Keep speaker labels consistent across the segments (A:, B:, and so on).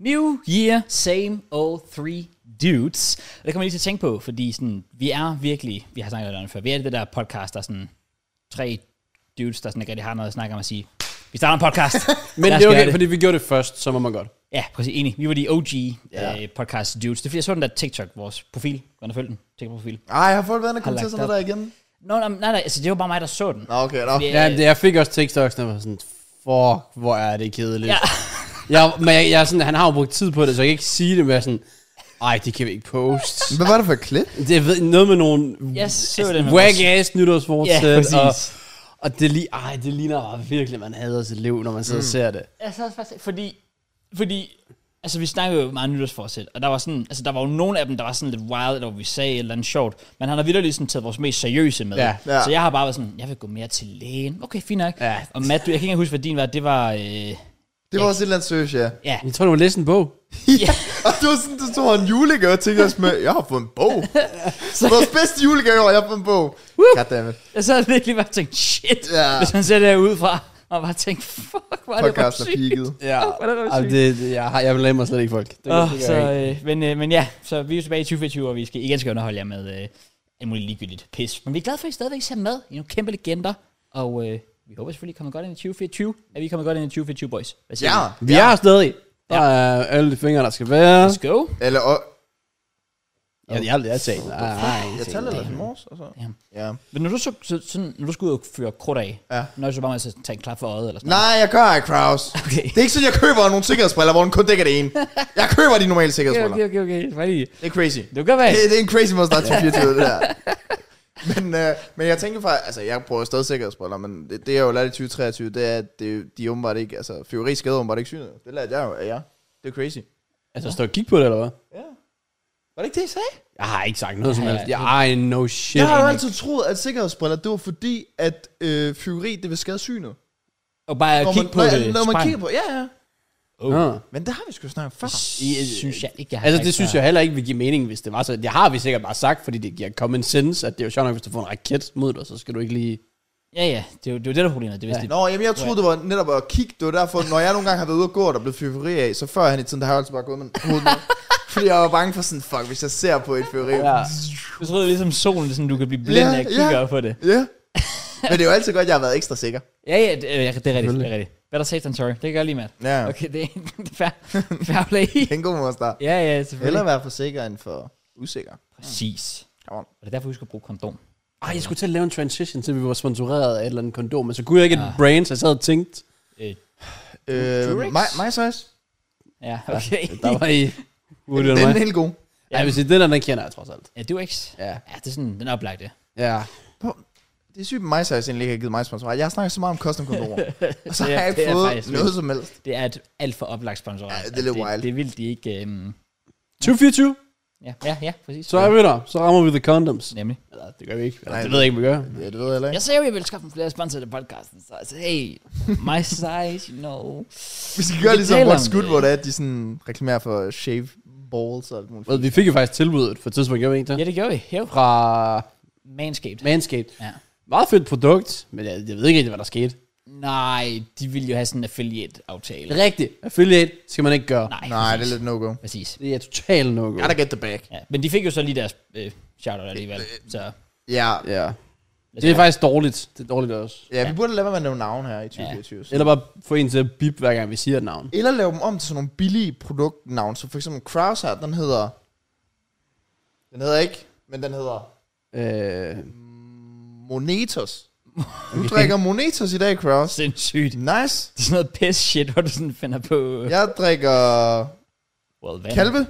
A: New year, same old three dudes. Og det kommer jeg lige til at tænke på, fordi sådan, vi er virkelig, vi har snakket lidt om det før, vi er det der podcast, der er sådan tre dudes, der sådan ikke rigtig har noget at snakke om at sige, vi starter en podcast.
B: Men
A: Lad os
B: det er
A: gøre
B: okay, fordi vi gjorde det først, så må man godt.
A: Ja, præcis, enig. Vi var de OG ja.
C: Ja.
A: øh, podcast dudes. Det er fordi, jeg så den der TikTok, vores profil. Gå ind og følg den. TikTok-profil.
C: Ej, har folk været inde og kommet
A: Har
C: til
A: lagt
C: sådan noget der igen?
A: Nå, nej, nej, nej, altså det var bare mig, der så den.
C: Nå, okay, nå.
A: Vi-
B: Ja, det, jeg fik også TikToks, der var sådan, fuck, hvor er det kedeligt.
A: Ja.
B: Ja. jeg, men jeg, jeg, er sådan, han har jo brugt tid på det, så jeg kan ikke sige det, men jeg er sådan, ej, det kan vi ikke poste.
C: Hvad var det for et klip?
B: Det er ved- noget med nogle
A: Jeg så det med vores-
B: whack-ass nytårsfortsæt.
A: Ja, præcis.
B: og, og det, li- ej, det ligner bare virkelig, man hader sit liv, når man sidder mm. og ser det.
A: Altså også faktisk, fordi, fordi, altså vi snakkede jo meget nytårsforsæt, og der var sådan, altså der var jo nogle af dem, der var sådan lidt wild, eller hvor vi sagde et eller andet sjovt, men han har vildt sådan taget vores mest seriøse med.
B: Ja,
C: ja.
A: Så jeg har bare været sådan, jeg vil gå mere til lægen. Okay, fint nok.
B: Ja.
A: Og Matt, du, jeg kan ikke engang huske, hvad din var, det var, øh,
C: Det var også et eller andet søs, ja.
A: ja.
B: Jeg tror, du må læse en bog.
A: ja.
C: Og det var sådan, du tog en julegave til os med, jeg har fået en bog. Vores bedste julegave, og jeg har fået en bog. Goddammit.
A: Jeg sad virkelig bare og tænkte, shit,
C: Ja.
A: hvis man ser det her udefra, og bare tænkte, fuck, hvor er det bare
C: Podcasten er
A: sygt.
C: peaked.
B: Ja,
A: hvor er det
B: Ej,
A: sygt.
B: det, det, jeg, har, jeg blamer slet ikke folk. Det,
A: Åh,
B: det
A: så,
B: gør jeg
A: øh, men, øh, men ja, så vi er jo tilbage i 2024, og vi skal igen skal underholde jer med øh, alt muligt ligegyldigt pis. Men vi er glade for, at I stadigvæk ser med. I er nogle kæmpe legender, og øh, vi håber selvfølgelig, at I kommer godt ind i 2024. At vi kommer godt ind i 2024, boys. Hvad siger
C: Ja.
A: I?
B: Vi er stadig. Der er alle de fingre, der skal være.
A: Let's go.
C: Eller, og,
B: Jeg, jeg, jeg sagde, nej, nej.
C: jeg talte ellers i morges, og så.
A: Damn.
C: Ja.
A: Men når du, så, så, sådan, når du skal ud og føre krudt af,
C: Ja.
A: når du så bare med at tage en klap for øjet, eller sådan
C: Nej, jeg gør ikke, Kraus.
A: Okay.
C: Det er ikke sådan, jeg køber nogle sikkerhedsbriller, hvor den kun dækker det ene. Jeg køber de normale
A: Okay,
C: sikkerhedsbriller.
A: okay, okay, okay. Bare lige.
C: Det er crazy.
A: Det kan være.
C: Det, det er en crazy måde at starte 24 det der. Men, øh, men jeg tænker faktisk, altså jeg prøver stadig sikkerhedsbriller, men det, det jeg jo lærte i 2023, det er, at det, de er åbenbart ikke, altså fyrværkeri skader åbenbart ikke synet. Det lærte jeg jo af jer. Det er crazy.
B: Altså, står og kigge på det, eller hvad?
C: Ja. Var det ikke det, I sagde?
B: Jeg har ikke sagt noget som
A: Ja,
B: helst.
A: ja.
B: Jeg, I no shit.
C: Jeg har jo altid troet, at sikkerhedsbriller, det var fordi, at øh, fyrværkeri, det vil skade synet.
A: Og bare
C: Når man,
A: kigge på
C: når,
A: det.
C: når man
A: sprang.
C: kigger på, ja, ja.
B: Nå.
C: Men det har vi sgu snakket om før.
A: Det øh, synes jeg ikke, jeg har
B: Altså,
A: sagt
B: det synes
A: før.
B: jeg heller ikke vil give mening, hvis det var så. Det har vi sikkert bare sagt, fordi det giver common sense, at det er jo sjovt nok, hvis du får en raket mod dig, så skal du ikke lige...
A: Ja, ja. Det er jo det, er jo det der er problemet. Det er, hvis det,
C: Nå, jamen jeg troede, det var netop at kigge. Det var derfor, når jeg nogle gange har været ude og gå, og der blev fyrværkeri af, så før han i tiden, der har jeg altid bare gået med hovedet ned. Fordi jeg var bange for sådan, fuck, hvis jeg ser på et fyrværkeri. Ja.
B: Ja.
A: du tror, det er ligesom solen, sådan, du kan blive blind
C: Ja,
A: af at kigge
C: ja.
A: op på det.
C: ja. Men det er jo altid godt, at jeg har været ekstra sikker.
A: Ja, ja, det, øh, det er rigtigt, det er rigtigt. Better safe than sorry. Det kan jeg lige, Matt.
C: Ja. Okay.
A: Okay, det er, det er fair, fair play.
C: Det er en god måde at starte.
A: ja, ja, selvfølgelig.
C: Hellere være for sikker end for usikker.
A: Præcis.
C: Come on.
A: Og det er derfor, vi skal bruge kondom.
B: Ej, jeg skulle til at lave en transition, til vi var sponsoreret af et eller andet kondom, men så kunne jeg ikke et brain, så jeg sad og tænkte,
A: Øh,
C: Øh,
A: Durex?
C: my, my size.
A: ja, okay.
B: der var I... Woody
C: Den
B: mig.
C: er helt god.
B: Ja, hvis det er den, der, den kender jeg trods alt.
A: Ja, du X.
B: Ja.
A: Ja, det er sådan, den er oplagte.
B: Ja.
C: Det er sygt, at my size egentlig ikke har givet mig sponsorat. Jeg har snakket så meget om custom kondomer, og så
A: Ja,
C: har jeg ikke
A: det er
C: fået
A: faktisk
C: noget som helst.
A: Det er et alt for oplagt sponsorat.
C: Ja, det er lidt
A: det,
C: wild.
A: Det er vildt, de ikke... Um,
B: 2024,
A: ja, ja, ja, præcis.
B: så er vi der. Så rammer vi the condoms.
A: Nemlig.
B: Eller, det gør vi ikke. Eller,
C: Nej,
B: det ved jeg ikke, vi gør.
C: Ja, det ved jeg heller ikke.
A: Jeg sagde jo, jeg ville skaffe flere sponsorer til podcasten, så altså, hey, my size, you know.
C: Vi skal gøre
A: Vi
C: ligesom
A: taler om
C: What's Good,
A: det.
C: hvor det er, at de sådan reklamerer for shave balls og alt muligt.
B: Well, vi fik jo faktisk tilbuddet for et tidspunkt, gjorde vi ikke det?
A: Ja, det gjorde vi. Jo.
B: Fra
A: Manscaped.
B: Manscaped.
A: Ja.
B: Meget fedt produkt, men jeg, jeg ved ikke rigtig, hvad der skete.
A: Nej, de ville jo have sådan en affiliate-aftale.
B: Rigtigt. Affiliate skal man ikke gøre.
A: Nej,
C: Nej, det
A: præcis.
C: er lidt no-go.
A: Præcis.
B: Det er totalt no
C: Gotta get the bag.
A: Ja, men de fik jo så lige deres øh, shout-out alligevel. Så altså,
C: Ja,
B: Ja. Det er faktisk dårligt. Det er dårligt også.
C: ja vi burde lade være med at nævne navn her i 2024.
B: Eller bare få en til at bip, hver gang vi siger et navn.
C: Eller lave dem om til sådan nogle billige produktnavn. Så for eksempel Kraus her, den hedder... Den hedder ikke, men den hedder
B: Øh,
C: Monetos. Du drikker Monetos i dag, Kraus.
A: sindssygt.
C: Nice.
A: Det er sådan noget piss shit, hvor du sådan finder på... Ja.
C: Jeg drikker
A: Well, hvad?
C: kalve.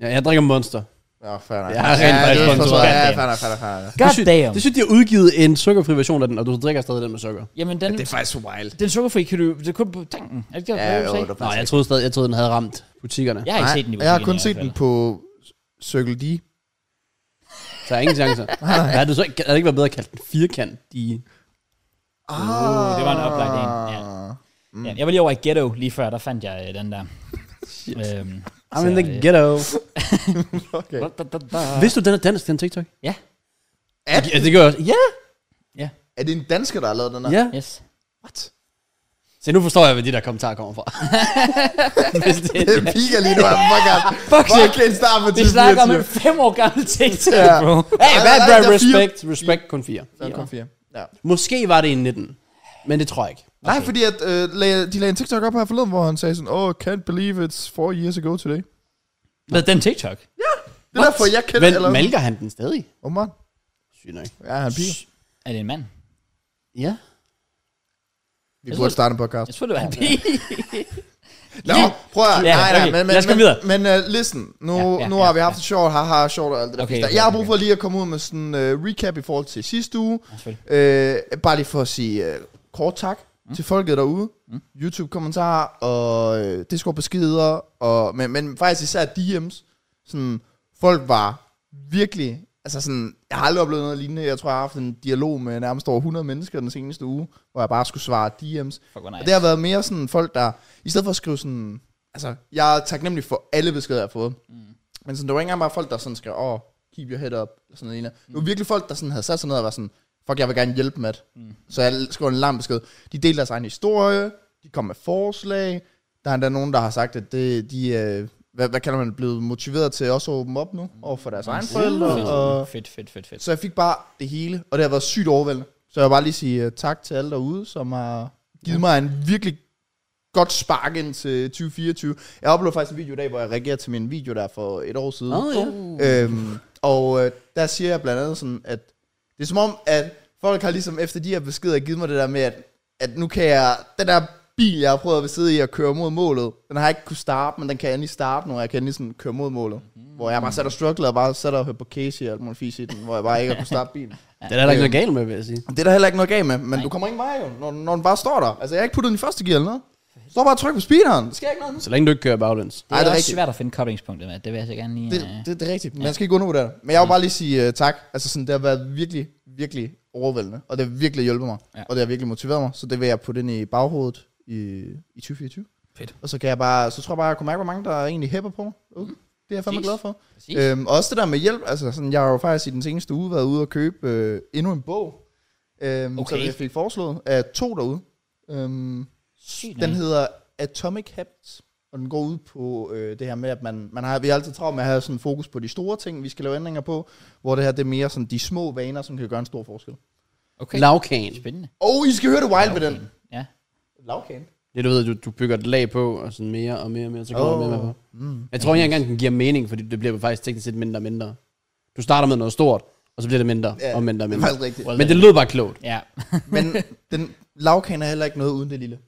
B: ja, jeg drikker Monster.
C: Ja, fair nok.
B: Jeg har rent faktisk
C: det er
B: sponsoreret.
C: sponsoreret. Ja, fair nok, fair nok, fair nok.
A: God
B: Det sy-
A: damn.
B: Det synes, de har udgivet en sukkerfri version af den, og du drikker stadig den med sukker.
A: Jamen, den,
C: Det er faktisk wild.
A: den sukkerfri kan du... Det er kun på tanken. Er det ikke det,
C: Ja,
A: ja,
C: jo, det
B: Nej,
C: er faktisk
B: jeg troede stadig, jeg troede, den havde ramt butikkerne.
A: Jeg har ikke
C: Nej,
A: set den i
C: Jeg har
A: butikken
C: kun
A: i
C: set
A: hvert
C: den
A: fald.
C: på Circle D.
B: Så jeg har ingen chancer. ja, du så ikke, havde det ikke været bedre at kalde den firkant. De,
A: Uh, det var en oplagt en. Ja.
C: Mm.
A: Ja, jeg var lige over i Ghetto lige før, der fandt jeg øh, den der. øhm,
B: I'm in
A: så,
B: the
A: øh,
B: ghetto.
C: Okay.
A: da, da, da.
B: Vidste du, den er dansk, den TikTok?
A: Ja,
C: Er,
B: Ja, det gør jeg også. Ja,
A: ja,
C: er det en dansker, der har lavet den her?
B: ja.
A: yes.
C: What?
B: Se, nu forstår jeg, hvad de der kommentarer kommer fra. Hvis det,
C: Det piker lige nu. I'm fucking,
A: Fuck shit.
C: fucking start på
A: Vi
C: 10
A: snakker om en fem år gammel TikTok,
C: Ja.
A: bro.
B: hey, hvad,
C: Nej, nej,
B: hvad,
C: der er fire.
B: respect, respect kun fire.
C: Ja.
B: Måske var det en 19, men det tror jeg ikke.
C: Nej, fordi at, øh, lagde, de lagde en TikTok op her forleden, hvor han sagde sådan, oh, can't believe it's four years ago today.
A: Hvad den TikTok?
C: Det er derfor, jeg kender
B: Men malker han den stadig?
C: Oh, man.
B: Sygt nok.
C: Ja, han piger.
A: Er det en mand?
B: Ja.
C: Vi burde starte en podcast.
A: Jeg tror, det var en pige.
C: Nå, prøv at...
A: Ja,
C: nej, nej,
A: okay.
C: men, men,
A: Lad os komme videre.
C: Men, men uh, listen, nu,
A: Ja,
C: ja,
A: ja,
C: ja, nu har
A: ja,
C: vi haft
A: ja.
C: det sjovt, haha, sjovt og alt det der.
A: Okay,
C: Okay,
A: okay,
C: jeg har brug
A: okay.
C: for lige at komme ud med sådan en uh, recap i forhold til sidste uge.
A: selvfølgelig.
C: Uh, bare lige for at sige uh, kort tak mm. til folket derude. Mm. YouTube-kommentarer og uh, Discord-beskeder, og, men, men faktisk især DM's. Sådan, folk var virkelig... Altså sådan, jeg har aldrig oplevet noget lignende. Jeg tror, jeg har haft en dialog med nærmest over 100 mennesker den seneste uge, hvor jeg bare skulle svare DM's.
A: Fuck, hvor
C: Og
A: nice.
C: det har været mere sådan folk, der... I stedet for at skrive sådan... Altså, jeg er taknemmelig for alle beskeder, jeg har fået. Mm. Men sådan, det var ikke engang bare folk, der sådan skrev, åh, oh, keep your head up, eller sådan noget. Mm. Det var virkelig folk, der sådan havde sat sig ned og var sådan, fuck, jeg vil gerne hjælpe med det. Mm. Så jeg skrev en lang besked. De delte deres egen historie, de kom med forslag. Der er endda nogen, der har sagt, at det, de... Øh, hvad, hvad kalder man det, blevet motiveret til også at åbne op nu, over for deres egen forældre. Og,
A: Fedt, fedt, fedt, fedt.
C: så jeg fik bare det hele, og det har været sygt overvældende. Så jeg vil bare lige sige øh, tak til alle derude, som har givet mig en virkelig godt spark ind til 2024. Jeg uploadede faktisk en video i dag, hvor jeg reagerer til min video der for et år siden.
B: Nå, ja.
C: Øhm, og øh, der siger jeg blandt andet sådan, at det er som om, at folk har ligesom efter de her beskeder givet mig det der med, at, at nu kan jeg, den der bil, jeg har prøvet at sidde i og køre mod målet, den har jeg ikke kunne starte, men den kan jeg endelig starte nu, og jeg kan endelig sådan køre mod målet.
B: Mm.
C: Hvor jeg bare sat og strugglede, og bare sat og hørte på Casey og alt muligt fis i den, hvor jeg bare ikke har kunne starte bilen.
B: Det er der ikke noget galt med, vil jeg sige.
C: Det er der heller ikke noget galt med, men Nej. du kommer ikke vej jo, når, når den bare står der. Altså, jeg har ikke puttet den i første gear eller noget. Står bare og tryk på speederen. Det sker ikke noget nu.
B: Så længe du ikke kører
A: Det
B: baglæns.
C: Ej,
A: er,
C: det er
A: også
C: rigtigt.
A: svært at finde koblingspunktet med. Det vil jeg så gerne lige...
C: Det,
A: øh,
C: det, det er rigtigt. Man skal ikke undervurdere det. Men jeg vil bare lige sige uh, tak. Altså sådan, det har været virkelig, virkelig overvældende. Og det har virkelig hjulpet mig.
A: Ja.
C: Ja. Og det har virkelig motiveret mig. Så det vil jeg putte ind i baghovedet i, i 2024.
A: Fedt. Mm.
C: Og så kan jeg bare, så tror jeg bare, jeg kunne mærke, hvor mange der egentlig hæpper på mig. Okay. Det er jeg fandme
A: Præcis.
C: glad for.
A: Præcis.
C: Øhm, og også det der med hjælp. Altså sådan, jeg har jo faktisk i den seneste uge været ude og købe øh, endnu en bog. Øhm, okay.
A: Okay.
C: Som jeg fik foreslået af to derude. Øhm,
A: Sygt
C: den
A: nice.
C: hedder Atomic Habits, og den går ud på øh, det her med, at man, man har, vi har altid travlt med at have sådan fokus på de store ting, vi skal lave ændringer på, hvor det her det er mere sådan de små vaner, som kan gøre en stor forskel.
A: Okay.
B: Lavkagen.
A: Spændende.
C: Oh, I skal høre det wild ved den.
A: Ja.
C: Lavkagen.
B: Det du ved, du, du bygger et lag på, og sådan mere og mere og mere, så kommer oh.
C: Åh.
B: der mere med på. Mm. Jeg tror ikke engang, den giver mening, fordi det bliver jo faktisk teknisk set mindre og mindre. Du starter med noget stort, og så bliver det mindre yeah. og mindre og
C: det er
B: mindre.
C: faktisk rigtigt.
B: Men det lød bare klogt.
A: Ja.
C: Men den lavkagen er heller ikke noget uden det lille.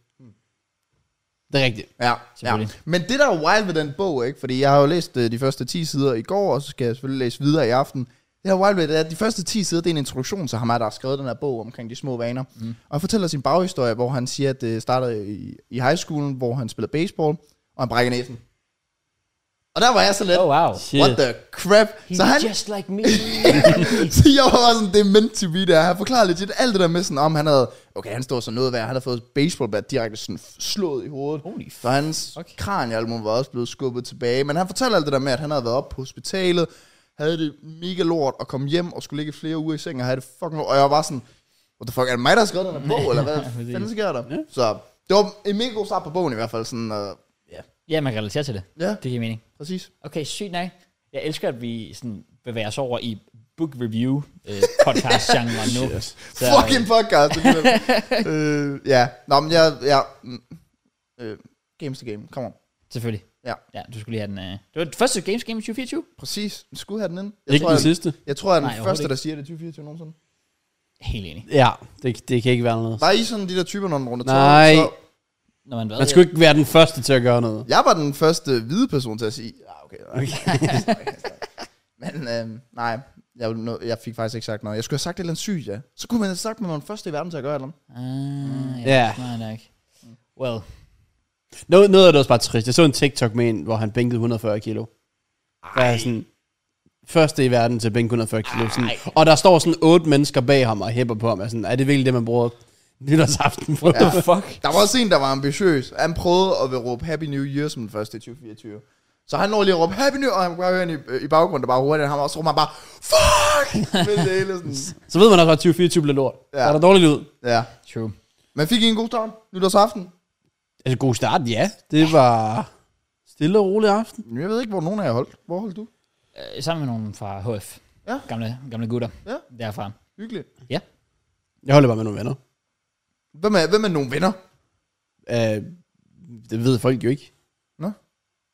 B: Det er rigtigt.
C: Ja, ja.
A: Selvfølgelig.
C: Men det der er wild ved den bog, ikke? fordi jeg har jo læst øh, de første 10 sider i går, og så skal jeg selvfølgelig læse videre i aften. Det der er wild ved, det er, at de første 10 sider, det er en introduktion til ham, her, der har skrevet den her bog omkring de små vaner. Mm. Og han fortæller sin baghistorie, hvor han siger, at det startede i, i high schoolen, hvor han spillede baseball, og han brækkede næsen. Og der var jeg så lidt,
A: Oh,
C: oh,
A: wow.
B: Shit.
C: what the crap. så han,
A: Just like me.
C: så jeg var bare sådan, det er meant to be der. Han forklarer legit alt det der med sådan, om han havde, okay, han står så noget værd, han havde fået et baseballbat direkte sådan slået i hovedet.
A: Holy
C: Så hans
A: fuck.
C: okay. kranjealbum var også blevet skubbet tilbage. Men han fortalte alt det der med, at han havde været op på hospitalet, havde det mega lort og kom hjem og skulle ligge flere uger i seng og havde det fucking lort. Og jeg var bare sådan, what the fuck, er det mig, der har skrevet den her bog, eller hvad
A: præcis.
C: fanden sker der? Så det var en mega god start på bogen i hvert fald. Sådan, øh,
A: Ja, man kan relatere til det.
C: ja,
A: Det giver mening.
C: præcis.
A: Okay, sygt nej. Jeg elsker, at vi sådan bevæger os over i book review øh, podcast genre nu. Så, øh,
C: Fucking podcast. alligevel. øh, ja, nå, men jeg, jeg mm, øh, games to game, kom on.
A: Selvfølgelig.
C: Ja.
A: Ja, du skulle lige have den. Øh. Det var det første Games Game i 2024.
C: Præcis, du skulle have den ind. Jeg
B: Ikke
C: tror,
B: den
C: jeg,
B: sidste.
C: jeg tror, jeg er den
A: Nej, overhovedet
C: første,
A: ikke.
C: der siger det i 2024 nogensinde.
A: Helt enig.
B: Ja, det, det kan ikke være noget.
C: Var I sådan de der typer, når den runder 12?
B: Nej.
C: Så
A: Når man hvad?
B: Man skulle ikke være den første til at gøre noget.
C: Jeg var den første hvide person til at sige, ja, okay. okay. Men øh, nej, jeg, vil nå- jeg fik faktisk ikke sagt noget. Jeg skulle have sagt et eller andet sygt, ja. Så kunne man have sagt, at man var den første i verden til at gøre et eller andet.
A: Ah, ja.
B: Ja.
A: Yeah. Smart nok. Well,
B: Noget, noget af det også bare trist. Jeg så en TikTok med en, hvor han bænkede 140 kilo. Der er sådan, første i verden til at bænke 140 kilo. Sådan, og der står sådan otte mennesker bag ham og hæpper på ham. Er, sådan, er det virkelig det, man bruger nytårsaften på? Ja.
A: fuck.
C: Der var også en, der var ambitiøs. Han prøvede at vil råbe Happy New Year som den første i 2024. Så han når lige at råbe Happy New Year, og han kunne bare høre hende i, i baggrunden, der bare hurtigt. Han var også råber han bare, fuck! Men det hele sådan.
B: Så ved man også, at 2024 bliver lort. Ja.
C: Ja.
B: Der er der dårligt ud.
C: Ja.
A: True.
C: Men fik I en god start nytårsaften?
B: Altså, god start, ja. Det var stille og rolig aften.
C: Men Jeg ved ikke, hvor nogen af jer holdt. Hvor holdt du?
A: Øh, sammen med nogen fra HF.
C: Ja.
A: Gamle, gamle gutter.
C: Ja.
A: Derfra.
C: Hyggeligt.
A: Ja.
B: Jeg holder bare med nogle venner.
C: Hvem er, hvem er nogle venner?
B: Øh, det ved folk jo ikke.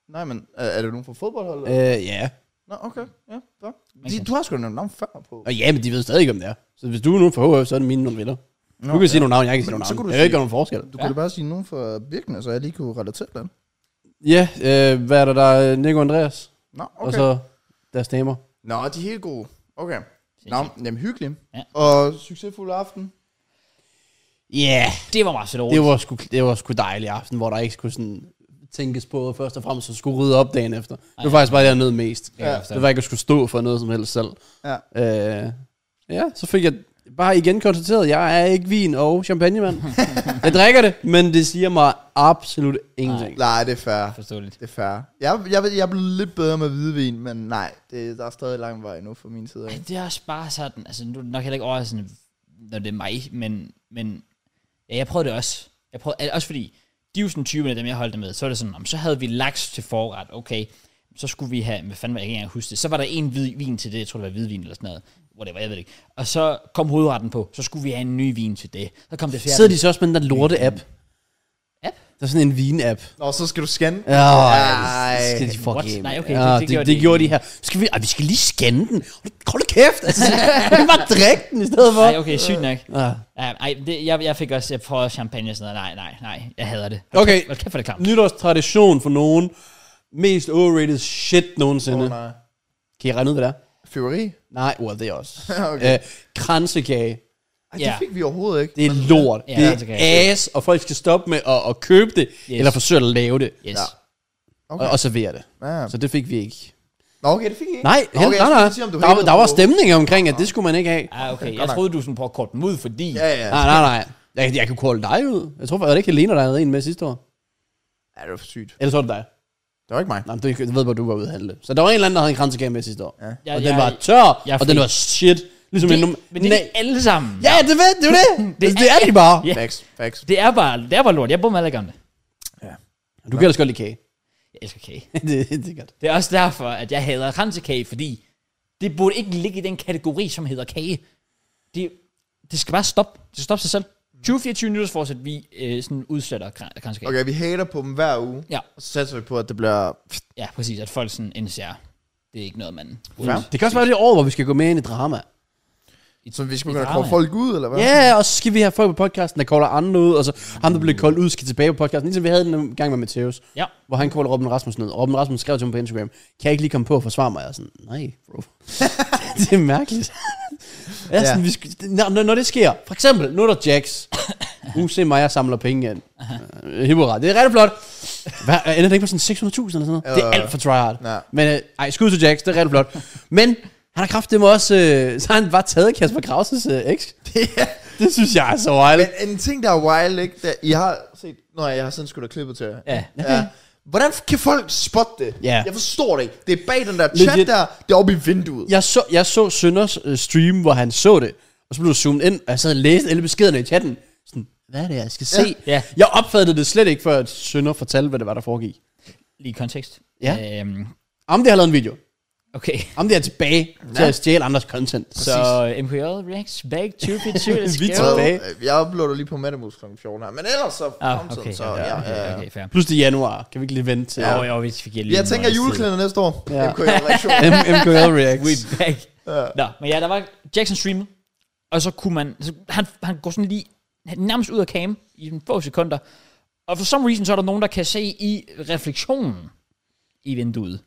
C: Nej, men er, er det nogen fra fodboldholdet? Øh.
B: Øh, ja.
C: Nå, okay. Ja, fair.
A: Okay.
C: De, du har sgu da nogle navn før på.
B: Og ja, men de ved stadig ikke, om det er. Så hvis du er nogen fra HF, så er det mine nogle venner.
C: Nå,
B: du kan sige nogle navn, jeg kan sige
C: Men
B: nogle
C: så
B: navn.
C: kunne du
B: Det er jo ikke
C: sige-
B: nogen forskel.
C: Du kunne
A: Ja.
C: da bare sige nogen fra Birkene, så jeg lige kunne relatere den.
B: Ja, øh, hvad er der der? Nico Andreas.
C: Nå,
B: Okay. Og
C: okay.
B: så deres damer.
C: Nå, de er helt gode. Okay. Nå, jamen hyggeligt.
A: Ja.
C: Og succesfuld aften.
B: Ja, yeah,
A: Det var meget sødt
B: det,
A: roligt.
B: var sgu, det var sgu dejlig aften, hvor der ikke skulle sådan tænkes på, og først og fremmest at skulle rydde op dagen efter. Det var faktisk bare det, jeg nød mest.
A: Det kan jeg
C: Ja.
A: godt forstå.
B: Det var ikke at skulle stå for noget som helst selv.
C: Ja.
B: Øh, ja, så fik jeg bare igen konstateret, at jeg er ikke vin og champagne, mand. jeg drikker det, men det siger mig absolut ingenting.
C: Nej, det er fair.
A: Forståeligt.
C: Det er fair. Jeg, jeg, ved- jeg er blevet lidt bedre med hvidvin, men nej, det, der er stadig lang vej endnu fra min side af.
A: Ej, det er også bare sådan, altså nu er det nok heller ikke overraskende, når det er mig, men, men ja, jeg prøvede det også. Jeg prøvede, al- også fordi, de er jo sådan 20 af dem, jeg holdt det med, så er det sådan, om så havde vi laks til forret, okay, så skulle vi have, hvad fanden var jeg jeg kan ikke engang huske det, så var der en hvid vin til det, jeg tror det var hvidvin eller sådan noget, whatever, jeg ved det ikke. Og så kom hovedretten på, så skulle vi have en ny vin til det. Så kom det fjerde.
B: Sidder de så også med den der lorte-app?
A: App?
B: Der er sådan en vin-app.
C: Nå, så skal du scanne.
B: Ja,
C: Ej.
B: det skal de
A: What?
B: fuck hjem.
A: Nej, okay,
B: ja,
A: det- det
B: det,
A: gjorde
B: det, det
A: de
B: gjorde de
A: ikke.
B: her. Skal vi, ej, vi skal lige scanne den. Hold da kæft, altså. Vi kan bare drikke den i stedet for.
A: Nej, okay, sygt nok.
B: Ja.
A: Ja, nej, det, jeg, jeg fik også, jeg prøvede også champagne og sådan noget. Nej, nej, nej, jeg hader det.
B: Okay.
A: Hold kæft for det klamt.
B: Nytårstradition for nogen. Mest overrated shit nogensinde.
C: Åh,
B: Oh,
C: nej.
B: kan I regne ud, hvad det er?
C: Fyrværkeri?
B: Nej, well, det er også.
C: Okay.
B: okay. øh, kransekage.
C: Ej,
A: Ja.
C: det fik vi overhovedet ikke.
B: Det er lort.
A: Ja,
B: Ja, det
A: kransekage.
B: er ass, og folk skal stoppe med at, at købe det, yes. eller forsøge at lave det,
A: Yes.
C: Ja.
A: Ja.
B: okay. og, og servere det.
C: Ja.
B: Så det fik vi ikke.
C: Nå, okay, det fik I ikke.
B: Nej,
C: Nå,
B: okay, nej,
C: jeg skulle
B: nej.
C: lige sige, om du
B: Der, var-
C: hatede
B: der var
C: på-
B: stemninger omkring, at det skulle man ikke have.
A: Ah, okay.
C: godt
A: Jeg
C: nok.
A: troede, du sådan prøvede at korte dem ud, fordi...
C: Ja, ja.
B: Nej, nej, nej. Jeg, jeg kunne kolde dig ud. Jeg tror faktisk ikke, Helena, der havde en med sidste år.
C: Ja, det var for sygt.
B: Eller så var det dig.
C: Det var ikke mig.
B: Nej, men du du ved, hvor du var ude at handle. Så der var en eller anden, der havde en kransekage med sidste år.
C: Ja.
B: Ja.
A: Jeg,
B: Og den
A: jeg,
B: var tør,
A: jeg er
B: og den
A: fri.
B: var shit. Ligesom en
A: det,
B: num-
A: men det er
B: Nej.
A: ikke alle sammen.
B: Ja, det ved, det er jo det. det,
A: er-
B: det er de bare.
A: Ja.
C: Facts, facts.
A: Det er bare, det er bare lort. Jeg bor med alle gamle.
B: Du kan ellers godt lide kage.
A: Jeg elsker kage.
B: det, det er godt.
A: Det er også derfor, at jeg hader kransekage, fordi det burde ikke ligge i den kategori, som hedder kage. Det, det skal bare stoppe. Det skal stoppe sig selv. 20-24 minutter fortsat, vi øh, sådan udsætter kran- kransekage. Okay.
C: Okay, vi hater på dem hver uge.
A: Ja.
C: Og så satser vi på, at det bliver...
A: Ja, præcis. At folk sådan indser, det er ikke noget, man...
C: Ja.
B: Det kan også være det år, hvor vi skal gå med ind i drama.
C: Så vi skal
A: Det er
C: begynde at
A: drama.
C: kåre folk ud, eller hvad?
B: Ja, yeah, og så skal vi have folk på podcasten, der kolder andre ud, og så ham, der blev koldt ud, skal tilbage på podcasten. Ligesom vi havde den gang med Matheus,
A: Ja.
B: hvor han kolder Robin Rasmussen ud. Og Robin Rasmussen skrev til mig på Instagram, kan jeg ikke lige komme på og forsvare mig? Jeg er sådan, nej, bro. det er mærkeligt. Jeg er sådan, vi skal, når, når- når, det sker, for eksempel, nu er der Jax. Uh, se mig, jeg samler penge ind. Uh, hurra. det er rigtig flot. Hvad, ender det ikke på sådan 600.000 eller sådan noget? Det er alt for tryhard.
C: Ja.
B: Men øh, ej, skud til Jax, det er rigtig flot. Men han har kraftet med også, øh, så har han bare taget Kasper Krauses øh, eks. det synes jeg er så wild.
C: Men en ting, der er wild, ikke? Der, I har set... Nå, jeg har sendt sgu da klippet til jer.
A: Ja.
C: ja. Hvordan kan folk spotte det?
B: Ja.
C: Jeg forstår det ikke. Det er bag den der
B: Legit.
C: chat der, det er oppe i vinduet.
B: Jeg så, jeg så Sønders øh, stream, hvor han så det, og så blev det zoomet ind, og jeg sad og læste alle beskederne i chatten. Sådan, hvad er det, jeg skal se?
A: Ja.
B: Jeg opfattede det slet ikke, før at Sønder fortalte, hvad det var, der foregik.
A: Lige i kontekst.
B: Ja.
A: Øhm,
B: Om det har lavet en video.
A: okay.
B: Om det er tilbage ja. til at stjæle andres content.
A: Så øh, MKJ reacts back 2024. Let's
B: Vi
A: go.
B: tager- tilbage.
C: Øh, Jeg uploader lige på Mattemus kl. 14 her. Men ellers så
A: Ah,
C: fremtiden,
A: okay,
C: så...
A: okay,
C: ja,
A: okay,
C: ja, ja.
A: okay, fair.
B: Plus det er januar. Kan vi ikke lige vente til?
A: Ja. Jo, jo, hvis vi giver lige
C: Jeg
A: en
C: tænker
A: måneds tid.
C: juleklæder næste år.
B: Ja.
C: Ja. MK-reaktion.
B: M- MKL Reacts.
A: We back. Nå, men ja, der var Jackson streamet, og så kunne man, så han, han går sådan lige han er nærmest ud af cam i en få sekunder, og for some reason, så er der nogen, der kan se i refleksionen i vinduet.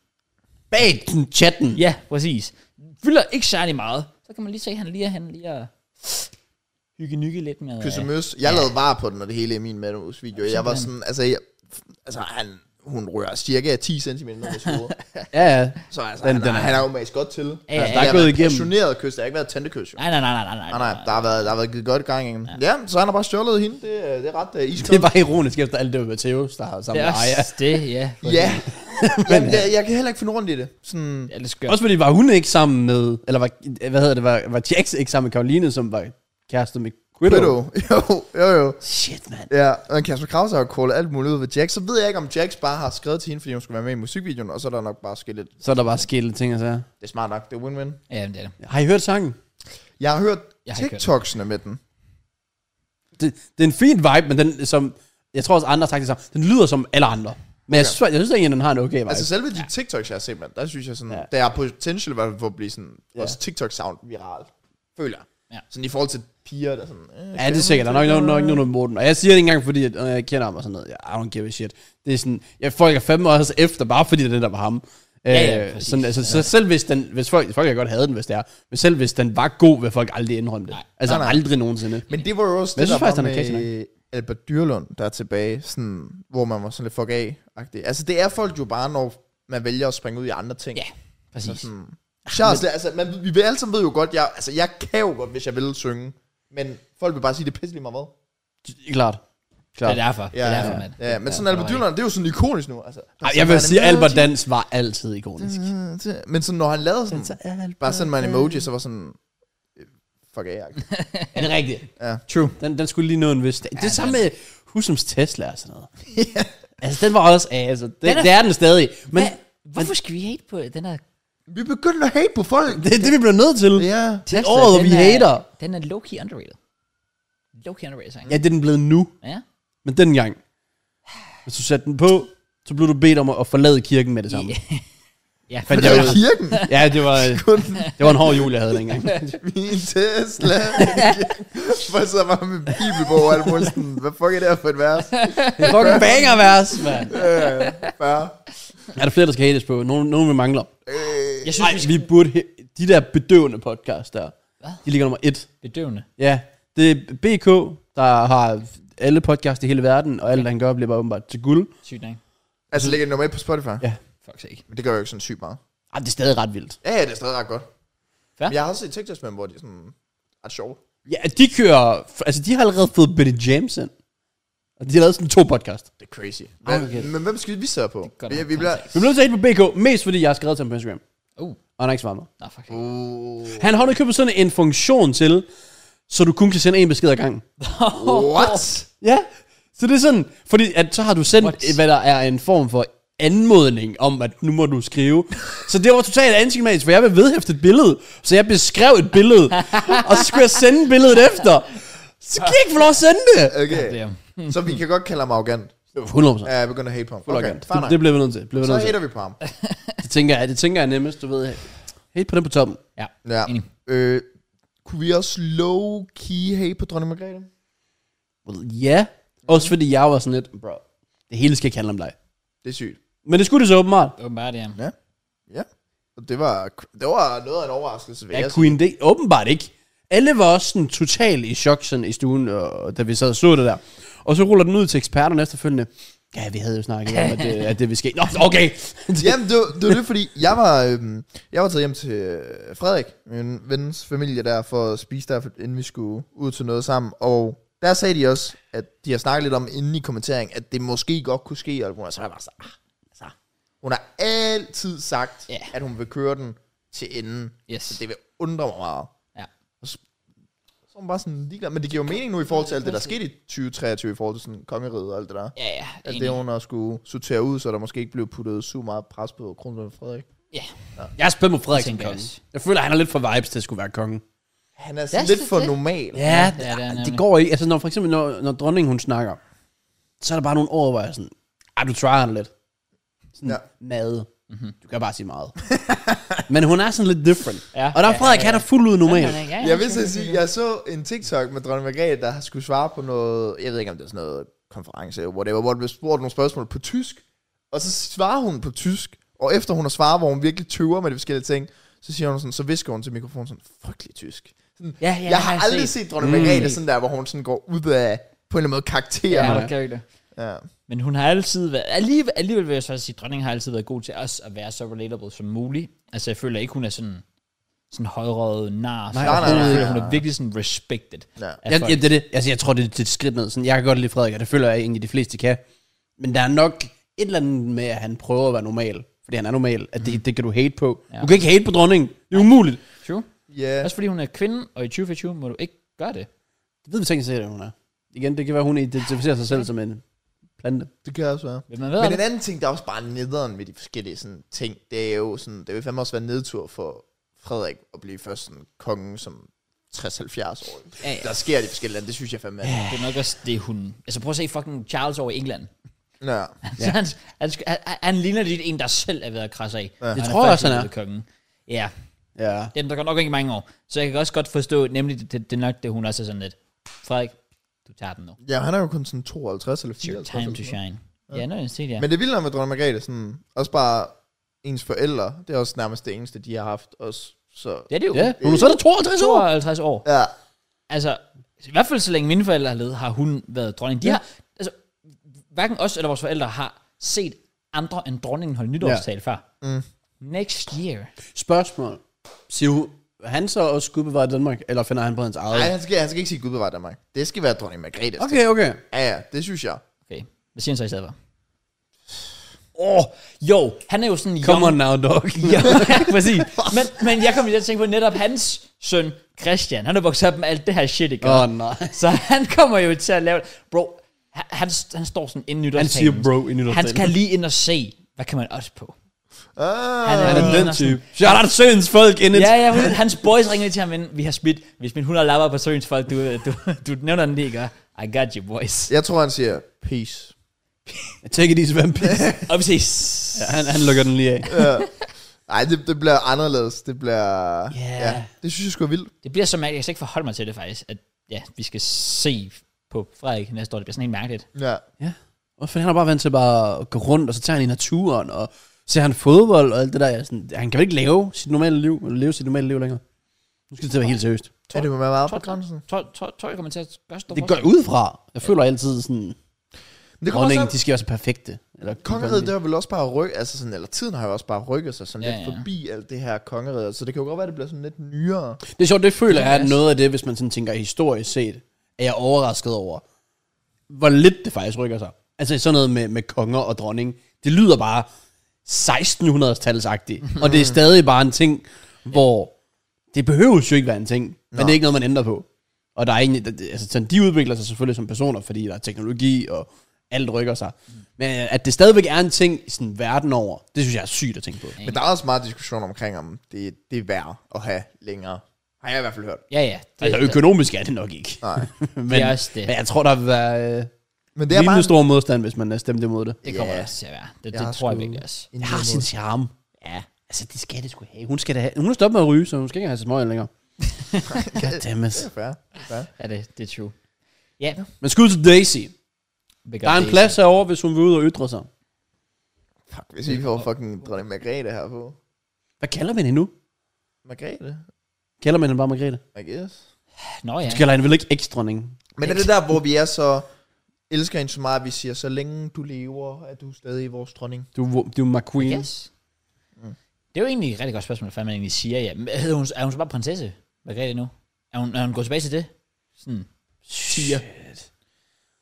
B: Bag den chatten.
A: Ja, præcis. Fylder ikke særlig meget. Så kan man lige se, at han lige er han lige er hygge nykke lidt med... øh,
C: Kysse møs. Jeg lavede var på den, og det hele i min Mattemus video. Jeg var sådan... Altså, jeg, altså han, hun rører cirka 10 cm ned med hovedet.
B: Ja, ja.
C: Så altså,
B: Den-
C: han,
B: den
C: den
B: er-
C: er, han er jo magisk godt til.
A: ja,
C: altså,
A: ja.
B: Der er gået igennem.
C: Passioneret kys, der har ikke været tændekys, jo.
A: Nej, nej, nej, nej, nej,
C: Ah, Nej, nej, der har været, der har været givet godt gang i ham. Ja. ja, så han har bare stjålet hende. Det, er- det er ret uh,
B: Det
C: iskoldt.
B: er bare ironisk efter alt det med Matheus, der har
A: Det
B: sammen
A: er
B: med
A: også
B: Aya.
A: det, ja.
C: Ja, men jeg, jeg kan heller ikke finde rundt i det. Sådan,
A: Det er lidt skørt.
B: Også fordi var hun ikke sammen med, eller var, hvad hedder det, var, var Jax ikke sammen med Karoline, som var kæreste med
C: Quiddo. Jo, jo, jo.
B: Shit, mand.
C: Ja, og Kasper Krause har jo callet alt muligt ud ved Jax. Så ved jeg ikke, om Jax bare har skrevet til hende, fordi hun skulle være med i musikvideoen, og så er der nok bare sket lidt.
B: Så er der bare sket lidt ting og sager.
C: Det er smart nok, det er win-win.
A: Ja, men det er det.
B: Har I hørt sangen?
C: Jeg har hørt
A: Jeg har ikke hørt
C: TikToksene med den.
B: Det, det er en fin vibe, men den som... Jeg tror også, andre har sagt det samme. Den lyder som alle andre. Men okay. jeg,
C: Okay.
B: synes, jeg synes egentlig, den har en okay vibe. Altså,
C: Altså selve de TikToks, jeg har set, man, der synes jeg sådan,
B: Ja.
C: ja. der er potential i hvert fald for at blive sådan,
B: Ja.
C: ja. også TikTok-sound viral. Føler jeg.
A: Ja.
C: Sådan i forhold til piger, der sådan, øh,
B: ja, det er sikkert. Der er nok, nok, nok ikke nogen mod den. Og jeg siger det ikke engang, fordi at, øh, jeg kender ham og sådan noget. I don't give a shit. Det er sådan... Jeg, folk er fandme også efter, bare fordi det er den, der var ham.
A: Ja, ja,
B: Øh,
A: præcis.
B: sådan, altså, så selv hvis den, hvis folk, folk kan godt have den, hvis det er, men selv hvis den var god, vil folk aldrig indrømme det.
A: Nej.
B: Altså
C: Nej, nej.
B: aldrig nogensinde.
C: Men det var jo også
B: Men jeg
C: det,
B: synes faktisk,
C: der
B: han er
C: var med Albert Dyrlund, der er tilbage, sådan, hvor man var sådan lidt fuck af -agtig. Altså, det er folk jo bare, når man vælger at springe ud i andre ting.
A: Ja,
C: Så
A: præcis.
C: sådan, Charles, men... altså, man, vi vil alle sammen ved jo godt, jeg, altså, jeg kan jo godt, hvis jeg vil synge, men folk vil bare sige, det er pisselig meget hvad.
B: Klart.
A: Det
B: Klart.
A: er derfor. Det er derfor,
C: ja,
A: mand.
C: ja, ja, men sådan Albert Dyrlund, det er jo sådan ikonisk nu. Altså,
B: Ej, jeg vil sige, Albert Dans var altid ikonisk.
C: Men sådan, når han lavede sådan, bare sådan mig en emoji, så var sådan, øh, fuck af -agtig.
B: Er det rigtigt?
C: Ja.
B: True. Den, den skulle lige nå en vis... Det, ja, det er samme med Husums Tesla og sådan noget. Altså, den var også... Altså, det,
A: Den
B: er,
A: er-
B: det er den stadig. Men
A: Hvad? Hvorfor skal vi hate på den her
C: Vi begynder at hate på folk.
B: det er det, vi bliver nødt til. Ja.
C: Ja.
B: Det er året, hvor vi
A: den er-
B: hater.
A: Den er low-key underrated. Low-key underrated sang.
B: Ja, det er den blevet nu.
A: Ja.
B: Men dengang, hvis du satte den på, så blev du bedt om at at forlade kirken med det samme.
A: Ja. ja.
B: Fandt
C: Det
B: jeg
C: er
B: ud.
C: kirken.
B: Ja, det var, det var en hård jul, jeg havde dengang.
C: Min Tesla. Folk sidder bare med bibelbog og alt muligt sådan, hvad fuck er det her for et vers?
B: Det er fucking banger vers, mand.
C: Øh, fyrre.
B: Er der flere, der skal hates på? Nogen, nogen vi mangler.
C: øh,
A: Jeg synes,
B: Nej,
A: vi skal
B: vi burde... he- De der bedøvende podcast der,
A: Hvad?
B: de ligger nummer et.
A: bedøvende.
B: Ja, det er BK, der har alle podcasts i hele verden, og alt, hvad han gør, bliver bare åbenbart til guld.
A: Sygt, ikke?
C: altså ligger det nummer et på Spotify?
B: Ja.
C: Ja.
A: Fuck sake.
C: Men det gør jo ikke sådan sygt meget.
B: Ej, det er stadig ret vildt.
C: Ja, ja, det er stadig ret godt.
A: Fair.
C: Men jeg har også set TikToks med dem, hvor de er sådan ret sjove.
B: Ja, de kører... Altså, de har allerede fået Betty James ind. Og de har lavet sådan to podcast.
C: Det er crazy.
B: Ej,
C: Hvad,
B: okay.
C: Men hvem skal vi sidde på?
A: godt
C: Vi,
A: nok
C: vi bliver...
B: Vi blev nødt til at hate på BK, mest fordi jeg har skrevet til ham på Instagram.
A: Uh,
B: Og han har ikke svaret mig.
A: nå, fuck sake.
C: Uh,
B: Han har nu købt sådan en funktion til, så du kun kan sende en besked ad gangen.
C: what?
B: Ja, så det er sådan, fordi at så har du sendt,
A: What?
B: What? hvad der er en form for anmodning om, at nu må du skrive. Så det var totalt antiklimatisk, for jeg vil vedhæfte et billede, så jeg beskrev et billede, og så skulle jeg sende billedet efter. Så kan jeg ikke få lov at sende det.
C: Okay.
A: Damn.
C: Så vi kan godt kalde ham arrogant.
B: 100%.
C: Ja, jeg begynder at hate på ham. Okay,
B: Okay,
C: fair
B: det,
C: nok.
B: det bliver vi nødt til. Bliver vi
C: Så
B: nødt til.
C: hater vi på ham.
B: Det, tænker jeg, det tænker jeg nemmest, du ved. Helt på den på toppen.
A: Ja.
C: Ja.
A: Enig.
C: Øh, kunne vi også low-key hate på dronning Margrethe?
B: Well, Ja, også fordi jeg var sådan lidt, bro, det hele skal ikke handle om dig.
C: Det er sygt.
B: Men det skulle det så åbenbart.
A: Åbenbart, ja.
C: Ja. Ja. Og det var, det var noget af en overraskelse, vil
B: Ja,
C: jeg sige.
B: Queen, det åbenbart ikke. Alle var også sådan totalt i chok sådan i stuen, og, da vi sad og så det der. Og så ruller den ud til eksperterne efterfølgende. Ja, vi havde jo snakket om, at det, at det ville ske. Nå, okay.
C: Jamen, det var, det var det, fordi jeg var, øhm, jeg var taget hjem til øh, Frederik, min vens familie der, for at spise der, inden vi skulle ud til noget sammen. Og der sagde de også, at de har snakket lidt om inden i kommentering, at det måske godt kunne ske, og hun så var jeg bare så, ah, altså, hun har altid sagt,
A: Ja.
C: at hun vil køre den til enden.
A: Yes.
C: Så det vil undre mig meget.
A: Ja.
C: Så er hun bare sådan ligeglad. Men det giver jo mening nu i forhold til alt det, der skete i 2023, i forhold til sådan kongeriget og alt det der.
A: Ja, ja.
C: At
A: enig.
C: Altså, det hun har skulle sortere ud, så der måske ikke blev puttet super meget pres på kronprins Frederik.
A: Ja.
B: Jeg er spændt på Frederik som
A: Tænker jeg
B: konge.
A: også.
B: Jeg føler, han er lidt for vibes til at skulle være konge.
C: Han er sådan
A: Det er
C: lidt
A: sgu
C: for
A: det.
C: normal.
B: Ja,
A: det er det
B: det,
A: nemlig.
B: det går ikke. Altså, når, for eksempel, når, når dronningen hun snakker, så er der bare nogle ord, hvor jeg er sådan, ej, du tryer den lidt. Sådan, ja.
C: Ja.
B: mad.
A: Mhm.
B: Mm-hmm. Du kan bare sige meget. Men hun er sådan lidt different.
A: Ja.
B: Og der er Frederik, han er fuldt ud normal.
A: Ja, ja,
C: Jeg vil så sige, jeg så en TikTok med dronning Margrethe, der skulle svare på noget, jeg ved ikke om det er sådan noget konference, eller whatever, hvor der blev spurgt nogle spørgsmål på tysk, og så svarer hun på tysk, og efter hun har svaret, hvor hun virkelig tøver med de forskellige ting, så siger hun sådan, så visker hun til mikrofonen sådan, frygtelig tysk. Sådan,
A: Ja, ja,
C: jeg har aldrig set dronning Margrethe sådan der, hvor hun sådan går ud af, på en eller anden måde
A: Ja,
C: karakterer.
A: okay, det.
C: Ja. ja.
A: Men hun har altid været, alligevel, alligevel vil jeg så sige, dronningen har altid været god til os at være så relatable som muligt. Altså jeg føler ikke, hun er sådan, sådan højrøget nar. Nej,
C: nej, nej, nej.
A: Hun er virkelig sådan respected.
C: Ja.
A: af
B: Jeg,
A: folk.
B: jeg, det, er det, altså, jeg tror, det er det er et skridt ned. Sådan, jeg kan godt lide Frederik, og det føler jeg egentlig, de fleste kan. Men der er nok et eller andet med, at han prøver at være normal. Fordi han er normal. At det, det kan du hate på.
A: Mhm.
B: Ja.
A: Ja.
B: Du kan ikke hate på dronningen. Det er umuligt.
A: True.
C: Yeah.
A: Også fordi hun er kvinde, og i 2024 må du ikke gøre det.
B: Det ved vi tænkt sikkert, at hun er. Igen, det kan være, hun identificerer sig selv som en plante.
C: Det kan også være.
A: Vil man ved
C: Men
A: det?
C: en anden ting, der er også bare nederen ved de forskellige sådan, ting, det er jo sådan, det vil fandme også være nedtur for Frederik at blive først sådan konge som 60-70 år.
A: Ja, ja.
C: Der sker i de forskellige lande, det synes jeg fandme er.
A: Det er nok også det, hun... Altså prøv at se fucking Charles over i England.
C: Ja.
A: Ja. han, han, sk- han, han ligner lidt en, der selv er ved at krasse af. Ja.
B: Det tror jeg også, han er.
A: Kongen. Ja,
B: Ja.
A: den der går nok ikke mange år. Så jeg kan også godt forstå, nemlig det, det, det er nok det, hun også er sådan lidt. Frederik, du tager den nu.
C: ja, han er jo kun sådan 52 eller
A: It's your
C: 54.
A: time to shine. Ja, nå, jeg ser det.
C: Men det vilde med dronning Margrethe, sådan, også bare ens forældre, det er også nærmest det eneste, de har haft også. Så,
A: Ja, det er jo
B: Ja, hun er så der 52 år.
A: 52 år.
C: ja.
A: Altså, i hvert fald så længe mine forældre har levet, har hun været dronning. De
B: Ja.
A: har, altså, hverken os eller vores forældre har set andre end dronningen holde nytårstale ja. før. Mm. Next year.
B: Spørgsmål. Siger hun- han så også Gud bevare Danmark, eller finder han på hans eget?
C: Nej, han skal, han skal ikke sige Gud bevare Danmark. Det skal være dronning Margrethe.
B: Okay, okay.
C: Ja, ja, det synes jeg.
A: Okay, hvad siger han så i stedet for? Åh, oh, jo, han er jo sådan...
B: Come on
A: young-
B: now, dog.
A: Ja, præcis. Men, men jeg kom lige til at tænke på netop hans søn, Christian. Han har vokset op med alt det her shit, ikke?
B: Åh, oh, nej.
A: Så han kommer jo til at lave... Bro, han, han, han står sådan inden nytårstalen.
B: siger bro i
A: Han
B: nytårstalen.
A: skal lige ind og se, hvad kan man også på?
C: Ah,
A: Han er
B: Han altså.
A: lige
B: er den
A: ind og sådan-
B: type. Shout out Søens folk in it.
A: Ja, ja, hun- hans boys ringede til ham, men vi har smidt, vi har smidt 100 lapper på søens folk, du, du, du nævner den lige, gør. I got you, boys.
C: Jeg tror, han siger peace.
B: Take it easy, vampire.
A: Og vi ses.
B: Ja, han, han lukker den lige af.
C: Nej, det, det bliver anderledes. Det bliver...
A: Ja.
C: det synes jeg sgu er vildt.
A: Det bliver så mærkeligt, jeg kan slet ikke forholde mig til det faktisk, at ja, vi skal se på Frederik næste år. Det bliver sådan helt mærkeligt.
C: Ja.
B: Ja. Hvorfor han er bare vant til bare at gå rundt, og så tager han i naturen, og ser han fodbold og alt det der. Jeg er sådan, han kan vel ikke lave sit normale liv, eller leve sit normale liv længere. Nu skal det til at være helt seriøst.
C: Er det må være meget
A: Tror
C: på
A: du-
C: grænsen?
A: Tror, tror, tror jeg kommer til at gøre stor
B: Det går ud fra. Jeg føler altid sådan,
C: Men Det kommer
B: dronningen,
C: også
B: de skal være så perfekte. Eller
C: Kongeriget, det har vel også bare rykket, altså sådan, eller tiden har jo også bare rykket sig sådan
A: Ja,
C: ja, lidt
A: ja.
C: forbi alt det her kongeriget, så det kan jo godt være, det bliver sådan lidt nyere.
B: Det er sjovt, det føler jeg, at
A: altså-
B: noget af det, hvis man sådan tænker historisk set, er jeg overrasket over, hvor lidt det faktisk rykker sig. Altså sådan noget med, med konger og dronning, det lyder bare 1600-talsagtigt, og det er stadig bare en ting, hvor det behøves jo ikke være en ting, men det er ikke noget, man ændrer på. Og der er egentlig, der- altså sådan, de udvikler sig selvfølgelig som personer, fordi der er teknologi, og alt rykker sig. Men øh, at det stadigvæk er en ting sådan verden over, det synes jeg er sygt at tænke på.
C: Men der er også meget diskussion omkring, om det, det er værd at have længere. Har jeg i hvert fald hørt.
A: Ja, ja. Det,
B: Altså økonomisk er det nok ikke.
C: Nej.
B: men,
A: Det er også det.
B: men jeg tror, der vil være øh,
C: Men det
B: det
C: er bare...
B: stor modstand, hvis man stemte imod det.
A: det kommer
C: Ja.
A: yeah. også til at være. Det,
C: Jeg har
A: det tror jeg
C: sgu-
A: virkelig også.
C: en
B: Det har
C: lille
B: sin
C: måde.
B: charme.
A: Ja.
B: Altså, det skal det sgu have. Hun skal da have. Hun er stoppet med at ryge, så hun skal ikke have smøg længere.
C: Det
B: Goddammit.
C: er fair. Det er fair.
A: Ja, det, det er true. Ja.
B: Men skud til Daisy.
A: vi gør
B: Der er en
A: det.
B: plads herovre, hvis hun vil ud og ytre sig.
C: Fuck, hvis vi får fucking dronning Margrethe her på.
B: Hvad kalder man hende nu?
C: Margrethe?
B: Kalder man hende bare Margrethe?
C: I guess.
A: Nå ja.
B: Du kalder hende vel ikke eksdronning?
C: Men er det der, hvor vi er så elsker hende så meget, at vi siger, så længe du lever, er du stadig vores dronning?
B: Du, er- du er McQueen.
A: Yes. Mm. Det er jo egentlig et rigtig godt spørgsmål, hvad man egentlig siger. Ja. Men hedder hun, er hun så bare prinsesse? Hvad gør det nu? Er hun, er hun gået tilbage til det? Sådan.
B: Shit.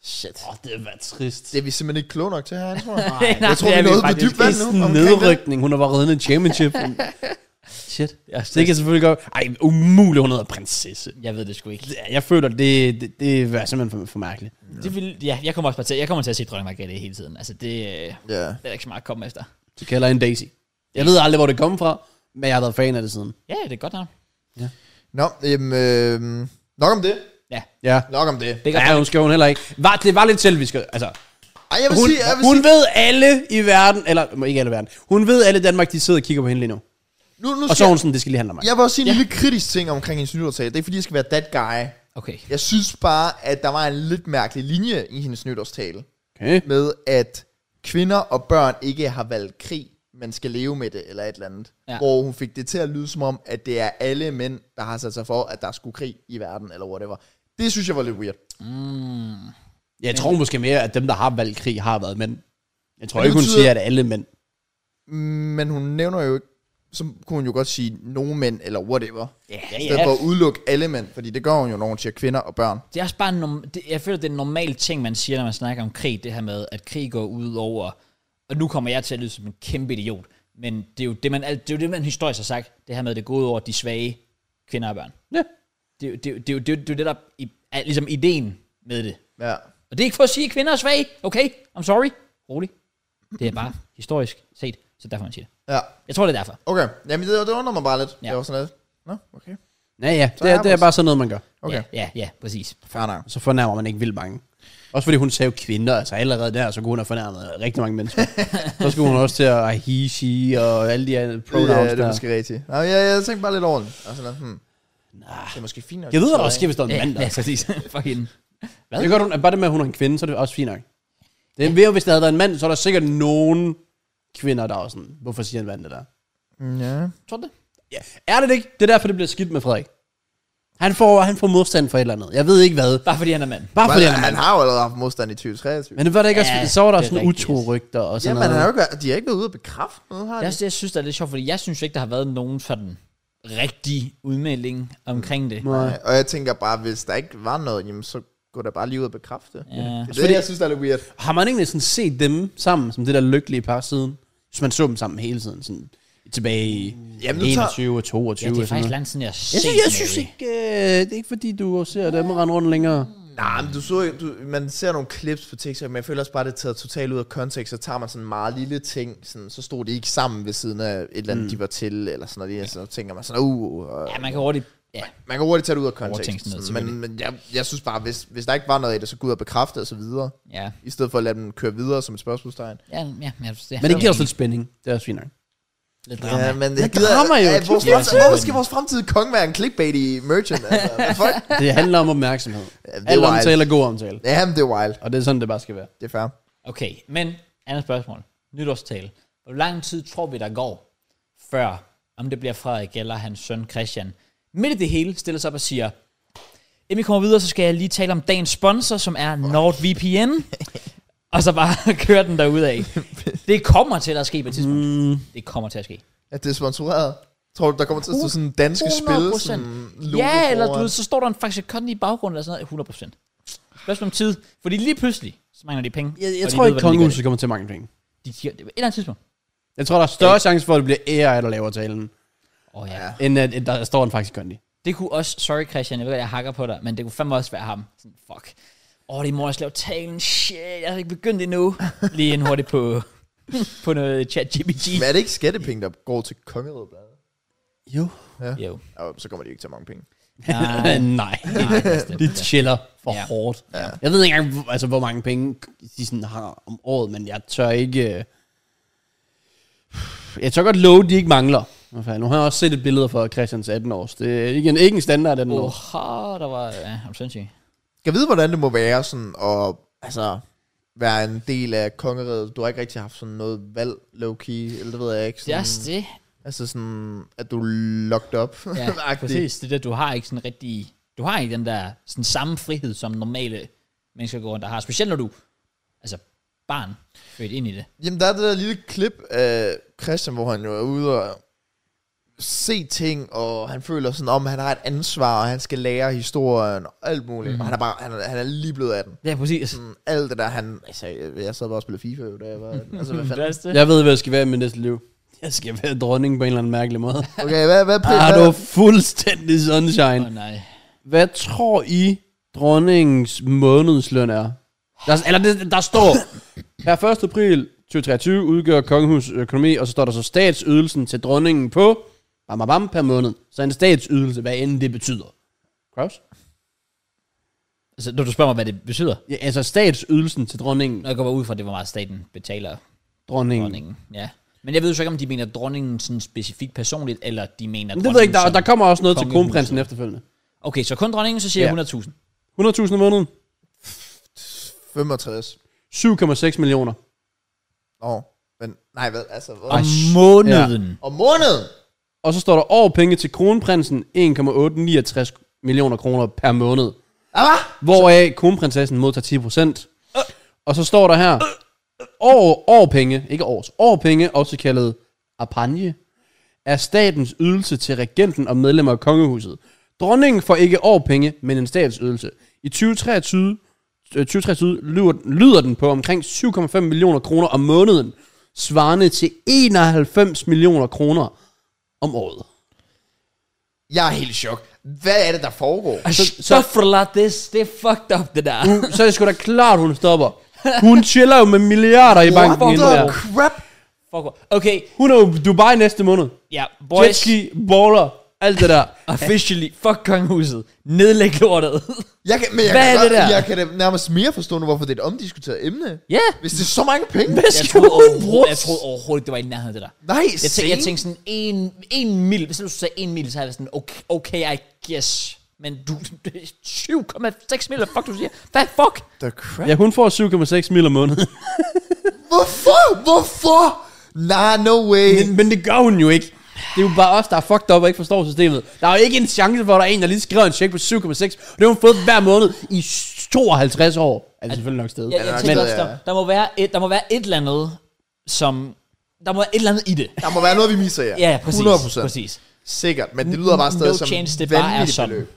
A: Shit.
B: Åh, det var trist.
C: Det er vi simpelthen ikke kloge nok til her, tror jeg.
A: Nej,
C: Jeg tror, vi
A: det
C: er
A: vi
C: nået på
A: faktisk
C: dybt
B: Det
C: vand
B: er
C: nu.
B: sådan en
C: omkring det.
B: nedrykning. Hun har bare reddet en championship. Shit.
A: Ja,
B: Så det kan selvfølgelig godt... Ej, umuligt, hun hedder prinsesse.
A: Jeg ved det sgu ikke.
B: Ja, Jeg føler, det, det, det var simpelthen for, for mærkeligt.
A: Det vil, ja, jeg kommer også bare til, jeg kommer til at se dronning Margrethe hele tiden. Altså, det, øh,
C: Ja.
A: det er ikke så meget at komme efter.
B: Så kalder jeg en Daisy. Jeg ved aldrig, hvor det kom fra, men jeg har været fan af det siden.
A: Ja, det er godt navn.
C: Nå, jamen, øh, nok om det.
A: Ja,
B: Ja.
C: Nok om det.
A: det er godt.
B: Ja, hun skal hun heller ikke. Var, det var lidt selvisk. Altså,
C: Ej, jeg vil
B: hun,
C: sige, jeg vil
B: hun
C: sige,
B: ved alle i verden, eller må ikke alle i verden, hun ved alle i Danmark, de sidder og kigger på hende lige nu.
C: nu, nu
B: Og så
C: skal
B: er
C: jeg,
B: hun sådan, det skal lige handle om mig.
C: jeg vil også sige en lille kritisk ting omkring hendes nytårstale. Det er fordi, jeg skal være that guy.
A: Okay.
C: Jeg synes bare, at der var en lidt mærkelig linje i hendes nytårstale.
B: Okay.
C: Med, at kvinder og børn ikke har valgt krig, men skal leve med det, eller et eller andet.
A: Ja.
C: Ja. Hvor hun fik det til at lyde som om, at det er alle mænd, der har sat sig for, at der skulle krig i verden, eller whatever. Det synes jeg var lidt weird.
B: Jeg tror måske mere, at dem, der har valgt krig, har været mænd. Jeg tror
C: Men det
B: ikke, hun
C: betyder-
B: siger, at alle mænd.
C: Men hun nævner jo ikke, så kunne hun jo godt sige nogen mænd, eller whatever.
A: Ja,
C: I
A: ja,
C: stedet for at udelukke alle mænd, fordi det gør hun jo, når hun siger kvinder og børn.
A: Det er også bare en norm- det, jeg føler, det er en normal ting, man siger, når man snakker om krig, det her med, at krig går ud over, og nu kommer jeg til at lyde som en kæmpe idiot, men det er jo det, man, alt- det, er jo det, man historisk har sagt, det her med, at det går ud over de svage kvinder og børn.
B: Ja.
A: Det, er jo- det, er jo- det, er jo- det, er jo- det, er jo det der i, er ligesom ideen med det.
C: Ja.
A: Og det er ikke for at sige, at kvinder er svage. Okay, I'm sorry. Rolig. Det er bare historisk set, så derfor man siger det.
C: Ja.
A: Jeg tror, det er derfor.
C: Okay. Jamen, det, det undrer mig bare lidt.
A: Ja.
C: Ja. Det var sådan lidt. Nå, okay.
B: Ja, ja,
C: Så
B: det,
C: er
B: er, det er
C: vores-
B: bare sådan noget, man gør.
C: Okay.
A: Ja, ja, ja præcis.
C: Fair nok.
B: Så fornærmer man ikke vildt mange. Også fordi hun sagde jo kvinder, altså allerede der, så kunne hun have fornærmet rigtig mange mennesker. så skulle hun også til at he, she og alle de her pronouns
C: Ja, det
B: der.
C: er måske rigtigt. Nej, jeg, jeg tænkte bare lidt over det. Og sådan, lidt, hmm. Nah. Det er måske fint nok.
B: Jeg ved, hvad der også sker, hvis der er en
A: Ja,
B: mand der.
A: ja præcis. Fucking.
B: Det er godt, hun, bare det med, at hun er en kvinde, så er det også fint nok. Det er mere, hvis der havde været en mand, så er der sikkert nogen kvinder, der er sådan, hvorfor siger en mand det der?
C: Ja.
A: Tror du det?
B: Ja. Er det det ikke? Det er derfor, det bliver skidt med Frederik. Han får, han får modstand for et eller andet. Jeg ved ikke hvad.
A: Bare fordi han er mand.
B: Bare fordi
C: Men,
B: han er
C: han
B: mand.
C: har jo allerede haft modstand i 2023.
B: Men det var det ikke
A: Ja,
B: ja, også, så var der
A: det er
B: sådan
A: rigtigt.
B: utro-rygter og
C: Ja,
B: sådan
C: men han har
B: noget.
C: jo ikke, været- de har ikke været ude at bekræfte noget, har de?
A: Jeg, jeg synes, det er lidt sjovt, fordi jeg synes jo ikke, der har været nogen sådan rigtig udmelding omkring det.
B: Nej.
C: Nej, Og jeg tænker bare, hvis der ikke var noget, jamen, så går der bare lige ud og bekræfte. Ja.
A: Ja.
C: Det er det, jeg synes, der er lidt weird.
B: Har man egentlig sådan set dem sammen, som det der lykkelige par siden? Hvis man så dem sammen hele tiden, sådan tilbage i
C: Jamen,
B: Jamen,
C: nu tager-
B: 21 og 22
A: Ja, det er
B: og sådan
A: faktisk
B: noget.
A: lang siden, jeg har set
B: Jeg synes, jeg synes
A: noget.
B: ikke, øh, det er ikke fordi, du ser dem rende rundt længere.
C: Nej, men du så, jo- du, man ser nogle clips på TikTok, men jeg føler også bare, det er taget totalt ud af kontekst, så tager man sådan en meget lille ting, sådan, så stod de ikke sammen ved siden af et eller andet, mm. de var til, eller sådan noget, ja. så tænker man sådan, uh, og,
A: Ja, man kan hurtigt... Ja,
C: man kan hurtigt tage det ud af
A: Overtænke
C: kontekst.
A: sådan noget,
C: Sådan, men men jeg, jeg synes bare, hvis, hvis der ikke var noget i det, så gå ud og bekræfte og så videre,
A: ja,
C: i stedet for at lade dem køre videre som et spørgsmålstegn.
A: ja, ja, ja, ja
B: Men det giver også lidt spænding. Det er også fint nok.
A: lidt drama.
C: Ja, men jeg
B: Men drama jo,
C: Ja, vores,
B: kæft, ja.
C: fremtid, hvorfor skal vores fremtidige konge være en clickbait i merchant? Altså, Hvad fuck?
B: Det handler om opmærksomhed.
C: det er
B: Al
C: wild.
B: omtale er god omtale.
C: Jamen, det er wild.
B: Og det er sådan, det bare skal være.
C: Det er fair.
A: Okay, men andet spørgsmål. Nytårstale. Hvor lang tid tror vi, der går, før, om det bliver Frederik eller hans søn Christian, midt i det hele stiller sig op og siger, inden vi kommer videre, så skal jeg lige tale om dagens sponsor, som er NordVPN. og så bare køre den derudad. Det kommer til at ske på et tidspunkt. Mm. Det kommer til at ske.
C: At det er sponsoreret. Tror du, der kommer til at stå sådan danske spil?
A: 100%.
C: Sådan logo
A: Ja, eller du
C: foran?
A: ved, så står der en faktisk kondi i baggrunden eller sådan noget. 100%. Spørgsmål om tid. Fordi lige pludselig, så mangler de penge.
B: Jeg, jeg
A: og de
B: tror
A: ved,
B: ikke,
A: hvordan de gør
B: kongehuset kommer til mange penge.
A: det. De giver det på et eller andet tidspunkt.
B: Jeg tror, der er større chance for, at det bliver AI, der laver talen,
A: Åh oh, ja.
C: Ja.
B: end at at der står en faktisk kondi.
A: Det kunne også, sorry Christian, jeg ved godt, jeg hakker på dig, men det kunne fandme også være ham. Sådan, fuck. Åh, oh, det er mor, der skal lave talen. Shit, jeg har ikke begyndt endnu. Lige en hurtigt på, på noget chat GPT.
C: Men er det ikke skattepenge, der går til kongeriget? blandt andet?
B: Jo.
A: Jo.
C: Ja, så kommer de ikke til mange penge.
A: Nej,
B: Nej.
A: nej, det er stemt.
B: De chiller for
A: Ja.
B: ja. hårdt. Ja. Jeg ved ikke engang, hvor- altså, hvor mange penge de sådan har om året, men jeg tør ikke... øh, Jeg tør godt love, at de ikke mangler. Hvad fanden, Nu har jeg også set et billede fra Christians 18-års. Det er ikke en, ikke en standard 18 års.
A: Oha, der var, ja, er du sindssyg?
C: Skal vide, hvordan det må være sådan at altså, være en del af kongeriget? Du har ikke rigtig haft sådan noget valg, low-key, eller det ved jeg ikke.
A: Det er
C: Sådan,
A: også
B: Mm.
A: det.
C: Altså sådan, at du er locked up.
A: Ja, præcis. Det der, du har ikke sådan rigtig... Du har ikke den der sådan samme frihed, som normale mennesker går rundt og har. Specielt når du, altså barn, født ind i det.
C: Jamen, der er det der lille klip af Christian, hvor han jo er ude og se ting, og han føler sådan om, at han har et ansvar, og han skal lære historien og alt muligt.
A: Mhm.
C: Mm. Og han er, bare, han, er, han er lige blevet af den.
A: Ja, præcis.
C: Sådan, alt det der, han... Altså, jeg, jeg sad bare og spillede FIFA, jo, da jeg var... Altså, hvad fanden?
A: er
B: Jeg ved, hvad jeg skal være i mit næste liv. Jeg skal være dronning på en eller anden mærkelig måde.
C: Okay, hvad, hvad,
B: Ah,
C: hvad,
B: du
C: hvad,
B: er fuldstændig sunshine.
A: Åh, nej.
B: Hvad tror I, dronningens månedsløn er? Der, eller det, der står, per 1. april 2023 udgør kongehus økonomi, og så står der så statsydelsen til dronningen på bam, bam, bam, per måned. Så en statsydelse, hvad end det betyder. Kraus?
A: Altså, når du spørger mig, hvad det betyder,
B: Ja, altså statsydelsen til dronningen.
A: Når jeg går bare ud fra, at det var meget staten betaler
B: Dronningen. dronningen.
A: dronningen. Ja. Men jeg ved jo så ikke, om de mener dronningen sådan specifikt personligt, eller de mener
B: Men det ved jeg ikke, der,
A: dronningen
B: der kommer også noget til
A: kongehuset.
B: kronprinsen efterfølgende.
A: som- Okay, så kun dronningen, så siger
B: Ja.
A: jeg 100.000.
B: 100.000 om måneden.
C: 65.
B: 7,6 millioner.
C: Nå, men... Nej, hvad, altså... Hvad?
A: Om
C: Om,
A: måneden.
C: om måneden!
B: Og så står der over penge til kronprinsen 1,869 millioner kroner per måned.
C: Ah,
B: Hvoraf kronprinsessen modtager 10%. Og så står der her, år, årpenge, ikke års, årpenge, også kaldet apagne, er statens ydelse til regenten og medlemmer af kongehuset. Dronningen får ikke årpenge, men en statsydelse. I 2023, øh, 2023 lyder, lyder den på omkring 7,5 millioner kroner om måneden, svarende til 91 millioner kroner om året.
C: Jeg er helt i chok. Hvad er det, der foregår?
A: I
B: Så- Uh.
A: så, for lot this. Det er fucked up, det der.
B: Hun- så er det sgu da klart, hun stopper. Hun chiller jo med milliarder i banken.
A: What
B: hende
A: the
B: der.
C: crap?
A: Fuck. Okay,
B: Hun er jo i Dubai næste måned.
A: ja, boys.
B: Jetski, baller, alt det der.
A: Officially, fuck kongehuset. Nedlæg lortet.
C: Jeg kan, men jeg
A: Hvad
C: kan,
A: er
C: godt-
A: det der?
C: Jeg kan da nærmest mere forstå nu, hvorfor det er et omdiskuteret emne.
A: Ja.
C: Hvis det er så mange penge.
A: Jeg
B: skal
A: troede,
B: hun
A: overhovedet,
B: bruge?
A: jeg troede overhovedet, ikke, det var i nærheden af det der.
C: Nej,
A: Jeg, tæ- jeg
C: same.
A: tænkte sådan, en, en mil. Hvis du sagde en mil, så havde jeg været sådan, okay, okay I guess. Men du, 7,6 mil, hvad fuck du siger? Hvad fuck?
C: The crap?
B: Ja, hun får 7,6 mil om måneden.
C: Hvorfor? Hvorfor? Nah, no way.
B: Men, men det gør hun jo ikke. Det er jo bare os, der er fucked up og ikke forstår systemet. Der er jo ikke en chance for, at der er en, der lige skrev en check på 7,6. og Det har hun fået hver måned i 52 år. Er det selvfølgelig nok sted.
A: Jeg,
C: det
A: jeg
C: nok
A: tænker
C: det,
A: også,
C: ja.
A: der, der, må være et, der må være et eller andet, som... Der må være et eller andet i det.
C: Der må være noget, vi misser her.
A: Ja, ja præcis.
C: 100%.
A: præcis.
C: Sikkert, men det lyder bare stadig
A: No
C: som
A: chance, det
C: et
A: bare er
C: vanvittigt
A: sådan.
C: beløb.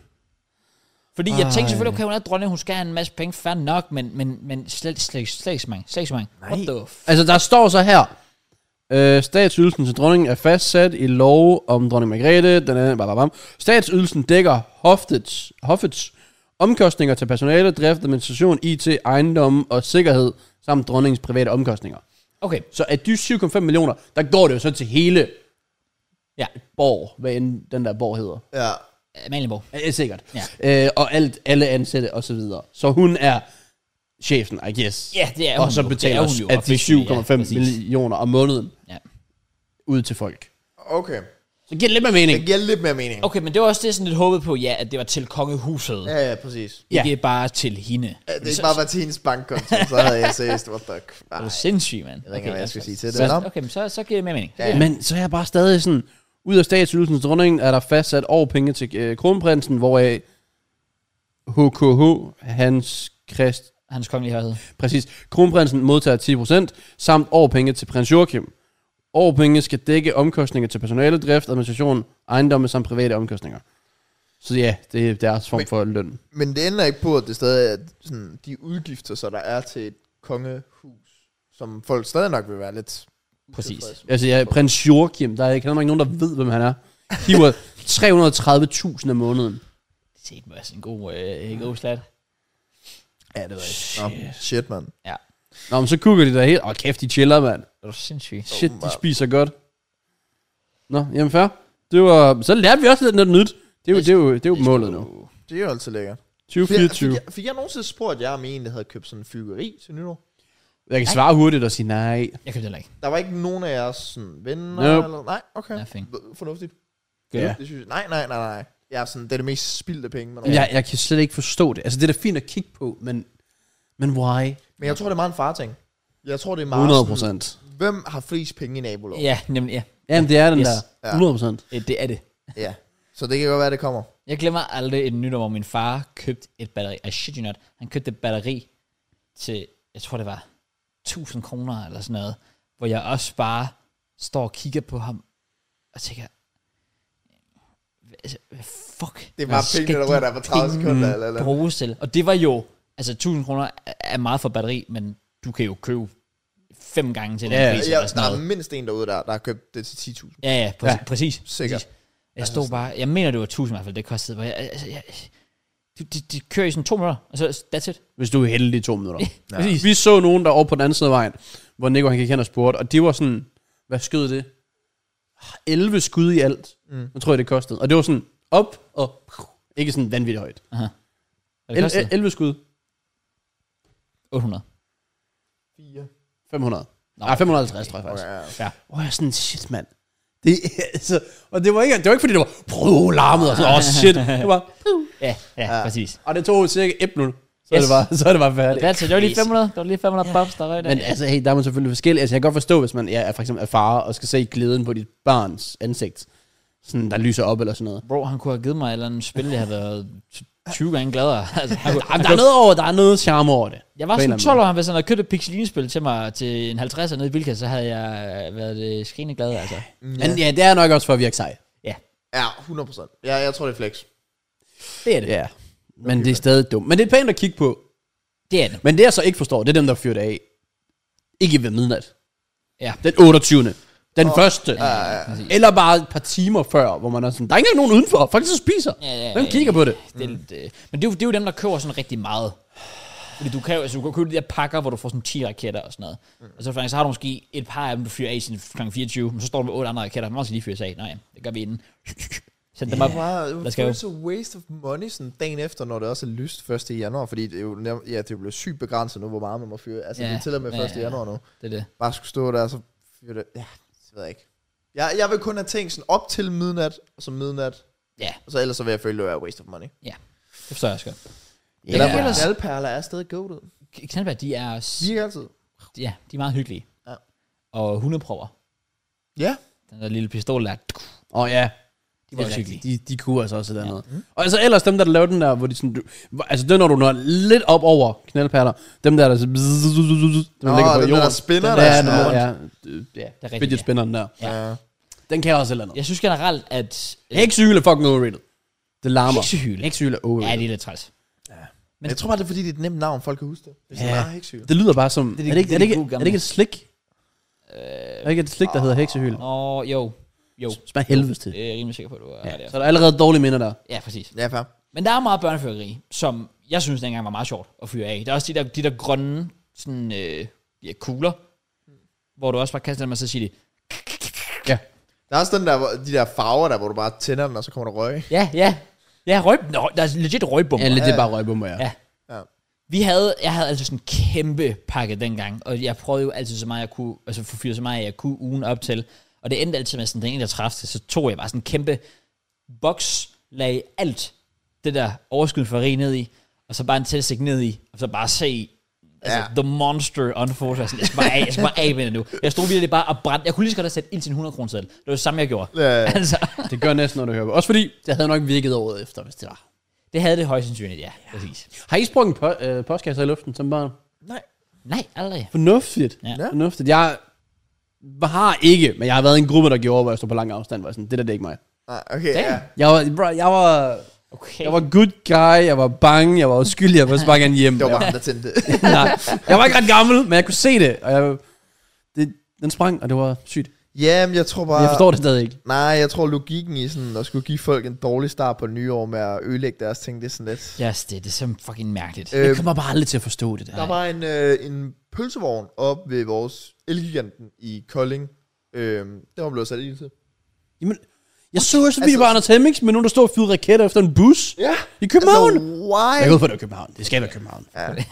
A: Fordi jeg tænkte selvfølgelig, okay, hun er dronning, hun skal have en masse penge, fair nok, men, men, men slet, slet, slet ikke så mange. Slet ikke så mange. What the f-
B: Altså, der står så her. Øh, statsydelsen til dronningen er fastsat i lov om dronning Margrethe. Den er, bam, bam, bam. Statsydelsen dækker hoftets, hoffets omkostninger til personale, drift, administration, IT, ejendom og sikkerhed, samt dronningens private omkostninger.
A: Okay,
B: Så af de 7,5 millioner, der går det jo så til hele
A: ja.
B: borg, hvad end den der borg hedder.
C: Ja.
A: Malienborg.
B: Ja, sikkert. Ja. Øh, og alt, alle ansatte og så videre. Så hun er chefen, I guess.
A: Ja, det er
B: og
A: hun
B: så
A: jo.
B: betaler
A: Det er hun
B: os
A: jo
B: at de
A: officially, ja,
B: 7,5
A: præcis.
B: ja, millioner om måneden
A: Ja.
B: ud til folk.
C: Okay.
B: Så giver det lidt mere
C: Det
B: mening.
C: giver lidt mere mening.
A: Okay, men det var også det, jeg sådan lidt håbet på, ja, at det var til kongehuset. Ja.
C: Ja, ja, præcis.
B: Ja.
A: Ikke bare til hende.
C: Ja, Det er
A: Så-
C: ikke bare været til hendes bankkonto, så havde jeg seriøst, what the crap.
A: Er du sindssyg, mand? altså,
C: Jeg ved ikke, hvad jeg skal sige til det.
A: Så,
C: Nå.
A: okay, men så, så giver det mere mening.
C: Ja.
B: Men så er jeg bare stadig sådan, ud af statsydelsens dronning er der fastsat årpenge til øh, kronprinsen, hvoraf HKH, hans Christ,
A: Hans kongelige højhed.
B: præcis, kronprinsen modtager 10%, samt årpenge til prins Joachim. Årpenge skal dække omkostninger til personale, drift, administration, ejendomme samt private omkostninger. Så ja, det er deres form
C: Men-
B: for løn.
C: Men det ændrer ikke på, at det stadig er sådan, de udgifter, så der er til et kongehus, som folk stadig nok vil være lidt...
A: Præcis.
C: utilfredse med.
B: Altså ja, prins Joachim, der er ikke, der er ikke nogen, der ved, hvem han er. Hiver 330.000 om måneden.
A: Det er også en god, øh, en god slat.
B: Ja, det var ikke.
C: Nå, shit, mand.
A: Ja.
B: Nå, men så kugger de der helt. Åh, kæft, de chiller, mand.
A: Er du sindssyg?
B: Shit, de
C: Åbenbart.
B: spiser godt. Nå, jamen fair. Det var, så lærte vi også lidt noget nyt. Det er jo, det er jo, det er jo målet nu.
C: Det er jo altid lækkert. Altså, Fik,
B: 2024.
C: fik, jeg, fik jeg nogensinde spurgt jer om en, der havde købt sådan en fyrværkeri til nytår?
B: Jeg kan svare hurtigt og sige nej.
A: Jeg købte heller ikke.
C: Der var ikke nogen af jeres sådan, venner?
B: Nope.
C: Eller, nej, okay.
A: Nothing.
C: V- Fornuftigt.
A: Gør
B: Ja.
C: Det synes jeg, nej, nej, nej, nej. Jeg er sådan, det er det mest spildte penge. Man
B: Men
C: ja.
B: Jeg, jeg kan slet ikke forstå det. Altså, det er da fint at kigge på, men, men why?
C: Men jeg tror, det er meget en farting. Jeg tror, det er meget
B: 100
C: sådan,
B: procent.
C: hvem har flest penge i nabolaget?
A: Ja, nemlig, ja.
B: Jamen, det er den
A: Yes.
B: der. 100 procent.
A: Øh, Det er det.
C: ja. Så det kan godt være, det kommer.
A: Jeg glemmer aldrig et nyt om, hvor min far købte et batteri. I shit you not. Han købte et batteri til, jeg tror det var 1000 kroner eller sådan noget. Hvor jeg også bare står og kigger på ham og tænker, "Hvad- altså, hvad fuck.
C: Det er bare
A: skal
C: penge, der
A: de
C: rører dig på 30
A: penge
C: sekunder, eller- eller-
A: Bruges til. Og det var jo, altså 1000 kroner er- er meget for batteri, men du kan jo købe fem gange til den
B: Ja,
A: pris
C: Ja,
A: eller sådan
C: der er
A: noget.
C: mindst en derude, der, der har købt det til 10.000.
A: Ja, ja, præcis. Ja, præcis
C: sikkert.
A: præcis. Jeg
B: Altså,
A: stod bare, jeg mener, det var 1000 i hvert fald, det kostede. Hvor jeg, altså, jeg, de, de, de kører i sådan to minutter, og så that's it.
B: Hvis du er heldig i to minutter.
A: Præcis.
B: Vi så nogen der over på den anden side af vejen, hvor Nico han gik hen og spurgte, og de var sådan, hvad skød det? 11 skud i alt, mm. jeg tror jeg det kostede. Og det var sådan op og ikke sådan vanvittigt højt.
A: Og det
B: El-
A: kostede
B: 11 skud,
A: 800.
C: 4.
B: 500. Nej, 550 tror jeg faktisk.
C: Ja, ja.
B: Hvor jeg sådan, shit mand. Det, altså, og det var, ikke, det var ikke fordi, det var prøv larmet og sådan, åh oh, shit. Det var,
A: Ja, ja, ja. præcis.
B: og det tog cirka 1 minut. Så,
A: Yes.
B: yes. det var, så er det bare færdigt.
A: That's it. Det var lige 500, det var lige 500 pops, der røg der.
B: Men altså, hey, der er man selvfølgelig forskellige. Altså, jeg kan godt forstå, hvis man ja, er for eksempel er far og skal se glæden på dit barns ansigt, sådan, der lyser op eller sådan noget.
A: Bro, han kunne have givet mig et eller andet spil, jeg havde været t- 20 gange gladere. Altså, han kunne,
B: Jamen, der er noget over, der er noget charme over det.
A: jeg var
B: På en eller
A: sådan
B: anden
A: 12
B: måde.
A: år, hvis han havde købt et pixelinespil til mig til en 50'er nede i Bilka, så havde jeg øh, været det skrigende glad, altså.
B: Men ja, det er nok også for at virke sej.
A: Ja,
C: Ja, 100 procent. Ja, jeg tror, det er flex.
A: det er det.
B: Ja. Men det er stadig dumt. Men det er pænt at kigge på.
A: Det er det.
B: Men det jeg så ikke forstår, det er dem, der fyrer det af. Ikke ved midnat.
A: Ja.
B: Den 28. Den oh. første.
A: Ja, ja, ja, præcis.
B: Eller bare et par timer før, hvor man er sådan, der er ikke engang nogen udenfor, folk så spiser.
A: Ja, ja, ja,
B: Hvem
A: ja.
B: kigger på det?
A: Det, mm. det, men det er, jo, det er jo dem, der køber sådan rigtig meget. Fordi du kan jo, altså, du kan købe de der pakker, hvor du får sådan 10 raketter og sådan noget. Mm. Og så, faktisk, så har du måske et par af dem, du fyrer af i sin kl. 24, men så står du med otte andre raketter, man også lige fyres af. Nej, det gør vi inden. Send dem op.
C: Wow,
A: Der
C: det
A: skal
C: er så waste of money sådan dagen efter, når det også er lyst 1. januar, fordi det er jo nær, ja, det er blevet sygt begrænset nu, hvor meget man må fyre. Altså,
A: Ja.
C: det er til og med
A: Ja,
C: 1.
A: ja, ja.
C: januar nu.
A: Det er det.
C: Bare skulle stå der, og så fyre det. Ja, det ved jeg ikke. Jeg, jeg vil kun have tænkt sådan op til midnat, og så midnat,
A: Ja,
C: og så ellers så vil jeg føle, at det er waste of money.
A: det forstår jeg også godt.
C: Det er
A: Ja.
C: derfor,
A: Ellers-
C: at knaldperler er stadig goated.
A: Knaldbær, de er, s-
C: Virker altid.
A: ja, de er meget hyggelige.
C: Ja.
A: Og hundeprøver.
C: Ja.
A: Den der lille pistol der.
B: Åh oh, ja.
A: De var også hyggelige.
B: De, de kunne altså også et eller andet. Ja. Og altså ellers dem, der lavede den der, hvor de sådan, du, hvor- altså det er, når du når lidt op over knaldperler, dem der, der så, bzzz, dem, der
C: Nå,
B: ligger på
C: den der
B: jorden.
C: spinner,
B: den der,
C: der
B: ja, den
C: sådan
B: der, ja, Øh,
A: Det er
B: ja,
A: rigtigt,
B: fidget
A: ja.
B: spinneren der.
A: Ja.
C: ja.
B: Den kan også et eller andet.
A: Jeg synes generelt, at... øh,
B: Heksehyl er fucking overrated. Det larmer.
A: Heksehyl.
B: Heksehyl er
A: Ja,
B: overrated.
A: det
B: Ja,
A: er lidt træls.
C: Men jeg tror bare, det er fordi, det er et nemt navn, folk kan huske det. Det er sådan,
B: Ja.
C: ah, heksehyl.
B: det, det lyder bare som,
A: er
B: er
A: de-
B: det ikke-
A: det er
B: er
A: de
B: det ikke-
A: gode
B: er det ikke et slik? Er det ikke et slik, der hedder heksehyl?
A: Nå, jo. Jo,
B: ah. Det Smager helvedes til.
A: det er jeg rimelig sikker på, at du er ja.
B: Ja, så
A: der.
B: er der allerede dårlige minder der.
A: Ja, præcis.
C: Ja, fair.
A: Men der er meget børnefyrkeri, som jeg synes dengang var meget sjovt at fyre af. Der er også de der, de der grønne sådan, øh, ja, kugler, hvor du også bare kaster dem, og så siger de,
B: Ja.
C: Der er også den der, hvor- de der farver der, hvor du bare tænder den, og så kommer der røg.
A: ja, ja, ja, røg, nå, der er legit røgbomber.
B: Ja,
A: Ja.
B: lidt, det er bare røgbomber, ja.
A: Ja.
C: Ja.
A: Vi havde, jeg havde altså sådan en kæmpe pakke dengang, og jeg prøvede jo altid så meget, jeg kunne, altså få fyret så meget, jeg kunne ugen op til. Og det endte altid med sådan, den ene, der træffede, så tog jeg bare sådan en kæmpe boks, lagde alt det der overskud for rig ned i, og så bare en tilsigt ned i, og så bare se altså,
C: Ja.
A: The Monster unfold. Jeg, sådan, jeg skal bare af, jeg skal bare af med det nu. Jeg stod virkelig bare og brændte. Jeg kunne lige så godt have sat ild til en 100 kroner selv. Det var det samme, jeg gjorde.
C: Ja.
A: altså,
B: Det gør næsten, når du hører på. Også fordi, det havde nok virket året efter, hvis det var.
A: det havde det højst sandsynligt, ja. Præcis.
B: Har I sprunget po- øh, postkasse i luften som barn?
C: Nej.
A: Nej, aldrig.
B: Fornuftigt.
A: Ja.
C: Ja.
B: Fornuftigt. Jeg har ikke, men jeg har været i en gruppe, der gjorde, hvor jeg stod på lang afstand. Var sådan, det der, det er ikke mig.
C: Nej, okay,
A: Damn.
C: ja.
B: Jeg var, bro, jeg var,
A: Okay.
B: jeg var good guy, jeg var bange, jeg var uskyldig, jeg var bare gerne hjem.
C: Det var bare
B: Jeg,
C: ham, der tændte det.
B: nej, jeg var ikke ret gammel, men jeg kunne se det, og jeg, det, den sprang, og det var sygt.
C: Jamen, jeg tror bare...
B: Men jeg forstår det stadig ikke.
C: Nej, jeg tror logikken i sådan at skulle give folk en dårlig start på det nye år med at ødelægge deres ting, det er sådan lidt.
A: Yes, det, det er så fucking mærkeligt.
B: Jeg
C: Øh,
B: kommer bare aldrig til at forstå det der.
C: der var en, øh, en pølsevogn op ved vores elgiganten i Kolding. Øh, den var blevet sat i til.
B: Jamen, jeg så også, at vi
C: Altså-
B: var Anders Hemmings med nogen, der stod og fyrede raketter efter en bus
C: Ja.
B: i København.
C: Altså, why?
B: Jeg går ud for, at det er København. Det skal være København.
C: Ja. Jamen,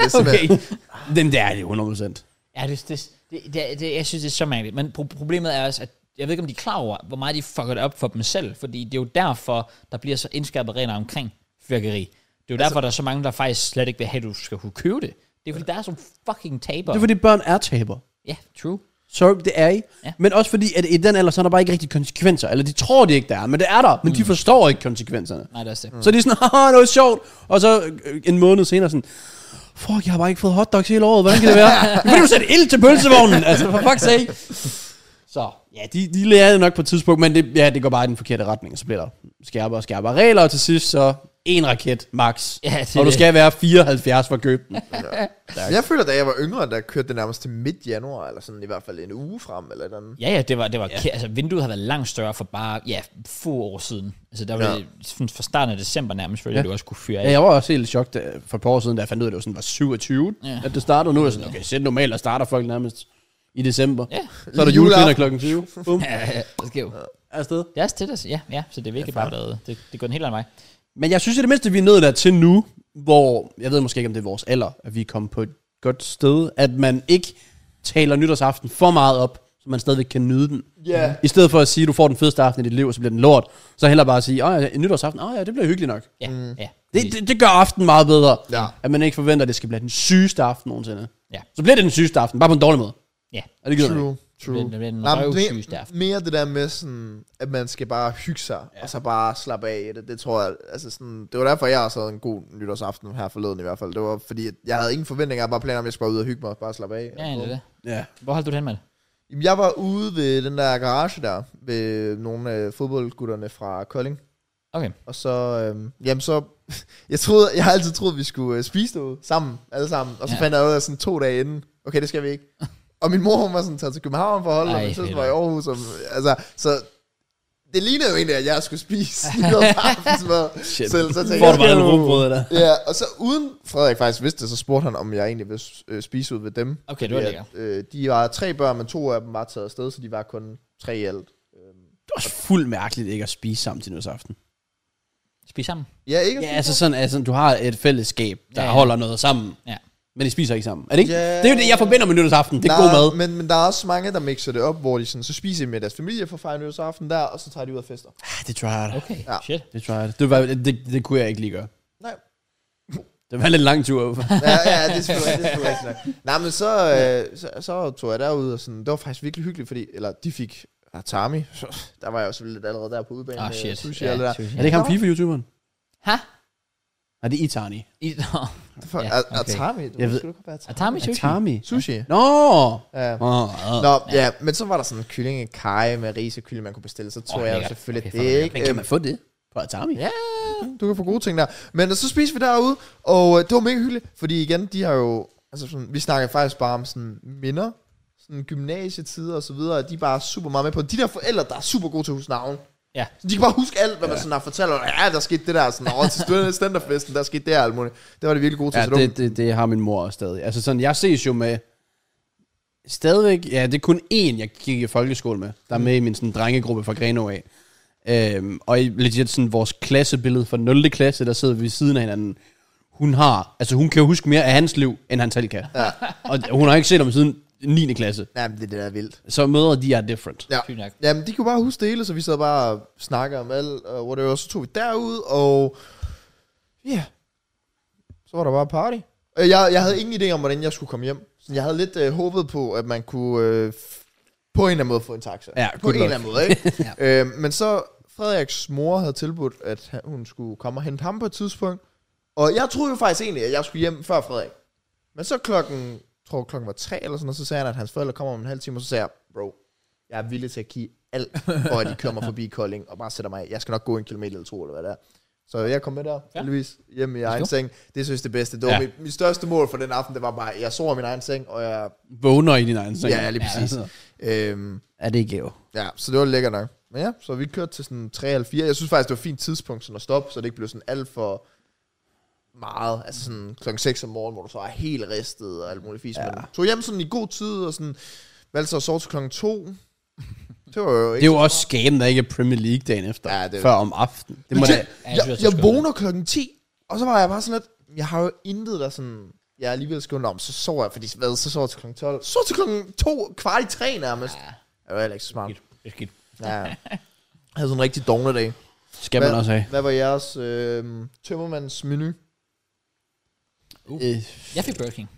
C: det er
B: Okay.
C: simpelthen... Okay.
B: Dem der er det 100%.
A: Ja, det, det, det, det, det, jeg synes, det er så mærkeligt. Men pro- problemet er også, at jeg ved ikke, om de er klar over, hvor meget de fucker det op for dem selv. Fordi det er jo derfor, der bliver så indskærpet regler omkring fyrkeri. Det er jo altså, derfor, der er så mange, der faktisk slet ikke vil have, at du skal kunne købe det. Det er fordi, der er sådan fucking taber.
B: Det er fordi børn er taber.
A: Ja, true.
B: Sorry, det er I.
A: Ja.
B: Ja. Men også fordi, at i den alder, så er der bare ikke rigtig konsekvenser. Eller de tror det ikke, der er, men det er der. Men mm. de forstår ikke konsekvenserne.
A: Nej, det er også det.
B: Mm. Så de er sådan, haha, det var sjovt. Og så øh, en måned senere sådan, fuck, jeg har bare ikke fået hotdogs hele året. Hvordan kan det være? Vil du sætte ild til pølsevognen? altså, for fuck's sake. Så ja, de, de lærer det nok på et tidspunkt, men det, ja, det går bare i den forkerte retning. og Så bliver der skærpere og skærpere regler, og til sidst så en raket max.
A: Ja, det er
B: og du
A: det.
B: skal være 74 for at købe den.
C: Jeg føler, da jeg var yngre, der kørte det nærmest til midt januar, eller sådan i hvert fald en uge frem, eller et eller andet.
A: Ja, ja, det var, det var ja. altså vinduet har været langt større for bare, ja, få år siden. Altså der var
C: Ja.
A: ja. fra starten af december nærmest, fordi ja.
B: Ja.
A: du også kunne fyre af.
B: Ja, jeg var også helt i chok da, for et par år siden, da jeg fandt ud af, at det var, sådan, var 27,
A: Ja.
B: ja. at det startede. Nu er jeg sådan, okay, sæt normalt, der starter folk nærmest i december.
A: Ja.
B: Så er der
C: Lige
B: julekvinder
C: juleaften.
B: klokken 20. Bum,
A: ja, det sker jo.
B: afsted.
A: Det er også det, der, ja, ja, så det er virkelig bare lavet. Det, det går en helt anden vej.
B: Men jeg synes i det mindste, vi er nået dertil nu, hvor, jeg ved måske ikke, om det er vores alder, at vi er kommet på et godt sted, at man ikke taler nytårsaften for meget op, så man stadigvæk kan nyde den.
C: Ja.
B: I stedet for at sige, at du får den fedeste aften i dit liv, og så bliver den lort, så heller bare at sige, at ja, nytårsaften, åh ja, det bliver hyggeligt nok.
A: Ja, ja.
B: Mm. Det, det, det gør aftenen meget bedre.
C: Ja.
B: At man ikke forventer, at det skal blive den sygeste aften nogensinde.
A: Ja.
B: Så bliver det den sygeste aften, bare på en dårlig måde.
A: Ja.
B: Og det gider man ikke.
C: True, true.
A: Det bliver en
C: Nej, men
A: røvsyg
C: mere,
A: aften.
C: mere det der med sådan, at man skal bare hygge sig, ja. og så bare slappe af i det, det tror jeg, altså sådan, det var derfor, jeg også havde en god nytårsaften her forleden i hvert fald, det var fordi, at jeg havde ingen forventninger, jeg havde bare planer om, at jeg skulle bare ud og hygge mig, og bare slappe af.
A: Ja, det er det.
B: Ja.
A: Hvor holdt du den med det?
C: Jamen, jeg var ude ved den der garage der, ved nogle af fodboldgutterne fra Kolding,
A: Okay.
C: og så, øhm, jamen så, jeg troede, jeg har altid troet, vi skulle øh, spise noget sammen, alle sammen, og så
A: Ja.
C: ja. fandt jeg ud af sådan to dage inden, okay, det skal vi ikke. Og min mor, hun var sådan taget til København for at holde,
A: Ej,
C: og min søster
A: fedt.
C: var i Aarhus. Og, altså, så det lignede jo egentlig, at jeg skulle spise nytårsaftensmad.
B: Shit.
C: Selv så tænkte
B: Får du
C: jeg,
B: bare noget rugbrød der?
C: ja, og så uden Frederik faktisk vidste det, så spurgte han, om jeg egentlig ville øh, spise ud ved dem.
A: Okay, det var
C: Fordi
A: lækkert.
C: at, øh, de var tre børn, men to af dem var taget afsted, så de var kun tre i alt.
B: Det er også fuldt mærkeligt ikke at spise sammen til nytårsaften.
A: Spis sammen.
C: Ja, ikke?
B: Ja, altså sådan, altså, du har et fællesskab, der
A: Ja,
B: ja,
A: ja.
B: ja. holder noget sammen.
A: Ja.
B: Men I spiser ikke sammen. Er det ikke?
C: Ja.
B: Det er jo det, jeg forbinder med nytårsaften. Det er god mad.
C: Men, men der er også mange, der mixer det op, hvor de sådan, så spiser de med deres familie for fejre nytårsaften der, og så tager de ud og fester.
B: Ah, Det tror jeg.
A: Okay,
C: Ja.
A: shit.
B: Det tror jeg. Det, var, det, det, det kunne jeg ikke lige gøre.
C: Nej.
B: Det var en lidt lang tur. hvorfor?
C: Ja, ja, det er selvfølgelig det er selvfølgelig rigtigt nok. Nej, men så, øh, så, så tog jeg derud, og sådan, det var faktisk virkelig hyggeligt, fordi, eller de fik Atami, så, der var jeg også lidt allerede der på udbanen
A: Ah,
C: med
A: shit.
C: sushi
A: Ja,
C: og alt det der.
A: sushi.
B: er det ikke ham FIFA-youtuberen?
A: Ha?
B: Nej, det er Itani.
A: I, nå.
C: For,
A: Ja,
C: ja,
A: okay.
C: okay. Atami, du
B: Jeg
C: jeg
B: ved-
C: ved. godt være Atami.
A: Atami sushi.
B: Itami.
C: Sushi.
B: Nå!
C: Ja.
B: Åh, åh.
C: Nå, ja, men så var der sådan en kyllingekage med ris og kylling, man kunne bestille, så tog
A: Åh,
C: oh, jeg jo
A: lækkert.
C: selvfølgelig
A: Okay,
C: okay, det,
A: fuck,
C: ikke?
B: Men kan man få det på Atami?
C: Ja, du kan få gode ting der. Men så spiste vi derude, og øh, det var mega hyggeligt, fordi igen, de har jo, altså sådan, vi snakker faktisk bare om sådan minder, sådan gymnasietider og så videre, og de er bare super meget med på. De der forældre, der er super gode til at huske navn.
A: Ja.
C: De kan bare huske alt, hvad man sådan har fortalt. Og, ja, der skete det der, sådan, over til studerende standardfesten, der skete det her, alt muligt. Det var det virkelig gode til.
B: Ja,
C: Altså, så det,
B: det, det, det har min mor også stadig. Altså sådan, jeg ses jo med... Stadigvæk, ja, det er kun én, jeg gik i folkeskole med, der er med i min sådan, drengegruppe fra Grenå af. Øhm, og i legit sådan vores klassebillede fra 0. klasse, der sidder vi ved siden af hinanden. Hun har, altså hun kan jo huske mere af hans liv, end han selv kan. Ja. Og hun har ikke set ham siden 9. klasse.
C: var, jamen, det, er det der er vildt.
B: Så møder de er different.
C: Ja.
A: Sygt nok.
C: Jamen, de kunne bare huske det hele, så vi sad bare og snakkede om alt, og whatever. Så tog vi derud, og ja, yeah. så var der bare party. Øh, Jeg, jeg havde ingen idé om, hvordan jeg skulle komme hjem. Så jeg havde lidt øh, håbet på, at man kunne øh, f- på en eller anden måde få en taxa.
B: Ja,
C: på
B: good
C: en eller
B: luck.
C: anden måde, ikke? ja. øh, men så Frederiks mor havde tilbudt, at han- hun skulle komme og hente ham på et tidspunkt. Og jeg troede jo faktisk egentlig, at jeg skulle hjem før Frederik. Men så klokken, jeg tror klokken var tre eller sådan noget, så sagde han, at hans forældre kommer om en halv time, og så sagde jeg, bro, jeg er villig til at give alt, for at de kører mig forbi Kolding, og bare sætter mig af. Jeg skal nok gå en kilometer eller to, eller hvad det er. Så jeg kom med der,
A: Ja.
C: heldigvis, hjem i egen
A: go.
C: seng. Det synes jeg det bedste. Det var
B: Ja.
C: ja. mit, mit, største mål for den aften, det var bare, jeg sov i min egen seng, og jeg...
B: Vågner i din egen seng.
C: Ja, lige præcis.
B: altså.
C: Øhm,
B: Er det ikke jo?
C: ja, så det var lækkert nok. Men ja, så vi kørte til sådan 3 eller 4. Jeg synes faktisk, det var et fint tidspunkt sådan at stoppe, så det ikke blev sådan alt for meget. Altså sådan klokken 6 om morgenen, hvor du så er helt ristet og alt muligt fisk. Ja. Men tog hjem sådan i god tid, og sådan valgte så at sove til klokken 2. Det var jo
B: Det
C: ikke...
B: er jo også skaben, der ikke er Premier League dagen efter.
C: Ja, det-
B: Før om aftenen. Det må
C: Legit,
B: da,
A: Ja, jeg
C: jeg,
A: synes
C: jeg,
A: også, det
C: jeg
A: er
C: vågner klokken 10, og så var jeg bare sådan lidt, jeg har jo intet, der sådan, jeg alligevel skrev om, så sover jeg, fordi hvad, så sover jeg til klokken 12, så til klokken 2, kvart i 3 nærmest. Ja. Det var heller ikke så smart.
A: Skidt. Det er skidt.
C: Ja. Jeg havde sådan en rigtig dognedag.
B: skal man også have.
C: hvad var jeres øh, tømmermands menu?
B: Øh,
A: Jeg fik Burger King.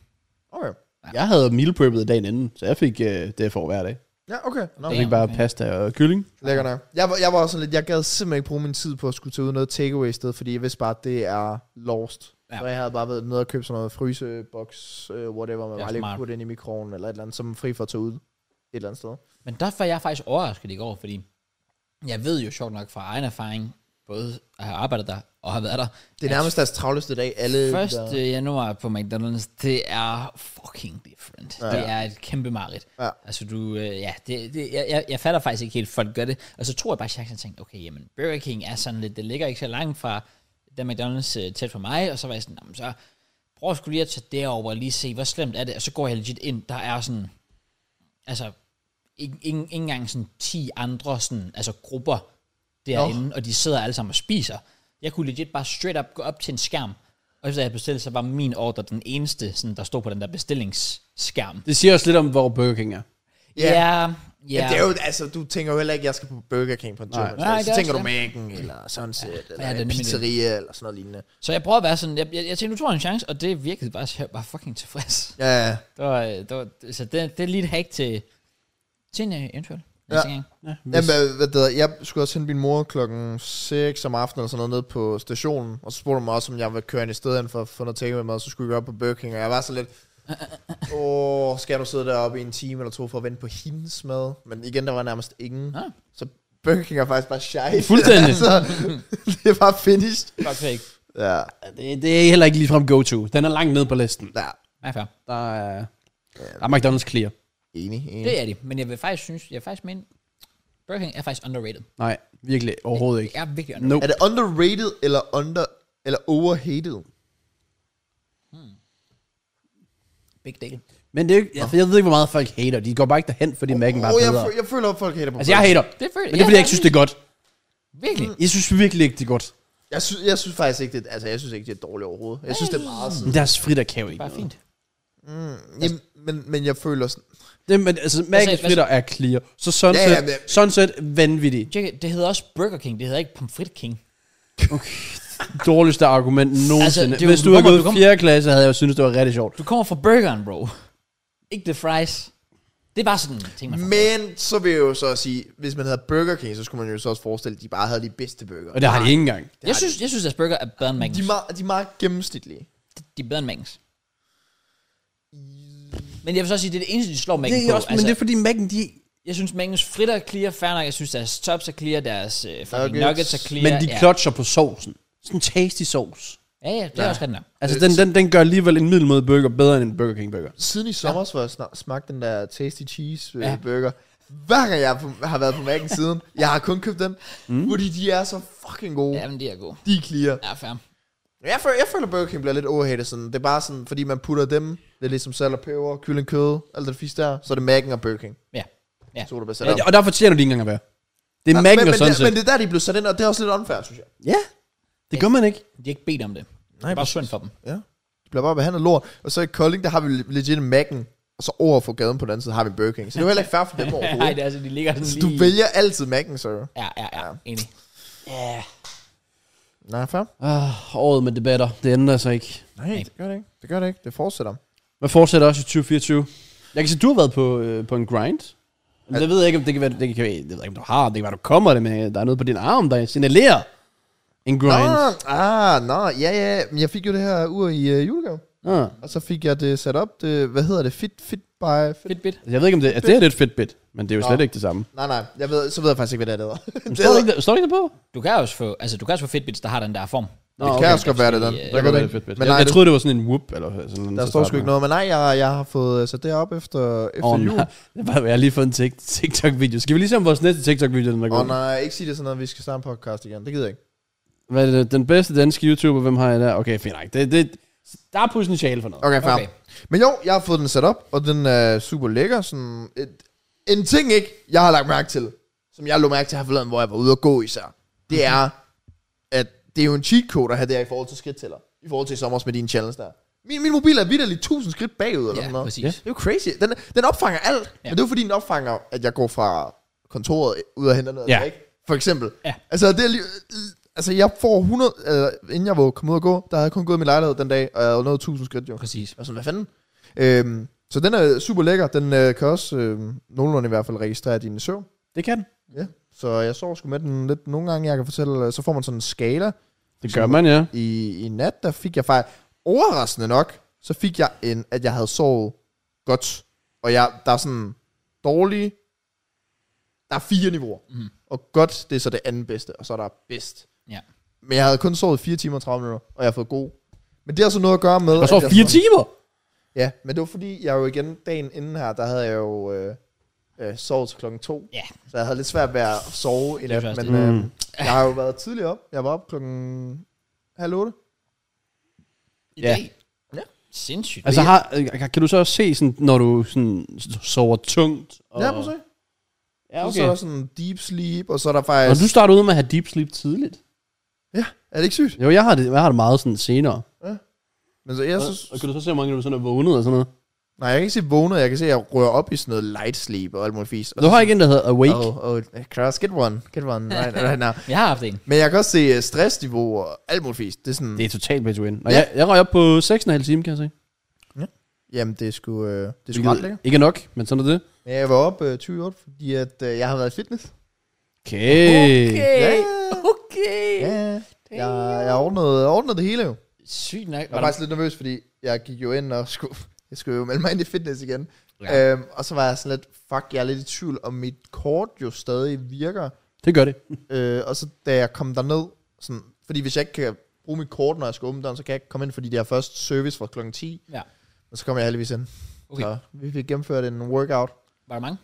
C: Okay.
B: Jeg havde meal preppet dagen inden, så jeg fik øh, det for hver dag.
C: Ja, okay. Nå,
A: Damn.
B: Jeg fik bare
A: okay.
B: pasta og kylling.
C: lækker nok. Jeg var, jeg var også sådan lidt, jeg gad simpelthen ikke bruge min tid på at skulle tage ud noget takeaway i stedet, fordi jeg vidste bare, at det er lost.
A: Ja.
C: Ja. Så jeg havde bare været nede og købt sådan noget fryseboks, øh, whatever, man
A: Ja,
C: bare lige
A: smart.
C: kunne putte ind i mikroen eller et eller andet, som er fri for at tage ud et eller andet sted.
A: Men der var jeg faktisk overrasket i går, fordi jeg ved jo sjovt nok fra egen erfaring, både at have arbejdet der og har været der,
C: Det er nærmest deres travleste dag. Alle der.
A: 1. januar på McDonald's, det er fucking different. Ja. Det er et kæmpe mareridt.
C: Ja.
A: Altså du, øh, ja, det, det, jeg, jeg, jeg fatter faktisk ikke helt, folk gør det. Og så tror jeg bare, at jeg tænkte, okay, jamen Burger King er sådan lidt, det ligger ikke så langt fra den McDonald's øh, tæt for mig, og så var jeg sådan, jamen så prøv at skulle lige at tage derover og lige se, hvor slemt er det, og så går jeg legit ind, der er sådan, altså, ikke, ikke, ikke engang sådan 10 andre sådan, altså grupper derinde, og de sidder alle sammen og spiser. Jeg kunne legit bare straight up gå op til en skærm, og så jeg bestilte, så var min ordre den eneste, sådan, der stod på den der bestillingsskærm.
B: Det siger også lidt om, hvor Burger King er.
A: Ja, ja.
C: Ja. Det er jo, altså, du tænker jo heller ikke, at jeg skal på Burger King på en tur.
A: Nej, det er
C: Så tænker
A: også
C: du Mac'en, eller sådan set, ja.
A: Ja, det er
C: eller ja, en
A: nemlig det.
C: pizzeria, eller sådan noget lignende.
A: Så jeg prøver at være sådan, jeg, jeg, jeg tænkte, nu tror jeg en chance, og det virkede bare, så jeg var fucking tilfreds.
C: Ja, ja.
A: Det var, øh, det var, så det, det er lige et hack til, til en uh, eventuel næste
C: Ja.
A: gang.
C: Jamen,
B: øh,
C: hvad, hvad det hedder, jeg skulle også hente min mor klokken 6 om aftenen eller sådan noget ned på stationen, og så spurgte hun mig også, om jeg ville køre ind i stedet hen for at få noget takeaway med, og så skulle vi op på Burger King, og jeg var så lidt, åh, skal jeg nu sidde deroppe i en time eller to for at vente på hendes mad? Men igen, der var nærmest ingen.
A: Ah.
C: Så Burger King er faktisk bare shy.
B: Fuldstændig.
C: altså, det er bare finished.
A: Fuck fake.
C: Ja,
B: Det, det er heller ikke ligefrem go-to. Den er langt nede på listen.
C: ja.
A: Ja, fair.
B: Der er, der er McDonald's clear.
C: Enig, enig.
A: Det er de, men jeg vil faktisk synes, jeg vil faktisk mene, Burger King er faktisk underrated.
B: Nej, virkelig overhovedet ikke.
A: Det er virkelig underrated.
B: Nope.
C: Er det underrated eller under eller overhated?
A: Big deal.
B: Men det er jo ikke, for jeg ved ikke, hvor meget folk hater. De går bare ikke derhen, fordi Mac'en bare
C: Åh,
B: er
C: jeg,
B: bedre.
C: fø- jeg føler, at folk hater på
B: Altså, jeg
C: Burger
B: hater.
A: Det er for-
B: Men det er, fordi jeg ikke synes, det er godt. Mm.
A: Virkelig.
B: Jeg synes virkelig ikke, det er godt.
C: King. jeg, synes, jeg synes faktisk ikke, det, altså, jeg synes ikke, det er dårligt overhovedet. Jeg synes, det er meget sådan.
B: Men deres fritter kan jo ikke.
A: Bare
B: noget.
A: fint.
C: Jamen, men, men jeg føler sådan...
B: Det, men altså, Mac'ens
A: hvad-
B: fritter er clear. Så Sunset,
C: Ja,
B: ja,
C: ja,
B: ja,
C: men-
B: Sunset vanvittig.
A: Tjek, det hedder også Burger King, det hedder ikke Pomfrit King.
B: Okay. Dårligste argument nogensinde.
A: det er
B: Altså,
A: jo-
B: Hvis
A: du
B: du havde
A: kommer-
B: gået
A: du kommer-
B: 4. klasse, havde jeg jo syntes, det var rigtig sjovt.
A: Du kommer fra burgeren, bro. Ikke the fries. Det er bare sådan en ting, man får.
C: Men så vil jeg jo så sige, hvis man hedder Burger King, så skulle man jo så også forestille, at de bare havde de bedste burger.
B: Og det har de ikke engang.
A: Jeg synes, jeg synes, at burger er bedre end Magnus.
C: De er, meget, de er meget gennemsnitlige.
A: De er bedre end Magnus. Men jeg vil så sige, det er det eneste, de slår Magnus
B: Det er
A: på. Altså,
B: også, men det er fordi Mac'en, de...
A: Jeg synes, Magnus fritter er clear, fair nok. Jeg synes, deres tops er clear, deres øh, fucking
C: Nuggets.
A: nuggets. nuggets er clear.
B: Men de
A: ja.
B: klotcher på sovsen. Sådan en tasty sovs.
A: Ja, ja, det er
C: Ja.
A: ja. også rigtigt nok.
B: Altså, den, den, den gør alligevel en middelmåde burger bedre end en Burger King burger.
C: Siden i sommer, ja. hvor jeg snak, smagte den der Tasty Cheese øh,
A: Ja.
C: burger, hver gang jeg har på- har været på Mac'en siden, jeg har kun købt dem, mm. fordi de er så fucking gode.
A: Ja, men de er gode.
C: De er clear.
A: Ja, fair.
C: Jeg føler, jeg føler Burger King bliver lidt overhated sådan. Det er bare sådan, fordi man putter dem, det er ligesom salt og peber, kylling kød, alt det fisk der, så er det Mac'en og Burger King.
A: Ja. ja.
C: Så er det bare sat
B: Ja,
C: op.
B: og der fortjener de ikke engang at være. Det er
C: Nej,
B: Mac'en
C: men,
B: og
C: men, det,
B: Sunset.
C: men det er der, de blev sat ind, og det er også lidt unfair, synes jeg.
B: Ja, det gør man ikke.
A: De har ikke bedt om det. det er bare synd for dem.
C: Ja. De bliver bare behandlet lort. Og så i Kolding, der har vi legit Mac'en, og så over for gaden på den anden side har vi Burger King. Så det er jo heller ikke fair for dem
A: Nej,
C: overhovedet.
A: det er altså, de ligger sådan
C: Så
A: lige...
C: du vælger altid Mac'en, så.
A: Ja, ja, ja. Enig.
C: Nej, fair.
B: Ah, året med debatter, det ændrer sig ikke.
C: Nej, det gør det ikke. Det gør det ikke. Det fortsætter.
B: Man fortsætter også i 2024. Jeg kan se, du har været på, øh, på en grind. Men det ved jeg ikke, om det kan være, det kan, være- det ved jeg ikke, om du har, det kan være, du kommer det, men øh, der er noget på din arm, der signalerer en
C: Nå,
B: grind.
C: ah, nå, ja, ja. Men jeg fik jo det her ur i øh, julegave.
B: Ah.
C: Og så fik jeg det sat op. Det, hvad hedder det? Fit, fit by... Fit.
A: Fedt bit.
B: Jeg ved ikke, om det, altså, det er lidt fedt bit, men det er jo
C: Nå.
B: slet ikke det samme.
C: Nej, nej. Jeg ved, så ved jeg faktisk ikke, hvad det er, det hedder.
B: Men Står det ikke, der- står det ikke der på?
A: Du kan også få, altså, du kan også få Fitbits, der har den der form.
B: Nå,
C: Det kan også godt være det, den.
A: Ja, det
B: Det
C: Jeg
B: kan
C: kan
B: være
C: ikke-
B: fedt bit.
C: Men
B: jeg,
C: nej,
B: jeg
C: det-
B: troede, det var sådan en whoop, eller sådan
C: der står sgu ikke noget, men nej, jeg, jeg har fået øh, sat det op efter, efter
B: Åh,
C: oh, jul.
B: nej. Det var- Jeg har lige fået en tik- TikTok-video. Skal vi lige se om vores næste TikTok-video, den er
C: Åh
B: god?
C: oh, nej, ikke sige det sådan noget, vi skal starte en podcast igen. Det gider jeg ikke.
B: Hvad er det, den bedste danske YouTuber, hvem har jeg der? Okay, fint nok. Det, det, der er potentiale for noget.
C: Okay, fair.
A: Okay.
C: Okay. Men jo, jeg har fået den sat op, og den er super lækker. Sådan et, en ting ikke, jeg har lagt mærke til, som jeg lå mærke til her forleden, hvor jeg var ude at gå især, det er, at det er jo en cheat code at have der i forhold til skridttæller. I forhold til i sommer med dine challenge der. Min, min mobil er vidderligt 1000 skridt bagud eller
A: Ja,
C: sådan noget.
A: præcis.
B: Ja.
C: Det er jo crazy. Den, den opfanger alt. Ja. Men det er jo fordi, den opfanger, at jeg går fra kontoret ud og henter noget.
B: Ja.
C: Ja. Ikke? For eksempel.
A: Ja.
C: Altså, det er lige, altså, jeg får 100... Eller, inden jeg var kommet ud og gå, der havde jeg kun gået i min lejlighed den dag, og jeg havde nået 1000 skridt jo.
A: Præcis.
C: Og sådan, hvad fanden? Øhm, så den er super lækker. Den øh, kan også øh, nogenlunde i hvert fald registrere din søvn.
B: Det kan den.
C: Ja. Så jeg sover sgu med den lidt nogle gange, jeg kan fortælle. øh, Så får man sådan en skala.
B: Det gør man, ja.
C: I, i nat, der fik jeg faktisk... Overraskende nok, så fik jeg en, at jeg havde sovet godt. Og jeg, der er sådan dårlige... Der er fire niveauer. Mm. Og godt, det er så det anden bedste. Og så er der bedst.
A: Mhm. Ja.
C: Men jeg havde kun sovet 4 timer og 30 minutter, og jeg har fået god. Men det har så noget at gøre med...
B: Der
C: at
B: står
C: jeg
B: fire
C: sådan-
B: timer.
C: Ja, men det var fordi, jeg jo igen dagen inden her, der havde jeg jo øh, øh, sovet til klokken to.
A: Ja.
C: Så jeg havde lidt svært ved at sove i
A: Det er
C: nat,
A: først
C: men
A: det.
C: øh,
B: Mm.
C: jeg har jo været tidligt op. Jeg var op klokken halv otte.
A: I
B: Ja.
A: dag?
C: Ja.
A: Sindssygt.
B: Altså, har, øh, kan du så også se, sådan, når du sådan, sover tungt? Og,
C: Ja, prøv at se.
B: Ja,
C: Så er
B: okay.
C: der sådan deep sleep, og så er der
B: Og
C: faktisk...
B: du starter ud med at have deep sleep tidligt.
C: Ja, er det ikke sygt?
B: Jo, jeg har det, jeg har det meget sådan senere.
C: Men så jeg synes...
B: Og kan du så se, hvor mange du sådan er vågnet og sådan noget?
C: Nej, jeg kan ikke se vågnet. Jeg kan se, at jeg rører op i sådan noget light sleep og alt muligt fisk.
B: Du har ikke en, der hedder Awake.
C: Oh, oh, Kraus, get one. Get one. Right, right now.
A: Jeg har haft en.
C: Men jeg kan også se øh, stressniveau og alt muligt fisk. Det er sådan...
B: Det er totalt pay to win. Og
C: Ja.
B: ja. jeg, jeg røg op på 6,5 timer, kan jeg se.
C: Jamen, det er sgu, øh, det er sgu ret
B: Hvilket
C: lækkert.
B: Ikke er nok, men sådan er det.
C: Men jeg var op øh, 28, fordi at, øh, jeg har været i fitness.
B: Okay.
C: Ja.
A: Okay.
C: Ja, ja. jeg, jeg ordnede, ordnede det hele jo.
A: Sygt nok.
C: Jeg var faktisk lidt nervøs, fordi jeg gik jo ind og skulle, jeg skulle jo melde mig ind i fitness igen.
A: Ja.
C: Ja. Øhm, og så var jeg sådan lidt, fuck, jeg er lidt i tvivl, om mit kort jo stadig virker.
B: Det gør det.
C: Øh, og så da jeg kom derned, sådan, fordi hvis jeg ikke kan bruge mit kort, når jeg skal åbne døren, så kan jeg ikke komme ind, fordi det er først service fra klokken 10.
A: Ja.
C: Men så kom jeg heldigvis ind.
A: Okay.
C: Så vi fik gennemført en workout.
A: Var der mange?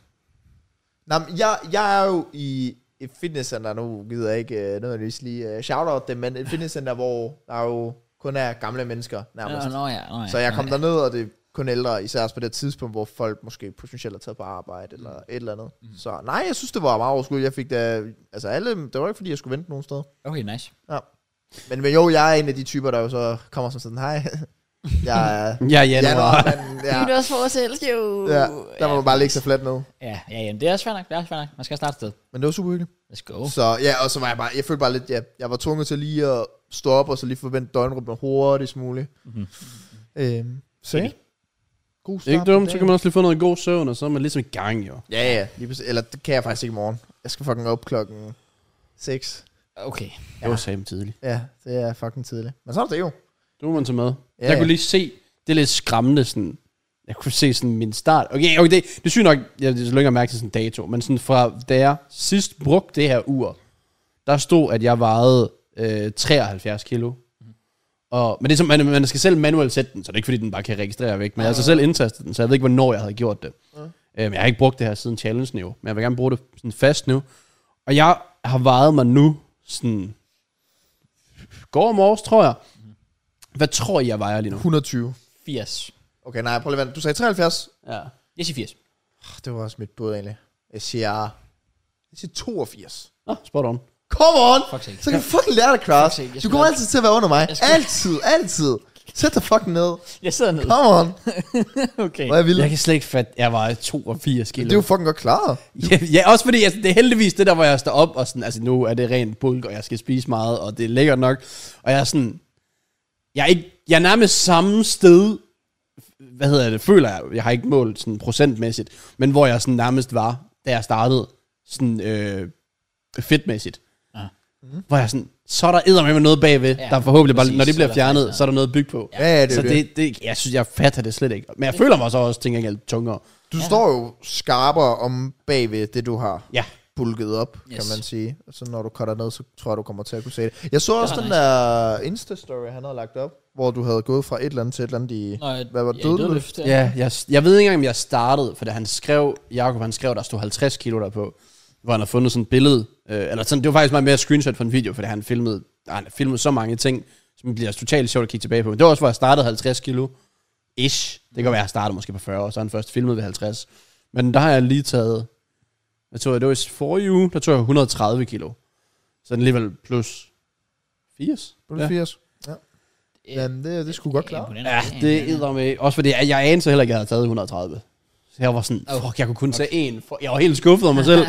C: Nå, men jeg, jeg er jo i et fitnesscenter, nu gider jeg ikke uh, nødvendigvis lige uh, shout-out det, men et fitnesscenter, hvor der jo kun er gamle mennesker nærmest.
A: Nå, nå, ja, nå, ja,
C: Så jeg kom
A: nå,
C: derned, og det er kun ældre, især også på det tidspunkt, hvor folk måske potentielt er taget på arbejde eller et eller andet. Så nej, jeg synes, det var meget overskud. Jeg fik da, altså alle, det var ikke fordi, jeg skulle vente nogen steder.
A: ja. Okay, nice.
C: Ja. Men, men jo, jeg er en af de typer, der jo så kommer som sådan, hej, jeg er
B: Ja, januar.
C: januarmanden,
D: Ja.
C: ja.
D: Nytårsforsæt, jo.
C: ja, der må man bare lægge sig fladt ned.
A: Ja, ja, jamen, det er også fair nok. Det er også fair nok. Man skal starte et sted.
C: Men det var super hyggeligt.
A: Let's go.
C: Så ja, og så var jeg bare, jeg følte bare lidt, ja, jeg var tvunget til lige at stå op, og så lige forvente døgnrytmen hurtigst muligt.
A: Mhm.
C: Øhm, så ja. God start
B: Ikke
C: på
B: dumt, så
C: dagen.
B: kan man også lige få noget god søvn, og så er man ligesom i gang, jo.
C: Ja, ja. Lige præcis. Eller det kan jeg faktisk ikke i morgen. Jeg skal fucking op klokken 6.
A: Okay.
B: Det var sammen tidligt.
C: Ja, det er fucking tidligt. Men så er det jo.
B: Det må man tage med.
C: Ja,
B: Ja, jeg
C: ja.
B: kunne lige se, det er lidt skræmmende, sådan, jeg kunne se sådan min start. Okay, okay, det, det synes nok, jeg det er så længe at mærke til sådan en dato, men sådan fra, da jeg sidst brugte det her ur, der stod, at jeg vejede øh, 73 kilo. Og, men det er som, man, man skal selv manuelt sætte den, så det er ikke fordi, den bare kan registrere væk. Men jeg har altså selv indtastet den, så jeg ved ikke, hvornår jeg havde gjort det. Øh, men jeg har ikke brugt det her siden challengen jo, men jeg vil gerne bruge det sådan fast nu. Og jeg har vejet mig nu, sådan, går morges, tror jeg. Hvad tror I, jeg vejer lige nu?
C: 120.
A: 80.
C: Okay, nej, prøv lige at vente. Du sagde 73.
B: Ja.
A: Jeg siger 80.
C: Ah, Det var også mit bud, egentlig. Jeg siger... Jeg siger 82.
B: Nå, spot on.
C: Come on!
A: Fuck sake.
C: Så kan du fucking lære dig, Kraus.
A: sake, jeg
C: Du
A: skulle
C: kommer
A: have-
C: altid til at være under mig.
A: Jeg skulle-
C: Altid, altid. Sæt dig fucking ned.
A: Jeg sidder ned.
C: Come on.
A: Okay.
C: Hvor er jeg vild.
B: Jeg kan slet ikke fatte, jeg vejer 82 kilo.
C: Det er jo fucking godt klaret.
B: Ja, ja, også fordi altså, det er heldigvis det der, hvor jeg står op, og sådan, altså nu er det rent bulk, og jeg skal spise meget, og det er lækkert nok. Og jeg er sådan, jeg er, ikke, jeg er nærmest samme sted, hvad hedder det, føler jeg, jeg har ikke målt sådan procentmæssigt, men hvor jeg sådan nærmest var, da jeg startede, sådan øh, fedtmæssigt.
A: Ah.
C: Mhm.
B: Hvor jeg sådan, så er der eddermame noget bagved,
A: Ja,
B: ja, der forhåbentlig bare,
A: præcis,
B: når det
A: så
B: bliver
A: er der faktisk
B: fjernet,
A: noget.
B: så er der noget at bygge på.
C: Ja, ja, det er
B: så
C: jo
B: det, det, jeg synes, jeg fatter det slet ikke. Men jeg føler mig så også, tænker jeg, tungere.
C: Du står jo skarpere om bagved det, du har
B: Ja.
C: bulket op, yes. kan
A: Yes.
C: man sige. Så når du cutter ned, så tror jeg, du kommer til at kunne se det. Jeg så også
A: var
C: den
A: nice.
C: der Insta-story, han havde lagt op, hvor du havde gået fra et eller andet til et eller andet i...
A: Nå, jeg-
C: hvad var
A: jeg
C: dødløft?
A: dødløft, ja.
B: Ja, jeg, jeg ved ikke engang, om jeg startede, for da han skrev, Jakob han skrev, der stod 50 kilo der på, hvor han har fundet sådan et billede, øh, eller sådan, det var faktisk meget mere screenshot fra en video, fordi han filmede, nej, han filmede så mange ting, som bliver totalt sjovt at kigge tilbage på. Men det var også, hvor jeg startede 50 kilo, ish. Det kan være, jeg startede måske på 40, og så har han først filmet ved 50. Men der har jeg lige taget, jeg tror, det var i forrige uge, der tog jeg 130 kilo. Så den alligevel plus 80.
C: På ja. 80. Ja. Jamen, det, det skulle godt klare.
A: Imponerende.
B: Ja, det æder med. Også fordi jeg, jeg anede så heller ikke, at jeg havde taget 130. Så jeg var sådan,
A: Oh.
B: fuck, jeg kunne kun tage en. For jeg var helt skuffet over mig selv.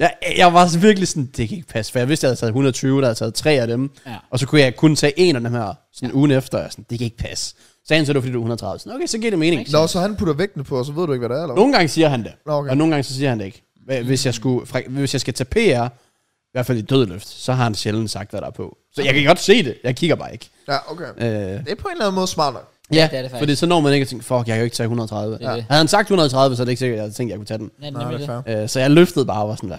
B: jeg, jeg var så virkelig sådan, det kan ikke passe. For jeg vidste, at jeg havde taget 120, der havde taget tre af dem.
A: Ja.
B: Og så kunne jeg kun tage en af dem her sådan ugen efter. Jeg sådan, det kan ikke passe. Så anede så, det var, fordi du er 130. Sådan, okay, så giver det mening.
C: Nå, så han putter vægten på, og så ved du ikke, hvad det er, eller hvad?
B: Nogle gange siger han det.
C: Nå, okay.
B: Og nogle gange så siger han det ikke. Hva- Hvis jeg, skulle, fra- hvis jeg skal tage PR, i hvert fald i dødløft, så har han sjældent sagt, hvad der er på. Så jeg kan godt se det. Jeg kigger bare ikke.
C: Ja, okay.
B: Øh,
C: Det er på en eller anden måde smart nok.
B: Ja,
A: det er det faktisk.
B: fordi så når man ikke at tænke, fuck, jeg kan jo ikke tage 130.
A: Det er
B: ja.
A: det.
B: Havde han sagt 130, så er det ikke sikkert, at jeg havde tænkt, at jeg kunne tage den.
A: Nej,
C: Nej,
A: nemlig
C: det er
A: det.
C: fair.
B: Øh, så jeg løftede bare og var sådan, hvad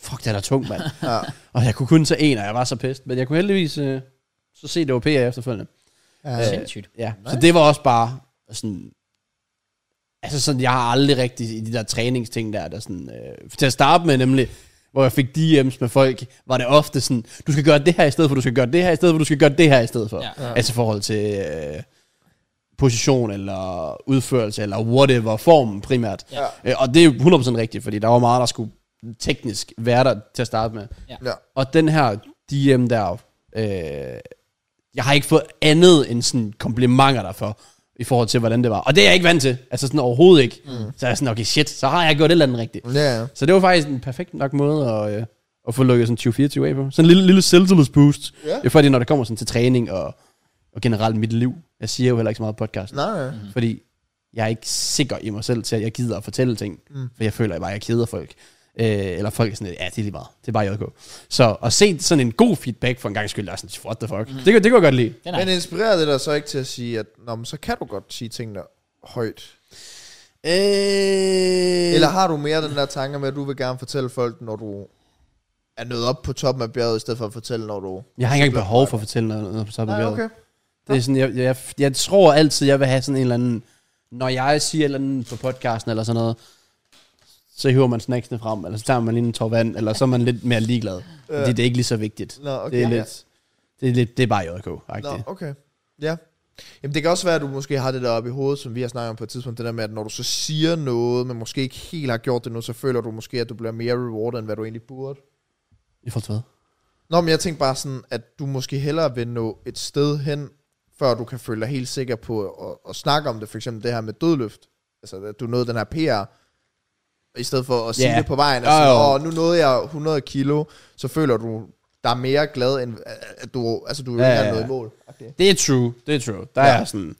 B: fuck, det er da tung, mand.
C: Ja.
B: og jeg kunne kun tage en, og jeg var så pissed. Men jeg kunne heldigvis øh, så se, det var PR efterfølgende.
C: Ja.
A: Sindssygt.
B: Ja, så det var også bare sådan... Altså sådan, jeg har aldrig rigtig i de der træningsting der, der sådan... Øh, til at starte med nemlig, hvor jeg fik DM's med folk, var det ofte sådan, du skal gøre det her i stedet for, du skal gøre det her i stedet for, du skal gøre det her i stedet for.
A: Ja.
B: Ja. Altså i forhold til øh, position eller udførelse eller whatever, formen primært.
A: Ja.
B: Øh, og det er jo 100% rigtigt, fordi der var meget, der skulle teknisk være der til at starte med.
C: Ja.
B: Og den her DM der, øh, jeg har ikke fået andet end sådan komplimenter derfor, i forhold til, hvordan det var. Og det er jeg ikke vant til. Altså sådan overhovedet ikke. Mm. Så er jeg sådan, okay shit, så har jeg gjort et eller andet rigtigt.
C: Ja, ja.
B: Så det var faktisk en perfekt nok måde at, øh, at få lukket sådan 2024 af på. Sådan en lille, lille selvtillidsboost.
C: Ja.
B: Yeah. Fordi når det kommer sådan til træning og, og generelt mit liv. Jeg siger jo heller ikke så meget podcast.
C: Nej, nej.
B: Mm. Fordi jeg er ikke sikker i mig selv til, at jeg gider at fortælle ting. Mm. For jeg føler bare, at jeg keder folk. Øh, eller folk er sådan, ja, det er lige meget. Det er bare JK. Så at se sådan en god feedback for en gang skyld, der er sådan, what the fuck. Mm. Det, kunne- det kunne jeg godt lide.
A: Den er.
C: Men inspirerer det dig så ikke til at sige, at Nå, men så kan du godt sige tingene højt?
B: Øh,
C: Eller har du mere den der tanke med, at du vil gerne fortælle folk, når du er nået op på toppen af bjerget, i stedet for at fortælle, når du...
B: jeg har ikke engang behov for at fortælle noget, noget på toppen af
C: Nej,
B: bjerget.
C: Ah, okay.
B: Det er sådan, jeg, jeg, jeg tror altid, jeg vil have sådan en eller anden... Når jeg siger et eller andet på podcasten eller sådan noget, så hiver man snacksene frem, eller så tager man lige en tår vand, eller så er man lidt mere ligeglad.
C: Ja.
B: Fordi det er ikke lige så vigtigt.
C: Nå, okay.
B: Det er
C: Ja.
B: lidt, det er, lidt, det er bare JK-agtigt.
C: Nå, okay. Ja. Jamen det kan også være, at du måske har det der oppe i hovedet, som vi har snakket om på et tidspunkt, det der med, at når du så siger noget, men måske ikke helt har gjort det nu, så føler du måske, at du bliver mere rewarded, end hvad du egentlig burde.
B: I forhold til hvad?
C: Nå, men jeg tænkte bare sådan, at du måske hellere vil nå et sted hen, før du kan føle dig helt sikker på at, at snakke om det. For eksempel det her med dødløft. Altså, at du nåede den her PR, i stedet for at sige
B: Ja.
C: det på vejen.
B: Jo,
C: Altså,
B: jo.
C: oh, nu nåede jeg 100 kilo, så føler du dig mere glad, end at du, altså, du
B: Ja,
C: ja, ikke
B: ja,
C: har nået
B: ja.
C: i mål. Okay.
B: Det er true, det er true. Der
C: Ja.
B: ja. er sådan,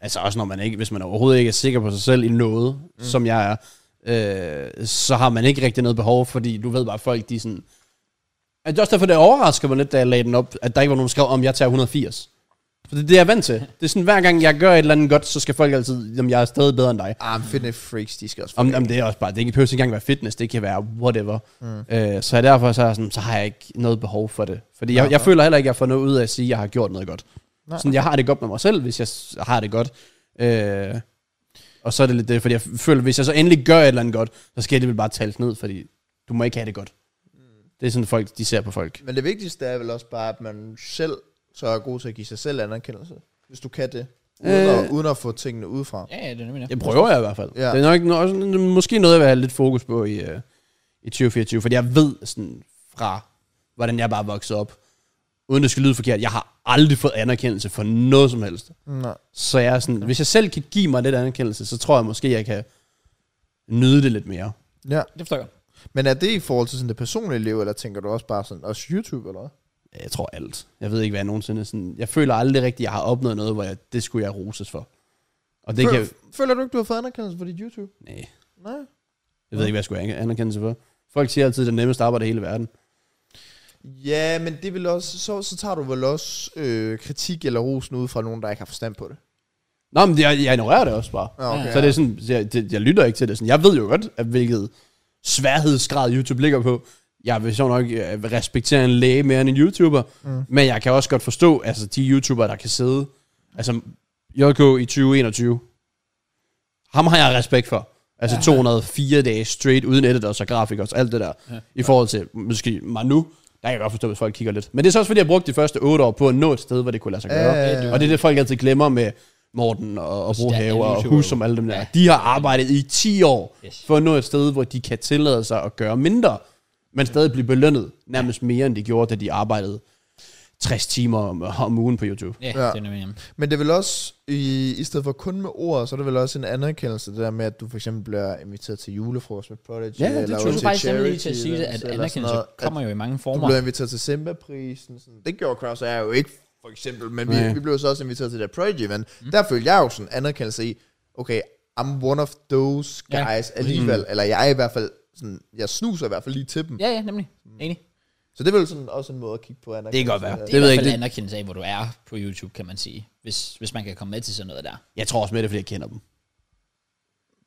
B: altså også når man ikke, hvis man overhovedet ikke er sikker på sig selv i noget, mm. som jeg er, øh, så har man ikke rigtig noget behov, fordi du ved bare, folk de er sådan, at det er også derfor, det overrasker mig lidt, da jeg lagde den op, at der ikke var nogen, der skrev om, jeg tager 180. For det er det, jeg er vant til. Det er sådan, hver gang jeg gør et eller andet godt, så skal folk altid, jamen jeg er stadig bedre end dig.
C: Ah, men fitness freaks, de skal også
B: Om, om det er også bare, det ikke behøver ikke engang være fitness, det kan være whatever. Mm. Øh, så derfor så, er jeg sådan, så har jeg ikke noget behov for det. Fordi jeg, jeg føler heller ikke, at jeg får noget ud af at sige, at jeg har gjort noget godt.
C: Nej.
B: Nej. Sådan, jeg har det godt med mig selv, hvis jeg s- har det godt. Øh, og så er det lidt det, fordi jeg f- føler, hvis jeg så endelig gør et eller andet godt, så skal det vel bare tales ned, fordi du må ikke have det godt. Det er sådan, folk, de ser på folk.
C: Men det vigtigste er vel også bare, at man selv så er god til at give sig selv anerkendelse. Hvis du kan det. Uden, øh. at, uden at få tingene udefra.
A: Ja, ja, det er nemlig det.
B: Det prøver jeg i hvert fald.
C: Ja.
B: Ja. Det er nok no- også, måske noget, jeg vil have lidt fokus på i, øh, i 2024, fordi jeg ved sådan fra, hvordan jeg bare voksede op, uden det skal lyde forkert, jeg har aldrig fået anerkendelse for noget som helst.
C: Mm, Nej.
B: Så jeg er sådan, hvis jeg selv kan give mig lidt anerkendelse, så tror jeg måske, jeg kan nyde det lidt mere.
C: Ja.
A: Det forstår jeg. godt.
C: Men er det i forhold til sådan det personlige liv, eller tænker du også bare sådan, også YouTube, eller hvad?
B: Jeg tror alt. Jeg ved ikke, hvad jeg nogensinde sådan... Jeg føler aldrig rigtigt, at jeg har opnået noget, hvor jeg, det skulle jeg roses for. Og det kan...
C: Føl- Føler du ikke, du har fået anerkendelse for dit YouTube?
B: Nej.
C: Nej.
B: Jeg ved ikke, hvad jeg skulle have anerkendelse for. Folk siger altid, at det nemmeste arbejde i hele verden.
C: Ja, men det vil også, så, så tager du vel også øh, kritik eller rosen ud fra nogen, der ikke har forstand på det.
B: Nå, men jeg, jeg ignorerer det også bare.
C: Ja, okay.
B: Så det er sådan, så jeg, det, jeg lytter ikke til det. Sådan, jeg ved jo godt, at hvilket sværhedsgrad YouTube ligger på. Jeg vil så nok øh, respektere en læge mere end en YouTuber, mm. men jeg kan også godt forstå, altså de YouTubere, der kan sidde, altså JK i 2021, ham har jeg respekt for. Altså 204 dage straight, uden editors og grafikers og alt det der. Ja. I forhold til måske mig nu, der kan jeg godt forstå, hvis folk kigger lidt. Men det er så også, fordi jeg brugte de første 8 år på at nå et sted, hvor det kunne lade sig gøre.
C: Ja,
B: Og det er det, folk altid glemmer med Morten og, og
A: der er
B: Brohave og
A: YouTubere.
B: Hus som alle dem der. De har arbejdet i 10 år
A: Yes.
B: for at nå et sted, hvor de kan tillade sig at gøre mindre, men stadig blive belønnet nærmest mere, end de gjorde, da de arbejdede 60 timer om, om ugen på YouTube.
A: Ja,
C: Ja.
A: det er nemlig det.
C: Men det er vel også, i, i stedet for kun med ord, så er det vel også en anerkendelse, det der med, at du for eksempel bliver inviteret til julefrokost med Prodigy,
B: Ja, det
C: eller
B: tror
A: Du
C: ud
A: er
C: til
A: faktisk nemlig lige
C: charity
A: til at sige det, at
C: events, eller sådan
A: anerkendelse
C: noget. At-
A: kommer jo i mange
C: Du
A: former.
C: blev inviteret til Simba-prisen. Sådan. Det gjorde Kraus og jeg jo ikke, for eksempel. Men vi,
B: Nej.
C: vi blev så også inviteret til det der Prodigy event. Mm. Der følte jeg jo sådan anerkendelse i, okay, I'm one of those
A: Ja.
C: guys ja. alligevel. Mm. Eller jeg er i hvert fald sådan, jeg snuser i hvert fald lige til dem. Ja.
A: Ja, ja, nemlig.
C: Mm.
A: Enig.
C: Så det er vel sådan også en måde at kigge på anerkendelse.
B: kan godt være.
C: Ja.
A: Det er
B: ved
A: i
B: jeg
A: hvert fald
B: ikke,
A: en anerkendelse af, hvor du er på YouTube, kan man sige. Hvis, hvis man kan komme med til sådan noget der.
B: Jeg tror også med det, er, fordi jeg kender dem.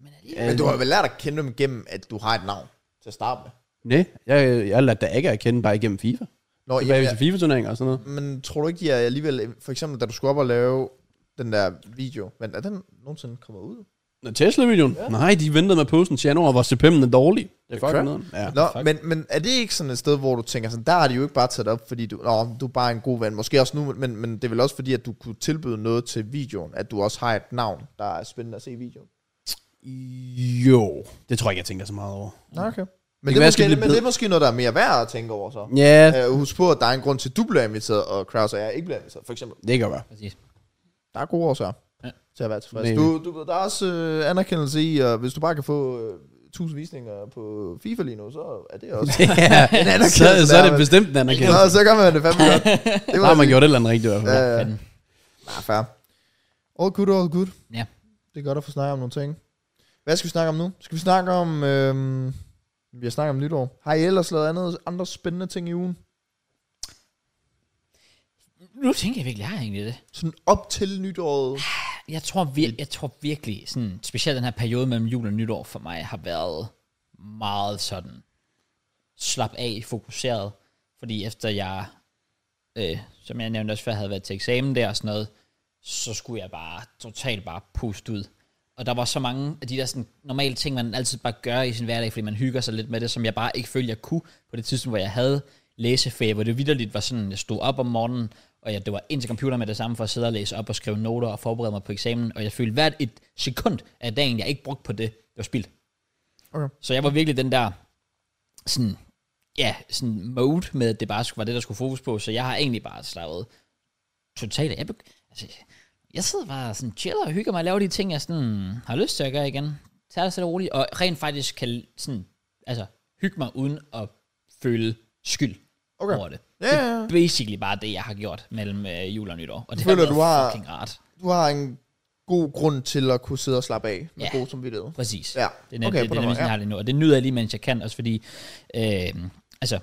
A: Men alligevel,
C: Men du har vel lært at kende dem gennem, at du har et navn til at starte med.
B: Nej, jeg, jeg lærte da ikke at kende bare igennem FIFA.
C: Nå,
B: Tilbage
C: jamen,
B: til FIFA-turneringer og sådan noget.
C: Men tror du ikke, de er alligevel... For eksempel, da du skulle op og lave den der video. Men er den nogensinde kommet ud?
B: Nå, Tesla-videoen? Ja. Nej, de ventede med at posten til januar, hvor CPM'en er dårlig. Det er fucking
C: crap.
B: noget. Ja.
C: Nå, men, men er det ikke sådan et sted, hvor du tænker sådan, der har de jo ikke bare taget op, fordi du, nå, du er bare en god ven. Måske også nu, men, men det er vel også fordi, at du kunne tilbyde noget til videoen, at du også har et navn, der er spændende at se i videoen.
B: Jo, det tror jeg ikke, jeg tænker så meget over.
C: Nå, okay.
B: kan
C: Men det,
B: være,
C: er
B: jeg skal
C: måske,
B: blive
C: men det er
B: bedre.
C: måske noget, der er mere værd at tænke over så.
B: Ja,
C: Uh, husk på, at der er en grund til, at du bliver inviteret, og Kraus og jeg ikke bliver inviteret, for eksempel.
B: det kan være.
A: præcis.
C: Der er gode årsager
A: Ja.
C: ja. til at være tilfreds.
B: Men-
C: Du, du, der er også øh, anerkendelse i, og hvis du bare kan få øh, 1000 visninger på FIFA lige nu, så er det også...
B: ja,
C: anerkendelse,
B: så, så
C: der
B: er
C: er
B: det
C: vel-
B: bestemt en anerkendelse.
C: så, så gør man det fandme godt. Det
B: Der har man gjort et eller andet rigtigt i hvert fald.
C: Ja, ja. Nej, fair. All good, all good.
A: Ja.
C: Det er godt at få snakket om nogle ting. Hvad skal vi snakke om nu? Skal vi snakke om... Øhm, vi har snakket om nytår. Har I ellers lavet andet, andre spændende ting i ugen?
A: Nu tænker jeg virkelig, jeg har egentlig det.
C: Sådan op til nytåret?
A: Jeg tror, vir- jeg tror virkelig, sådan, specielt den her periode mellem jul og nytår for mig, har været meget sådan slap af, fokuseret. Fordi efter jeg, øh, som jeg nævnte også før, havde været til eksamen der og sådan noget, så skulle jeg bare totalt bare puste ud. Og der var så mange af de der sådan, normale ting, man altid bare gør i sin hverdag, fordi man hygger sig lidt med det, som jeg bare ikke følte, jeg kunne på det tidspunkt, hvor jeg havde læsefag, hvor det vidderligt var sådan, jeg stod op om morgenen, og jeg, det var ind til computer med det samme for at sidde og læse op og skrive noter og forberede mig på eksamen, og jeg følte hvert et sekund af dagen, jeg ikke brugte på det, det var spildt.
C: Okay.
A: Så jeg var virkelig den der sådan, ja, sådan mode med, at det bare skulle- var det, der skulle fokus på, så jeg har egentlig bare slaget totalt af. Jeg beg- Altså, jeg sidder bare sådan chiller og hygger mig og laver de ting, jeg sådan har lyst til at gøre igen. Tag det stille og roligt, og rent faktisk kan sådan, altså, hygge mig uden at føle skyld
C: Okay.
A: over det.
C: Ja, ja, ja.
A: Det er basically bare det, jeg har gjort mellem øh, jul og nytår. Og det
C: Føler
A: har været
C: du har-
A: fucking rart.
C: Du har en god grund til at kunne sidde og slappe af med
A: Ja.
C: ja. god samvittighed.
A: Præcis.
C: Ja,
A: Det er nem-
C: okay,
A: det,
C: på
A: det, er
C: den
A: nemlig
C: måde,
A: sådan, jeg
C: ja.
A: har det nu. Og det nyder jeg lige, mens jeg kan, også fordi, øh, altså,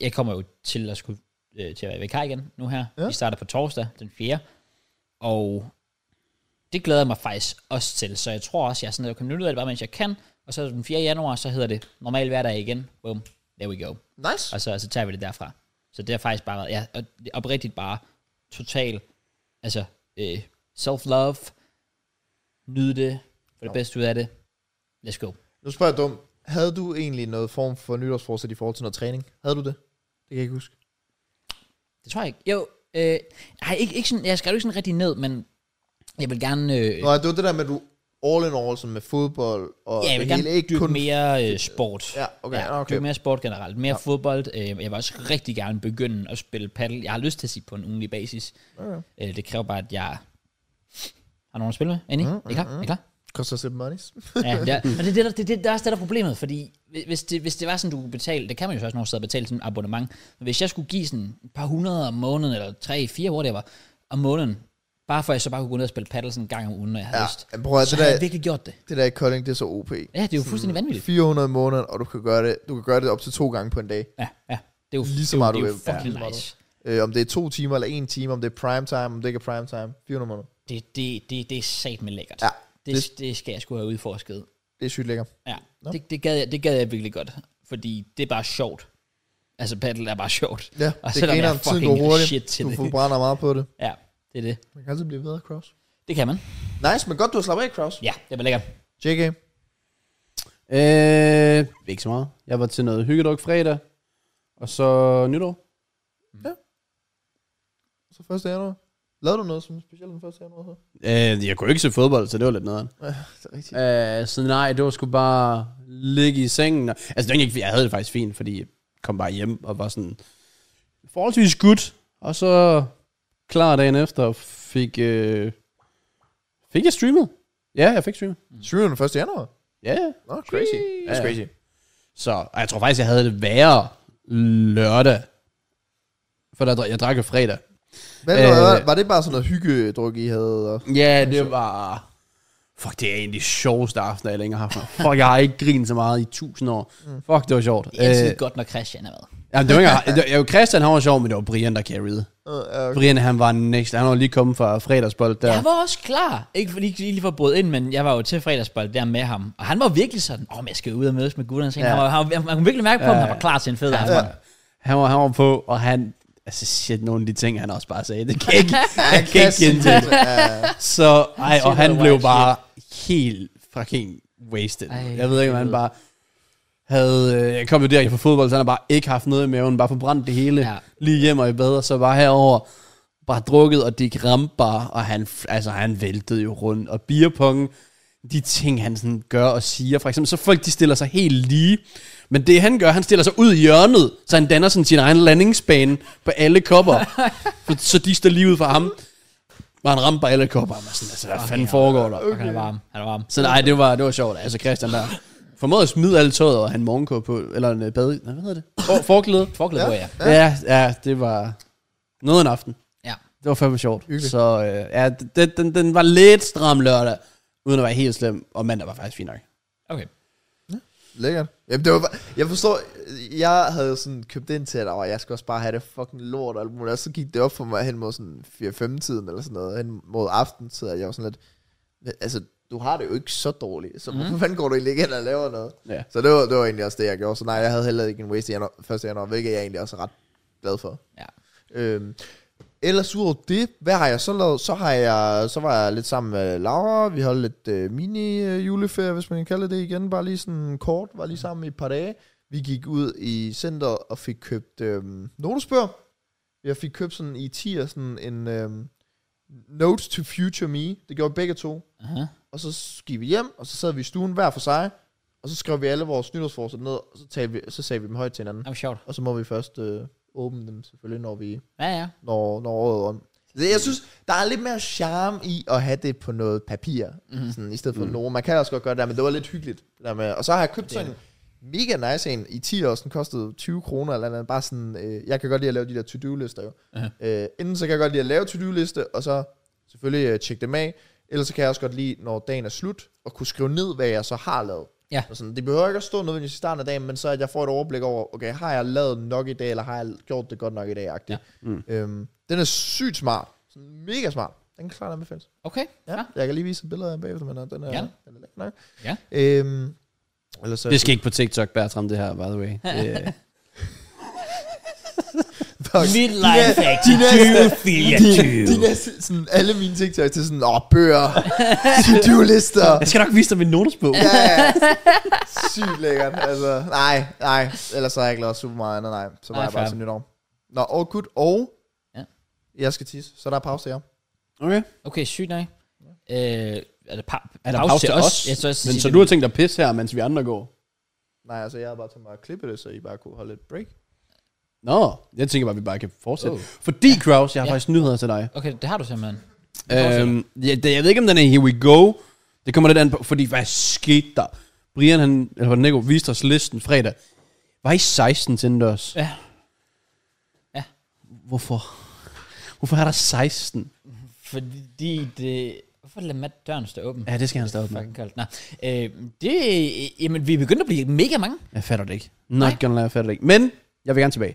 A: jeg kommer jo til at, skulle, øh, til at være vikar igen nu her. Ja.
C: Ja.
A: Vi starter på torsdag, den 4. Og det glæder jeg mig faktisk også til, så jeg tror også, jeg er sådan, at jeg kommer ud af det bare, mens jeg kan. Og så den 4. januar, så hedder det normal hverdag igen. Boom, there we go.
C: Nice.
A: Og så, og så tager vi det derfra. Så det har faktisk bare været, ja, og det er oprigtigt bare total, altså øh, self-love, nyde det, få det bedste ud af det. Let's go.
C: Nu spørger jeg dumt. Havde du egentlig noget form for nytårsforsæt i forhold til noget træning? Havde du det? Det kan jeg ikke huske.
A: Det tror jeg ikke. Jo, øh, ej, ikke, ikke sådan, jeg skrev det ikke sådan rigtig ned, men jeg vil gerne, øh,
C: Nå, det var det der med, at du all in all sådan med fodbold og
A: ja, jeg vil
C: det
A: gerne
C: hele, ikke
A: dyrke
C: kun...
A: mere øh, sport.
C: Ja, okay,
A: ja,
C: okay.
A: dyrke mere sport generelt, mere ja. fodbold. Øh, jeg vil også rigtig gerne begynde at spille paddle. Jeg har lyst til at sige på en ugenlig basis.
C: Okay.
A: Øh, det kræver bare, at jeg har nogen at spille med. Annie,
C: Mhm,
A: mm, er I klar? Mm, er I klar?
C: Koster lidt monies.
A: Ja, det er, men det, er det, der, det, er det, der er også det, der er problemet, fordi hvis- hvis det, hvis det var sådan, du betalte, det kan man jo så også nogle steder betale sådan en abonnement, men hvis jeg skulle give sådan et par hundrede om måneden, eller tre, fire, whatever, om måneden, bare for at jeg så bare kunne gå ned og spille paddle sådan en gang om ugen, når jeg havde
C: Ja,
A: ja, lyst,
C: men prøv at
A: så
C: det
A: havde jeg
C: der,
A: virkelig gjort det.
C: det der i Kolding, det er så OP.
A: Ja, det er jo fuldstændig vanvittigt.
C: 400 om måneden, og du kan gøre det, du kan gøre det op til to gange på en dag.
A: Ja, ja. Det er jo,
C: Lige så
A: det er jo,
C: meget
A: det er
C: du
A: jo
C: vil. Ja,
A: fucking
C: lige så meget
A: nice.
C: Øh, om det er to timer eller en time, om det er prime time, om det ikke er prime time. 400 om måneden.
A: Det, det, det, det er sat med lækkert.
C: Ja,
A: Det, det skal jeg skulle have udforsket.
C: Det er sygt lækker.
A: Ja, det, det, gad jeg, det gad jeg virkelig godt, fordi det er bare sjovt. Altså, paddle er bare sjovt.
C: Ja,
A: og
C: det
A: selvom jeg
C: griner
A: er
C: om tiden går
A: fucking shit
C: hurtigt.
A: til
C: Du
A: det.
C: forbrænder meget på det.
A: Ja, det er det.
C: Man kan altid blive bedre, Kraus.
A: Det kan man.
C: Nice, men godt, du har slappet af, Kraus.
A: Ja, det var lækkert.
C: JK.
B: Øh, ikke så meget. Jeg var til noget hyggedruk fredag, og så nytår.
C: Så 1. januar. Lavede du noget som specielt den 1. januar? Så?
B: Øh, jeg kunne ikke se fodbold, så det var lidt nederen.
C: Ja, det er rigtigt.
B: Øh, så nej, det var sgu bare ligge i sengen. og- Altså, det var egentlig ikke, jeg havde det faktisk fint, fordi jeg kom bare hjem og var sådan forholdsvis gut. Og så klar dagen efter fik, øh, fik jeg streamet. Ja, jeg fik streamet.
C: Streamer den 1. januar?
B: Ja, ja.
C: Nå, crazy. That's
B: Ja.
C: crazy.
B: Så og jeg tror faktisk, jeg havde det værre lørdag. For der, drak- jeg drak jo fredag.
C: Hvad,
B: Øh,
C: var, var det bare sådan noget hyggedruk, I havde? Og...
B: Ja, det var... Fuck, det er egentlig sjoveste aften, jeg længere har haft. Fuck, jeg har ikke grinet så meget i tusind år. Fuck, det var sjovt.
A: Det er altid
B: Øh,
A: øh, godt, når Christian er med.
B: Jamen, det var ikke, det var- jo, Christian han var sjov, men det var Brian, der carried.
C: Øh, øh,
B: Brian, han var next. Han var lige kommet fra fredagsbold der.
A: Jeg var også klar. Ikke fordi jeg lige var brudt ind, men jeg var jo til fredagsbold der med ham. Og han var virkelig sådan, åh, oh, jeg skal ud og mødes med gutterne. Ja.
B: Ja.
A: Han var, han, man kunne virkelig mærke på, ja. at han var klar til en fed aften. Ja.
B: Han var, han var på, og han... Altså, shit, nogle af de ting, han også bare sagde, det kan jeg ikke, jeg kan ikke
C: Christian,
B: gentage. det.
C: øh,
B: Så, ej, og han
A: Super
B: blev
A: wild
B: bare helt fucking wasted.
A: Ej,
B: jeg ved ikke, om han bare havde... øh, Jeg kom jo direkte fra fodbold, så han har bare ikke haft noget i maven, bare forbrændt det hele.
A: Ja.
B: Lige hjem og i bad, og så bare herover bare drukket, og det ramte bare, og han, f- altså, han væltede jo rundt, og beerpong, de ting, han sådan gør og siger, for eksempel, så folk, de stiller sig helt lige, men det han gør, han stiller sig ud i hjørnet, så han danner sådan sin egen landingsbane på alle kopper, For- så de står lige ud for ham, og han ramte bare alle kopper, og man er sådan, altså, hvad fanden foregår der?
A: Han er varm. Han er varm.
B: Så nej, det var, det var sjovt. Altså Christian der formåede at smide alt tøjet, og han morgenkåb på, eller en øh, bad, nej, hvad hedder det? For, forklæde.
A: Forklæde på, ja.
B: Ja, ja, det var noget af en aften.
A: Ja.
B: Det var fandme sjovt.
C: Hyggeligt.
B: Så øh, ja, den, den, den var lidt stram lørdag, uden at være helt slem, og mandag var faktisk fint nok.
A: Okay.
C: Lækkert. Jamen, det var bare, jeg forstår, jeg havde sådan købt ind til, at åh, jeg skal også bare have det fucking lort og alt muligt, og så gik det op for mig hen mod sådan 4-5-tiden eller sådan noget, hen mod aften, så jeg var sådan lidt, altså, du har det jo ikke så dårligt, så hvorfor fanden går du egentlig ikke ind og laver noget?
B: Ja.
C: Så det var, det var egentlig også det, jeg gjorde, så nej, jeg havde heller ikke en waste i januar, 1. januar, hvilket jeg egentlig også er ret glad for.
A: Ja.
C: Øhm, Ellers udover det, hvad har jeg så lavet? Så, har jeg, så var jeg lidt sammen med Laura. Vi holdt lidt øh, mini-juleferie, hvis man kan kalde det igen. Bare lige sådan kort. Var lige sammen i et par dage. Vi gik ud i centret og fik købt øh, notesbøger. Jeg fik købt sådan i 10'er sådan en øh, Notes to Future Me. Det gjorde vi begge to.
A: Aha.
C: Og så gik vi hjem, og så sad vi i stuen hver for sig. Og så skrev vi alle vores nytårsforsæt ned, og så, talte vi, så sagde vi dem højt til hinanden.
A: Det var sjovt.
C: Og så må vi først øh, åbne dem selvfølgelig, når vi
A: Ja, ja.
C: når, når året er om. Det, jeg synes, der er lidt mere charme i at have det på noget papir,
A: Mhm.
C: mm. sådan, i stedet for mm. nogen. Man kan også godt gøre det der, men det var lidt hyggeligt. Det der med. Og så har jeg købt sådan en mega nice en i 10 år, den kostede 20 kroner eller andet. Bare sådan, øh, jeg kan godt lide at lave de der to-do-lister jo. Øh, inden så kan jeg godt lide at lave to-do-liste, og så selvfølgelig øh, tjekke dem af. Ellers så kan jeg også godt lide, når dagen er slut, at kunne skrive ned, hvad jeg så har lavet.
A: Ja.
C: Og sådan, det behøver ikke at stå nødvendigvis i starten af dagen, men så at jeg får et overblik over, okay, har jeg lavet nok i dag, eller har jeg gjort det godt nok i dag, agtigt.
A: Ja.
C: Mm. Øhm, den er sygt smart. Sådan mega smart. Den kan klart anbefales.
A: Okay.
C: Ja. ja. Jeg kan lige vise et billede af den bagefter, men øh, den er,
A: Ja.
C: ja. den er lækker nok.
A: Ja.
C: Øhm, eller så, øh,
B: Det skal ikke på TikTok, Bertram, det her, by the way. Det,
C: Fuck.
A: Midlife
C: De næ-
A: hack til
C: de næste-
A: 2024.
C: De, de næste, sådan, alle mine TikToks til sådan, åh, bøger, to-do-lister.
B: jeg skal nok vise dig min notesbog.
C: Ja, ja. Sygt lækkert. Altså, nej, nej. Ellers så har jeg ikke lavet super meget andet, nej. Så var
A: Nej,
C: nej, jeg bare
A: fair.
C: til nytår. Nå, og gut, og
A: Ja.
C: jeg skal tisse, så der er pause her.
B: Okay.
A: Okay, sygt nok. Øh, er der, pa-
B: Er der pause til os?
A: Jeg tror, jeg skal
B: Men
A: sige,
B: så
A: det-
B: du har tænkt dig at pisse her, mens vi andre går?
C: Nej, altså jeg har bare tænkt mig at klippe det, så I bare kunne holde et break.
B: Nå, jeg tænker bare, at vi bare kan fortsætte.
A: Oh.
B: Fordi, Kraus, jeg har
A: Ja.
B: faktisk nyheder til dig.
A: Okay, det har du simpelthen.
B: Øhm, ja, det, jeg ved ikke, om den er here we go. Det kommer lidt an på, fordi hvad skete der? Brian, han, eller var det Nico, viste os listen fredag. Var I 16 indendørs?
A: Ja. Ja.
B: Hvorfor? Hvorfor er der 16?
A: Fordi det... Hvorfor lader Matt døren stå åben?
B: Ja, det skal han stadig med.
A: Fucking koldt. Nå. Øh, det... Jamen, vi er begyndt at blive mega mange.
B: Jeg fatter det ikke. Not
A: Nej.
B: Nej. gonna lie, jeg fatter det ikke. Men, jeg vil gerne tilbage.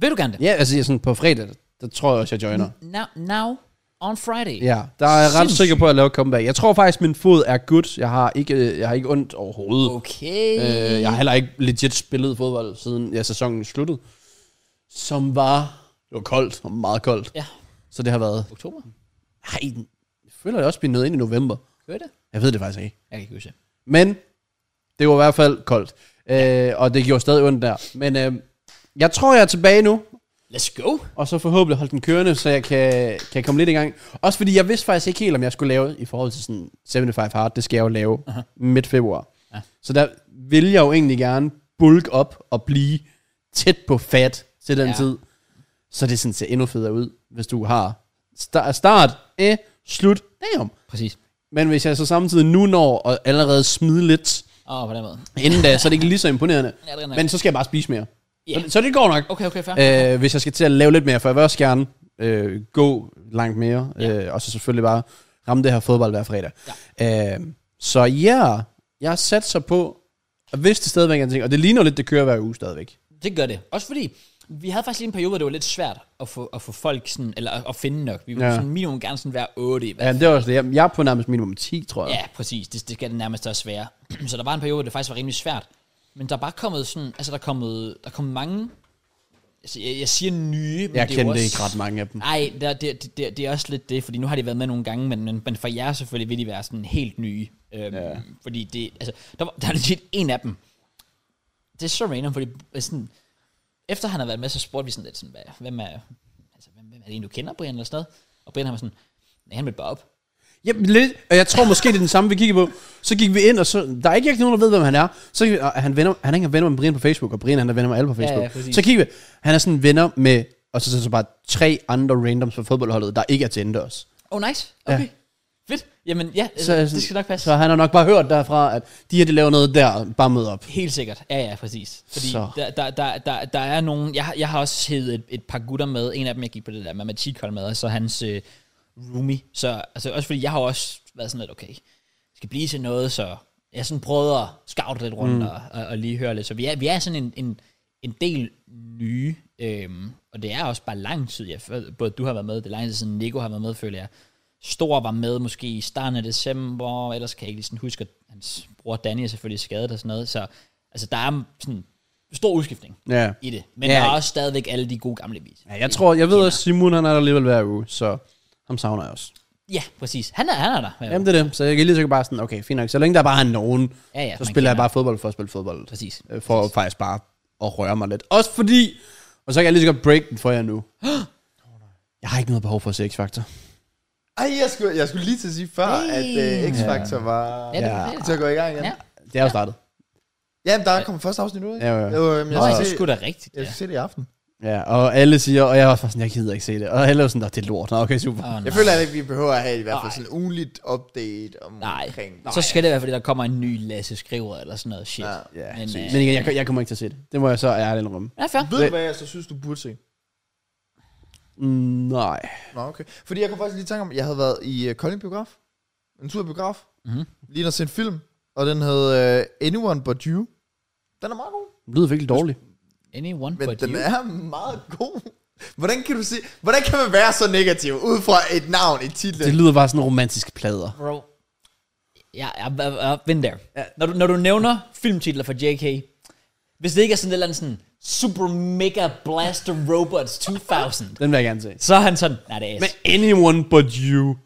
A: Vil du gerne det?
B: Ja, altså jeg er sådan på fredag, der, der tror jeg også, jeg joiner.
A: Now, now on Friday.
B: Ja, der er jeg ret
A: Sindssygt.
B: sikker på at lave et comeback. Jeg tror faktisk, min fod er good. Jeg har ikke, øh, jeg har ikke ondt overhovedet.
A: Okay.
B: Øh, jeg har heller ikke legit spillet fodbold, siden ja, sæsonen sluttede. Som var... Det var koldt, og meget koldt.
A: Ja.
B: Så det har været...
A: Oktober.
B: Ej, jeg føler det også bliver noget ind i november.
A: Kører det?
B: Jeg ved det faktisk ikke.
A: Jeg kan ikke huske.
B: Men det var i hvert fald koldt. Øh, og det gjorde stadig ondt der. Men øh, jeg tror, jeg er tilbage nu.
A: Let's go.
B: Og så forhåbentlig holde den kørende, så jeg kan, kan komme lidt i gang. Også fordi jeg vidste faktisk ikke helt, om jeg skulle lave i forhold til sådan 75 Hard. Det skal jeg jo lave
A: Aha.
B: midt februar.
A: Ja.
B: Så der vil jeg jo egentlig gerne bulk op og blive tæt på fat til den
A: Ja.
B: ja. tid. Så det sådan ser endnu federe ud, hvis du har start, start eh, slut, damn.
A: Præcis.
B: Men hvis jeg så samtidig nu når at allerede smide lidt
A: Åh, oh, på den måde.
B: inden da, så er det ikke lige så imponerende.
A: Ja, det er nok.
B: Men så skal jeg bare spise mere.
A: Ja.
B: Så, så det går nok.
A: Okay, okay, fair.
B: Øh, hvis jeg skal til at lave lidt mere, for jeg vil også gerne øh, gå langt mere, øh, og så selvfølgelig bare ramme det her fodbold hver fredag. Ja. Øh, så ja, jeg satser på, at hvis det stadigvæk er en ting, og det ligner lidt, det kører hver uge stadigvæk.
A: Det gør det. Også fordi, vi havde faktisk lige en periode, hvor det var lidt svært at få, at få folk sådan, eller at- at finde nok. Vi ville ja.
B: Ja.
A: sådan minimum gerne sådan være 8 i hvert
B: Ja, det er også det. Jeg, jeg er på nærmest minimum 10, tror jeg.
A: Ja, præcis. Det, det skal det nærmest også være. så der var en periode, hvor det faktisk var rimelig svært. Men der er bare kommet sådan, altså der er kommet, der er kommet mange, altså jeg, jeg siger nye, men
B: jeg
A: det er jo
B: kendte
A: også,
B: ikke ret mange af dem.
A: Nej, der, det, det, det, det er også lidt det, fordi nu har de været med nogle gange, men, men, men for jer selvfølgelig vil de være sådan helt nye. Øhm, ja. Fordi det, altså, der, var, der er legit en af dem. Det er så random, fordi øh, sådan, efter han har været med, så spurgte vi sådan lidt sådan, hvad, hvem, er, altså, hvem, hvem er det en, du kender, Brian, eller sådan noget? Og Brian han var sådan, nej, han mødte bare op.
B: Jamen lidt, og jeg tror måske, det er den samme, vi kigger på. Så gik vi ind, og så, der er ikke rigtig nogen, der ved, hvem han er. Så gik vi, og han, venner, han er ikke venner med Brian på Facebook, og Brian han er venner med alle på
A: Ja, ja,
B: Facebook.
A: præcis.
B: så kigger vi, han er sådan venner med, og så, så, så bare tre andre randoms fra fodboldholdet, der ikke er til os.
A: Oh, nice. Okay. Ja. Fedt. Jamen ja, altså,
B: Så-
A: så, det skal nok passe.
B: Så han har nok bare hørt derfra, at de her, de laver noget der, bare mød op.
A: Helt sikkert. Ja, ja, præcis. Fordi
B: Så.
A: der, der, der, der, der er nogen... Jeg, har- jeg har også hævet et, et par gutter med. En af dem, jeg gik på det der matematikhold med, og så hans øh, roomie. Så, altså, også fordi jeg har også været sådan lidt, okay, det skal blive til noget, så jeg sådan prøvede at scoute lidt rundt mm. og, og, og, lige høre lidt. Så vi er, vi er sådan en, en, en del nye, øhm, og det er også bare lang tid. Jeg, føl- både du har været med, det er lang tid siden Nico har været med, føler jeg. Stor var med måske i starten af december, ellers kan jeg ikke lige sådan huske, at hans bror Danny er selvfølgelig skadet og sådan noget. Så altså, der er sådan, stor udskiftning
B: Ja.
A: i det. Men
B: Ja.
A: ja. der er også stadigvæk alle de gode gamle beats.
B: ja jeg tror, jeg ved også, Simon han er der alligevel hver uge, så ham savner jeg også.
A: Ja, præcis. Han er, han er der. Ja,
B: Jamen det er det, så jeg kan lige så godt bare sådan, okay, fint nok, så længe der bare er nogen,
A: ja, ja,
B: så
A: man
B: spiller jeg
A: kender.
B: bare fodbold for at spille fodbold.
A: Præcis.
B: Øh, For at faktisk bare at røre mig lidt. Også fordi, og så kan jeg lige så godt break den for jer nu. Jeg har ikke noget behov for at se X-Factor.
C: Ej, jeg skulle, jeg skulle lige til at sige før,
A: Ej.
C: at uh, X-Factor var...
A: Ja, det, ja.
B: Ja.
C: Til at gå i gang igen.
A: Ja.
C: Ja,
B: Det er jo startet.
C: Jamen, der kom første afsnit ud, ikke?
B: Ja, ja, ja.
C: Jo, øhm,
A: Nå,
C: jeg,
A: det
C: skal
A: er
C: se,
A: sgu da rigtigt.
C: jeg
A: Ja.
C: skal se det i aften.
B: Ja, og alle siger, og jeg var sådan, jeg gider ikke se det. Og alle er sådan, "Nå, det er lort. Nå, okay, super.
A: Åh,
C: Jeg
A: nej.
C: føler ikke, vi behøver at have i hvert fald
A: Nej.
C: sådan en ugenligt update
A: Nej.
C: omkring...
A: Så skal det i hvert fald, at der kommer en ny Lasse Skriver eller sådan noget shit.
C: Ja.
A: Ja.
B: Ja,
A: Men,
B: men,
A: øh,
B: men igen, jeg, jeg kommer ikke til at se det. Det må jeg så ærligt indrømme.
A: Ja, fair.
C: Ved du, hvad jeg så synes, du burde se?
B: Mm, nej.
C: Nå, okay. Fordi jeg kunne faktisk lige tænke om, jeg havde været i øh, Kolding Biograf. En tur i biograf.
A: Mhm.
C: Lige at se en film. Og den hed uh, Anyone But You. Den er meget god.
B: Det lyder virkelig dårligt.
A: Anyone
C: Men
A: but
C: den
A: you.
C: er meget god. Hvordan kan du se... Hvordan kan man være så negativ ud fra et navn i titlen?
B: Det lyder bare sådan romantisk plader.
A: Bro. Ja, jeg har been there. Når du, når du nævner filmtitler for JK, hvis det ikke er sådan et eller andet sådan, Super Mega Blaster Robots 2000,
B: Den vil jeg gerne se.
A: så er han sådan, nej, det er
B: Men
A: ass.
B: anyone but you,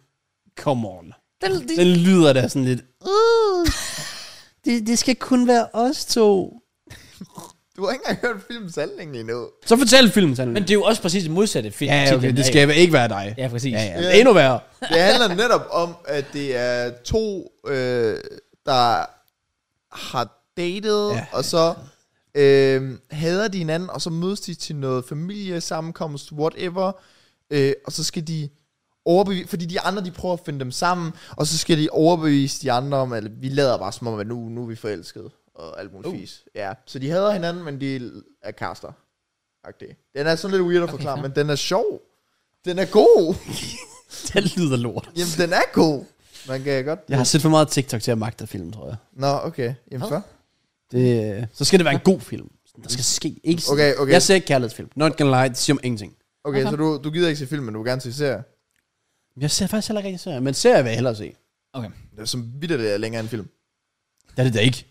B: come on.
A: Den, de,
B: Den lyder da sådan lidt, uh, det, det skal kun være os to.
C: Du har ikke engang hørt filmens handling endnu.
B: Så fortæl filmen, Sandra.
A: men det er jo også præcis det modsatte film.
B: Ja, ja, okay, det skal ikke være dig.
A: Ja, præcis.
B: Ja, ja.
C: Ja.
B: Endnu værre.
C: Det handler netop om, at det er to, øh, der har datet,
B: Ja.
C: ja. og så øh, hader de hinanden, og så mødes de til noget familiesammenkomst, whatever, øh, og så skal de overbevise, fordi de andre, de prøver at finde dem sammen, og så skal de overbevise de andre om, at vi lader bare som om, at nu, nu er vi forelskede, og alt muligt uh. fis. Ja, så de hader hinanden, men de er kærester. Okay. Den er sådan lidt weird at forklare,
A: fair.
C: men den er sjov. Den er god.
B: Den lyder lort.
C: Jamen, den er god. Man kan godt...
B: Jeg har set for meget TikTok til at magte film, tror jeg.
C: Nå, okay. Jamen, for.
B: Det, øh, så skal det være en god film. Sådan, Der skal ske. Ikke sådan-
C: Okay, okay.
B: Jeg ser ikke kærlighedsfilm. Not gonna lie, det siger mig ingenting.
C: Okay, så du, du gider ikke se film, men du vil gerne se serier.
B: Men Jeg ser faktisk heller ikke rigtig serier, men serier vil jeg hellere se.
A: Okay.
C: Det er som vidt, det er længere end film.
B: Det er det da ikke.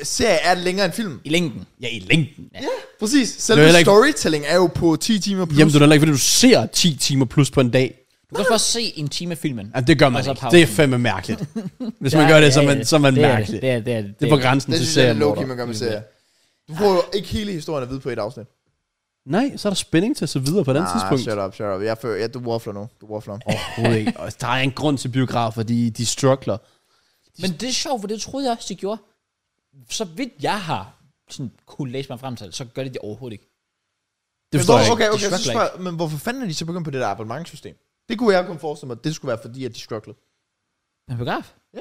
C: Øh, Serie er længere end film.
A: I længden.
B: Ja, i længden.
C: Præcis. Selv
B: heller ikke-
C: storytelling er jo på 10 timer plus.
B: Jamen, det er da heller ikke, fordi du ser 10 timer plus på en dag.
A: Du kan også bare se en time af filmen.
B: Jamen, det gør man
A: Og så
B: ikke.
A: pausen.
B: Det er fandme mærkeligt. Hvis man gør det, så er man, så er man
A: det er Det,
B: mærkelig.
A: det er det. Er, det,
B: Det er på grænsen
C: det
B: til
C: synes jeg er
B: serien.
C: low-key, man gør med serier. Du får jo ikke hele historien at vide på et afsnit.
B: Nej, så er der spænding til at se videre på den tidspunkt.
C: Ah, shut up, shut up. Jeg, før, ja, du waffler nu. Du waffler. Oh.
B: Overhovedet ikke. Og der er en grund til biografer, de, de struggler.
A: Men det er sjovt, for det troede jeg også, de gjorde. Så vidt jeg har sådan, kunne læse mig frem til, så gør det det overhovedet ikke.
B: Det
C: Men
B: forstår
C: hvor,
B: jeg ikke.
C: okay,
A: De
C: okay, så
A: struggler
C: spørger, jeg, men hvorfor fanden er de så begyndt på det der abonnementssystem? Det kunne jeg kun forestille mig, at det skulle være fordi, at de strugglede.
A: Men biograf?
C: Ja.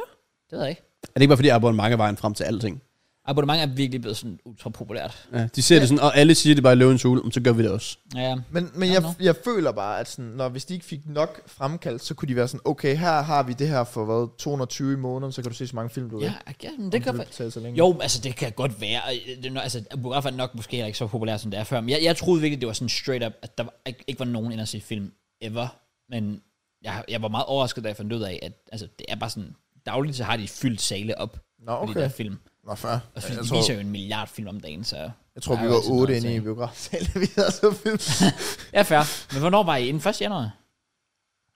A: Det ved jeg ikke.
B: Er det ikke bare fordi, abonnement er vejen frem til alting?
A: Abonnement er virkelig blevet sådan ultra populært.
B: Ja, de ser det sådan, og alle siger det bare i løvens hule, men så gør vi det også.
A: Ja,
C: Men, men
A: nå.
C: jeg, jeg føler bare, at sådan, når, hvis de ikke fik nok fremkaldt, så kunne de være sådan, okay, her har vi det her for hvad, 220 i måneden, så kan du se så mange film, du vil.
A: ja, ja men det gør
C: Om du vil
A: fa-
C: betale så længe.
A: Jo, altså det kan godt være. Øh, Det, er nok- altså, biografer er nok måske heller ikke så populært, som det er før. Men jeg, jeg troede virkelig, det var sådan straight up, at der var, ikke, ikke var nogen ind at se film ever. Men jeg, jeg var meget overrasket, da jeg fandt ud af, at altså, det er bare sådan, dagligt så har de fyldt sale op
C: Nå,
A: på de der
C: okay.
A: film.
C: Nå, fair.
A: Og så,
C: Jeg,
A: de viser
C: tror,
A: jo altså, en milliard film om dagen, så...
C: jeg tror,
A: der
C: vi
A: er jo
C: var
A: altid noget
C: otte
A: at
C: inde
A: se.
C: i biografsalen, vi havde så film.
A: Ja, fair. Men hvornår var I? Inden 1. januar?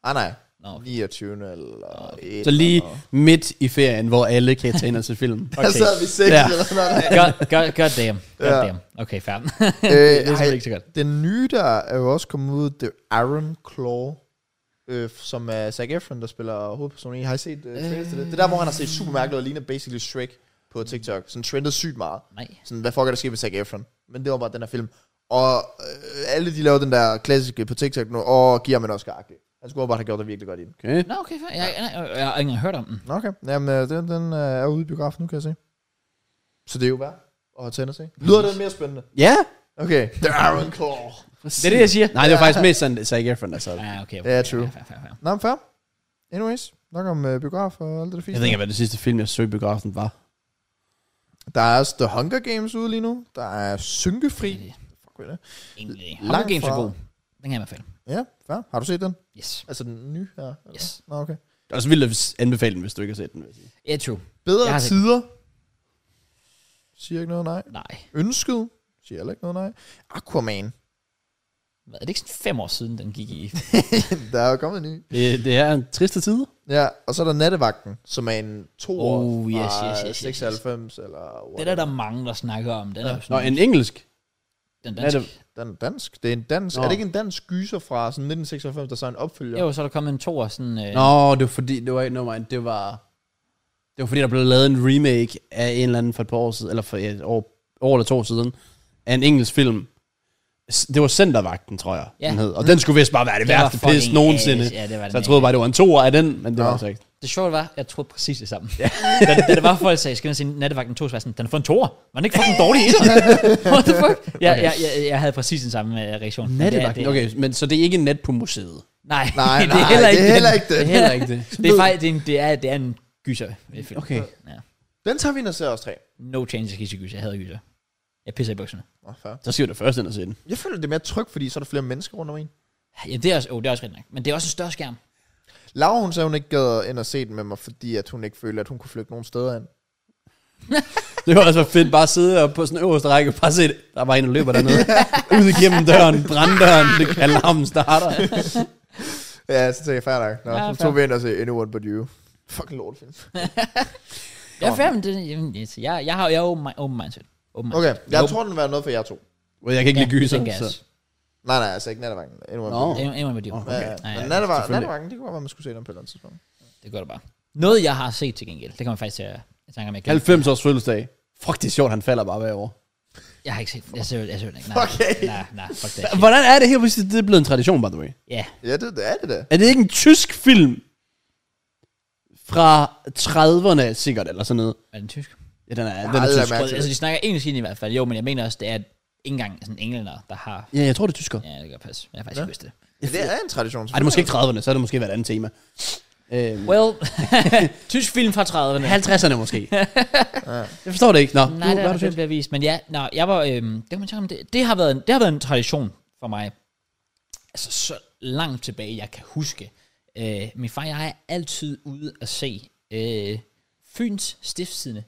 C: ah, nej.
A: Nå, okay.
C: 29 eller... et
B: Så lige
C: eller
B: midt i ferien, hvor alle kan tage ind og se film.
C: noget. Der sad vi seks
B: Ja.
C: eller sådan noget. Øh,
A: God, god, god damn. God
C: Ja.
A: damn. Okay, fair.
C: Øh,
A: det er
C: ej,
A: selvfølgelig ikke så godt.
C: Den nye, der er jo også kommet ud, The Iron Claw, øh, som er Zac Efron, der spiller hovedpersonen i. Har I set øh, trailers til det? Det er der, hvor han har set super mærkeligt og ligner basically Shrek på TikTok. Sådan trendet sygt meget.
A: Nej.
C: Sådan, hvad fuck er der sket med Zac Efron? Men det var bare den her film. Og øh, alle de laver den der klassiske på TikTok nu, og giver man også agtig. Han skulle bare have gjort det virkelig godt i den.
B: Okay.
A: Nå, okay, fair. Jeg, jeg, jeg, jeg har ikke engang hørt om den.
C: Nå, Okay, jamen øh, den, den øh, er ude i biografen nu, kan jeg se. Så det er jo værd at tænde se. Lyder den mere spændende?
B: Ja,
C: Okay. The Iron Claw.
A: Det er det, jeg siger.
B: Nej, det var faktisk mest sådan, Zac Efron, der sad.
A: Ja, okay. okay
C: Ja,
A: fair,
C: true.
A: Fair, fair, fair.
C: Nå, men fair. Anyways, nok om øh, biograf og alt det der fint.
B: Jeg ved ikke, hvad det sidste film, jeg så i biografen var.
C: Der er også The Hunger Games ude lige nu. Der er Synkefri.
A: Det er det.
C: Fuck ved det.
A: Egentlig.
C: Langt
A: Hunger Games er
C: fra-
A: god. Den kan jeg i hvert fald.
C: Ja, fair. Har du set den?
A: Yes.
C: Altså den nye her? eller?
A: Yes.
C: Nå, okay.
B: Det er også vildt at anbefale den, hvis du ikke har set den. Vil jeg sige.
A: Ja, yeah, true. Jeg
C: Bedre
A: har set
C: tider. Siger ikke noget, nej.
A: Nej.
C: Ønsket. Siger heller ikke noget, nej. Aquaman.
A: Hvad, er det ikke sådan fem år siden, den gik i?
C: der er jo kommet en ny.
B: Det, det er en triste tid.
C: Ja, og så er der Nattevagten, som er en to år
A: Oh, yes,
C: fra
A: yes, yes, yes, yes.
C: 96 eller...
A: det er der, der er mange, der snakker om. Den er jo
B: Nå,
A: sådan,
B: en engelsk.
A: den
B: Hvad er
A: danske.
B: det?
C: Den er dansk. Det er en dansk.
B: Nå.
C: Er det ikke en dansk gyser fra sådan 1996, der så er en opfølger?
A: Jo, så er der kommet en to år sådan... Øh,
B: Nå, det var fordi, det var ikke nummer det var, det var fordi, der blev lavet en remake af en eller anden for et par år siden, eller for et år, år eller to år siden, af en engelsk film. S- Det var Centervagten, tror jeg,
A: Ja.
B: ja. den hed. Og den skulle vist bare være det, det
A: Det var
B: værste
A: fucking
B: pis nogensinde.
A: ass. Ja, det var den
B: så jeg troede bare, det var en toer af den, men det
C: Nå.
B: var altså ikke.
A: Det sjove var, jeg troede præcis det samme. Ja. da, da, det var folk sagde, skal man sige, nattevagten tog sådan, den får en toer. Var den ikke fucking dårlig etter? What the fuck? Ja, okay. jeg, jeg, jeg, havde præcis den samme øh, reaktion. Men det er-
B: Nattevagten,
A: det er-
B: okay, men så det er ikke en nat på museet.
A: Nej,
C: Nej,
A: det er
C: nej,
A: heller ikke
C: det er heller
A: den.
C: ikke den.
B: Det er heller ikke det.
A: Det er faktisk, det er en, det er, det er en gyser. øh, film.
B: Okay.
A: Ja.
C: Den tager vi ind og ser os tre.
A: No changes til gyser. Jeg hader gyser. Jeg pisser i bukserne.
C: Åh, fair.
B: Så skal vi da først ind og se den.
C: Jeg føler, det er mere tryg, fordi så er der flere mennesker rundt om en.
A: Ja, det er også, oh, det er også rigtig nok. Men det er også en større skærm.
C: Laura, hun sagde, hun ikke gad ind og se den med mig, fordi at hun ikke følte, at hun kunne flytte nogen steder ind.
B: Det var altså fedt bare at sidde oppe på sådan en øverste række og bare se, det. der var en, der løber dernede. Ud igennem døren, branddøren, det, alarmen starter.
C: Ja, så tænkte jeg, fair nok. Nå,
A: Ja, fair.
C: ja, så tog vi ind og se Anyone But You. Fucking lortefilm.
A: Jeg er færdig med det. Jamen, yes. Jeg, jeg har jeg er open, mi- open mindset. Open
C: Okay,
A: mindset.
C: jeg
A: Open-
C: tror, den var noget for jer to.
B: Well, jeg kan ikke ja, lide gyser,
A: den gas.
B: så...
C: Nej, nej, altså ikke Nattevagten. Anyone
B: Nå.
C: But You.
A: Det er en med det.
B: Åh,
C: Ja, ja.
A: Ja, ja,
C: Men Nattevagten,
B: selvfølgelig.
C: Nattevagten, det kunne godt være, man skulle se den på et eller andet tidspunkt.
A: Det gør det bare. Noget, jeg har set til gengæld, det kan man faktisk til at jeg tænker, om jeg glemmer.
B: 90 års fødselsdag. Fuck, det er sjovt, han falder bare hver år.
A: Jeg har ikke set Jeg ser, jeg ser den ikke. Nej,
C: Okay.
A: Nej, nej, fuck det.
B: Hvordan er det her præcis? Det er blevet en tradition, by the way.
A: Ja,
C: Ja, det, det er det da.
B: Er det ikke en tysk film fra 30'erne, sikkert, eller sådan noget?
A: er den tysk?
B: Ja, den er, den
C: aldrig
B: er tysk.
C: mærket.
A: Prøv, altså, de snakker engelsk ind i hvert fald. Jo, men jeg mener også, det er ikke engang sådan englænder, der har...
B: Ja, jeg tror, det er tysker.
A: Ja, det gør pas. Jeg har faktisk ikke vidst det.
C: Ja, det er en tradition.
B: Ej, det er måske ikke 30'erne, så er det måske været et andet tema. Øhm,
A: Well, tysk film fra 30'erne.
B: 50'erne måske. jeg forstår det ikke. Nå,
A: Nej,
B: du,
A: det er
B: hvad
A: der
B: du
A: blevet
B: siger?
A: bevist. Men ja, nå, jeg var, øhm, det kan man tænke om, det, det, har været en, det har været en tradition for mig. Altså så langt tilbage, jeg kan huske. Øh, min far og jeg er altid ude at se øh, Fyns stiftsidende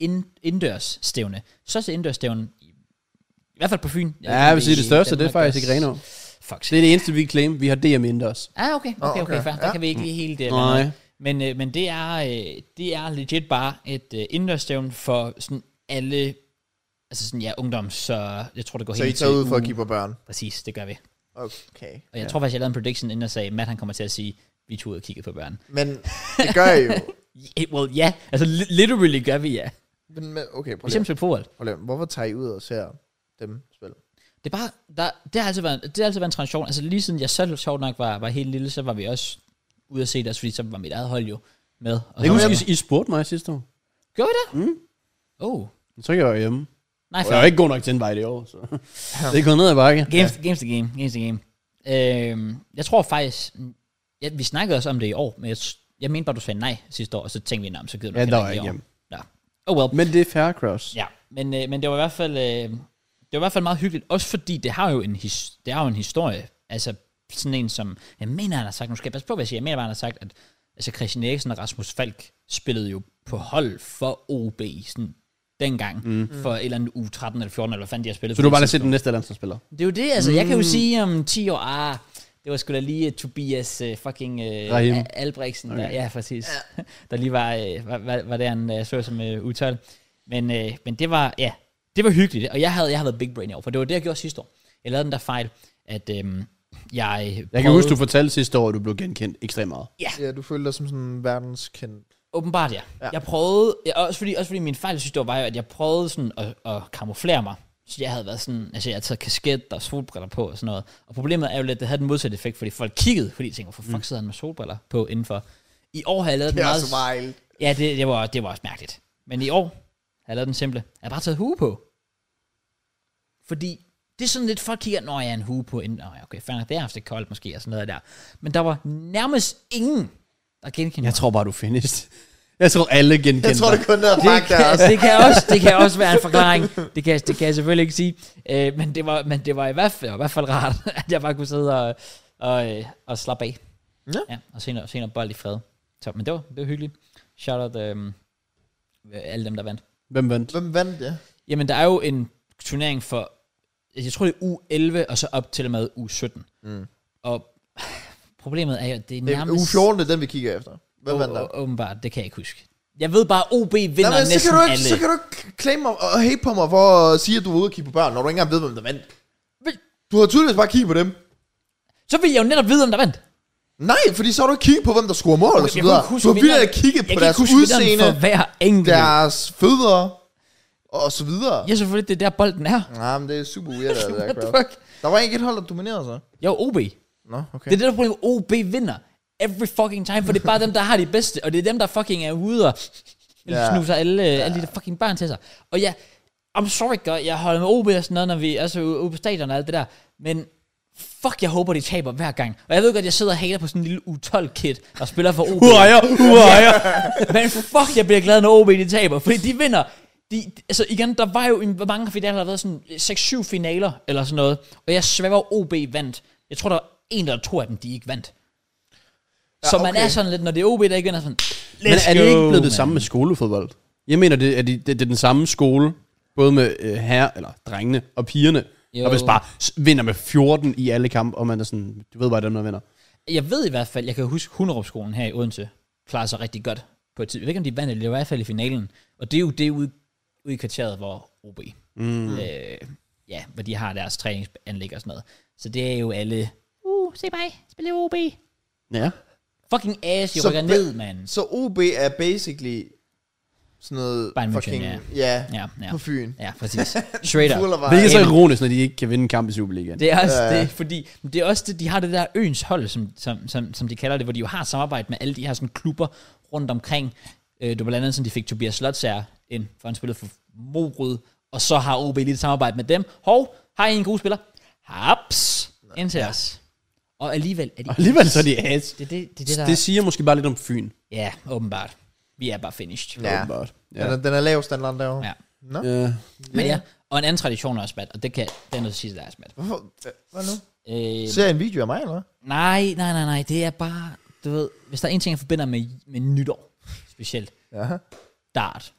A: ind, indendørsstævne. Største indendørsstævne, i, i hvert fald på Fyn. Jeg
B: Ja,
A: ved
B: jeg vil
A: ikke,
B: sige, det
A: i
B: største, det er
A: Danmark,
B: faktisk ikke
A: der-
B: Reno.
A: Fuck.
B: Det er det eneste, vi kan claim. Vi har DM indendørs.
A: Ah, okay, okay, okay,
C: okay,
A: okay fair. Der
C: ja.
A: kan vi ikke lige helt øh, det.
B: Nej.
A: Men, øh, men det, er, øh, det er legit bare et øh, indendørsstævn for sådan alle, altså sådan, ja, ungdom, så jeg tror, det går
C: Så I
A: helt
C: tager
A: til
C: ud for at
A: uge.
C: kigge på børn.
A: Præcis, det gør vi.
C: Okay.
A: Og jeg ja. tror faktisk, jeg lavede en prediction, inden jeg sagde, Matt han kommer til at sige, vi tog ud og kiggede på børn.
C: Men det gør I jo.
A: Yeah, well, ja. Yeah. Altså, li- literally gør vi ja.
C: Men, men okay, prøv
A: For
C: lige.
A: eksempel fodbold.
C: Prøv lige. Hvorfor tager I ud og ser dem spille?
A: Det er bare, der, det, har altid været, det har altid været en tradition. Altså lige siden jeg selv sjovt nok var, var helt lille, så var vi også ude at se det, også fordi så var mit eget hold jo med. Og
B: Jeg kan
A: så-
B: huske, I- I spurgte mig sidste år.
A: Gjorde vi det? Mm. Oh,
B: Jeg tror ikke, jeg var hjemme.
A: nej,
B: Og jeg
A: fair.
B: var ikke god nok til invite i år, så det er gået ned ad bakke.
A: Games, games the game, games the game. Øhm, jeg tror faktisk, ja, vi snakkede også om det i år, men jeg, jeg mente bare, du sagde nej sidste år, og så tænkte vi, nej, så gider du
B: Ja,
A: heller
B: der var
A: i
B: jeg
A: år."
B: ikke
A: Ja. Oh well.
B: Men det er fair cross.
A: Ja, men, øh, men det var i hvert fald, øh, det var i hvert fald meget hyggeligt, også fordi det har jo en, his, det har jo en historie, altså sådan en som, jeg mener han har sagt, nu skal jeg passe på, hvad jeg siger, jeg mener bare, han har sagt, at altså Christian Eriksen og Rasmus Falk spillede jo på hold for OB, sådan dengang, mm. for et eller andet u 13 eller 14, eller hvad fanden de har spillet.
B: Så du har bare lige set den næste landsholdsspiller.
A: Det er jo det, altså. Mm. Jeg kan jo sige om 10 år, ah, det var sgu da lige uh, Tobias uh, fucking uh,
B: Rahim.
A: Albrechtsen, okay. der, ja, præcis, ja. der lige var, uh, var, var, var der, han uh, så som uh, utal. Men, uh, men det var, ja, det var hyggeligt, og jeg havde, jeg havde været big brain i år, for det var det, jeg gjorde sidste år. Jeg lavede den der fejl, at øhm, jeg
B: Jeg kan huske, du fortalte sidste år, at du blev genkendt ekstremt meget.
C: Ja, du følte dig som sådan en verdenskendt.
A: Åbenbart ja. ja. Jeg prøvede, ja, også, fordi, også fordi min fejl sidste år var jo, at jeg prøvede sådan at, at kamuflere mig. Så jeg havde været sådan, altså jeg havde taget kasket og solbriller på og sådan noget. Og problemet er jo lidt, at det havde den modsatte effekt, fordi folk kiggede, fordi de tænkte, hvorfor fuck sidder han med solbriller på indenfor? I år har jeg lavet den
C: Mm. Det er
A: meget...
C: så wild.
A: Ja, det, det, var, det var også mærkeligt. Men i år har jeg lavet den simple. Jeg har bare taget hue på. Fordi det er sådan lidt, folk kigger, når jeg har en hue på. Inden, Nå, ja, okay, fair nok, det er haft det koldt måske, og sådan noget der. Men der var nærmest ingen, der genkendte
B: Jeg
A: mig.
B: tror bare, du finished. Jeg tror, alle genkendte
C: Jeg tror, det
B: dig.
C: kun er
A: Det
C: Frank der
A: kan,
C: også.
A: det, kan også, det kan også være en forklaring. Det kan, det kan jeg selvfølgelig ikke sige. Øh, men, det var, men det var i hvert fald, i hvert fald rart, at jeg bare kunne sidde og, og, øh, og slappe af.
C: Ja.
A: ja og se noget, se noget bold i fred. Så, men det var, det var hyggeligt. Shout out øhm, alle dem, der vandt.
B: Hvem vandt?
C: Hvem vandt det?
A: Jamen, der er jo en turnering for, jeg tror det er u 11, og så op til og med u 17.
C: Mm.
A: Og problemet er jo, at det er
C: Det er
A: nærmest...
C: uge 14, det er den, vi kigger efter. Hvem vandt der?
A: Å- å- Åbenbart, det kan jeg ikke huske. Jeg ved bare, OB vinder
C: Nej, men så
A: næsten
C: kan, du ikke, så
A: alle.
C: kan du ikke claim mig og hate på mig for at sige, at du er ude og kigge på børn, når du ikke engang ved, hvem der vandt. Du har tydeligvis bare kigget på dem.
A: Så vil jeg jo netop vide, om der vandt.
C: Nej, fordi så har du ikke kigget på, hvem der scorer mål og
A: Jeg
C: så
A: kan
C: videre.
A: ikke huske
C: Du har
A: vinderen.
C: vildt kigget
A: Jeg
C: på
A: kan
C: deres
A: ikke huske vinderen
C: udseende,
A: for hver enkelt. Der...
C: deres fødder og så videre.
A: Ja, selvfølgelig, det er der bolden er.
C: Nej, men det er super weird, det der
A: What the
C: crowd.
A: fuck?
C: Der var ikke et hold, der dominerede sig.
A: Jo, OB.
C: Nå, okay.
A: Det er det der problem, OB vinder. Every fucking time, for det er bare dem, der har de bedste, og det er dem, der fucking er ude og
C: Ja.
A: snuser alle, alle de der fucking børn til sig. Og ja, I'm sorry, God, jeg holder med OB og sådan noget, når vi altså ude ude på stadion og alt det der, men fuck, jeg håber, de taber hver gang. Og jeg ved godt, jeg sidder og hater på sådan en lille U12-kid, og spiller for OB.
B: Urejer, urejer.
A: Men fuck, jeg bliver glad, når OB de taber, fordi de vinder. De, altså igen, der var jo en, hvor mange finaler, der har været sådan 6-7 finaler, eller sådan noget. Og jeg svæver, OB vandt. Jeg tror, der var en eller to af dem, de ikke vandt. Ja, så man
C: okay.
A: er sådan lidt, når det er OB, der ikke vinder, sådan, let's
B: Men er det ikke blevet det
A: man.
B: samme med skolefodbold? Jeg mener, det er, de, det, det er den samme skole, både med øh, herre, eller drengene og pigerne,
A: Jo.
B: jo. og hvis bare s- vinder med 14 i alle kampe, og man er sådan, du ved bare dem, der vinder.
A: Jeg ved i hvert fald, jeg kan huske Hunderupskolen her i Odense, klarer sig rigtig godt på et tid. Jeg ved ikke, om de vandt, eller det var i hvert fald i finalen. Og det er jo det ude, ude i kvarteret, hvor OB, mm. øh, ja, hvor de har deres træningsanlæg og sådan noget. Så det er jo alle, uh, se mig, spille OB.
B: Ja.
A: Fucking ass, jeg
C: Så
A: rykker
C: ba-
A: ned, mand.
C: Så OB er basically sådan noget
A: Bayern München,
C: fucking...
A: ja.
C: Ja,
A: Ja, ja.
C: på Fyn.
A: Ja, præcis. Straight
C: Fuld
A: up.
C: af vej.
B: Hvilket er så
A: Ej.
B: ironisk, når de ikke kan vinde en kamp i Superligaen.
A: Det er også
C: Ja, ja.
A: det, fordi det er også det, de har det der øens hold, som, som, som, som de kalder det, hvor de jo har et samarbejde med alle de her sådan, klubber rundt omkring. Øh, det var blandt andet sådan, de fik Tobias Slotsager ind, for han spillede for Morud, og så har OB lige et samarbejde med dem. Hov, har I en god spiller? Haps, ind til os. Og alligevel er de...
B: Og alligevel så er de ass.
A: Det, er det, det, er det, der,
B: Det, det siger måske bare lidt om Fyn.
A: Ja, åbenbart. Vi er bare finished.
C: Ja.
B: åbenbart.
C: Den, er, den er lav standard derovre.
A: Ja.
C: Nå?
B: Ja.
A: Men ja, og en anden tradition er også, Matt, og det kan det er noget at sige, der er, Matt.
C: Hvorfor? Hvad nu?
A: Øh,
C: Ser jeg en video af mig, eller hvad?
A: Nej, nej, nej, nej. Det er bare, du ved, hvis der er en ting, jeg forbinder med, med nytår, specielt,
C: Ja.
A: dart.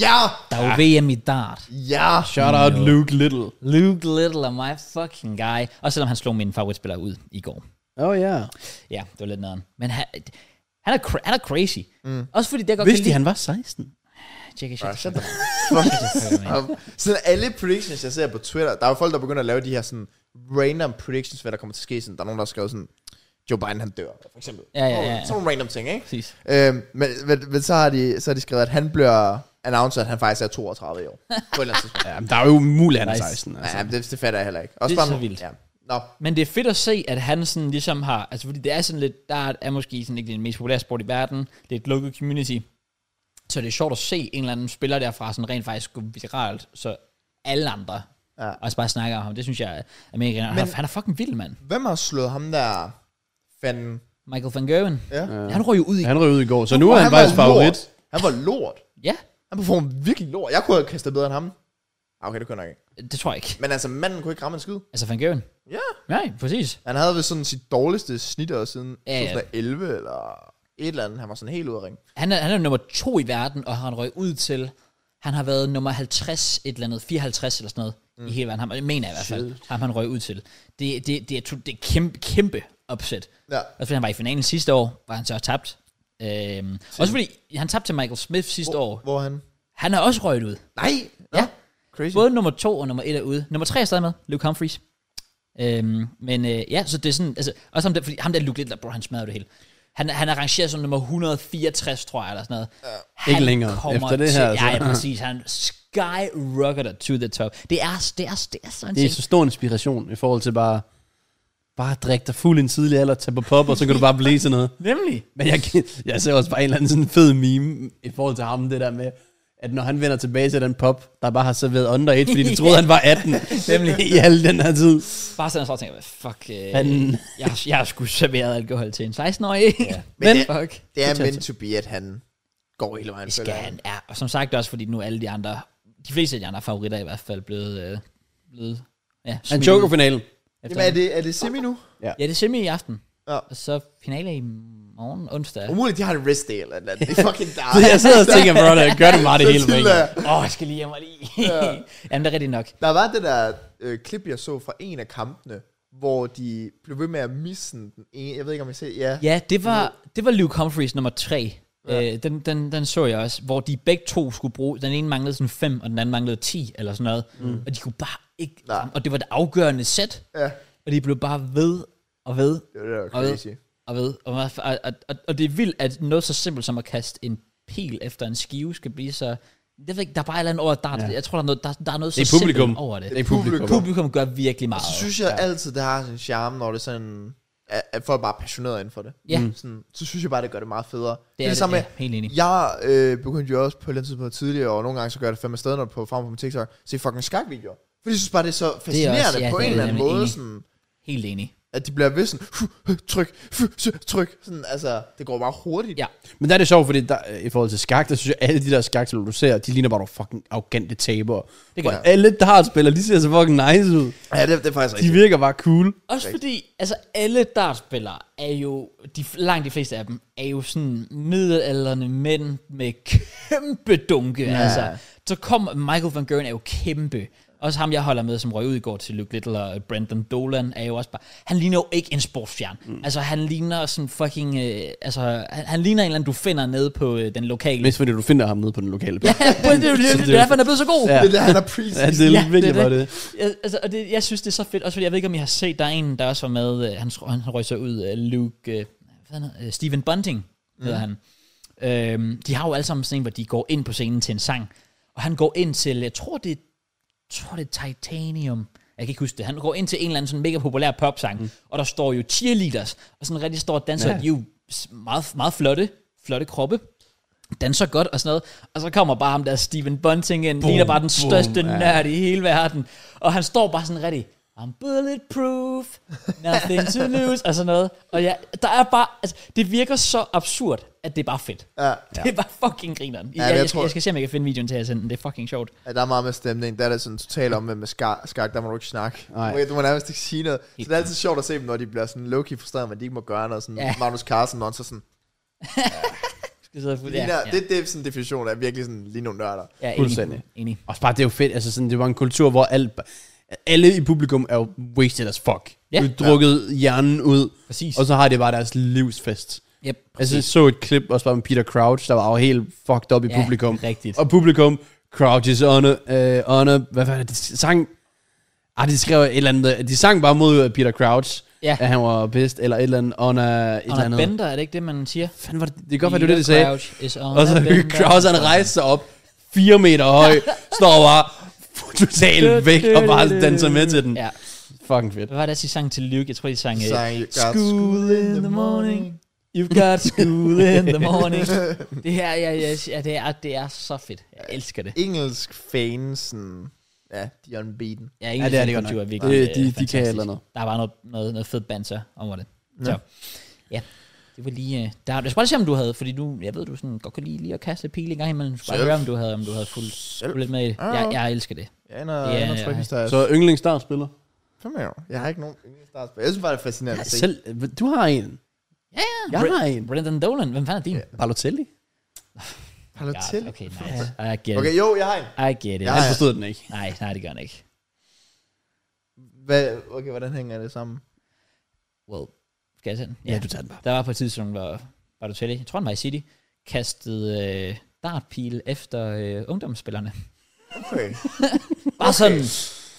C: Ja!
A: Der er jo VM i dart.
C: Ja!
B: Shout out Luke Little.
A: Luke Little er my fucking guy. Og selvom han slog min favoritspiller ud i går.
B: Åh oh, ja.
A: Ja, det var lidt nederen. Men han, han, er, cra- han er crazy. Mm. Også fordi det jeg godt
B: Vidste de,
A: kan
B: han var 16?
A: Check it, shit.
C: Shut the fuck up. Sådan alle predictions, jeg ser på Twitter, der er jo folk, der begynder at lave de her sådan random predictions, hvad der kommer til at ske. Sådan, der er nogen, der har skrevet sådan, Joe Biden han dør, for eksempel.
A: Ja, ja, ja, ja.
C: Sådan nogle random ting, ikke?
A: Præcis.
C: Øhm, men, men, men, så, har de, så har de skrevet, at han bliver announceret, at han faktisk er 32 i år. På et eller andet tidspunkt.
B: Ja, men der er jo umuligt, han er
A: Nice.
B: 16. Altså.
C: ja, men det, det fatter jeg heller ikke. Også
A: Det er
C: bare
A: så
C: nu-
A: vildt.
C: Ja. Nå,
A: Men det er fedt at se, at han sådan ligesom har... Altså, fordi det er sådan lidt... Der er måske sådan ikke den mest populære sport i verden. Det er et lukket community. Så det er sjovt at se en eller anden spiller derfra sådan rent faktisk gå viralt, så alle andre ja.
C: Ja.
A: også bare snakker om ham. Det synes jeg er mega grineren. Han, er- han er fucking vild, mand.
C: hvem har slået ham der fanden?
A: Michael van Gerwen.
C: Ja.
A: Ja. Han røg jo ud i... Ja.
B: Han røg ud i går, så nu er han
C: var
B: faktisk favorit.
C: Lort. Han var lort.
A: ja.
C: Han performede virkelig lort. Jeg kunne have kastet bedre end ham. Ah, Okay, det kunne jeg nok ikke.
A: det tror jeg ikke.
C: Men altså, manden kunne ikke ramme en skid.
A: Altså van Gerwen.
C: Ja.
A: Nej, præcis.
C: Han havde vel sådan sit dårligste snit også siden
A: Ja, ja.
C: 2011 eller et eller andet. Han var sådan helt ude af ring.
A: Han er, han er nummer to i verden, og han røg ud til... Han har været nummer 50, et eller andet, 54 eller sådan noget, mm. i hele verden. Ham, det mener jeg i hvert fald, ham han røg ud til. Det, det, det, er, to- det er kæmpe, kæmpe opsæt.
C: Ja.
A: Også fordi han var i finalen sidste år, var han så tabt. Øhm, også fordi han tabte til Michael Smith sidste
C: Hvor,
A: år.
C: hvor er han?
A: Han er også røget ud.
C: Nej! Nå,
A: Ja.
C: Crazy.
A: Både nummer to og nummer et er ude. Nummer tre er stadig med, Luke Humphries. Øhm, men øh, ja, så det er sådan, altså, også ham der, fordi ham der Luke Littler, bro, han smadrer det hele. Han, han er rangeret som nummer 164, tror jeg, eller sådan noget. Ja.
B: Ikke længere efter det her,
A: Til, ja, ja,
B: altså.
A: præcis. Han skyrocketer to the top. Det er, det er, det er sådan
B: Det er
A: en
B: så
A: ting.
B: stor inspiration i forhold til bare, bare at drikke dig fuld i en tidlig alder, tage på pop, og så kan du bare blive sådan noget.
A: Nemlig.
B: Men jeg, jeg ser også bare en eller anden sådan fed meme i forhold til ham, det der med, at når han vender tilbage til den pop, der bare har serveret under et, fordi de troede, han var 18. Nemlig. I al den her tid.
A: Bare sådan, så tænker jeg, fuck, øh,
B: Han,
A: jeg, jeg har sgu serveret alkohol til en 16-årig. Ja.
C: Men det-
A: fuck.
C: Det er
B: Fortæl
C: meant to be, at han går hele vejen.
A: Det
C: føler
A: skal
C: jeg.
A: han, ja. Og som sagt også, fordi nu er alle de andre, de fleste af de andre favoritter er i hvert fald blevet, øh, blevet ja,
B: han
A: smidt ud
B: choker finalen.
A: efter
C: Jamen, er det, er det semi nu?
A: Ja, det er semi i aften.
C: Ja.
A: Og så finale i morgen, onsdag.
C: Umuligt, de har en wrist day eller et eller andet. Det er fucking dark.
B: Så jeg sidder og tænker, bro, der gør det meget det
C: Så
B: hele på en
C: tidligt
B: gang.
C: er-
A: Åh, oh, jeg skal lige hjem og lige. Jamen, det er rigtigt nok.
C: Der var det der øh, klip, jeg så fra en af kampene, hvor de blev ved med at misse den ene. Jeg ved ikke, om jeg ser... Ja.
A: Ja, det var, det var Luke Humphreys nummer tre. Ja. Øh, den, den, den så jeg også, hvor de begge to skulle bruge, den ene manglede sådan 5, og den anden manglede 10, eller sådan noget. Mm. Og de kunne bare ikke,
C: Nej.
A: og det var det afgørende sæt,
C: ja.
A: og de blev bare ved og ved
C: Det var det, der var
A: Og ved-
C: crazy.
A: og ved. Og, og, og, og, og det er vildt, at noget så simpelt som at kaste en pil efter en skive, skal blive så... Jeg ved ikke, der er bare et eller andet over, der, ja.
B: Ja.
A: jeg tror, der er noget, der, der er noget
B: Det er
A: så
B: publikum.
A: simpelt over det.
B: Det er
C: Publikum.
B: publikum.
A: Publikum gør virkelig meget.
C: Så synes jeg altid, det har sin charme, når det er sådan... At at folk bare er passionerede inden for det.
A: Ja. Mm.
C: Sådan, så synes jeg bare, det gør det meget federe. Det er
A: det, er det,
C: samme
A: ja,
C: med,
A: helt enig.
C: Jeg øh, begyndte jo også på et eller andet tidspunkt tidligere, og nogle gange så gør jeg det fandme stadig, når på frem på min TikTok, se fucking skakvideoer. Fordi jeg synes bare, det er så fascinerende det er også,
A: ja,
C: ja, på
A: det
C: en
A: er
C: eller anden
A: nemlig
C: måde,
A: enig.
C: sådan,
A: Helt enig.
C: at de bliver ved sådan, "Huh, huh, tryk, huh, sy- tryk, sådan, altså, det går bare hurtigt.
A: Ja.
B: Men der er det sjovt, fordi der, i forhold til skak, der synes jeg, alle de der skak, du ser, de ligner bare nogle fucking arrogante tabere.
A: Det
B: Det
A: gør
B: gør
A: jeg.
B: alle dartspillere, de ser så fucking nice ud.
C: ja det, det er faktisk
B: De
C: rigtigt.
B: virker bare cool.
A: Også fordi, altså alle dartspillere er jo, de, langt de fleste af dem, er jo sådan middelalderne mænd med kæmpe dunke. Ja. Altså, så kommer Michael van Gogh er jo kæmpe. Også ham, jeg holder med, som røg ud i går til Luke Little og Brandon Dolan, er jo også bare... Han ligner jo ikke en sportsfjern. Mm. Altså, han ligner sådan fucking... Øh, altså, han, han ligner en eller anden, du finder nede på øh, den lokale...
B: Mest fordi du finder ham nede på den lokale
A: ja,
B: plads.
A: det er jo det, det, det, derfor, han er blevet så god.
B: Ja.
C: Det er det, han er
B: Ja,
C: precis.
B: det er
A: Ja,
B: ja, virkelig
A: det er
B: bare det.
A: Jeg, altså, og det, jeg synes, det er så fedt. Også fordi, jeg ved ikke, om I har set, der er en, der også var med. Øh, han, tror- han røg så ud af Luke... Øh, hvad hedder han? Øh, Stephen Bunting hedder mm. han. Øhm, de har jo alle sammen sådan en, hvor de går ind på scenen til en sang. Og han går ind til, jeg tror det, er- jeg tror det er Titanium. Jeg kan ikke huske det. Han går ind til en eller anden sådan mega populær popsang. Mm. Og der står jo cheerleaders. Og sådan rigtig står og danser. Ja.
B: Ja.
A: De er jo s- meget, meget flotte, flotte kroppe danser godt og sådan noget. Og så kommer bare ham der Steven Bunting ind, boom, ligner bare den
B: boom,
A: største
B: ja.
A: nørd i hele verden. Og han står bare sådan rigtig, I'm bulletproof, nothing to lose, og sådan noget. Og ja, der er bare, altså, det virker så absurd, at det er bare fedt.
C: Ja,
A: Ja. Det er bare fucking grineren. Ja,
C: men
A: jeg,
C: jeg
A: jeg,
C: tror-
A: jeg, skal se, om jeg kan finde videoen til at sende den. Det er fucking sjovt.
C: Ja, der er meget med stemning. Der er det sådan totalt om med skak, skak, der må du ikke snakke.
B: Nej.
C: Du må- Du må nærmest ikke sige noget. Så det er altid sjovt at se dem, når de bliver sådan low-key frustreret, men de ikke må gøre noget. Sådan
A: Ja.
C: Magnus Carlsen, når han så sådan,
A: Skal sidde og
C: det
A: ja,
C: ligner,
A: ja.
C: det, det er sådan en definition af virkelig sådan, lige nogle nørder.
A: ja, enig.
B: Fuldstændig.
A: enig.
B: Også bare, det er jo fedt. Altså, sådan, det var en kultur, hvor alt, alle i publikum er jo wasted as fuck.
A: Ja.
B: Ja. Du drukket hjernen ud,
A: Præcis.
B: og så har det bare deres livsfest.
A: Yep,
B: Altså, jeg så et klip også bare med Peter Crouch, der var jo helt fucked up i
A: Ja,
B: publikum.
A: rigtigt.
B: Og publikum, Crouch is on a, uh, on a hvad fanden, de sang, ah, de skrev et eller andet, de sang bare mod øh, Peter Crouch,
A: Ja.
B: at han var bedst, eller et eller andet, on a, et eller
A: og
B: andet.
A: bender, er det ikke det, man siger?
B: Fanden var det, det kan godt være, det var det, de sagde.
A: Crouch is on
B: Og
A: a
B: så
A: bender.
B: Kraus, han rejste sig op, fire meter høj, står bare totalt væk og bare danser med til den.
A: Ja.
B: Fucking fedt.
A: Hvad var det, de sang til Luke? Jeg tror, de sang... øh,
C: Så, you got
A: School in the morning. You've got school in the morning. det her, ja, ja, ja det, er, det er så fedt. Jeg elsker det.
C: engelsk fansen, ja, de er unbeaten.
A: Jeg er
B: Ja, det er det godt
A: kultur,
B: nok.
A: er
B: Det,
A: virkelig, øh,
B: de, de kan
A: fantastisk.
B: et eller noget.
A: Der er bare noget, noget, noget fedt banser over det. Så, ja. Det var lige... øh, Der, jeg skal bare se, om du havde... Fordi du, jeg ved, du sådan, godt kan lide, lige at kaste pil en gang imellem. Jeg skal bare
C: Selv.
A: høre, om du havde, om du havde fuldt
C: Selv.
A: fulgt lidt med i det.
C: Ja,
A: Jeg,
C: ja.
A: jeg elsker det.
C: Jeg ender,
A: Ja,
C: yeah, ender
A: ja,
C: trykkes der. Så
B: Så yndlingsstartspiller.
C: fem år. Jeg har ikke nogen yndlingsstartspiller. Jeg synes bare, det er fascinerende
B: Ja,
C: at se.
B: selv, du har en.
A: Ja, ja.
B: Jeg har en.
A: Brendan Dolan, hvem fanden er din?
C: Ja.
B: Balotelli?
C: Palotel.
A: God, okay, nice. I get it.
C: Okay, jo, jeg har en.
A: I get it.
C: Ja,
B: Han
C: ja.
B: forstod den ikke.
A: Nej, nej, det gør han ikke.
C: Hvad, okay, hvordan hænger det sammen?
A: Well, skal jeg tage den?
B: Ja, du tager den bare.
A: Der var på et tidspunkt, hvor Bartotelli, jeg tror han var i City, kastede øh, dartpil efter øh, ungdomsspillerne.
C: Okay,
A: Bare sådan,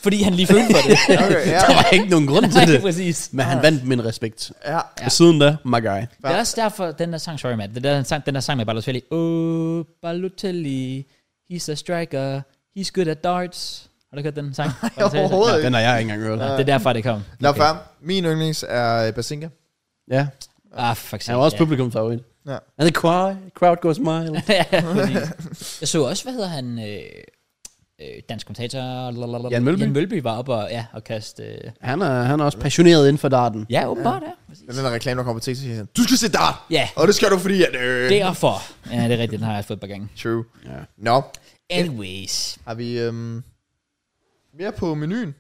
A: fordi han lige følte for det.
C: okay, ja.
B: Der var ikke nogen grund til
A: Nej,
B: det.
A: præcis.
B: Men han vandt min respekt.
C: ja.
A: Ja.
B: Og siden da, my guy.
A: Det er også derfor, den der sang, sorry Matt, den der sang, den der sang med Balotelli. Oh, Balotelli, he's a striker, he's good at darts. Har du hørt den sang? Balotelli?
C: overhovedet
B: Den har jeg ikke engang hørt.
A: Nå, Det er derfor, det kom.
C: Lad okay. Min yndlings er øh, Basinga.
B: Ja,
A: Ah, fuck
B: han var også publikumsfavorit.
C: Ja.
B: And the crowd, crowd goes wild.
A: ja, præcis. Jeg så også, hvad hedder han, øh, øh, dansk kommentator, lalalala.
B: Jan Mølby.
A: Jan Mølby var oppe og, ja, og kaste, øh,
B: Han er, han er også passioneret inden for darten.
A: ja, åbenbart, ja. Præcis.
C: Den der reklame, der kommer på TikTok, siger han, du skal se dart!
A: Ja,
C: Og det skal du, fordi at... Øh.
A: derfor. Ja, det er rigtigt, den har jeg fået et par gange.
C: True.
B: Ja.
C: Nå,
A: Anyways.
C: har vi øhm, mere på menuen?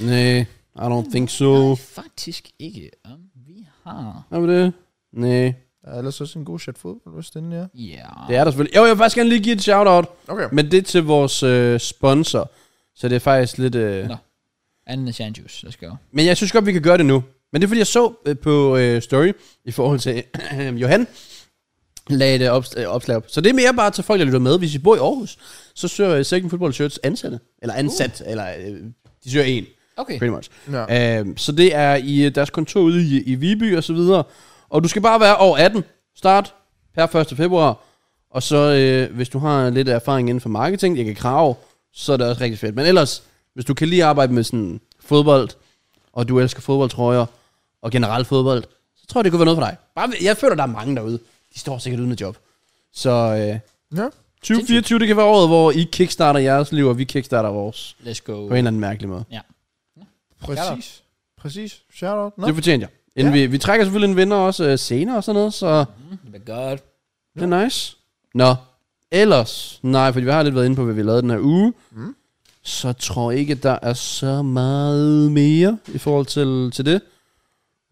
B: Nej, I don't think so.
A: Faktisk ikke, om vi har...
B: Har vi det? Nej.
C: Der Og ellers så sådan en god shot fodbold, hvis den er.
A: Yeah.
B: Det er der selvfølgelig. Jo, jeg vil faktisk gerne lige give et shout-out,
C: Okay.
B: men det er til vores øh, sponsor. Så det er faktisk lidt... Øh,
A: Nå. Anden end juice. Let's go.
B: Men jeg synes godt, vi kan gøre det nu. Men det er fordi, jeg så øh, på øh, Story i forhold til Johan, lagde det op, øh, opslag op. Så det er mere bare til folk, der lytter med. Hvis I bor i Aarhus, så søger øh, Second Football Shirts ansatte. Eller ansat, uh. eller øh, de søger en,
A: Okay.
B: pretty much.
C: Ja.
B: Øhm, så det er i øh, deres kontor ude i, i Viby og så videre. Og du skal bare være over 18. Start per 1. februar. Og så, øh, hvis du har lidt erfaring inden for marketing, jeg kan krave, så er det også rigtig fedt. Men ellers, hvis du kan lige arbejde med sådan fodbold, og du elsker fodboldtrøjer, og generelt fodbold, så tror jeg, det kunne være noget for dig. Bare, ved- jeg føler, der er mange derude. De står sikkert uden et job. Så øh,
C: Ja.
B: 2024, det kan være året, hvor I kickstarter jeres liv, og vi kickstarter vores.
A: Let's go.
B: På en eller anden mærkelig måde.
C: Præcis. Præcis. Shout out. Nå.
B: Det fortjener jeg. Inden ja. vi, vi trækker selvfølgelig en vinder også øh, senere og sådan noget, så
A: Det er godt.
B: det er nice. Nå, ellers, nej, fordi vi har lidt været inde på, hvad vi lavede den her uge,
C: Mm.
B: så tror jeg ikke, at der er så meget mere i forhold til, til det.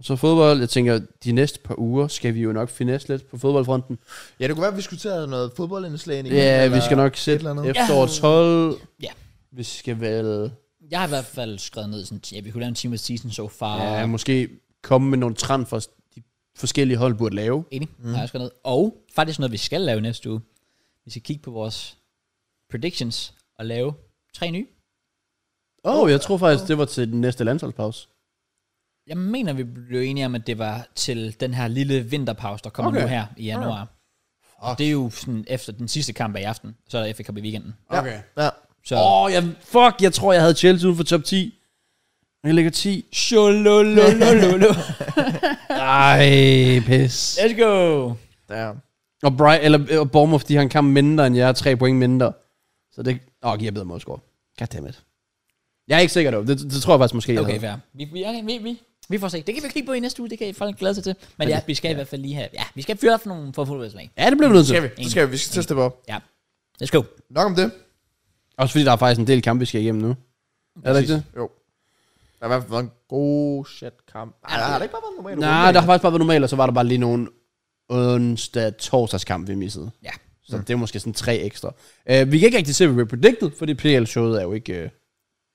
B: Så fodbold, jeg tænker, de næste par uger skal vi jo nok finesse lidt på fodboldfronten.
C: Ja, det kunne være, at vi skulle tage noget fodboldindslag ind igen,
B: Ja, vi
C: eller
B: skal nok
C: et
B: sætte
C: eller andet.
B: efterårets hold.
A: Ja.
B: Vi skal vel,
A: Jeg har i hvert fald skrevet ned sådan, ja, vi kunne lave en time af season so far.
B: ja, måske komme med nogle transfers, de forskellige hold burde lave.
A: Enig, mm. har jeg skrevet ned. Og faktisk noget, vi skal lave næste uge. Vi skal kigge på vores predictions og lave tre nye.
B: Åh, oh, jeg tror faktisk, det var til den næste landsholdspause.
A: Jeg mener, vi blev enige om, at det var til den her lille vinterpause, der kommer okay.
B: Okay.
A: nu her i januar. Og det er jo sådan efter den sidste kamp af i aften, så er der FA Cup i weekenden.
B: Okay.
C: Ja.
A: Så
B: Åh, oh, jeg, fuck, jeg tror, jeg havde Chelsea uden for top 10. Jeg ligger 10.
A: Sholololololo.
B: Ej, pis.
A: Let's go.
C: Der.
B: Og, Bright, eller, øh, og Bournemouth, de har en kamp mindre end jeg, tre point mindre. Så det... Åh, oh, giver bedre målscore. Goddammit. Jeg er ikke sikker, dog. Det, det tror jeg faktisk måske, jeg
A: Okay,
B: havde.
A: fair. Vi, vi, okay, vi, vi, vi får se. Det kan vi kigge på i næste uge, det kan I folk glæde sig til. Men ja, vi skal i hvert fald lige have, ja, vi skal fyre op nogle for fodboldslag.
B: Ja, det bliver vi nødt
C: Skal
B: til.
C: vi? Så skal vi. Vi skal teste det op.
A: Ja. Let's go.
C: Nok om det.
B: Også fordi der er faktisk en del kampe, vi skal igennem nu. Er det ikke det?
C: Jo. Der har i hvert fald været en god shit kamp. Nej, har det ikke bare været en normal
B: Nej, der har faktisk bare været normalt, og så var der bare lige nogle onsdag torsdagskamp, vi missede.
A: Ja.
B: Så mm. det er måske sådan tre ekstra. Uh, vi kan ikke rigtig se, hvad vi predicted, fordi PL-showet er jo ikke... Uh,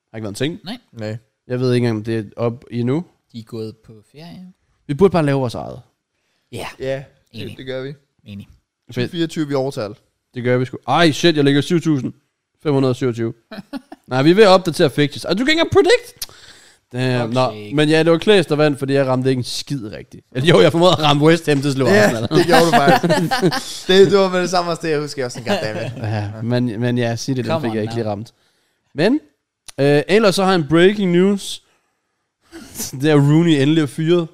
B: har ikke været en ting.
C: Nej.
B: Jeg ved ikke engang, om det er op endnu.
A: De er gået på ferie.
B: Vi burde bare lave vores eget.
A: Ja,
C: Ja,
A: Enig.
C: det, det gør vi.
A: enig.
B: Fedt.
C: 24 vi overtal.
B: Det gør vi sgu. Ej, shit, jeg ligger 7.527. Nej, vi er ved at opdatere fixtures. Og du kan ikke engang predict! Damn,
A: Fuck's
B: nå.
A: sake.
B: Men ja, det var Klæs, der vandt, fordi jeg ramte ikke en skid rigtigt. Eller Jo, jeg formåede at ramme West Ham til slå
C: Ja,
B: Arsenal.
C: det gjorde du faktisk. det, det var med det samme også det, jeg husker. Jeg var sådan, goddammit.
B: Ja, men, men ja, sig det, den
A: Come
B: fik
A: on
B: jeg ikke
A: now.
B: lige ramt. Men, øh, ellers så har jeg en breaking news. det er Rooney endelig er fyret.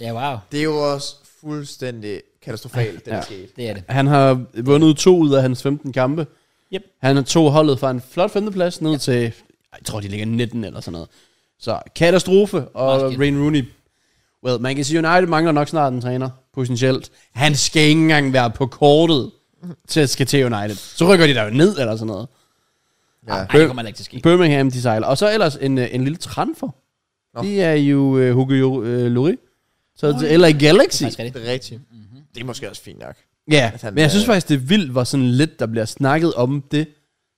A: Ja, wow.
C: Det er jo også fuldstændig katastrofalt, det der
B: Ja.
C: skete.
A: Det er det.
B: Han har vundet to ud af hans 15 kampe.
A: Yep.
B: Han tog holdet fra en flot femteplads ned til, jeg tror, de ligger 19 eller sådan noget. Så katastrofe, og
A: Meget
B: Wayne Rooney, well, man kan sige, United mangler nok snart en træner, potentielt. Han skal ikke engang være på kortet til at skal til United. Så rykker de der jo ned eller sådan noget.
C: Ja.
A: Ej, det kommer heller ikke til at ske.
B: Birmingham, de sejler. Og så ellers en, øh, en lille transfer.
C: Nå.
B: Det er jo øh, Hugo øh, Lloris. Så til LA Galaxy.
A: Faktisk er det.
C: Det er rigtigt.
A: Mhm.
C: Det er måske også fint nok.
B: Ja,
C: At han,
B: men jeg synes
C: øh,
B: faktisk, det er vildt, hvor sådan lidt, der bliver snakket om det.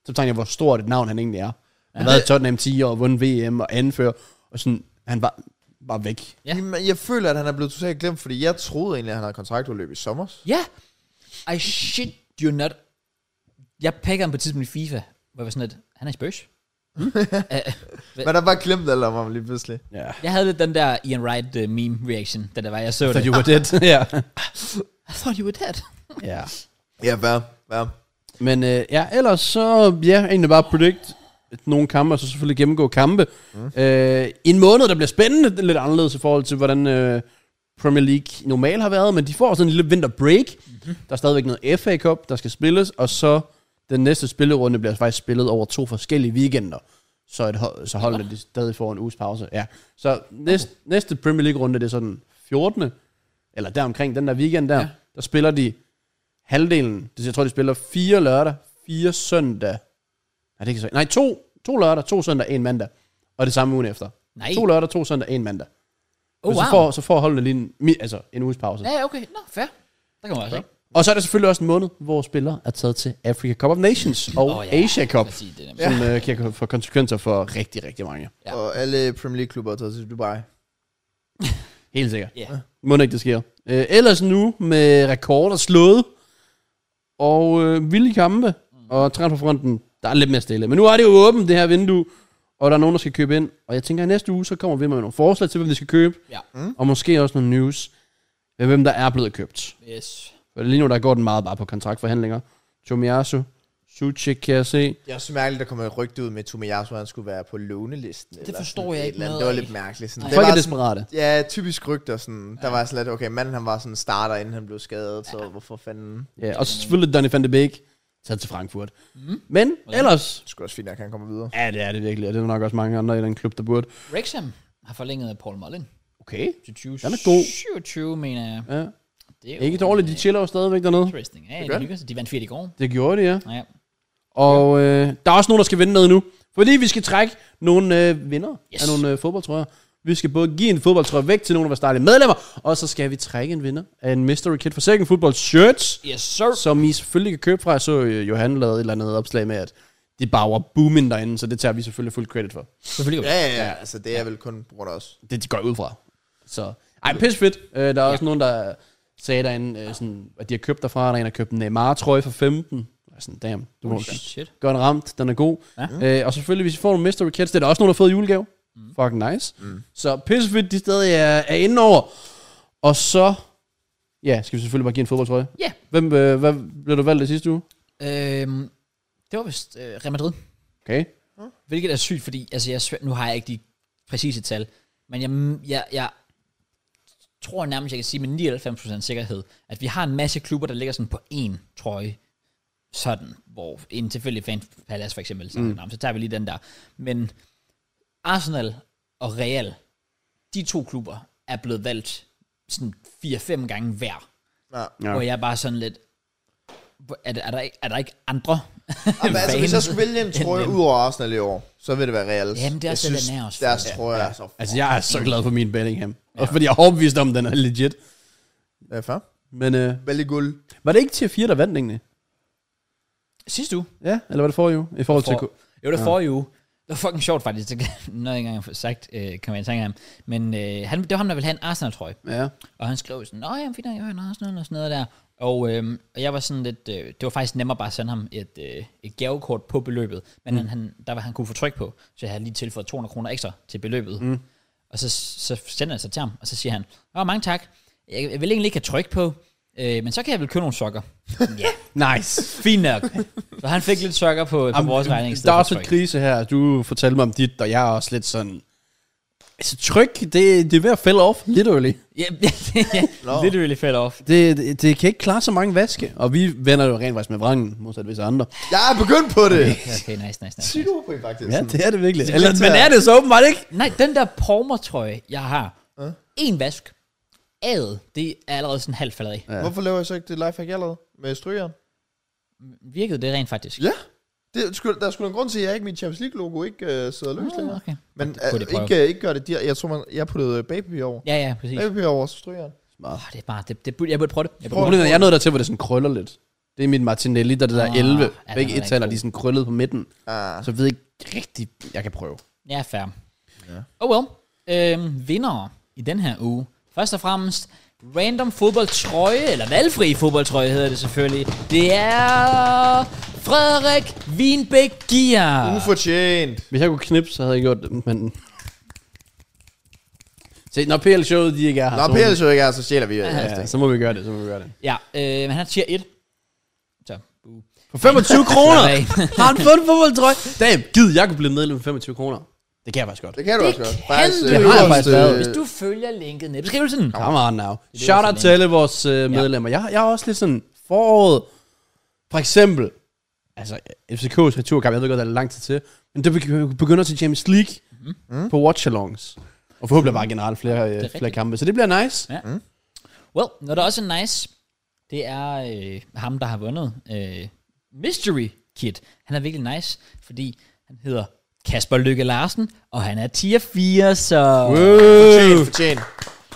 B: Så tænker jeg, hvor stort et navn han egentlig er. Han har været i Tottenham 10 år, vundet VM og anfører, og sådan, han var bare væk.
A: Ja.
C: Jamen, Jeg føler, at han er blevet totalt glemt, fordi jeg troede egentlig, at han havde kontraktudløb i sommer.
A: Ja. I shit you not. Jeg pakker ham på et tidspunkt i FIFA, hvor jeg var sådan lidt, han er i Spurs. Hmm? Øh,
C: Men der var glemt alt om ham lige pludselig.
B: Ja.
A: Jeg havde lidt den der Ian Wright uh, meme reaction, da der var, jeg så
B: Så
A: det. Oh,
B: you were dead. ja.
A: I thought you were dead.
B: ja.
C: Ja, hvad? Hvad?
B: Men øh, ja, ellers så, ja, egentlig bare predict nogle kampe, og så selvfølgelig gennemgå kampe. Mm. Øh, en måned, der bliver spændende, det er lidt anderledes i forhold til, hvordan øh, Premier League normalt har været, men de får sådan en lille vinterbreak. Mm-hmm. Der er stadigvæk noget FA Cup, der skal spilles, og så den næste spillerunde bliver faktisk spillet over to forskellige weekender. Så, et, hold- så holdene de stadig får en uges pause. Ja. Så næste, næste Premier League-runde, det er sådan 14. Eller deromkring, den der weekend der, ja. der spiller de halvdelen. Det vil sige, Jeg tror, de spiller fire lørdag, fire søndag. Nej, det kan så, nej to, to lørdag, to søndag, en mandag. Og det samme ugen efter.
A: Nej.
B: To lørdag, to søndag, en mandag.
A: Oh,
B: Men
A: wow.
B: så, får, så får holdene lige en, mi- altså, en uges pause.
A: Ja, okay. Nå, fair. Der kommer også, ikke?
B: Og så er der selvfølgelig også en måned, hvor spillere er taget til Africa Cup of Nations og
A: Åh,
B: oh,
A: ja.
B: ja. Asia Cup,
A: Lad os sige det der.
B: som øh, kan få konsekvenser for rigtig, rigtig mange.
A: Ja.
C: Og alle Premier League-klubber er taget til Dubai.
B: Helt sikkert.
A: Ja.
B: Må ikke, det sker. Øh, ellers nu med rekorder slået og øh, vilde kampe og transferfronten, der er lidt mere stille. Men nu er det jo åbent, det her vindue, og der er nogen, der skal købe ind. Og jeg tænker, at næste uge, så kommer vi med nogle forslag til, hvem vi skal købe,
A: Ja.
B: og måske også nogle news med, hvem der er blevet købt.
A: Yes.
B: For lige nu, der går den meget bare på kontraktforhandlinger. Tomiyasu, Suchik, kan jeg se.
C: Det er også mærkeligt, der kommer et rygte ud med, at Tomiyasu han skulle være på lånelisten. eller
A: forstår
C: sådan
A: jeg
C: et
A: ikke
C: eller
A: noget
C: andet. Det var
A: af.
C: lidt mærkeligt. Sådan.
A: Nej.
C: Det
B: Folk
C: var
B: er
C: sådan-
B: desperate.
C: Ja, typisk rygter. Sådan. Der var sådan lidt, okay, manden han var sådan starter, inden han blev skadet, så hvorfor fanden...
B: Ja, og så selvfølgelig Donny van de Beek, taget til Frankfurt. Mm. Men ellers...
C: Det skulle også fint, at han kommer videre.
B: Ja, det er det virkelig, og det er nok også mange andre i den klub, der burde.
A: Wrexham har forlænget Paul Mullin
B: Okay.
A: til 20.
B: Den er god.
A: 27, mener jeg.
B: Ja.
A: Det er jo
B: Ikke dårligt, de chiller jo stadigvæk dernede.
A: Interesting. Ja, de
C: gør de.
A: hygger sig. De vandt 4 i går.
B: Det gjorde de, ja.
A: Ja.
B: Og øh, der er også nogen, der skal vinde noget nu. Fordi vi skal trække nogle øh, vinder yes.
A: Yes.
B: af nogle øh, fodboldtrøjer. Vi skal både give en fodboldtrøje væk til nogle af vores dejlige medlemmer, og så skal vi trække en vinder af en Mystery Kid for Second Football Shirts,
A: Yes, sir.
B: som I selvfølgelig kan købe fra. Jeg så øh, Johan lavede et eller andet opslag med, at det bare var booming derinde, så det tager vi selvfølgelig fuld credit for.
A: Selvfølgelig.
C: Ja, ja, ja. Altså, det er vel kun på grund af os.
B: Det går jeg ud fra. Så, ej, pis fedt. Øh, der er også nogen, der sagde derinde, øh, sådan, at de har købt derfra, der er en, der har købt en Neymar-trøje for 15. Jeg er sådan, damn, du må
A: Holy shit.
B: Godt ramt, den er god. Ja. Øh, og selvfølgelig, hvis I får nogle mystery kits, det er der også nogen, der har fået i julegave. Mm. Fucking nice. Mm. Så pissefedt, de stadig er, er inde over. Og så, ja, skal vi selvfølgelig bare give en fodboldtrøje.
A: Ja.
B: Hvem, øh, hvad blev du valgt i sidste uge?
A: Øhm, det var vist øh, Real Madrid.
B: Okay.
A: Hvilket er sygt, fordi altså, jeg, er svæ- nu har jeg ikke de præcise tal, men jeg, jeg, jeg tror nærmest, jeg kan sige med 99% sikkerhed, at vi har en masse klubber, der ligger sådan på én trøje, sådan, hvor en tilfældig fan, Palace for eksempel, så, mm. så tager vi lige den der. Men Arsenal og Real, de to klubber, er blevet valgt sådan 4-5 gange hver,
C: Ja.
A: ja. hvor jeg er bare sådan lidt, hvor- er, der- er, der, ikke, er der ikke andre
C: Jamen, altså, hvis jeg
A: fans
C: skulle vælge en
A: end
C: trøje
A: dem?
C: ud over Arsenal i år, så vil det være Real.
A: Jamen, det er også det, den er også.
C: Deres trøje er så...
B: Altså, jeg er så glad for min Bellingham. Ja. Også fordi jeg er overbevist om, at den er legit.
C: Hvad for?
B: Men øh,
C: Vældig guld.
B: var det ikke tier 4, der vandt egentlig?
A: Sidste uge,
B: Ja, eller var det forrige uge? I forhold til...
A: For, jo, det var forrige uge. Det var fucking sjovt faktisk. Det noget jeg ikke engang har sagt, øh, kom jeg i tanke om. Men øh, han, det var ham, der ville have en Arsenal-trøje.
B: Ja.
A: Og han skrev sådan, nej, jeg fint, nok, jeg har en Arsenal og sådan noget der. Og, øh, og jeg var sådan lidt, øh, det var faktisk nemmere bare at sende ham et, øh, et gavekort på beløbet. Men mm. han, han, der var han kunne få tryk på, så jeg havde lige tilføjet 200 kroner ekstra til beløbet. Mm. Og så, så sender jeg sig til ham, og så siger han, åh, mange tak. Jeg, jeg vil egentlig ikke have tryk på, øh, men så kan jeg vel købe nogle sokker. ja,
B: Nice.
A: fint nok. Så han fik lidt sokker på, på
B: Jamen,
A: vores regning. i
B: Der
A: stedet
B: er
A: for
B: også
A: tryk.
B: et krise her. Du fortalte mig om dit, og jeg er også lidt sådan... Altså, tryk, det, det er ved at fell off, literally.
A: Ja, yeah,
C: Nå.
A: literally fell off.
B: Det, det, det kan ikke klare så mange vaske. Og vi vender jo rent faktisk med vrangen, modsat visse andre.
C: Jeg er begyndt på det!
A: Okay, nice, nice, nice.
C: Sygt oprigt, faktisk.
B: Ja, det er det virkelig.
C: Det er
B: Eller,
C: lidt
B: men
C: svært.
B: er det så åbenbart ikke?
A: Nej, den der pormertrøje, jeg har. En vask. Ad, det er allerede sådan halvt faldet af.
B: Ja.
C: Hvorfor laver jeg så ikke det lifehack, jeg lavede med strygeren?
A: Virkede det rent faktisk?
C: Ja. Det, skulle, der skulle en grund til, at jeg ikke mit Champions League-logo ikke øh, sidder løs
A: Ah,
C: længere.
A: okay.
C: Men
A: kunne de
C: øh,
A: prøve.
C: ikke, øh, ikke gør det der. Jeg tror, man, jeg puttede babypapir over.
A: Ja, ja, præcis.
C: Babypapir over så strygeren.
A: Oh, det er bare, det, det, burde- jeg burde prøve det. Jeg burde prøve det.
B: Problemet er, jeg er nået dertil, hvor det sådan krøller lidt. Det er mit Martinelli, der er det der
A: Ah,
B: 11.
A: ja, den er
B: Begge
A: rigtig
B: etaler,
A: god.
B: de er sådan krøllet på midten.
C: Ah.
B: Så jeg ved ikke rigtigt, jeg kan prøve.
A: Ja, fair. Oh well. Øhm, vinder i den her uge. Først og fremmest, random fodboldtrøje, eller valgfri fodboldtrøje hedder det selvfølgelig. Det er Frederik Wienbæk Gier.
B: Ah.
C: Ufortjent.
B: Hvis jeg kunne knippe, så havde jeg gjort det, men... Se, når PL-showet, de ikke er her,
C: Nå,
B: så, må vi-
C: Peter så ikke er, så sjæler vi. øh, Ja.
B: ja, så må vi gøre det, så må vi gøre det.
A: Ja, øh, men han siger 1. Så, uh, buh.
B: For 25 kroner
A: Slap af.
B: har han fået en fodboldtrøje. Damn, gid, jeg kunne blive medlem for 25 kroner. Det kan jeg faktisk godt.
C: Det kan du
A: Det
C: også godt.
A: kan
C: Faktisk,
A: du
C: øh,
A: jo.
B: Det har jeg
C: øverst,
B: faktisk lavet.
C: øh,
A: Hvis du følger linket ned i beskrivelsen.
B: Come on now.
A: er
B: Shout out
A: sådan
B: til alle vores øh, medlemmer. Jeg, jeg er også lidt sådan foråret. For eksempel, altså FCK's returkamp, jeg ved godt, der er lang tid til, men det begy- begynder til Champions League mm. på watch-alongs. Og forhåbentlig bare generelt flere, øh, flere
A: Mm-hmm. rigtigt.
B: kampe. Så det bliver nice.
A: Ja. Well, når der også er nice, det er øh, ham, der har vundet øh, Mystery Kid. Han er virkelig nice, fordi han hedder Kasper Lykke Larsen, og han er tier 4, så,
B: Wow.
C: Fortjent.
B: Øh,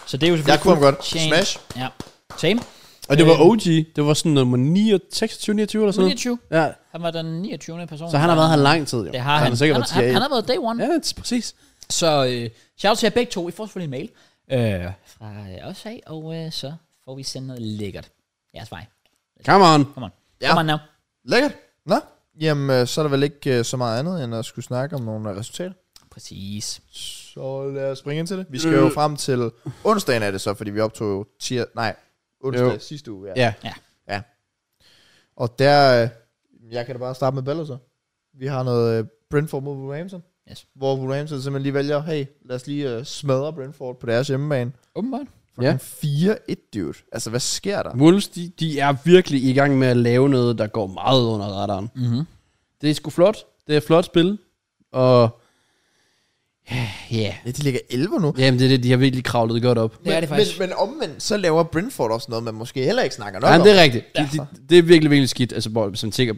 A: så det er jo selvfølgelig...
C: Jeg kunne ham godt.
A: fortjent.
C: Smash.
A: Ja, same.
B: Og det var OG. Det var sådan nummer 26, 29 eller sådan noget.
A: 29.
B: Ja,
A: Han var den 29. person.
B: så han har været her lang tid, jo.
A: Det har
B: Så
A: han.
B: Han har sikkert
A: han,
B: været
A: han,
B: TA.
A: han, har været day one.
B: Ja, det er præcis.
A: Så øh, shout out til jer begge to. I får selvfølgelig en mail øh, fra øh, os af, og øh, så får vi sendt noget lækkert. Jeres vej.
B: Come on.
A: Kom on.
C: Ja.
A: Kom on now.
C: Lækkert. Nå, jamen øh, så er der vel ikke øh, så meget andet, end at skulle snakke om nogle øh, resultater.
A: Præcis.
C: Så lad os springe ind til det. Vi skal jo
B: Øh.
C: frem til onsdagen er det så, fordi vi optog jo tir... Nej, onsdag
B: Jo.
C: jo. sidste uge.
B: Ja.
C: Og der... øh, Jeg kan da bare starte med Bello så. Vi har noget øh, Brentford mod Wolverhampton.
A: Yes.
C: Hvor Wolverhampton simpelthen lige vælger, hey, lad os lige øh, smadre Brentford på deres hjemmebane.
A: Åbenbart.
B: Ja.
C: Ja. 4-1, dude. Altså, hvad sker der?
B: Wolves, de, de er virkelig i gang med at lave noget, der går meget under radaren.
A: Mm-hmm.
B: Det er sgu flot. Det er et flot spil. Og... Ja.
C: Ja, de ligger 11 nu.
B: Jamen, det er det. De har virkelig kravlet godt op.
A: Det er det faktisk.
C: Men, men omvendt, så laver Brentford også noget, man måske heller ikke snakker nok
B: Ja,
C: om.
B: det er rigtigt. De,
C: Derfor.
B: de, det er virkelig, virkelig skidt. Altså, hvor, som tænker,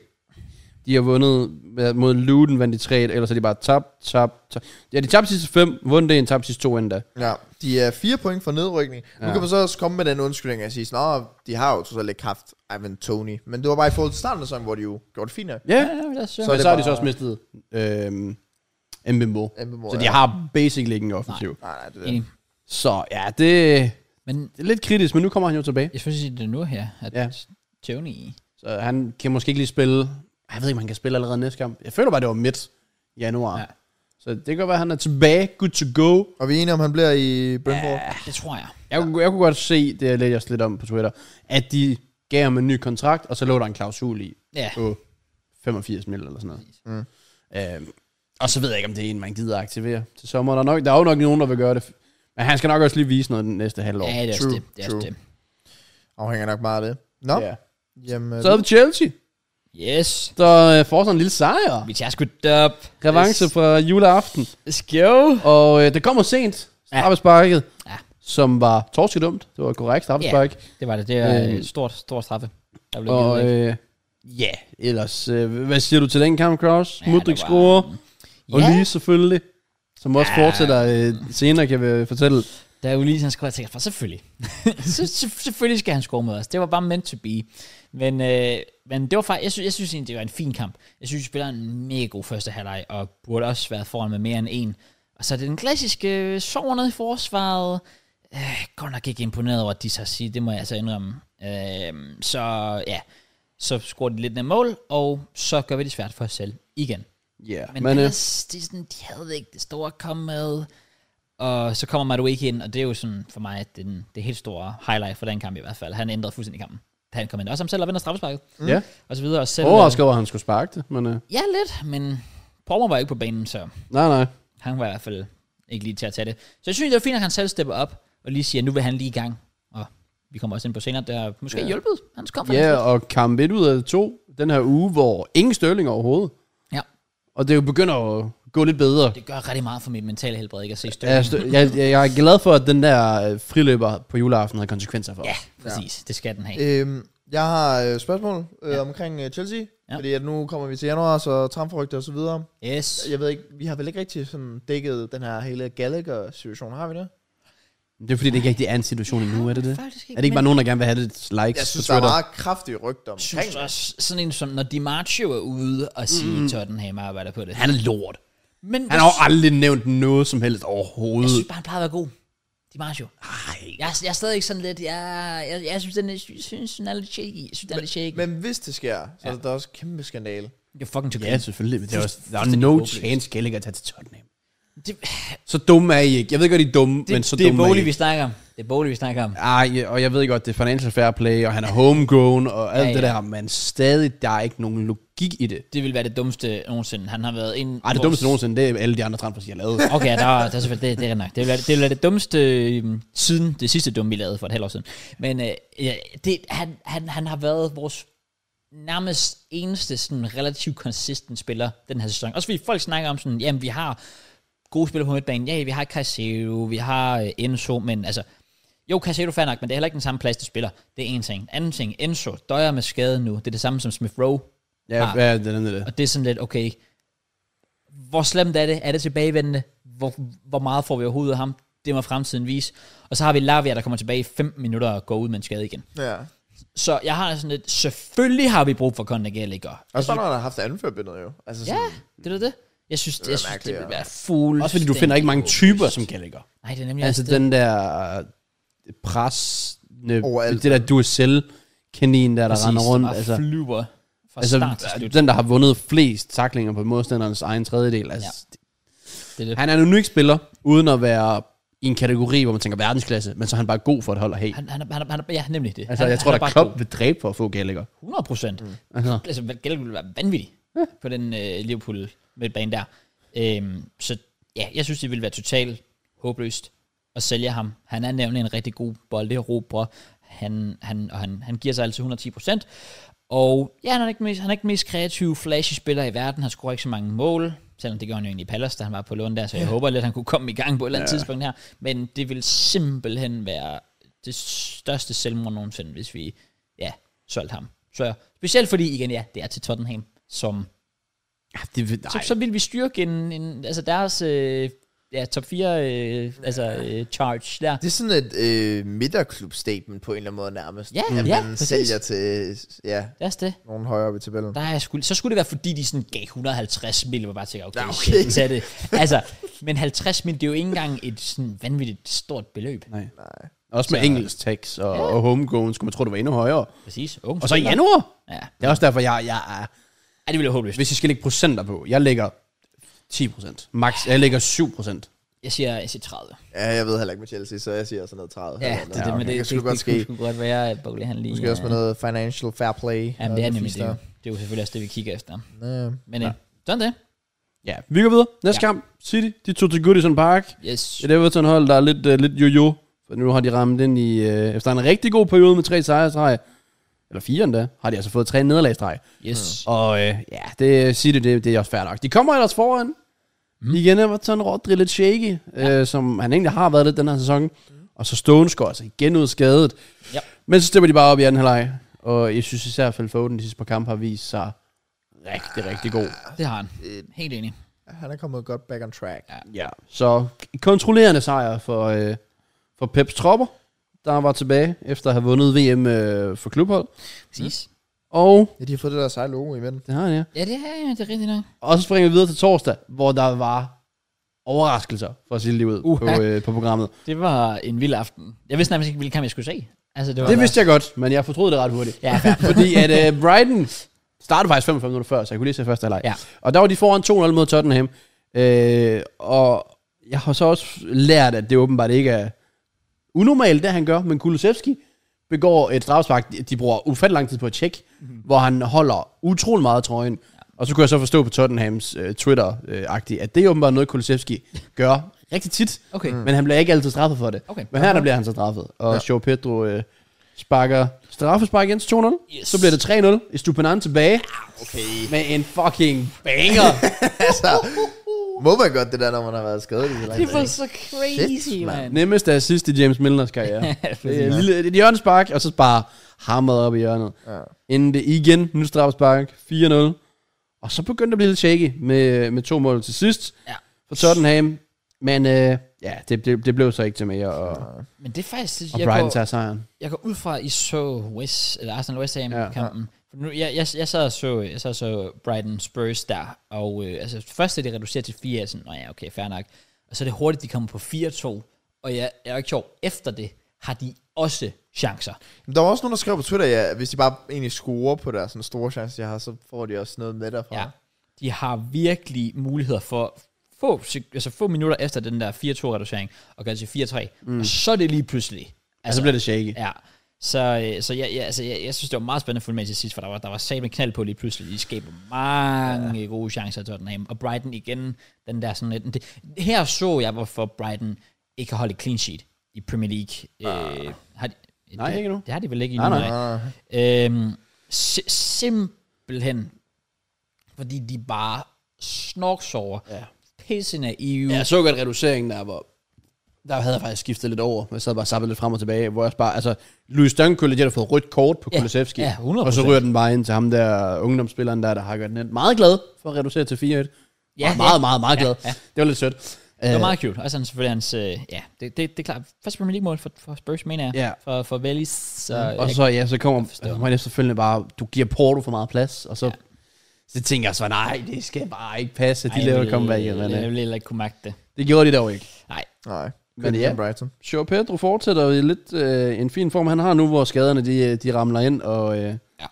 B: de har vundet hvad, mod Luton, vandt de 3 ellers er de bare tabt, tabt, tabt. Ja, de tabte sidste 5, vundet det en, tabte sidste 2 endda.
C: Ja, de er fire point for nedrykning. Nu
B: Ja.
C: kan man så også komme med den undskyldning og sige, sådan, "Nå, de har jo totalt ikke haft Ivan Tony. Men det var bare i forhold til starten af sæsonen, hvor de jo gjorde det fint nok.
B: Ja,
A: Ja, lad os se.
B: så,
C: er
B: men
C: det
B: så har de
C: bare-
B: så også mistet øhm, Mbembo.
C: Mbembo,
B: Så de
C: ja.
B: har basically ikke en offensiv. Nej.
C: Nej, nej, det er
A: Enig.
B: Så ja, det,
A: Men
B: det er lidt kritisk, men nu kommer han jo tilbage.
A: jeg synes, det er nu her, at
B: Ja.
A: ja. Tony...
B: Så han kan måske ikke lige spille. Ej, Jeg ved ikke, om han kan spille allerede næste kamp. Jeg føler bare, det var midt januar.
A: Ja.
B: Ja. Så det kan godt være, at han er tilbage. Good to go.
C: Og vi er enige om, han bliver i Brentford. Ja.
A: Ja, det tror jeg.
B: Jeg, kunne, jeg kunne godt se, det jeg læste lidt om på Twitter, at de gav ham en ny kontrakt, og så lå der en klausul i
A: Ja.
B: på 85 mil eller sådan noget. Mm. Øhm, og så ved jeg ikke, om det er en, man gider at aktivere til sommer. Der er, nok, der er jo nok nogen, der vil gøre det. Men han skal nok også lige vise noget den næste halvår.
A: Ja, det er også
C: True,
A: det. Det er også
C: true.
A: det.
C: Afhænger nok meget af det. Nå, ja.
B: Ja.
C: jamen,
B: Så er det Chelsea,
A: Yes.
B: der øh, får sådan en lille sejr.
A: Vi tager sgu op.
B: Revanche fra juleaften.
A: Let's go.
B: Og øh, det kommer sent. Straffesparket,
A: Ja.
B: ja. som var torskedumt. Det var et korrekt straffespark.
A: Det var det. Det er
B: Øhm.
A: et stort, stort straffe. Der blev givet,
B: Og
A: ikke?
B: øh, ja, ellers, øh, hvad siger du til den kamp, Kraus?
A: Ja,
B: Ja,
A: det var-
B: Mudrik scorer, og
A: Ja.
B: lige selvfølgelig, som også
A: Ja.
B: ja. fortsætter øh, senere, kan vi fortælle.
A: Da Ulysses han scorede, jeg tænkte, for selvfølgelig. så, så, selvfølgelig skal han score mod os. Det var bare meant to be. Men, øh, men det var faktisk, jeg, synes, jeg synes egentlig, det var en fin kamp. Jeg synes, vi spiller en mega god første halvleg, og burde også være foran med mere end en. Og så er det den klassiske øh, sover ned i forsvaret. Øh, godt nok ikke imponeret over, at de så siger, det må jeg altså indrømme. Øh, så ja, så scorer de lidt ned mål, og så gør vi det svært for os selv igen.
B: Ja,
A: Men,
B: men,
A: Men
B: øh,
A: ellers, det er sådan, de havde ikke det store at komme med. Og så kommer Madueke ind, og det er jo sådan for mig den, det helt store highlight for den kamp i hvert fald. Han ændrede fuldstændig kampen, da han kom ind. Også ham selv og vender straffesparket,
B: ja.
A: og så videre. Og selv,
B: Overrasket over, at han skulle sparke det, men øh,
A: Ja, lidt, men Pormer var ikke på banen, så
B: nej, nej.
A: han var i hvert fald ikke lige til at tage det. Så jeg synes, det var fint, at han selv stepper op og lige siger, nu vil han lige i gang. Og vi kommer også ind på senere, der måske
B: Ja.
A: yeah. hjulpet hans konference.
B: Ja, og kamp 1 ud af 2 den her uge, hvor ingen Størling overhovedet.
A: Ja.
B: Og det jo begynder at gå lidt bedre.
A: Det gør rigtig meget for mit mentale helbred, ikke at se støtte.
B: Jeg, er stø- jeg, jeg, jeg er glad for, at den der øh, friløber på juleaften havde konsekvenser for os.
A: Ja, præcis. Det skal den have.
C: øhm, jeg har øh, spørgsmål øh, ja. omkring øh, Chelsea.
A: Ja.
C: Ja. Fordi at nu kommer vi til januar, så tramforrygte og så videre.
A: Yes.
C: Jeg ved ikke, vi har vel ikke rigtig sådan dækket den her hele Gallagher-situation, har vi det?
B: Det er fordi, det ikke rigtig er en situation endnu, er det det?
A: Faktisk
B: Er det ikke bare
A: men-
B: nogen, der gerne vil have lidt likes
C: Jeg synes,
B: på
C: der er
B: Twitter?
C: meget kraftige rygter omkring
A: synes
C: det.
A: også, sådan en som, når Di Marzio er ude og sige, mm. Tottenham arbejder på det.
B: Han er lort.
A: men
B: Han
A: jeg,
B: har jo
A: sy-
B: aldrig nævnt noget som helst
A: jeg
B: overhovedet.
A: synes bare, han plejer at være god. Di Marzio.
B: Nej.
A: Jeg, er- jeg er stadig ikke sådan lidt, jeg, jeg, jeg synes, den er, jeg synes, den er lidt shaky. Jeg synes, den er lidt shaky. Men,
C: Men hvis det sker, så er der også kæmpe skandale.
A: You're fucking too
B: Ja,
A: good.
B: selvfølgelig. Men det er også, der er
A: Fuldstændig
B: no
A: håbløst.
B: chance, Gallagher tager til Tottenham.
A: Det,
B: Så dumme er I ikke. Jeg ved godt, I er dumme,
A: det,
B: men så
A: det er
B: dumme er I
A: bolig, vi
B: ikke.
A: snakker om. Det er bolig, vi snakker om.
B: Ej, og jeg ved godt, det er financial fair play, og han er homegrown, og alt
A: Ja,
B: ja, ja. det
A: ja.
B: der, men stadig, der er ikke nogen logik i det.
A: Det vil være det dummeste nogensinde. Han har været en...
B: Ej, det dummeste nogensinde, det er alle de andre transfers, jeg har lavet.
A: Okay, der, er- der er selvfølgelig, det, det er rigtig nok. Det vil være det, vil være det dummeste øhm, siden det sidste dumme, vi lavede for et halvt år siden. Men øh, ja, det, han, han, han har været vores nærmest eneste sådan, relativt konsistent spiller den her sæson. Også fordi folk snakker om sådan, jamen vi har gode spillere på midtbanen. Ja, vi har Casero, vi har øh, Enzo, men altså... Jo, Casero fair nok, men det er heller ikke den samme plads, de spiller. Det er en ting. Anden ting, Enzo døjer med skade nu. Det er det samme som Smith Rowe.
B: Ja,
A: Ah.
B: ja, det er det.
A: Og det er sådan lidt, okay, hvor slemt er det? Er det tilbagevendende? Hvor, hvor meget får vi overhovedet af ham? Det må fremtiden vise. Og så har vi Lavia, der kommer tilbage i 15 minutter og går ud med en skade igen.
C: Ja.
A: Så jeg har sådan lidt, selvfølgelig har vi brug for Conor Gallagher.
C: Og
D: Altså,
C: så når han har haft anførbindet jo. Altså sådan,
A: Ja, det er da det. Jeg synes, det,
C: Det er
A: jeg synes, det
C: mærkeligt,
A: vil
C: ja.
A: være fuldstændig
B: Også fordi du finder ikke mange typer, som Gallagher.
A: Nej, det er nemlig
B: Altså
A: også det.
B: den der øh, pres, ne-
C: Overalt.
B: det der duel-kanin, der, der
A: Præcis,
B: render rundt.
A: bare
B: Altså,
A: flyver fra
B: altså,
A: start til slut.
B: den, der har vundet flest taklinger på modstanderens egen tredjedel. Altså,
A: Ja.
B: ja.
A: Det er det.
B: Han er en unik spiller, uden at være i en kategori, hvor man tænker verdensklasse, men så er han bare god for et hold at have.
A: Han, han, er- han, er- han, er- ja, nemlig det.
B: Altså,
A: han,
B: jeg tror,
A: han
B: der
A: bare
B: Klopp vil dræbe for at få Gallagher.
A: god. 100 procent. Mm.
B: Altså,
A: Altså, Gallagher ville være vanvittig ja. på den øh, Liverpool midtbane der. Øhm, så ja, jeg synes, det ville være totalt håbløst at sælge ham. Han er nemlig en rigtig god bolderobrer. Han, han, og han, han giver sig altid 110 procent. Og ja, han er ikke den mest, han er ikke den mest kreative, flashy spiller i verden. Han scorer ikke så mange mål. Selvom det gjorde han jo egentlig i Palace, da han var på lån der. Så jeg ja. håber lidt, han kunne komme i gang på et eller andet ja. tidspunkt her. Men det vil simpelthen være det største selvmord nogensinde, hvis vi ja, solgte ham. Så specielt fordi, igen ja, det er til Tottenham, som
B: ja, det, vil-
A: så,
B: nej.
A: så vil vi styrke en, en altså deres øh, ja, top 4 øh, altså øh, charge der.
D: Det er sådan et øh, midterklub-statement på en eller anden måde nærmest.
A: Ja,
D: at
A: ja,
D: man
A: præcis.
D: sælger til, øh, ja,
A: Det er også det.
C: nogen højere ved tabellen.
A: Der er jeg skulle, så skulle det være, fordi de sådan gav 150 mil, og bare tænker, okay,
D: Ja,
A: ja,
D: okay.
A: okay. Shit, så er det. Altså, men 50 mil, det er jo ikke engang et sådan vanvittigt stort beløb.
B: Nej. Også med
A: Så-
B: engelsk tax og, og homegrown, skulle man tro, det var endnu højere.
A: Præcis. Unge
B: Og så i
A: spillere.
B: januar.
A: Ja.
B: Det er også derfor, jeg, jeg er,
A: ja, det ville jeg håbe, hvis
B: hvis jeg skal lægge procenter på, jeg lægger 10 procent. Max, jeg lægger 7 procent.
A: jeg siger, jeg siger 30.
D: Ja, jeg ved heller ikke med Chelsea, så jeg siger sådan noget 30.
A: Ja, det, det, men det,
C: det
A: det,
C: skulle
A: det,
C: godt
A: det, kunne
C: ske.
A: sgu godt være, at Bogle han lige...
C: Måske også med noget financial fair play.
A: Ja, men det er nemlig det.
C: Ja.
A: jo. Det er jo selvfølgelig også det, vi kigger efter.
C: Ja.
A: Men ja. øh, sådan det.
B: Ja, vi går videre. Næste
A: Ja.
B: ja. kamp, City, de tog til Goodison Park.
A: Yes.
B: Et Everton-hold, der er lidt, uh, lidt jojo. For nu har de ramt ind i, uh, efter en rigtig god periode med tre sejrstreg, eller fire endda, har de altså fået tre nederlagstreg.
A: Yes.
B: Og øh, ja, det City, det, det er også fair nok. De kommer ellers foran. Mm. Igen Everton, Rodri lidt shaky, ja. øh, som han egentlig har været lidt den her sæson. Mm. Og så Stones går altså igen ud skadet.
A: Ja.
B: Men så stemmer de bare op i anden halvleg. Og jeg synes især, at Phil Foden de sidste par kampe har vist sig rigtig, rigtig god.
A: Det har han. Helt enig.
C: Han er kommet godt back on track.
B: Ja. Så kontrollerende sejr for, øh, for Peps tropper, der var tilbage efter at have vundet VM øh, for klubhold.
A: Præcis.
B: Og
C: Ja, de har fået det der seje logo i midten.
B: det har jeg.
A: Ja, det er, ja, det er rigtigt nok.
B: Og så springer vi videre til torsdag, hvor der var overraskelser for at sige det ud uh, på,
A: Uha.
B: øh, på programmet.
A: Det var en vild aften. Jeg vidste nærmest ikke, hvilken kamp jeg skulle se. Altså, det var
B: Det vidste jeg godt, men jeg fortrød det ret hurtigt.
A: Ja, fair.
B: Fordi at øh, Brighton startede faktisk 45 minutter før, så jeg kunne lige se første halvleg.
A: Ja.
B: Og der var de foran 2-0 mod Tottenham. Øh, og jeg har så også lært, at det åbenbart ikke er unormalt, det han gør, men Kulusevski begår et strafspark, de- de bruger ufattelig lang tid på at tjekke,
A: Mhm.
B: mm-hmm. hvor han holder utrolig meget af trøjen. Ja. Og så kunne jeg så forstå på Tottenhams øh, Twitter-agtigt, at det er åbenbart noget, Kulusevski gør rigtig tit,
A: Okay.
B: men han bliver ikke altid straffet for det.
A: Okay.
B: Men her der bliver han så straffet, og ja. Joe Pedro øh, sparker straffespark igen til 2-0.
A: Yes.
B: Yes. Så bliver det 3-0, Estupinan tilbage
D: Okay.
B: med en fucking banger.
D: altså,
C: Må man godt det der, når man har været skadet i så lang
A: Det
C: tid.
A: var så crazy,
D: Shit,
A: mand.
B: Nemmeste assist i James Milners karriere. det er et lille, et hjørnespark, og så bare hamret op i hjørnet.
C: Ja.
B: Inden det igen, nu straffespark, 4-0. Og så begyndte det at blive lidt shaky med, med to mål til sidst
A: Ja.
B: for Tottenham. Men øh, ja, det, det, det blev så ikke til mere, og,
A: Men det er faktisk...
B: og
A: Jeg
B: Brighton
A: går,
B: tager sejren. Altså,
A: jeg går ud fra, at I så West, eller Arsenal West
B: Ja.
A: Ham-kampen. For nu, jeg, jeg, jeg, sad og så, jeg sad og så Brighton Spurs der, og øh, altså, først er det reduceret til 4, jeg er sådan, "Nå ja, okay, fair nok. Og så er det hurtigt, de kommer på 4-2, og jeg, jeg er jo ikke sjov, efter det har de også chancer.
C: Men Der var også nogen, der skrev på Twitter, ja, at hvis de bare egentlig scorer på deres sådan store chance, de har, så får de også noget med derfra.
A: Ja. De har virkelig muligheder for få, sek- altså få minutter efter den der 4-2-reducering, og gøre det til 4-3. Mm. Og så er det lige pludselig.
B: Og så
A: Altså,
B: blev det shaky.
A: ja. Så, øh, så jeg, jeg, altså, jeg, jeg, synes, det var meget spændende at følge med til sidst, for der var, der var sat med knald på lige pludselig. De skaber mange ja. gode chancer til Tottenham. Og Brighton igen, den der sådan lidt... Det, her så jeg, hvorfor Brighton ikke har holdt et clean sheet i Premier League. Øh, har de,
B: Ah. Nej,
A: det,
B: ikke nu.
A: Det har de vel ikke
B: Nej,
A: endnu,
B: nej.
C: Ah,
A: Øhm, si- simpelthen, fordi de bare snorks over. Ja. Pisse naive.
B: Ja, jeg så godt reduceringen der, hvor der havde jeg faktisk skiftet lidt over. Jeg sad bare og zappede lidt frem og tilbage, hvor jeg også bare, altså, Louis Dunn kunne legit have fået rødt kort på
A: Ja,
B: Kulusevski.
A: ja, 100%.
B: og så ryger den bare ind til ham der ungdomsspilleren der, der har gjort den ind. Meget glad for at reducere til 4-1.
A: Ja,
B: Ja, meget,
A: ja.
B: meget, meget glad. Ja, ja. Det var lidt sødt.
A: Det var meget cute. Og sådan selvfølgelig hans, øh, ja, det, det, det er klart, første Premier League-mål for, for Spurs, mener jeg.
B: Ja. Mm.
A: For, for Vællis. Så,
B: Øh, Og så, ja, så kommer altså, man efterfølgende bare, du giver Porto for meget plads, og så, ja. så tænker jeg så, nej, det skal bare ikke passe, at de laver comeback.
A: Jeg
B: Men, øh,
A: ville heller ikke kunne magte det.
B: det gjorde de dog ikke.
A: Nej,
C: Nej.
B: Men
C: Men
B: ja.
C: ja. Brighton.
B: Joe Pedro fortsætter jo i lidt øh, en fin form, han har nu, hvor skaderne de, de ramler ind, og øh,
A: men
B: Ja.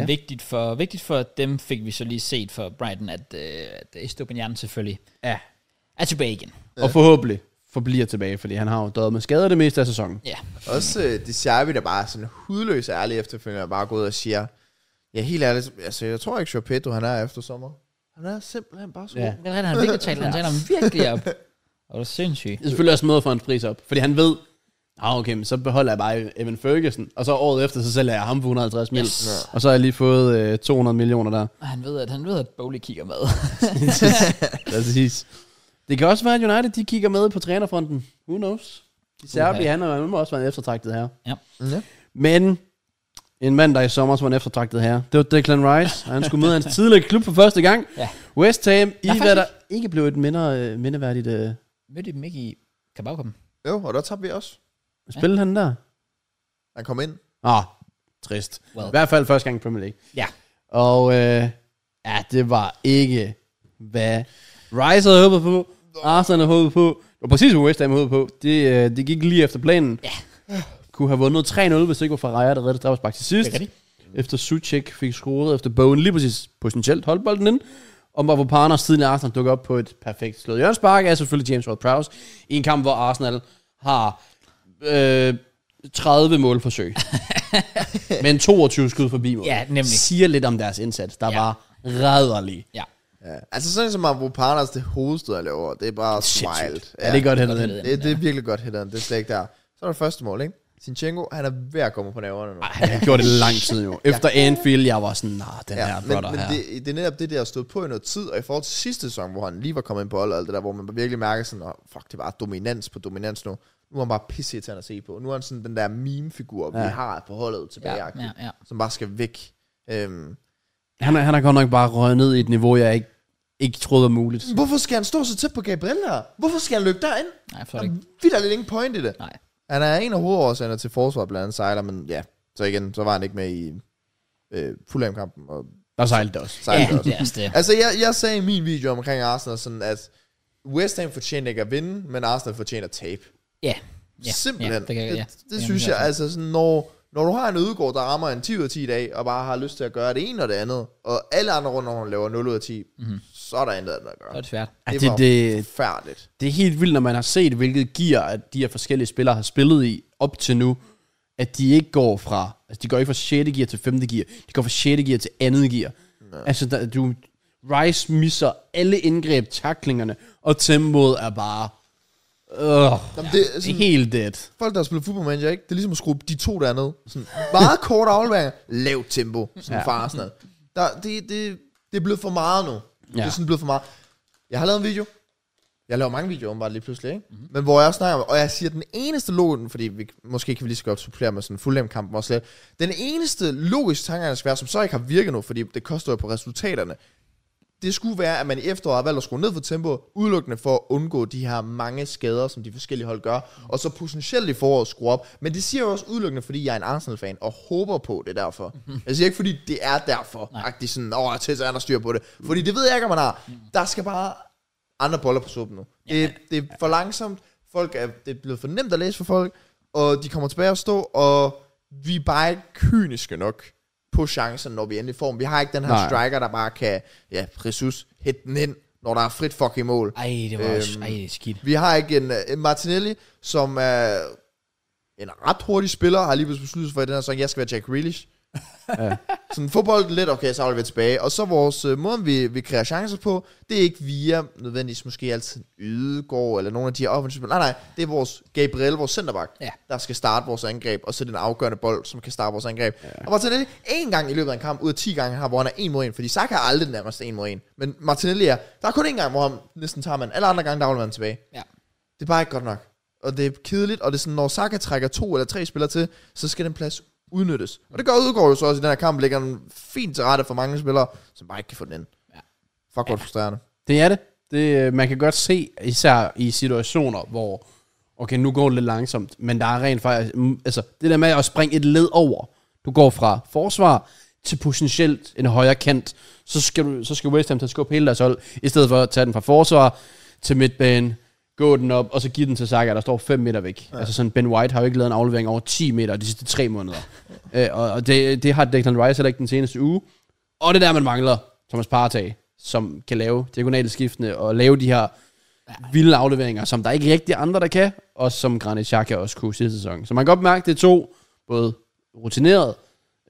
A: ja. vigtigt, for, vigtigt for dem fik vi så lige set for Brighton, at, øh, at Estupiñan selvfølgelig
B: Ja.
A: er tilbage igen.
B: og forhåbentlig forbliver tilbage, fordi han har jo døjet med skader det meste af sæsonen.
A: Ja,
C: Også øh, de Serbi, der bare er sådan hudløs ærlig efterfølgende, og bare går ud og siger, ja, helt ærligt, altså, jeg tror ikke, Joe Pedro, han er efter sommer. Han er simpelthen bare så
B: Ja.
C: ja.
A: det er rigtigt, han virkelig taler, han taler ham virkelig op. Og det er sindssygt.
B: Det er selvfølgelig også en måde for hans pris op, fordi han ved, ah, okay, men så beholder jeg bare Evan Ferguson, og så året efter, så sælger jeg ham for 150 mil,
A: Yes. Ja.
B: og så har jeg lige fået øh, 200 millioner der.
A: Og Han ved, at, han ved, at Bowley kigger med.
B: Præcis. Det kan også være, at United de kigger med på trænerfronten. Who knows? De Serbi,
A: Uha.
B: han har han må også være en eftertragtet her.
A: Ja.
C: Mm, Ja.
B: Men en mand, der i sommer var en eftertragtet her, det var Declan Rice, og han skulle møde hans tidligere klub for første gang.
A: Ja.
B: West Ham, i
A: faktisk
B: hvad der ikke blev et mindre, øh, mindeværdigt øh,
A: Mødte dem ikke i Kabagkom?
C: Jo, og der tabte vi også.
B: spil, han der.
C: Han kom ind.
B: Ah, trist.
A: Well.
B: I hvert fald første gang i Premier League.
A: Ja.
B: Og øh, ja, det var ikke, hvad Rice havde håbet på, Arsenal havde håbet på, og præcis hvad West Ham havde håbet på. Det, øh, det gik lige efter planen. Ja. Kunne have vundet 3-0, hvis det ikke var Ferreira, der reddede straffespark til sidst.
A: Det er rigtigt.
B: Efter Suchek fik scoret efter Bowen lige præcis potentielt holdt bolden ind. Og hvor Parner siden Arsenal dukker op på et perfekt slået hjørnspark, er selvfølgelig James Ward-Prowse i en kamp, hvor Arsenal har øh, 30 målforsøg. men 22 skud forbi mål.
A: Ja, nemlig.
B: Siger lidt om deres indsats, der ja.
A: Ja.
B: var rædderlig.
A: Ja.
C: Ja. Altså sådan som Avropanas, det hovedstød, han laver, det er bare smilet.
B: Ja, det er godt heller den.
A: heller
C: Det, det er virkelig godt hætteren, det er slet ikke der. Så er det første mål, ikke? Sinchenko, han er ved at komme på næverne nu. Ej,
B: Han har gjort det lang tid jo. Efter Anfield, jeg var sådan, nej, den
C: ja,
B: her
C: men,
B: brother
C: men
B: her.
C: det, det, er netop det, der har stået på i noget tid, og i forhold til sidste sæson, hvor han lige var kommet ind på holdet, og alt det der, hvor man virkelig mærker sådan, oh, fuck, det var dominans på dominans nu. Nu er han bare pisse til at se på. Nu er han sådan den der meme-figur, ja.
B: Ja.
C: vi har på holdet tilbage,
A: Ja,
C: ja,
A: ja, ja.
C: som bare skal væk. Øhm,
B: Han, er- han har godt nok bare røget ned i et niveau, jeg ikke, ikke troede var muligt.
C: hvorfor skal han stå så tæt på Gabriel her? Hvorfor skal han løbe derind?
A: Nej, jeg forstår
C: Der
A: det ikke.
C: er vildt ingen point i det.
A: Nej.
C: Han er en af hovedårsagerne til forsvaret blandt andet sejler, men ja, så igen, så var han ikke med i øh, Fulham-kampen og
B: Der sejlede det også.
A: Ja,
C: sejler ja, også.
A: det er også det.
C: Altså, jeg, jeg sagde i min video omkring Arsenal sådan, at West Ham fortjener ikke at vinde, men Arsenal fortjener at tabe.
A: Ja.
C: Ja,
A: ja.
C: Simpelthen.
A: Ja, det, kan, jeg- ja.
C: det, det synes jeg, altså sådan, når, når du har en udgård, der rammer en 10 ud af 10 i dag, og bare har lyst til at gøre det ene og det andet, og alle andre rundt, når hun laver 0 ud af 10, mm-hmm. så er der intet andet at
A: Mhm. Så er
C: gøre.
A: det svært.
B: Ja,
C: Det
B: det,
C: var-
B: det,
C: Færdigt.
B: det er helt vildt, når man har set, hvilket gear, at de her forskellige spillere har spillet i op til nu, at de ikke går fra, altså de går ikke fra 6. gear til 5. gear, de går fra 6. gear til 2. gear. Altså, der, du, Rice misser alle indgreb, taklingerne, og tempoet er bare, øh,
C: Jamen, det, er
B: det er
C: sådan,
B: helt dead.
C: folk, der har spillet football manager, ikke? det er ligesom at skrue de to dernede. Sådan, meget kort afleveringer, lavt tempo, sådan
B: Ja.
C: ja. far sådan noget. Der, det, det, det er blevet for meget nu. Ja. Det
B: Ja.
C: er sådan blevet for meget. Jeg har lavet en video. Jeg laver mange videoer åbenbart lige pludselig, ikke? Mm-hmm. Men hvor jeg snakker om, og jeg siger, at den eneste logisk, fordi vi, måske kan vi lige så godt supplere med sådan en kampen også lidt. Den eneste logiske tanke, der skal være, som så ikke har virket nu, fordi det koster jo på resultaterne, det skulle være, at man i efteråret har valgt at skrue ned for tempo, udelukkende for at undgå de her mange skader, som de forskellige hold gør, og så potentielt i foråret skrue op. Men det siger jeg også udelukkende, fordi jeg er en Arsenal-fan, og håber på det er derfor. Jeg siger ikke, fordi det er derfor, agtigt sådan, åh, til er der styr på det. Fordi det ved jeg ikke, om man har. Der skal bare andre boller på suppen nu. Det, det er for langsomt, folk er, det er blevet for nemt at læse for folk, og de kommer tilbage at stå, og vi er bare ikke kyniske nok på chancen, når vi endelig får dem. Vi har ikke den her
B: Nej.
C: Nej. striker, der bare kan, ja, Jesus, hætte den ind, når der er frit fucking mål.
A: Ej, det var også, ej, det er skidt.
C: Vi har ikke en, øh, en Martinelli, som er en ret hurtig spiller, har lige pludselig besluttet sig for i den her sæson, jeg skal være Jack Grealish. Sådan fodbold lidt, okay, så er vi tilbage. Og så vores øh, måde, vi, vi kreerer chancer på, det er ikke via nødvendigvis måske altid Ydegaard eller nogle af de her offensive spillere. Nej, nej, det er vores Gabriel, vores centerback,
A: Ja.
C: der skal starte vores angreb, og så den afgørende bold, som kan starte vores angreb. Ja. Og Martinelli, en gang i løbet af en kamp, ud af 10 gange, han har, hvor han er en mod en, fordi Saka er aldrig nærmest en mod en. Men Martinelli er, der er kun en gang, hvor han næsten tager man, alle andre gange, der man tilbage.
A: Ja.
C: Det er bare ikke godt nok. Og det er kedeligt, og det er sådan, når Saka trækker to eller tre spillere til, så skal den plads udnyttes. Og det gør Udgaard jo så også i den her kamp, ligger den fint til rette for mange spillere, som bare ikke kan få den ind.
A: Ja.
C: Fuck, hvor ja. frustrerende.
B: Det er det. Det, øh, man kan godt se, især i situationer, hvor, okay, nu går det lidt langsomt, men der er rent faktisk, mm, altså, det der med at springe et led over, du går fra forsvar til potentielt en højere kant, så skal, du, så skal West Ham til at skubbe hele deres hold, i stedet for at tage den fra forsvar til midtbanen, gå den op, og så give den til Saka, der står 5 meter væk. Ja. Altså sådan, Ben White har jo ikke lavet en aflevering over 10 meter de sidste 3 måneder. øh, og og det, det har Declan Rice heller ikke den seneste uge. Og det er der, man mangler Thomas Partey, som kan lave diagonale skiftene og lave de her vilde afleveringer, som der ikke rigtig andre, der kan, og som Granit Xhaka også kunne sidste sæson. Så man kan godt mærke, det er to både rutinerede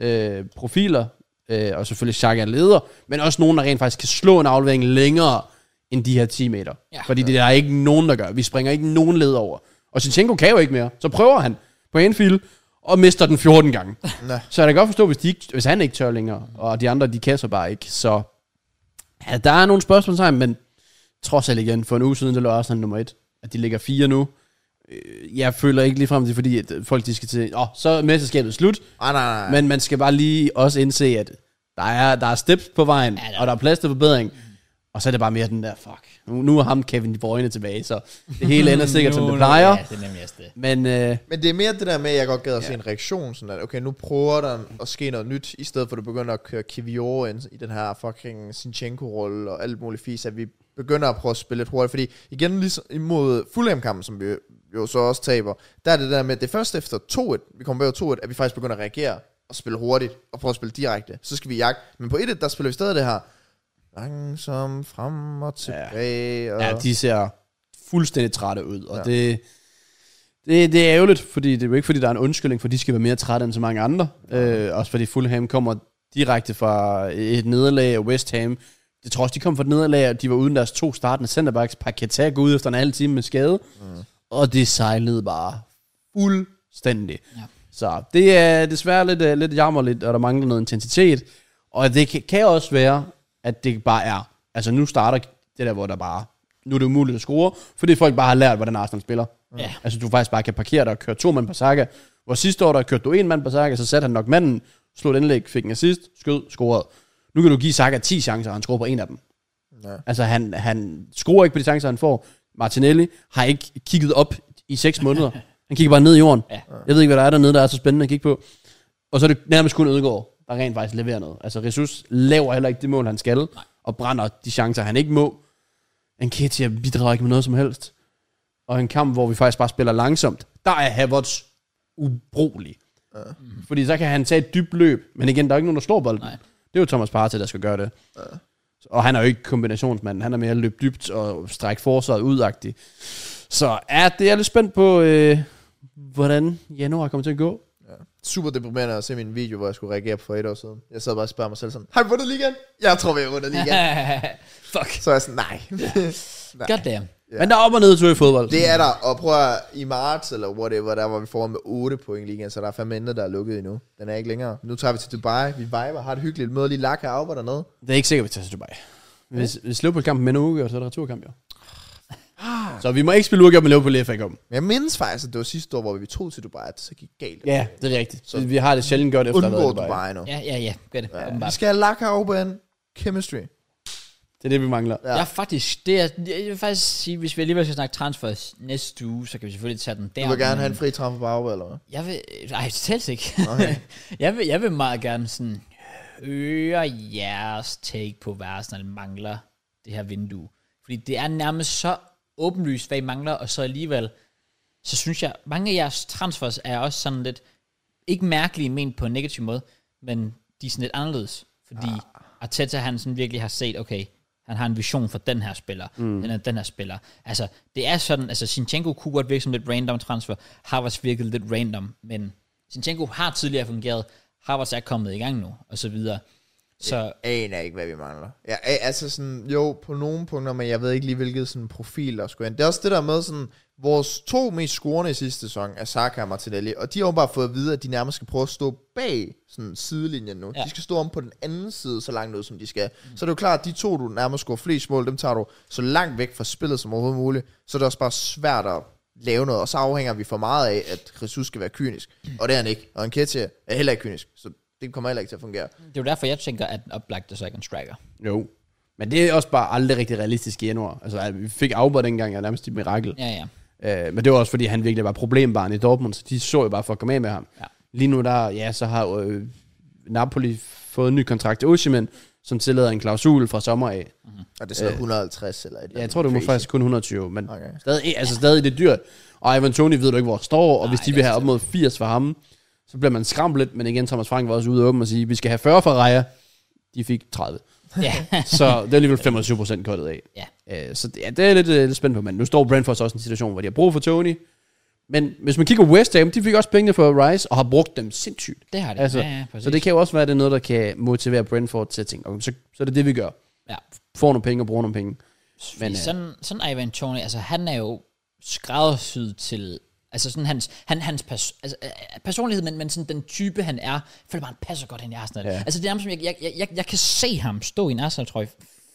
B: øh, profiler, øh, og selvfølgelig Xhaka er leder, men også nogen, der rent faktisk kan slå en aflevering længere end de her 10 meter.
A: Ja.
B: Ja. Fordi det er der ikke nogen, der gør. Vi springer ikke nogen led over. Og Zinchenko kan jo ikke mere. Så prøver han på Anfield, og mister den 14 gange.
C: Nå.
B: Så jeg kan godt forstå, hvis, de ikke, hvis han ikke tør længere, og de andre, de kan så bare ikke. Så ja, der er nogle spørgsmål sammen, men trods alt igen, for en uge siden, der lå Arsenal nummer et, at de ligger fire nu. Øh, Jeg føler ikke ligefrem, det er fordi, at folk de skal til, åh, så er mesterskabet slut,
D: Nej, nej, nej.
B: men man skal bare lige også indse, at der er, der er steps på vejen,
A: Ja, der
B: ja,
A: er.
B: og der er plads til forbedring. Og så er det bare mere den der, fuck, nu, nu er ham Kevin De Bruyne tilbage, så det hele ender sikkert, som det plejer.
A: Ja, det er nemlig også det.
B: Men øh,
C: Men det er mere det der med, at jeg godt gad at se en reaktion, sådan at, okay, nu prøver der at ske noget nyt, i stedet for at du begynder at køre Kivior ind i den her fucking Sinchenko-rolle og alt muligt fis, at vi begynder at prøve at spille lidt hurtigt, fordi igen, ligesom imod Fulham-kampen, som vi jo så også taber, der er det der med, at det er først efter 2-1, vi kommer bag 2-1, at vi faktisk begynder at reagere og spille hurtigt, og prøve at spille direkte, så skal vi jagte, men på 1-1, der spiller vi stadig det her, langsomt frem og tilbage, og...
B: Ja, de ser fuldstændig trætte ud, og
C: Ja.
B: ja. det, det, det er ærgerligt, fordi det er jo ikke, fordi der er en undskyldning, for de skal være mere trætte end så mange andre. Øh, også fordi Fulham kommer direkte fra et nederlag af West Ham. Jeg tror også, de kom fra et nederlag, at de var uden deres to startende centerbacks. Paqueta går ud efter en halv time med skade, mm. og det sejlede bare fuldstændig.
A: Ja.
B: Ja. Så det er desværre lidt, øh, lidt jammerligt, og der mangler noget intensitet. Og det kan- kan også være, at det bare er, altså nu starter det der, hvor der bare, nu er det umuligt at score, fordi folk bare har lært, hvordan Arsenal spiller.
A: Ja.
B: Altså du faktisk bare kan parkere dig og køre to mand på Saka, hvor sidste år der kørte du en mand på Saka, så satte han nok manden, slog et indlæg, fik en assist, skød, scorede. Nu kan du give Saka 10 chancer, og han scorer på en af dem.
C: Ja.
B: Altså han, han scorer ikke på de chancer, han får. Martinelli har ikke kigget op i 6 måneder. Han kigger bare ned i jorden.
A: Ja.
B: Jeg ved ikke, hvad der er dernede, der er så spændende at kigge på. Og så er det nærmest kun Ødegaard, der rent faktisk leverer noget. Altså, Jesus laver heller ikke det mål, han skal, og brænder de chancer, han ikke må. Enketia bidrager ikke med noget som helst. Og en kamp, hvor vi faktisk bare spiller langsomt, der er Havertz ubrugelig.
C: Ja.
B: Fordi så kan han tage et dybt løb, men igen, der er ikke nogen, der slår bolden.
A: Nej.
B: Det er jo Thomas Partey, der skal gøre det. Og han er jo ikke kombinationsmanden. Han er mere løb dybt og strække forsvaret udagtig. Så ja, det er jeg lidt spændt på, øh, hvordan januar kommer til at gå.
C: super deprimerende at se min video, hvor jeg skulle reagere på for et år siden. Jeg sad bare og spørger mig selv sådan, har vi vundet ligaen? Jeg tror, vi har vundet ligaen.
A: Fuck.
C: så er jeg sådan, nej. nej.
A: God damn.
B: Ja. Men der er op og ned til i fodbold.
C: Det er der, og prøv at, i marts eller whatever, der var vi foran med 8 point i ligaen, så der er fandme intet, der er lukket endnu. Den er ikke længere. Nu tager vi til Dubai, vi viber, har det hyggeligt, møder lige Laka af og dernede.
B: det er ikke sikkert, at vi tager til Dubai. Hvis, hvis Liverpool kampen med en uge, så er det returkamp, jo. Så vi må ikke spille uge med Liverpool i FA Cup.
C: Men jeg mindes faktisk, at det var sidste år, hvor vi tog til Dubai, at det så gik galt.
B: Ja, det er rigtigt. Så vi har det sjældent godt efter at have
C: Undgå
B: været i Dubai.
C: Dubai nu.
A: Ja, ja, ja. Gør det.
C: Ja. Vi
A: Åbenbart.
C: skal have Laka af Chemistry.
B: Det er det, vi mangler.
A: Ja. Jeg er faktisk, det er, jeg vil faktisk sige, hvis vi alligevel skal snakke transfers næste uge, så kan vi selvfølgelig tage den der.
C: Du vil gerne
A: men
C: have en fri træffer på Auba, eller hvad?
A: Jeg vil, nej, totalt ikke. Okay. jeg, vil, jeg vil meget gerne sådan, høre jeres take på, hvad Arsenal mangler det her vindue. Fordi det er nærmest så åbenlyst, hvad I mangler, og så alligevel, så synes jeg, mange af jeres transfers er også sådan lidt, ikke mærkelige ment på en negativ måde, men de er sådan lidt anderledes, fordi Arteta han sådan virkelig har set, okay, han har en vision for den her spiller, mm. den, her, den her spiller. Altså, det er sådan, altså Sinchenko kunne godt virke som lidt random transfer, Havertz virkede lidt random, men Sinchenko har tidligere fungeret, Havertz er kommet i gang nu, og så videre. Så
C: aner ikke, hvad vi mangler. Ja, a- altså sådan, jo, på nogle punkter, men jeg ved ikke lige, hvilket sådan profil der skulle ind. Det er også det der med sådan, vores to mest scorende i sidste sæson er Saka og Martinelli, og de har jo bare fået at vide, at de nærmest skal prøve at stå bag sådan sidelinjen nu.
A: Ja.
C: Ja. De skal stå om på den anden side så langt ud, som de skal. Mm. Så er det jo klart, at de to, du nærmest scorer flest mål, dem tager du så langt væk fra spillet som overhovedet muligt, så er det også bare svært at lave noget, og så afhænger vi for meget af, at Jesus skal være kynisk, og det er han ikke, og Enketia er heller ikke kynisk, så det kommer heller ikke til at fungere.
A: det er jo derfor, jeg tænker, at den oplagt er så ikke en striker.
B: Jo. Men det er også bare aldrig rigtig realistisk i januar. Altså, at vi fik Auber dengang, er nærmest et mirakel.
A: Ja, ja.
B: Ja. Øh, men det var også, fordi han virkelig var problembarn i Dortmund, så de så jo bare for at komme af med ham.
A: Ja.
B: Lige nu, der, ja, så har øh, Napoli fået en ny kontrakt til Osimhen, som tillader en klausul fra sommer af.
A: Mhm.
D: Og det er så 150 eller et eller
B: Ja, jeg
D: andet
B: tror, det var
D: crazy.
B: faktisk kun 120, men okay.
D: Okay.
B: stadig, altså, stadig det er dyrt. Og Ivan Toni ved du ikke, hvor han står, og Nej, hvis
A: Nej,
B: de
A: det
B: vil
A: er
B: have op mod 80 for ham, så bliver man skræmt lidt, men igen, Thomas Frank var også ude og åben og sige, vi skal have 40 for Raja. De fik 30.
A: ja.
B: Så det er alligevel 25 procent kottet af.
A: Ja.
B: Øh, så det, ja, det er lidt, øh, lidt spændt på, men nu står Brentford så også i en situation, hvor de har brug for Tony. Men hvis man kigger West Ham, de fik også pengene for Rice, og har brugt dem sindssygt.
A: Det har det.
B: Altså,
A: ja, ja, præcis.
B: Så det kan jo også være, at det er noget, der kan motivere Brentford til at tænke, okay, så, så er det det, vi gør.
A: Ja.
B: Får nogle penge og bruger nogle penge.
A: Men, øh,
B: Men, øh,
A: sådan, sådan Ivan Toney, altså han er jo skræddersyet til, altså sådan hans, han, hans pers- altså, øh, personlighed, men, men sådan den type han er, jeg føler bare, han passer godt ind i Arsenal. Ja. Altså det er nærmest som, jeg, jeg, jeg, jeg, jeg kan se ham stå i en Arsenal-trøje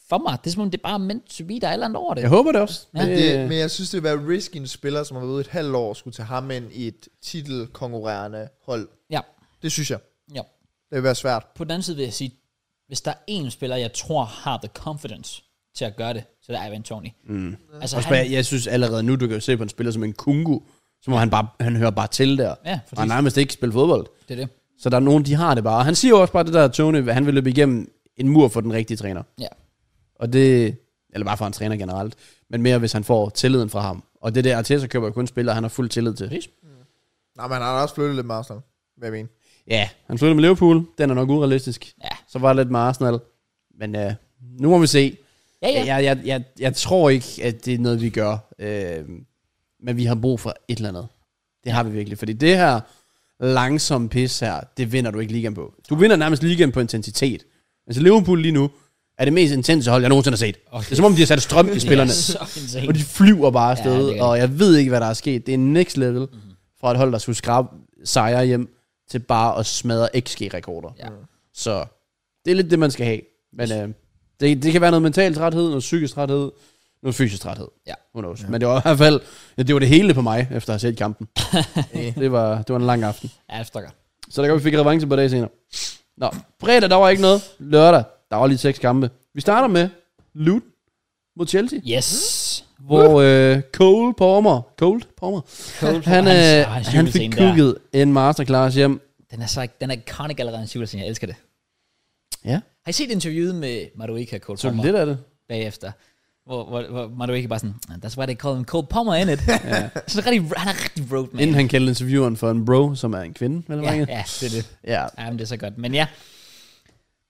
A: for mig. Det er som om, det er bare meant to be, der er et eller andet over det.
B: Jeg håber det også.
A: Ja.
B: Ja.
D: Det, men jeg synes, det vil være risky en spiller, som har været ude et halvt år, skulle tage ham ind i et titelkonkurrerende hold.
A: Ja,
D: Det synes jeg.
A: ja.
D: Det vil være svært.
A: På den anden side vil jeg sige, hvis der er en spiller, jeg tror har the confidence til at gøre det, så det er Ivan Toney. Mm. Altså,
B: Også bare, jeg, jeg synes allerede nu, du kan jo se på en spiller som en kungu, som han, bare, han hører bare til der.
A: Ja,
B: og
A: præcis.
B: han nærmest ikke spiller fodbold.
A: det er det.
B: Så der er nogen, de har det bare. Og han siger jo også bare det der, at Tony, han vil løbe igennem en mur for den rigtige træner.
A: Ja.
B: Og det, eller bare for en træner generelt, men mere hvis han får tilliden fra ham. Og det der Arteta køber jo kun spillere, han har fuld tillid til.
A: Præcis.
D: Nej, men han har også flyttet lidt med Arsenal. Hvad jeg mener.
B: Ja, han flyttede med Liverpool, den er nok urealistisk.
A: Ja.
B: Så var det lidt med Arsenal, men øh, nu må vi se.
A: Ja, ja.
B: Øh, Jeg, jeg, jeg, jeg, jeg tror ikke, at det er noget, vi gør, øh, men vi har brug for et eller andet. Det har vi virkelig, fordi det her langsomme pis her, det vinder du ikke ligaen på. Du vinder nærmest ligaen på intensitet. Altså Liverpool lige nu er det mest intense hold, jeg nogensinde har set. Okay. Det er som om, de har sat strøm i spillerne.
A: Det er så insane.
B: Og de flyver bare
A: Ja, det er
B: afsted,
A: rigtigt. Mhm.
B: ja, og jeg ved ikke, hvad der er sket. Det er next level mm-hmm. fra et hold, der skulle skrabe sejre hjem, til bare at smadre XG-rekorder.
A: Ja.
B: Så det er lidt det, man skal have. Men øh, det, det kan være noget mental træthed, noget psykisk træthed, noget fysisk træthed.
A: Ja.
B: Who knows. Men det var i hvert fald, ja, det var det hele på mig, efter at have set kampen. det, var, det var en lang aften.
A: Ja, det forstår jeg.
B: Så der godt, vi fik revanche på dag senere. Nå, fredag, der var ikke noget. Lørdag, der var lige seks kampe. Vi starter med Luton mod Chelsea.
A: Yes.
B: Hvor øh, Cole Palmer, Cole Palmer,
A: Cold
B: han,
A: hans- ah,
B: øh,
A: hans
B: han fik
A: julescene der.
B: kugget en masterclass hjem.
A: Den er så den er iconic allerede en syvelscene. Jeg elsker det.
B: Ja,
A: Har I set interviewet med Madueka Cole
B: så
A: Palmer
B: lidt af det.
A: bagefter? Hvor, hvor, hvor Madueka bare sådan, "Ah, that's why they call him Cole Palmer, in it? så rigtig, han er rigtig road, man.
B: Inden han kaldte intervieweren for en bro, som er en kvinde, vel
A: ja,
B: ja, ja.
A: ja, det er det.
B: ja.
A: Jamen, det er så godt. Men ja,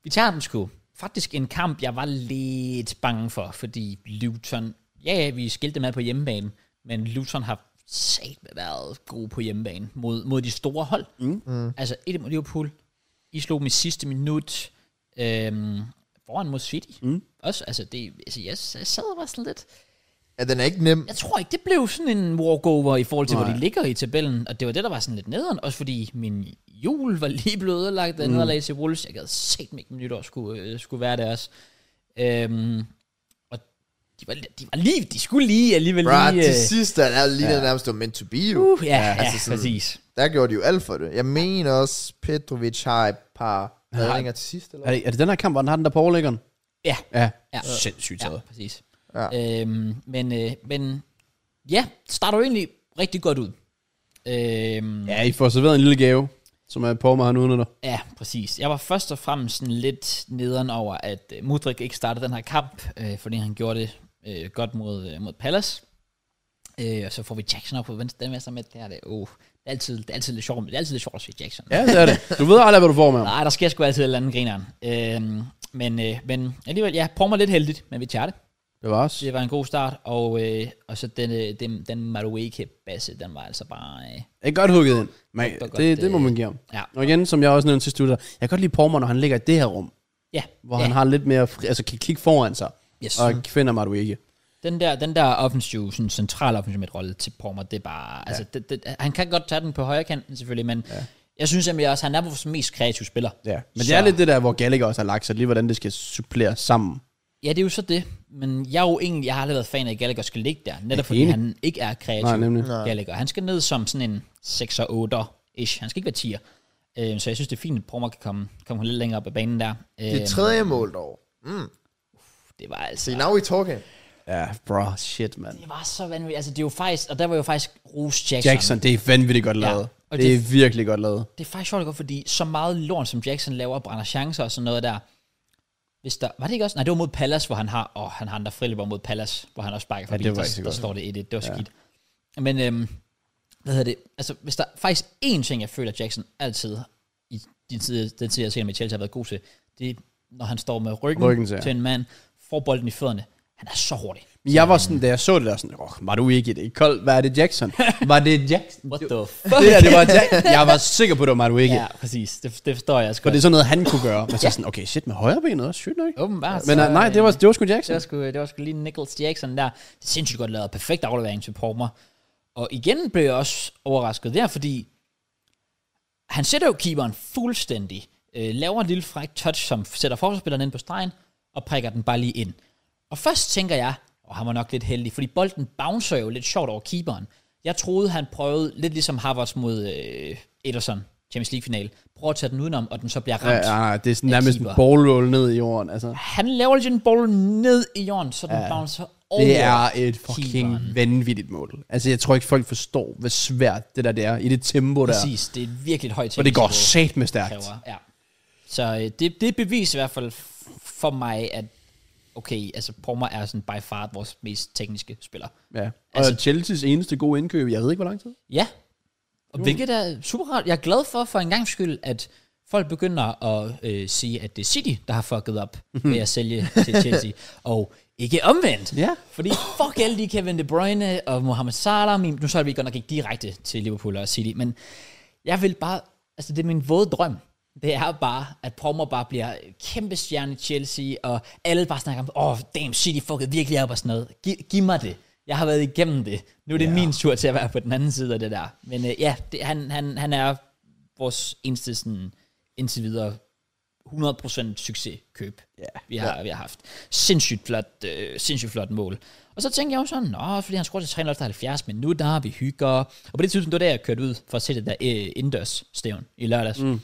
A: vi tager den sgu. Faktisk en kamp, jeg var lidt bange for, fordi Luton, ja, ja, vi skilte dem ad på hjemmebane, men Luton har sat været gode på hjemmebane mod, mod de store hold. Mm. Mm. Altså, et mod Liverpool, I slog dem i sidste minut, øhm, foran mod City. Mm. Også, altså, det, altså, jeg, jeg sad og var sådan lidt,
D: Ja, den er ikke nem.
A: jeg tror ikke, det blev sådan en walkover i forhold til, Nej. hvor de ligger i tabellen. Og det var det, der var sådan lidt nederen. Også fordi min jul var lige blevet ødelagt af mm. nederlag til Wolves. Jeg gad set mig ikke, min nytår skulle, øh, skulle være der også. Øhm, og de var, de var lige, de skulle lige alligevel
D: Bra,
A: lige... øh,
D: til sidst, der er lige ja. nærmest, det var meant to be jo.
A: uh, ja, ja, altså
D: altså
A: sådan,
D: sådan-
A: præcis.
D: Der gjorde de jo alt for det. Jeg mener også, Petrovic har et par redninger til sidst, eller
B: Er, det, er det den her kamp, hvor han har den der på overlæggeren?
A: Ja,
B: Ja.
A: ja.
B: Sindssygt
A: Ja,
B: taget.
A: præcis. Ja.
D: Ja.
A: Øhm, men, øh, men ja, starter jo egentlig rigtig godt ud. Øhm,
B: Ja, I får serveret en lille gave, som er Palmer, han udnytter.
A: Ja, præcis. Jeg var først og fremmest sådan lidt nederen over, at øh, Mudrik ikke startede den her kamp, øh, fordi han gjorde det øh, godt mod, øh, mod Palace. Øh, og så får vi Jackson op på venstre, den venstre med, det er det, oh, det er altid, det er altid lidt sjovt, men det er altid lidt sjovt at se Jackson.
B: Ja, det er det. Du ved aldrig, hvad du får med ham.
A: Nej, der sker sgu altid et eller andet grineren. Øh, men, øh, men alligevel, ja, prøver mig lidt heldigt, men vi tager det.
B: Det var os.
A: Det var en god start, og, øh, og så den, øh, den, den Marueke-basse, den var altså bare... Øh,
B: Det er godt hugget ind. Men
A: Det var godt,
B: det, det må
A: øh,
B: man give ham.
A: ja,
B: Og igen, som jeg også nævnte sidste uge, der, jeg kan godt lide Palmer, når han ligger i det her rum,
A: ja,
B: hvor
A: ja.
B: han har lidt mere, fri, altså kan kigge foran sig,
A: Yes.
B: og finder mig du ikke.
A: Den der, den der offensive, sådan central offensive rolle til Palmer, det er bare, ja. altså, det, det, han kan godt tage den på højre kanten selvfølgelig, men ja. jeg synes simpelthen også, han er vores mest kreative spiller.
B: Ja. Men det er
A: Så-
B: lidt det der, hvor Gallagher også har lagt sig, lige hvordan det skal supplere sammen.
A: Ja, det er jo så det, men jeg er jo egentlig, jeg har aldrig været fan af, at Gallagher skal ligge der, netop fordi
B: enig.
A: han ikke er kreativ.
B: Nej, nemlig.
A: Gallagher. Han skal ned som sådan en 6 og 8-ish, han skal ikke være 10'er. Øh, så jeg synes, det er fint, at Palmer kan komme, komme lidt længere op ad banen der. Øh,
D: Det tredje mål dog. Mm.
A: Det var altså...
D: See, now we talking.
B: Ja, bro, shit, mand.
A: Det var så vanvittigt. Altså, det var faktisk... Og der var jo faktisk Rose Jackson.
B: Jackson, det er vanvittigt godt lavet.
A: og
B: det,
A: det-
B: er virkelig godt lavet.
A: Det er faktisk sjovt godt, fordi så meget lort, som Jackson laver, og brænder chancer og sådan noget der. Hvis der, var det ikke også? Nej, det var mod Palace, hvor han har, og han har en der friløber mod Palace, hvor han også sparker forbi.
B: det var
A: der,
B: ikke så
A: der
B: godt.
A: står det 1-1. Det var skidt. Men, øhm, hvad hedder det? Altså, hvis der er faktisk én ting, jeg føler, Jackson altid i din tid, den tid, jeg ser med Chelsea, har været god til, det er, når han står med ryggen,
B: Ryggen til,
A: til,
B: ja.
A: en mand, får bolden i fødderne. Han er så hurtig.
B: Men jeg var sådan, da jeg så det der, sådan, oh, var du ikke i det koldt? Hvad er det, Jackson? var det Jackson?
A: What the fuck?
B: Det her, det var Jackson. Jeg var sikker på, det var Maru ikke.
A: Ja, præcis. Det, det forstår jeg også
B: For
A: godt.
B: det er sådan noget, han kunne gøre. Men så sådan, okay, shit med højre benet også, sygt nok.
A: Åbenbart.
B: Men
A: så,
B: uh, nej, det var, det var sgu Jackson.
A: Det var, sgu, øh, det var sgu lige Nichols Jackson der. Det er sindssygt godt lavet. Perfekt aflevering til Palmer. Og igen blev jeg også overrasket der, fordi han sætter jo keeperen fuldstændig. Øh, laver en lille fræk touch, som sætter forsvarsspilleren ind på stregen, og prikker den bare lige ind. Og først tænker jeg, og han var nok lidt heldig, fordi bolden bouncer jo lidt sjovt over keeperen. Jeg troede, han prøvede, lidt ligesom Havertz mod øh, Ederson, Champions League-finale, prøver at tage den udenom, og den så bliver ramt
B: Ja, ja, det er sådan nærmest en
A: keeper.
B: ball roll ned i jorden. Altså.
A: han laver lige en bold ned i jorden, så den ja. bouncer over.
B: Det er et fucking
A: keeperen.
B: vanvittigt mål. Altså, jeg tror ikke, folk forstår, hvor svært det der det er i det tempo, der er.
A: Præcis, det er et virkelig højt
B: Og det går
A: tempo,
B: sat med
A: det
B: stærkt.
A: kræver. Ja. Så øh, det, det er bevis i hvert fald f- for mig, at okay, altså Palmer er sådan by far vores mest tekniske spiller.
B: Ja. Og
A: Altså-
B: Chelsea's eneste gode indkøb, jeg ved ikke, hvor lang tid.
A: Ja, og hvilket er super rart. Jeg er glad for, for en gang skyld, at folk begynder at øh, sige, at det er City, der har fucket op med at sælge til Chelsea, og ikke omvendt.
B: Ja.
A: Fordi fuck alle de Kevin De Bruyne og Mohamed Salah. Min, nu så er vi godt nok ikke direkte til Liverpool og City, men jeg vil bare... Altså, det er min våde drøm. Det er bare, at Palmer bare bliver kæmpe stjerne i Chelsea, og alle bare snakker om, åh, oh, damn, City fuckede virkelig op og sådan noget. Giv, giv mig det. Jeg har været igennem det. Nu er det min tur til at være på den anden side af det der. Men øh, ja, det, han, han, han er vores eneste sådan, indtil videre 100% succeskøb, yeah. vi, har, yeah. vi har haft. Sindssygt flot, øh, sindssygt flot mål. Og så tænkte jeg jo sådan, nå, fordi han scorede til 370 minutter, vi hygger. Og på det tidspunkt, det var der, jeg kørte ud for at se det der øh, indendørs stævn i lørdags. Mm.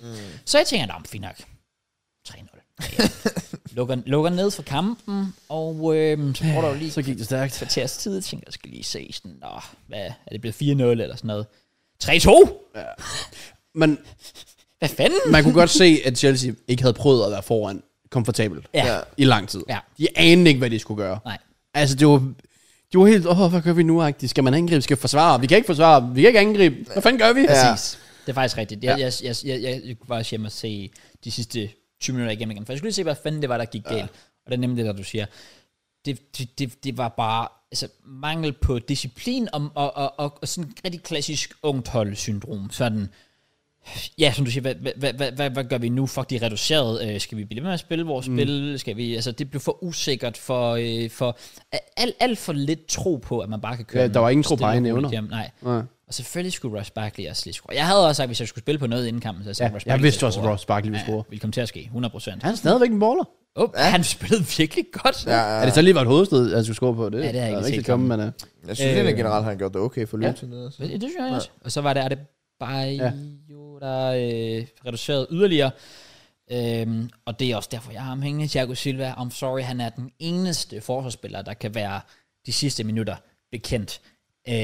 A: Så jeg tænker, nå, men fint nok. 3-0. Ja, ja. lukker, lukker ned for kampen, og øh, så går der jo lige
B: Så gik det stærkt.
A: kvarters tid. Jeg tænker, jeg skal lige se sådan, nå, hvad, er det blevet 4-0 eller sådan noget? 3-2?
B: Men
A: Hvad fanden?
B: man kunne godt se, at Chelsea ikke havde prøvet at være foran komfortabelt
A: Ja.
C: Ja.
B: i lang tid.
A: Ja.
B: De anede ikke, hvad de skulle gøre.
A: Nej.
B: Altså, det var, det var helt, åh, hvad gør vi nu, agtigt? Skal man angribe? Skal vi forsvare? Vi kan ikke forsvare. Vi kan ikke angribe. Hvad fanden gør vi?
C: Ja.
A: Præcis. Det er faktisk rigtigt. Jeg, ja. jeg, jeg, jeg, jeg var også hjemme og se de sidste 20 minutter igennem igen, for jeg skulle lige se, hvad fanden det var, der gik galt. Og det er nemlig det, der du siger. Det, det, det, det var bare altså, mangel på disciplin og, og, og, og, og sådan rigtig klassisk ungt hold-syndrom. Sådan, ja, som du siger, hvad, hvad, hvad, hvad, hvad, hvad gør vi nu? Fuck, de er reduceret. Øh, skal vi blive ved med at spille vores mm. spil? Skal vi, altså, det blev for usikkert for, øh, for alt, alt for lidt tro på, at man bare kan køre
B: Ja, der var ingen tro på
A: stille og
B: egne
A: roligt
B: evner.
A: hjem. Nej.
B: Nej.
A: Og selvfølgelig skulle Ross Barkley også lige score. Jeg havde også sagt, at hvis jeg skulle spille på noget inden kampen, så havde jeg sagt,
B: Ja,
A: Ross
B: jeg
A: Barkley
B: vidste
A: skulle
B: også, at
A: score.
B: Ross Barkley ville
A: Ja,
B: score.
A: Ville komme til at ske, 100%.
B: Han er stadigvæk en baller.
A: Oh, ja. Han spillede virkelig godt.
C: Ja,
A: Ja.
C: ja.
B: Er det så lige var et hovedstød, at du skulle score på det?
A: Ja, det har jeg ikke
B: er
A: set
B: rigtig kommet, men, uh,
C: Jeg synes
A: Øh.
C: egentlig generelt, han har gjort det okay for
B: Ja.
C: Luton. Ja. Altså.
A: Det, det synes jeg også. Og så var det, er det bare
B: Ja.
A: ja. jo, der øh, reduceret yderligere. Øhm, og det er også derfor, jeg har ham hængende. Thiago Silva, I'm sorry, han er den eneste forsvarsspiller, der kan være de sidste minutter bekendt. Øhm,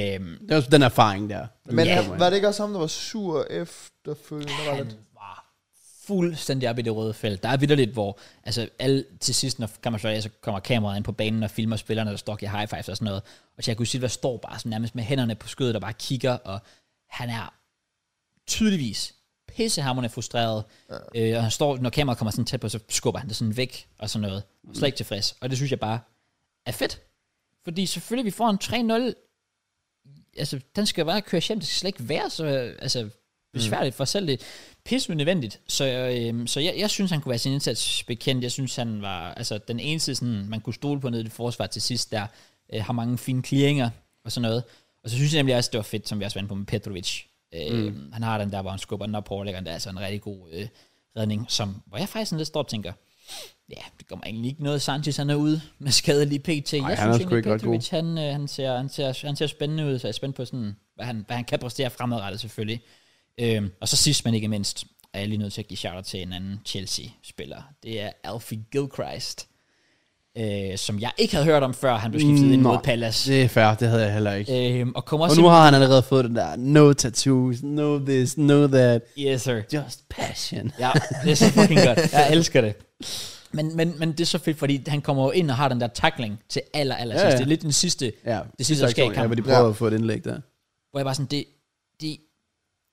B: det er også den erfaring der.
D: Men
A: Ja.
D: var det ikke også ham, der var sur efterfølgende? Der var
A: han
D: lidt?
A: var fuldstændig op i det røde felt. Der er vidderligt, hvor altså, alle, til sidst, når kan man slå af, så kommer kameraet ind på banen og filmer spillerne, der står og giver high fives og sådan noget. Og Thiago Silva står bare sådan, nærmest med hænderne på skødet og bare kigger, og han er tydeligvis pissehammerende frustreret. Ja. Øh, og han står, når kameraet kommer sådan tæt på, så skubber han det sådan væk og sådan noget. Og slet ikke tilfreds. Og det synes jeg bare er fedt. Fordi selvfølgelig, vi får en 3-0 altså, den skal bare køre hjem. Det skal slet ikke være så øh, altså, besværligt for selv det. Pisse unødvendigt. Så, øh, så jeg, jeg, synes, han kunne være sin indsats bekendt. Jeg synes, han var altså, den eneste, sådan, man kunne stole på nede i det forsvar til sidst, der øh, har mange fine clearinger og sådan noget. Og så synes jeg nemlig også, det var fedt, som vi også var inde på med Petrovic. Øh, mm. Han har den der, hvor han skubber den op på overlæggeren. Det er altså en rigtig god øh, redning, som, hvor jeg faktisk sådan lidt står og tænker, ja, det kommer egentlig ikke noget. Sanchez han er ude med skadelig PT.
B: han
A: jeg
B: er
A: synes
B: sgu
A: egentlig,
B: ikke ret god.
A: Petrovic han, øh, han, ser, han, ser, han ser spændende ud, så jeg er spændt på, sådan, hvad, han, hvad han kan præstere fremadrettet selvfølgelig. Øhm, og så sidst, men ikke mindst, er jeg lige nødt til at give shout til en anden Chelsea-spiller. Det er Alfie Gilchrist. øh, som jeg ikke havde hørt om, før han blev skiftet
B: Mm,
A: ind mod
B: nej.
A: Pallas.
B: Det er fair, det havde jeg heller ikke.
A: Øhm, og kommer
B: Og
A: også
B: nu har han allerede fået den der, no tattoos, no this, no that,
A: ind- Yes, sir.
B: just passion.
A: Ja, det er så fucking godt. Jeg elsker det. Men, men, men det er så fedt, fordi han kommer jo ind og har den der tackling til aller, aller
B: Ja,
A: sidst.
B: ja.
A: Det er lidt den sidste,
B: Ja,
A: det sidste, der sker i
B: Ja, hvor
A: kampen.
B: de prøver at få et indlæg der.
A: Hvor jeg bare sådan, det, det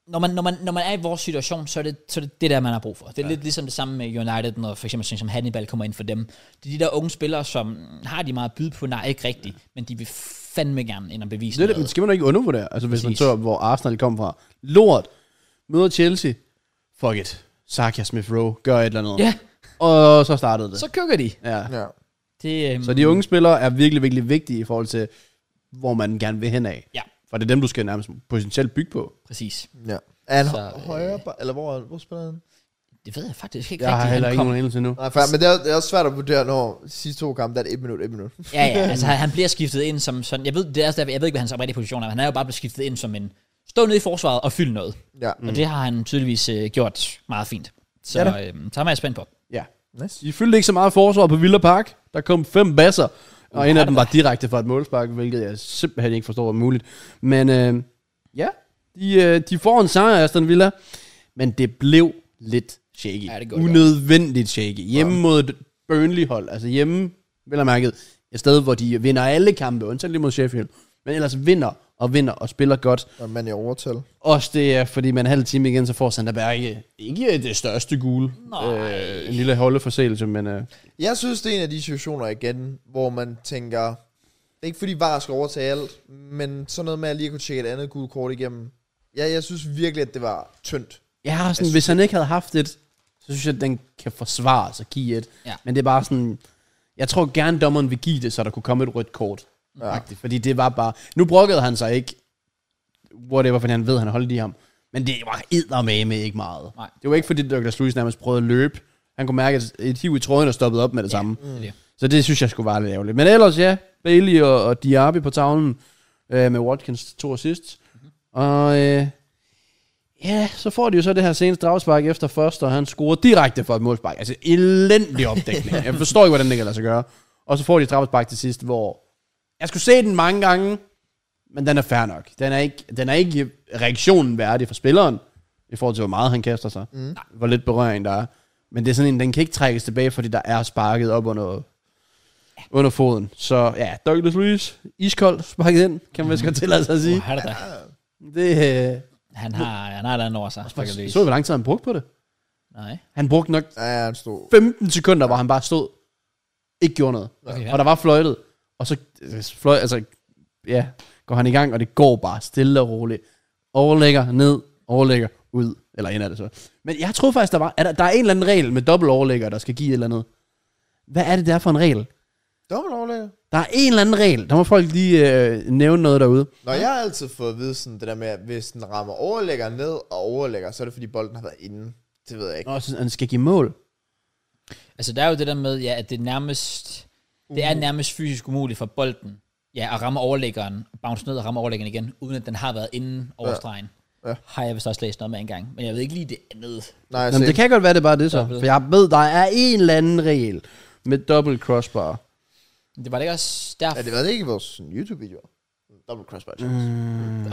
A: når, man, når, man, når man er i vores situation, så er det så er det, det der, man har brug for. Det er ja. lidt ligesom det samme med United, når for eksempel sådan som Hannibal kommer ind for dem. Det er de der unge spillere, som har de meget at byde på, nej, ikke rigtigt, men de vil fandme gerne ind og bevise
B: Det er det, men
A: noget.
B: skal man da ikke undervurdere? Altså, hvis man
A: Præcis.
B: så, hvor Arsenal kom fra. Lort. Møder Chelsea. Fuck it. Saka Smith Rowe gør et eller andet.
A: Ja,
B: Og så startede det.
A: så køkker de.
B: Ja.
D: Ja.
A: Det, øhm,
B: Så de unge spillere er virkelig, virkelig vigtige i forhold til, hvor man gerne vil hen af.
A: Ja.
B: For det er dem, du skal nærmest potentielt bygge på.
A: Præcis.
D: Ja. Er han
A: Så,
D: så,
A: øh,
D: højere? Øh, eller hvor, hvor spiller han?
A: Det ved jeg faktisk ikke
B: Jeg har
A: rigtigt.
B: heller
A: han
B: ikke
A: kom-
B: nogen anelse nu.
D: Nej, for, men det er, det er også svært at vurdere, når de sidste to kampe, der er det et minut, et minut.
A: Ja, ja, altså han, han bliver skiftet ind som sådan, jeg ved, det er, også derfor- jeg ved ikke, hvad hans oprindelige position er, men han er jo bare blevet skiftet ind som en, stå nede i forsvaret og fyld noget.
D: Ja.
A: Mm. Og det har han tydeligvis øh, gjort meget fint. Så
B: Ja
A: ja,
B: da.
A: øh, så er jeg spændt på.
B: Ja.
D: Nice.
B: De fyldte ikke så meget forsvar på Villa Park. Der kom fem basser, og en af dem var direkte fra et målspark, hvilket jeg simpelthen ikke forstår er muligt. Men øh, ja, de, øh, de får en sejr, Aston Villa, men det blev lidt shaky.
A: Ja, det går det
B: Unødvendigt shaky. Hjemme ja. mod et Burnley-hold, altså hjemme, vel og mærket, et sted, hvor de vinder alle kampe, undtagen lige mod Sheffield, men ellers vinder og vinder og spiller godt.
D: Og man er i overtal.
B: Også det er, fordi man en halv time igen, så får Sander Berge ikke det største gule.
A: Nej.
B: Øh, en lille holdeforseelse, men... Øh,
D: Jeg synes, det er en af de situationer igen, hvor man tænker, det er ikke fordi VAR skal overtage alt, men sådan noget med at lige kunne tjekke et andet gult kort igennem. Ja, jeg synes virkelig, at det var tyndt.
B: Jeg har
A: Altså,
B: sådan, hvis han ikke havde haft et, så synes jeg, at den kan forsvare sig give et.
A: Ja.
B: Men det er bare sådan, jeg tror gerne dommeren vil give det, så der kunne komme et rødt kort. Ja. Fordi det var bare, nu brokkede han sig ikke, whatever, fordi han ved, han holdt i ham. Men det var eddermame ikke meget.
A: Nej.
B: Det var ikke fordi Douglas Lewis nærmest prøvede at løbe. Han kunne mærke et, et hiv i tråden og stoppede op med det samme.
A: Mm. Det.
B: Så det synes jeg skulle være lidt ærgerligt. Men ellers ja, Bailey og, og Diaby på tavlen øh, med Watkins to assist. Mm-hmm. Og øh, ja, så får de jo så det her seneste dragspark efter først, og han scorer direkte for et målspark. Altså elendig opdækning. jeg forstår ikke, hvordan det kan lade sig gøre. Og så får de et dragspark til sidst, hvor jeg skulle se den mange gange, men den er fair nok. Den er ikke, den er ikke reaktionen værdig for spilleren, i forhold til, hvor meget han kaster sig. Mm. Hvor lidt berøring der er. Men det er sådan en, den kan ikke trækkes tilbage, fordi der er sparket op under, under foden. Så ja, Douglas Luiz, iskold, sparket ind, kan man vist godt tillade sig at sige.
A: Han, er der.
B: Det, øh,
A: han har han har et andet over sig. Fuck det.
B: så vi, hvor lang tid han brugte på det.
A: Nej.
B: Han brugte nok
D: Ja, han stod.
B: 15 sekunder, hvor han bare stod, ikke gjorde noget.
A: Okay, ja.
B: Og der var fløjtet, og så øh, fløj, altså, ja, går han i gang, og det går bare stille og roligt. Overlægger, ned, overlægger, ud. Eller en af det så. Men jeg troede faktisk, der var, at der, der er en eller anden regel med dobbelt overlægger, der skal give et eller andet. Hvad er det der for en regel?
D: Dobbelt overlægger.
B: Der er en eller anden regel. Der må folk lige øh, nævne noget derude.
D: Når jeg har altid fået at vide sådan det der med, at hvis den rammer overlægger ned og overlægger, så er det fordi bolden har været inde. Det ved jeg ikke.
B: Nå, så han skal give mål.
A: Altså der er jo det der med, ja, at det er nærmest, det er nærmest fysisk umuligt for bolden, ja, at ramme overlæggeren, bounce ned og ramme overlæggeren igen, uden at den har været inden over stregen.
D: Ja.
A: Har jeg vist også læst noget med engang, men jeg ved ikke lige det andet.
D: Nej, jeg
B: Jamen, det kan godt være, det er bare det så.
A: Dobbelt.
B: For jeg ved, der er en eller anden regel med dobbelt crossbar.
A: Det var det ikke også derfor.
D: Ja, det var det ikke i vores sådan, YouTube-video. Double crossbar. Mm.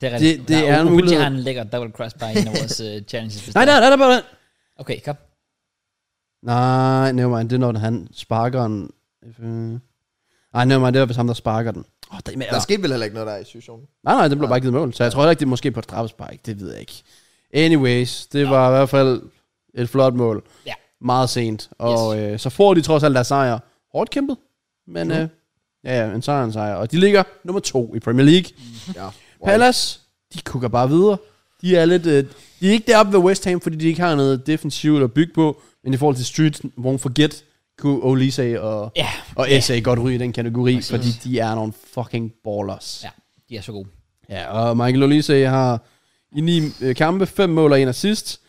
A: Det er,
B: Det- det er en
A: mulighed.
B: mulighed.
A: har en lækker double cross by en af vores uh, challenges. hvis
B: Nej,
A: der
B: nej,
A: er.
B: nej, nej, nej.
A: Okay, kom.
B: Nej, nevermind, det er når han sparker den. Øh. Ej, nevermind, det var vist ham, der sparker den. Oh, det, men,
D: Der skete vel heller ikke noget der i situationen.
B: nej, nej, den blev bare ikke givet mål, så jeg tror heller ikke, det er måske på et straffespark, det ved jeg ikke. Anyways, det var i hvert fald et flot mål.
A: Ja.
B: Meget sent, og yes. øh, så får de trods alt deres sejr. Hårdt kæmpet, men øh, ja, ja, en sejr er en sejr. Og de ligger nummer to i Premier League.
D: Ja.
B: Wow. Palace, de kukker bare videre. De er lidt... Øh, de er ikke deroppe ved West Ham, fordi de ikke har noget defensivt at bygge på. Men i forhold til Street, won't forget, kunne Olise og,
A: Ja,
B: og SA godt ryge i den kategori, Præcis. fordi de er nogle fucking ballers.
A: ja, de er så gode.
B: Ja, og Michael Olise har i ni øh, kampe, fem mål og en assist.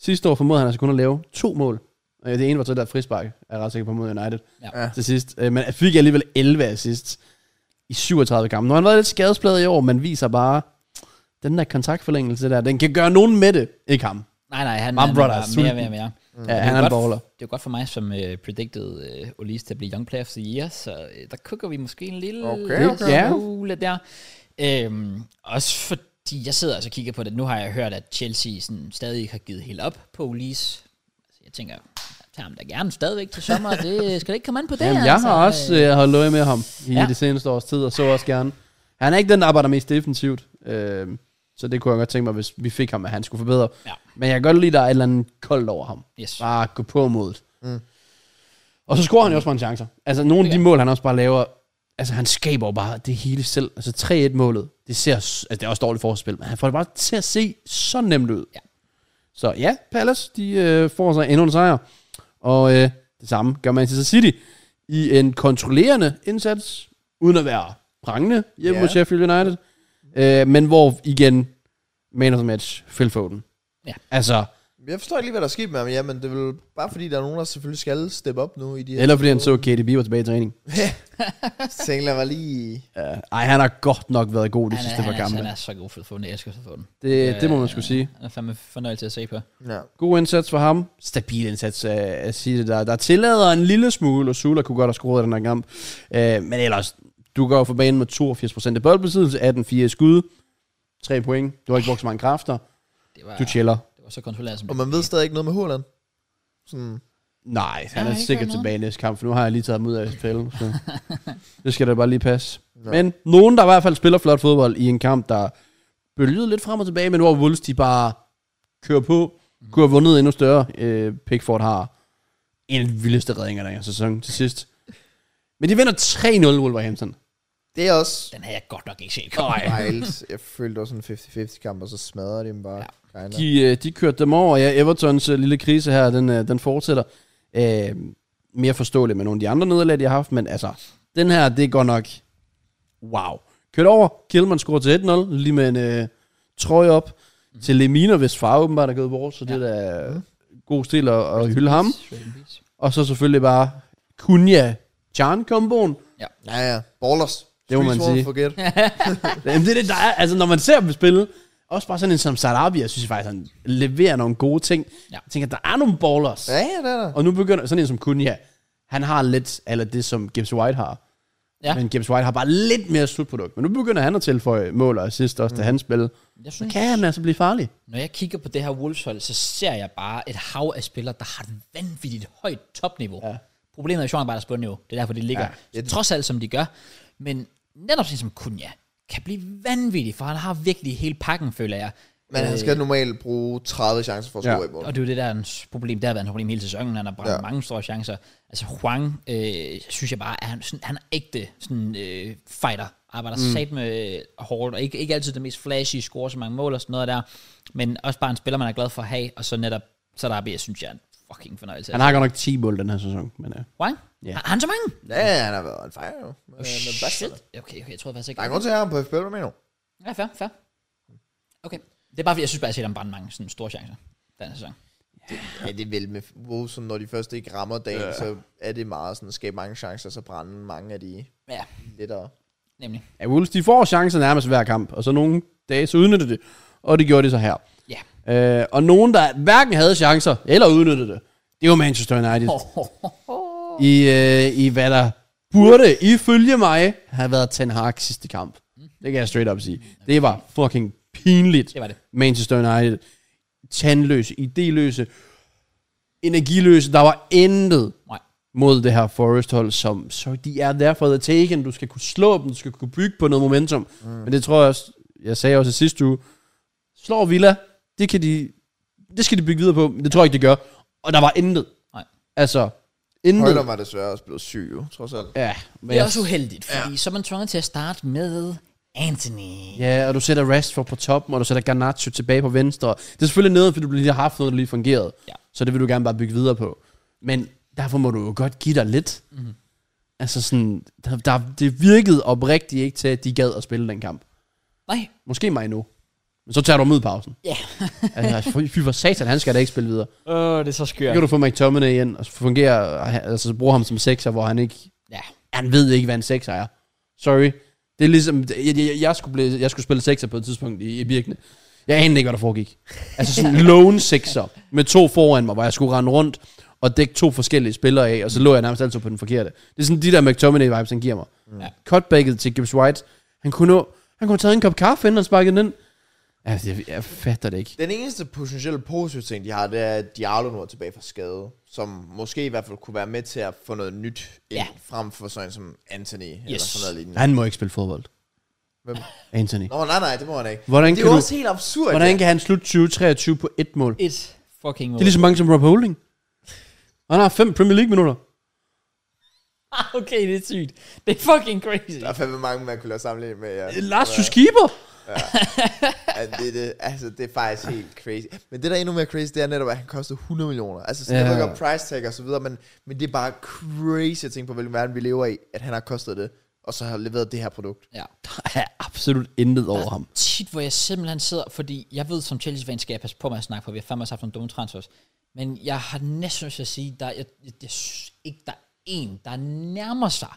B: Sidste år formåede han altså kun at lave to mål. Øh, Det ene var så der frispark, er jeg ret sikker på mod United
A: Ja.
B: ja. til sidst. Øh, Men fik alligevel 11 assist i 37 kampe. Nu har han været lidt skadespladet i år, men viser bare, den der kontraktforlængelse der, den kan gøre nogen med det. Ikke ham.
A: Nej, nej, han,
B: Mom
A: han
B: Brother
A: var
B: er
A: mere
B: sulten.
A: mere mere.
B: Mm. Ja, han er en
A: godt-
B: baller.
A: Det er jo godt for mig, som uh, predicted uh, Olis til at blive Young Player of the Year, så uh, der kukker vi måske en lille
D: Okay,
B: okay, okay.
A: smule der. Øhm, også fordi jeg sidder altså og kigger på det. Nu har jeg hørt, at Chelsea sådan, stadig ikke har givet helt op på Olis. Så jeg tænker, jeg tager ham da gerne stadigvæk til sommer. Det skal da ikke komme an på det. altså,
B: Jamen, jeg har også øh, holdt øje med ham i
A: ja.
B: ja. det seneste års tid, og så også gerne. Han er ikke den, der arbejder mest defensivt, øh, så det kunne jeg godt tænke mig, hvis vi fik ham, at han skulle forbedre.
A: Ja.
B: Men jeg kan godt lide, at der er et eller andet koldt over ham.
A: Yes.
B: Bare gå på modet. Mm. Og så scorer han jo også mange chancer. Altså, nogle af de mål, han også bare laver, altså han skaber jo bare det hele selv. Altså 3-1-målet, det ser, s- altså det er også dårligt forspil, men han får det bare til at se så nemt ud.
A: Ja.
B: Så ja, Palace, de øh, får sig endnu en sejr. Og øh, det samme gør Manchester City i en kontrollerende indsats, uden at være prangende hjemme
D: Ja.
B: yeah. mod Sheffield United. Øh, men hvor igen, man of the match, Phil Foden.
A: Ja.
B: Altså,
D: Jeg forstår ikke lige, hvad der er sket med ham, ja, men det er vel bare fordi, der er nogen, der selvfølgelig skal steppe op nu i de her...
B: eller fordi han så KDB var tilbage i træning.
D: Tænk, lad mig lige...
B: Øh, ej, han har godt nok været god de
A: Han er-
B: sidste par
A: han, er,
B: kampe.
A: han er så god for at få den. Jeg elsker at få den.
B: Det, det må man
A: Øh,
B: skulle sige.
A: Han er fandme fornøjelse at se på.
D: Ja.
B: God indsats for ham. Stabil indsats øh, af af City, der, der tillader en lille smule, og Sula kunne godt have scoret i den her kamp. Øh, men ellers, du går jo for banen med 82% af boldbesiddelse, 18-4 i skud, 3 point. Du har ikke brugt så mange kræfter.
A: Det var,
B: Du chiller.
A: det var så kontrolleret som
D: Og man ved stadig ikke noget med Haaland. Sådan,
B: Nej, han
A: har
B: er
A: ikke
B: sikkert
A: gjort noget.
B: tilbage i næste kamp, for nu har jeg lige taget ham ud af SPL. Så. det skal da bare lige passe.
D: Ja.
B: Men nogen, der i hvert fald spiller flot fodbold i en kamp, der bølgede lidt frem og tilbage, men hvor Wolves de bare kører på, kunne have vundet endnu større. Øh, Pickford har en af de vildeste redninger der er i sæsonen til sidst. Men de vinder 3-0 Wolverhampton.
D: det er også...
A: Den havde jeg godt nok ikke set komme.
D: Wild. Jeg følte også en 50-50 kamp, og så smadrede de dem bare. Ja.
B: De, øh, de kørte dem over. Ja, Evertons øh, lille krise her, den, øh, den fortsætter. Øh, mere forståeligt med nogle af de andre nederlag, de har haft, men altså, den her, det går nok... Wow. Kørt over. Kjellmann scorer til 1-0, lige med en øh, trøje op mm. til Lemina, hvis far åbenbart er gået bort, så ja. det er da øh, god stil at, at hylde ham. Og så selvfølgelig bare Kunja Chan komboen
D: Ja, ja. Ballers.
B: Det må man
D: Streets won't
B: sige.
D: Forget.
B: Jamen, det er det, der er. Altså, når man ser dem spille, også bare sådan en som Sarabi, jeg synes faktisk, han leverer nogle gode ting.
A: Ja.
B: Jeg tænker, der er nogle ballers.
D: Ja, ja, det er der.
B: Og nu begynder sådan en som Kunja, han har lidt, eller det som Gibbs White har.
A: Ja.
B: Ja. Men Gibbs White har bare lidt mere slutprodukt. Men nu begynder han at tilføje mål og assist også mm. til hans spil.
A: Jeg
B: Så
A: synes,
B: kan han altså blive farlig.
A: når jeg kigger på det her Wolves-hold, så ser jeg bare et hav af spillere, der har et vanvittigt højt topniveau. Ja. Problemet er jo bare deres bundniveau. Det er derfor, det ligger ja. trods alt, som de gør. Men netop sådan som Kunja kan blive vanvittig, for han har virkelig hele pakken, føler jeg.
D: Men han skal normalt bruge 30 chancer for at
B: Øh. Ja.
D: score i mål.
A: Og det er jo det, der er hans problem. Det har været hans problem hele sæsonen. Han har brændt ja.
D: Ja.
A: mange store chancer. Altså Huang, øh, synes jeg bare, er han, sådan, han er ægte sådan, øh, fighter. Arbejder mm. sat med hårdt, og ikke, ikke altid det mest flashy, scorer så mange mål og sådan noget der. Men også bare en spiller, man er glad for at have. Og så netop Sarabi, jeg synes jeg er en fucking fornøjelse.
B: Han har godt nok 10 mål den her sæson. Men, øh. ja.
A: Huang?
B: Ja.
A: Har har han så mange?
D: Ja, ja, han har været en fejl. jo. Med-
B: Oh,
D: med Bristol.
A: Shit. Okay, okay, jeg tror faktisk ikke.
D: Der er en grund til, at jeg har ham på FBL, hvad mener du?
A: Ja, fair, fair. Okay. Det er bare fordi, jeg synes bare, at jeg ser dem brænde mange sådan store chancer. Den her sæson.
D: Ja, det er vel med Wolves, som når de først ikke rammer dagen, ja. så er det meget sådan, at skabe mange chancer, så brænde mange af de
A: Ja,
D: lettere.
A: nemlig.
B: ja, Wolves, de får chancer nærmest hver kamp. Og så nogle dage, så udnytter de det. Og det gjorde de så her.
A: Ja.
B: Øh, og nogen, der hverken havde chancer eller udnyttede det, det var Manchester United. Oh. I, øh, I hvad der burde, ifølge mig, have været Ten Hag sidste kamp. Det kan jeg straight up sige. Det var fucking pinligt.
A: Det var det.
B: Manchester United. Tandløse, idéløse, energiløse. Der var intet
A: Nej.
B: mod det her Forest-hold, som så de er der for the taken. Du skal kunne slå dem, du skal kunne bygge på noget momentum. Mm. Men det tror jeg også, jeg sagde også i sidste uge, slår Villa, det, kan de, det skal de bygge videre på, men det tror jeg ikke, de gør. Og der var intet.
A: Nej.
B: Altså,
C: Mm.
B: intet.
D: Højler var desværre også blevet syg, jo, trods alt.
B: Ja, men
A: Det er
B: jeg-
A: også uheldigt, fordi ja. så er man tvunget til at starte med Anthony. Ja.
B: Ja, og du sætter Rashford på toppen, og du sætter Garnacho tilbage på venstre. Det er selvfølgelig nede, fordi du lige har haft noget, der lige fungerede.
A: Ja.
B: Så det vil du gerne bare bygge videre på. Men derfor må du jo godt give dig lidt. Mm-hmm.
A: Mhm.
B: Altså sådan, der, der, det virkede oprigtigt ikke til, at de gad at spille den kamp.
A: Nej,
B: Måske mig nu. Men så tager du dem ud i pausen.
A: Ja.
B: altså, fy- fy for satan, han skal da ikke spille videre.
A: Åh, det er så skørt.
B: Så kan du få McTominay ind, og så fungerer, altså så bruger ham som sekser, hvor han ikke
A: Ja,
B: han ved ikke, hvad en sekser er. Sorry. Det er ligesom, jeg, jeg, jeg, skulle, blive, jeg skulle spille sekser på et tidspunkt i, i Birkene. Jeg anede ikke, hvad der foregik. Altså sådan en lone sekser med to foran mig, hvor jeg skulle rende rundt og dække to forskellige spillere af, og så lå jeg nærmest altid på den forkerte. Det er sådan de der McTominay-vibes, han giver mig.
A: Ja.
B: Ja. Cutbacket til Gibbs White. Han kunne, nå, han kunne have taget en kop kaffe, inden han sparkede den ind. Altså, jeg, jeg fatter det ikke.
C: Den eneste potentielle positive ting, de har, det er, at Diallo nu er tilbage fra skade, som måske i hvert fald kunne være med til at få noget nyt
A: Ja.
C: ind, ja. frem for sådan en som Anthony, yes. eller
A: Yes.
C: sådan noget lignende.
B: Han må ikke spille fodbold.
C: Hvem?
B: Anthony.
C: Nå, nej, nej, det må han ikke.
B: Hvordan
C: det er
B: kan,
C: jo
B: du,
C: også helt absurd.
B: hvordan kan han slutte 2023 på et mål?
A: Et fucking mål.
B: Det er lige så mange som Rob Holding. Og han har fem Premier League-minutter.
A: Ah, okay, det er sygt. Det er fucking crazy.
C: ligesom- Der er fandme mange, man kunne lade sammenligne med. Ja.
B: Lars Keeper.
C: Ja, det, er det, altså, det er faktisk helt crazy. Men det, der er endnu mere crazy, det er netop, at han koster 100 millioner. Altså, sådan,
B: Ja.
C: ja. jeg ved godt, price tag og så videre, men, men det er bare crazy at tænke på, hvilken verden vi lever i, at han har kostet det, og så har leveret det her produkt.
A: Ja.
B: Der er absolut intet over ham.
A: Tit, hvor jeg simpelthen sidder, fordi jeg ved, som Chelsea-fan skal jeg passe på med at snakke, for vi har fandme også haft nogle dumme transfers. Men jeg har næsten lyst til at sige, der, jeg, jeg, jeg synes ikke, der er en, der nærmer sig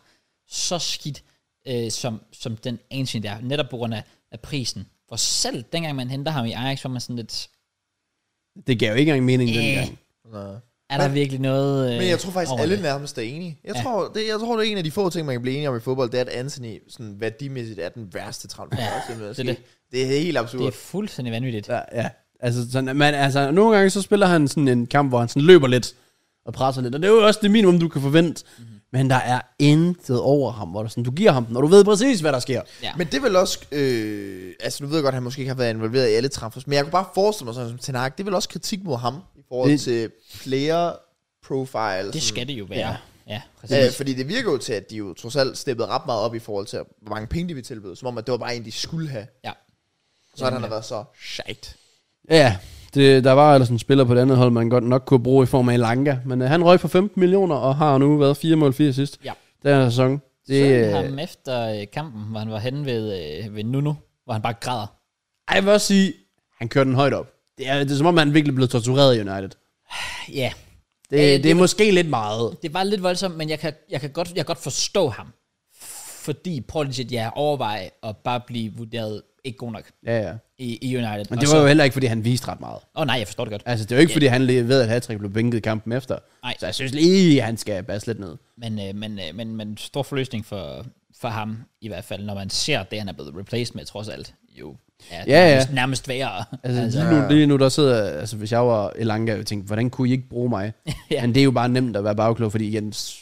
A: så skidt, øh, som, som den ancient der, netop på grund af, af prisen. For selv dengang man henter ham i Ajax, var man sådan lidt,
B: Det gav jo ikke engang mening
A: Øh.
B: dengang.
C: Nå.
A: er der virkelig noget øh,
C: Men jeg tror faktisk,
A: over
C: alle
A: det?
C: nærmest er enige. Jeg,
A: Ja.
C: ja. tror, det, jeg tror, det er en af de få ting, man kan blive enige om i fodbold, det er, at Anthony sådan, værdimæssigt er den værste transfer.
A: Ja,
C: Ja, det,
A: det er
C: det. det er helt absurd.
A: Det er fuldstændig vanvittigt.
B: Ja, ja. Altså, sådan, man, altså, nogle gange så spiller han sådan en kamp, hvor han sådan løber lidt og presser lidt. Og det er jo også det minimum, du kan forvente. Mm-hmm. Men der er intet over ham, hvor du, sådan, du giver ham den, og du ved præcis, hvad der sker.
A: Ja.
C: Men det er vel også, øh, altså nu ved jeg godt, at han måske ikke har været involveret i alle transfers, men jeg kunne bare forestille mig sådan som Ten Hag, det er vel også kritik mod ham i forhold
B: Det-
C: det, til player profile.
A: Det
C: sådan.
A: skal det jo være. Ja,
B: Ja.
A: ja præcis.
C: Øh, fordi det virker jo til, at de jo trods alt steppede ret meget op i forhold til, hvor mange penge de ville tilbyde, som om, at det var bare en, de skulle have.
A: ja.
C: Så har han har været så shit.
B: Ja, det, der var ellers en spiller på det andet hold, man godt nok kunne bruge i form af Elanga. Men øh, han røg for 15 millioner og har nu været 4 mål 4 sidst.
A: Ja.
B: Den her sæson.
A: Det,
B: Det, øh,
A: ham efter øh, kampen, hvor han var henne ved, øh, ved Nuno, hvor han bare græder.
B: Ej, jeg vil også sige, han kørte den højt op. Det er, det er som om, han virkelig blev tortureret i United.
A: Ja,
B: Det,
A: Øh,
B: øh,
A: det
B: det, det er måske lidt meget.
A: det var lidt voldsomt, men jeg kan, jeg kan, godt, jeg kan godt forstå ham. Fordi prøv lige at jeg overveje at bare blive vurderet ikke god nok
B: Ja, ja.
A: i, i United.
B: Men det var jo heller ikke, fordi han viste ret meget.
A: Åh oh, nej, jeg forstår det godt.
B: Altså, det var jo ikke, fordi han lige ved, at Hattrick blev bænket kampen efter.
A: Nej.
B: Så jeg synes lige, han skal basse lidt ned.
A: Men, øh, men, øh, men, men stor forløsning for, for ham, i hvert fald, når man ser det, han er blevet replaced med, trods alt. Jo, er
B: Ja, ja.
A: nærmest, nærmest værre.
B: Altså, altså lige, nu, lige nu, der sidder... Altså, hvis jeg var Elanga, jeg tænkte, hvordan kunne I ikke bruge mig?
A: Ja.
B: ja. Men det er jo bare nemt at være bagklog, fordi igen, s-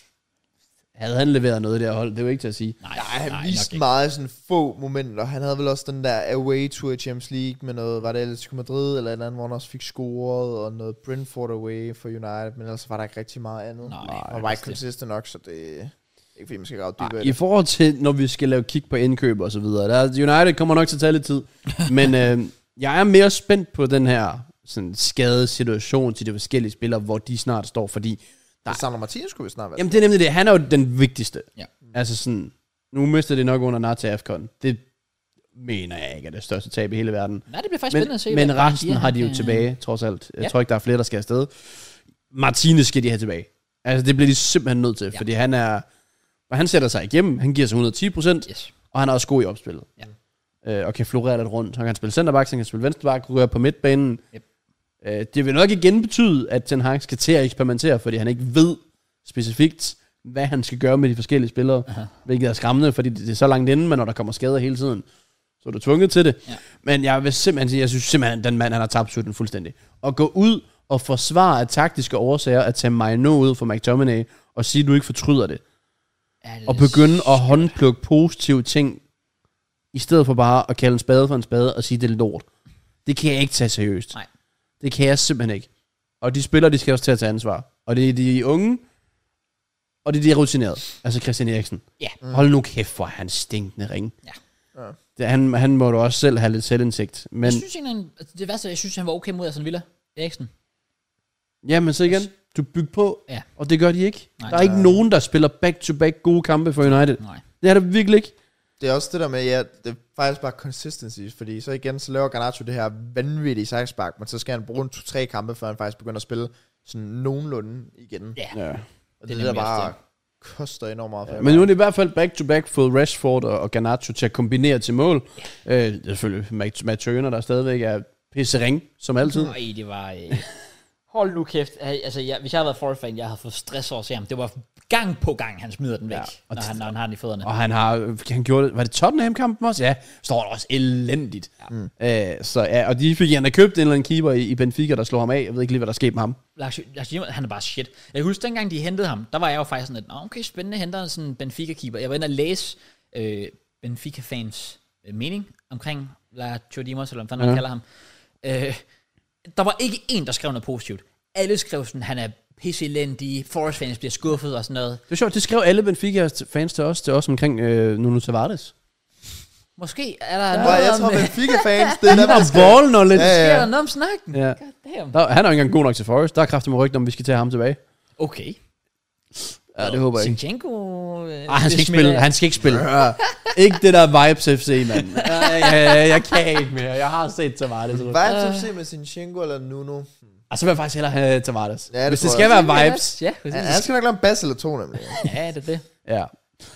B: havde han leveret noget i det her hold, det er jo ikke til at sige.
A: nej,
C: Nej, han nej,
A: nok
C: viste
A: ikke.
C: meget sådan få momenter. Han havde vel også den der away tour i Champions League med noget, var det Atletico Madrid eller et eller andet, hvor han også fik scoret, og noget Brentford away for United, men ellers var der ikke rigtig meget andet.
A: Nej,
C: og var ikke consistent nok, så det er ikke fordi, man skal grave dybere i
B: I
C: det.
B: forhold til, når vi skal lave kig på indkøb og så videre, der, United kommer nok til at tage lidt tid, men øh, jeg er mere spændt på den her sådan, skadesituation til de forskellige spillere, hvor de snart står, fordi
C: Det Sandro Martinez skulle vi snart være.
B: Jamen det er nemlig det, han er jo den vigtigste.
A: Ja.
B: Altså sådan, nu mister det nok under Nata Afcon. Det mener jeg ikke er det største tab i hele verden.
A: Nej, det bliver faktisk
B: Men,
A: spændende at se. hvad
B: men
A: han
B: resten
A: siger.
B: har de jo
A: Øh,
B: tilbage, trods alt. Jeg
A: Ja.
B: tror ikke, der er flere, der skal afsted. Martinez skal de have tilbage. Altså det bliver de simpelthen nødt til,
A: Ja.
B: fordi han er... Og han sætter sig igennem, han giver sig 110 procent,
A: Yes.
B: og han er også god i opspillet. Ja. Øh, og kan florere lidt rundt. Han kan spille centerback, han kan spille venstreback, røre på midtbanen.
A: Yep.
B: Øh, det vil nok igen betyde, at Ten Hag skal til at eksperimentere, fordi han ikke ved specifikt, hvad han skal gøre med de forskellige spillere.
A: Aha.
B: Hvilket er skræmmende, fordi det det er så langt inde, men når der kommer skader hele tiden, så er du tvunget til det.
A: Ja.
B: Men jeg vil simpelthen sige, jeg synes simpelthen, at den mand, han har tabt sutten fuldstændig. At gå ud og forsvare af taktiske årsager, at tage Maino ud for McTominay, og sige, at du ikke fortryder det
A: Ja, det
B: og
A: er
B: begynde at håndplukke positive ting, i stedet for bare at kalde en spade for en spade og sige, det er lort. Det kan jeg ikke tage seriøst.
A: Nej.
B: Det kan jeg simpelthen ikke. Og de spillere, de skal også til at tage ansvar. Og det er de unge, og det er de rutinerede. Altså Christian Eriksen.
A: Ja.
B: Hold nu kæft, hvor er han stinkende ringe.
A: Ja.
C: Ja.
B: Det, han, han må da også selv have lidt selvindsigt. Men,
A: Jeg synes egentlig, han- altså, det værste, er, jeg synes, han var okay mod Aston Villa. Eriksen.
B: ja, men så igen, du bygger på,
A: Ja.
B: og det gør de ikke.
A: Nej.
B: der er ikke nogen, der spiller back-to-back gode kampe for United.
A: Nej.
B: Det er der virkelig ikke.
C: Det er også det der med, ja, det er faktisk bare consistency, fordi så igen, så laver Garnacho det her vanvittige sejrspark, men så skal han bruge en 2-3 kampe, før han faktisk begynder at spille sådan nogenlunde igen.
A: Ja.
B: Ja.
C: Og
A: Det
C: det,
A: er
C: det, der
A: nemlig også
C: bare koster enormt meget. For
B: Ja,
C: ja,
B: Men nu er det i hvert fald back-to-back fået Rashford og, og Garnacho til at kombinere til mål. Øh, det er selvfølgelig Matt Turner, der stadigvæk er pissering, som altid.
A: Nej, det var... Øh, hold nu kæft. Ej, Altså, jeg, hvis jeg havde været Forrest-fan, jeg havde fået stress over at se ham. Det var gang på gang, han smider den væk, ja, når, han, når han har den i fødderne.
B: Og han har, han gjorde det, var det Tottenham-kampen også? Ja, står der også elendigt. Ja. Øh, så ja, og de fik, han har købt en eller anden keeper i, i Benfica, der slog ham af. Jeg ved ikke lige, hvad der skete med ham.
A: Lars, Lars Jimmer, han er bare shit. Jeg kan huske, dengang de hentede ham, der var jeg jo faktisk sådan lidt, Nå, okay, spændende, henter sådan en Benfica-keeper. Jeg var inde og læse øh, Benfica-fans øh, mening omkring La Chodimos, eller hvad fanden man kalder ham. Øh, der var ikke en, der skrev noget positivt. Alle skrev sådan, han er pisselendig, Forest-fans bliver skuffet og sådan noget.
B: Det var sjovt, det skrev alle Benfica-fans til os, til os omkring øh, Nuno Tavares.
A: Måske er der
C: Bro,
A: noget
C: jeg
A: om,
C: tror,
A: øh,
C: Benfica-fans, det er
B: Der
C: dem, der
B: var
C: skal...
B: ball knowledge. Ja,
A: sker der noget om snakken?
B: ja.
A: God damn.
B: Der, han er jo ikke engang god nok til Forrest. Der er kraftigt med rygter, om vi skal tage ham tilbage.
A: Okay.
B: Ja, det håber jeg ikke.
A: Sinchenko... Øh,
B: Ej, Ah, han skal
A: det
B: ikke spille.
A: smitter-
B: Han skal ikke spille. ikke det der Vibes FC, mand. Ja, ja, ja, jeg kan ikke mere. Jeg har set Tavares.
C: Vibes FC med Sinchenko eller Nuno.
B: Og så vil jeg faktisk hellere have Tavares.
C: Ja, det
B: Hvis det
C: tror
B: skal
C: jeg
B: være
A: Ja,
B: Vibes.
A: Ja,
C: Ja,
A: præcis.
C: han skal nok lave en bas eller to, nemlig.
A: Ja, det er det.
B: Ja.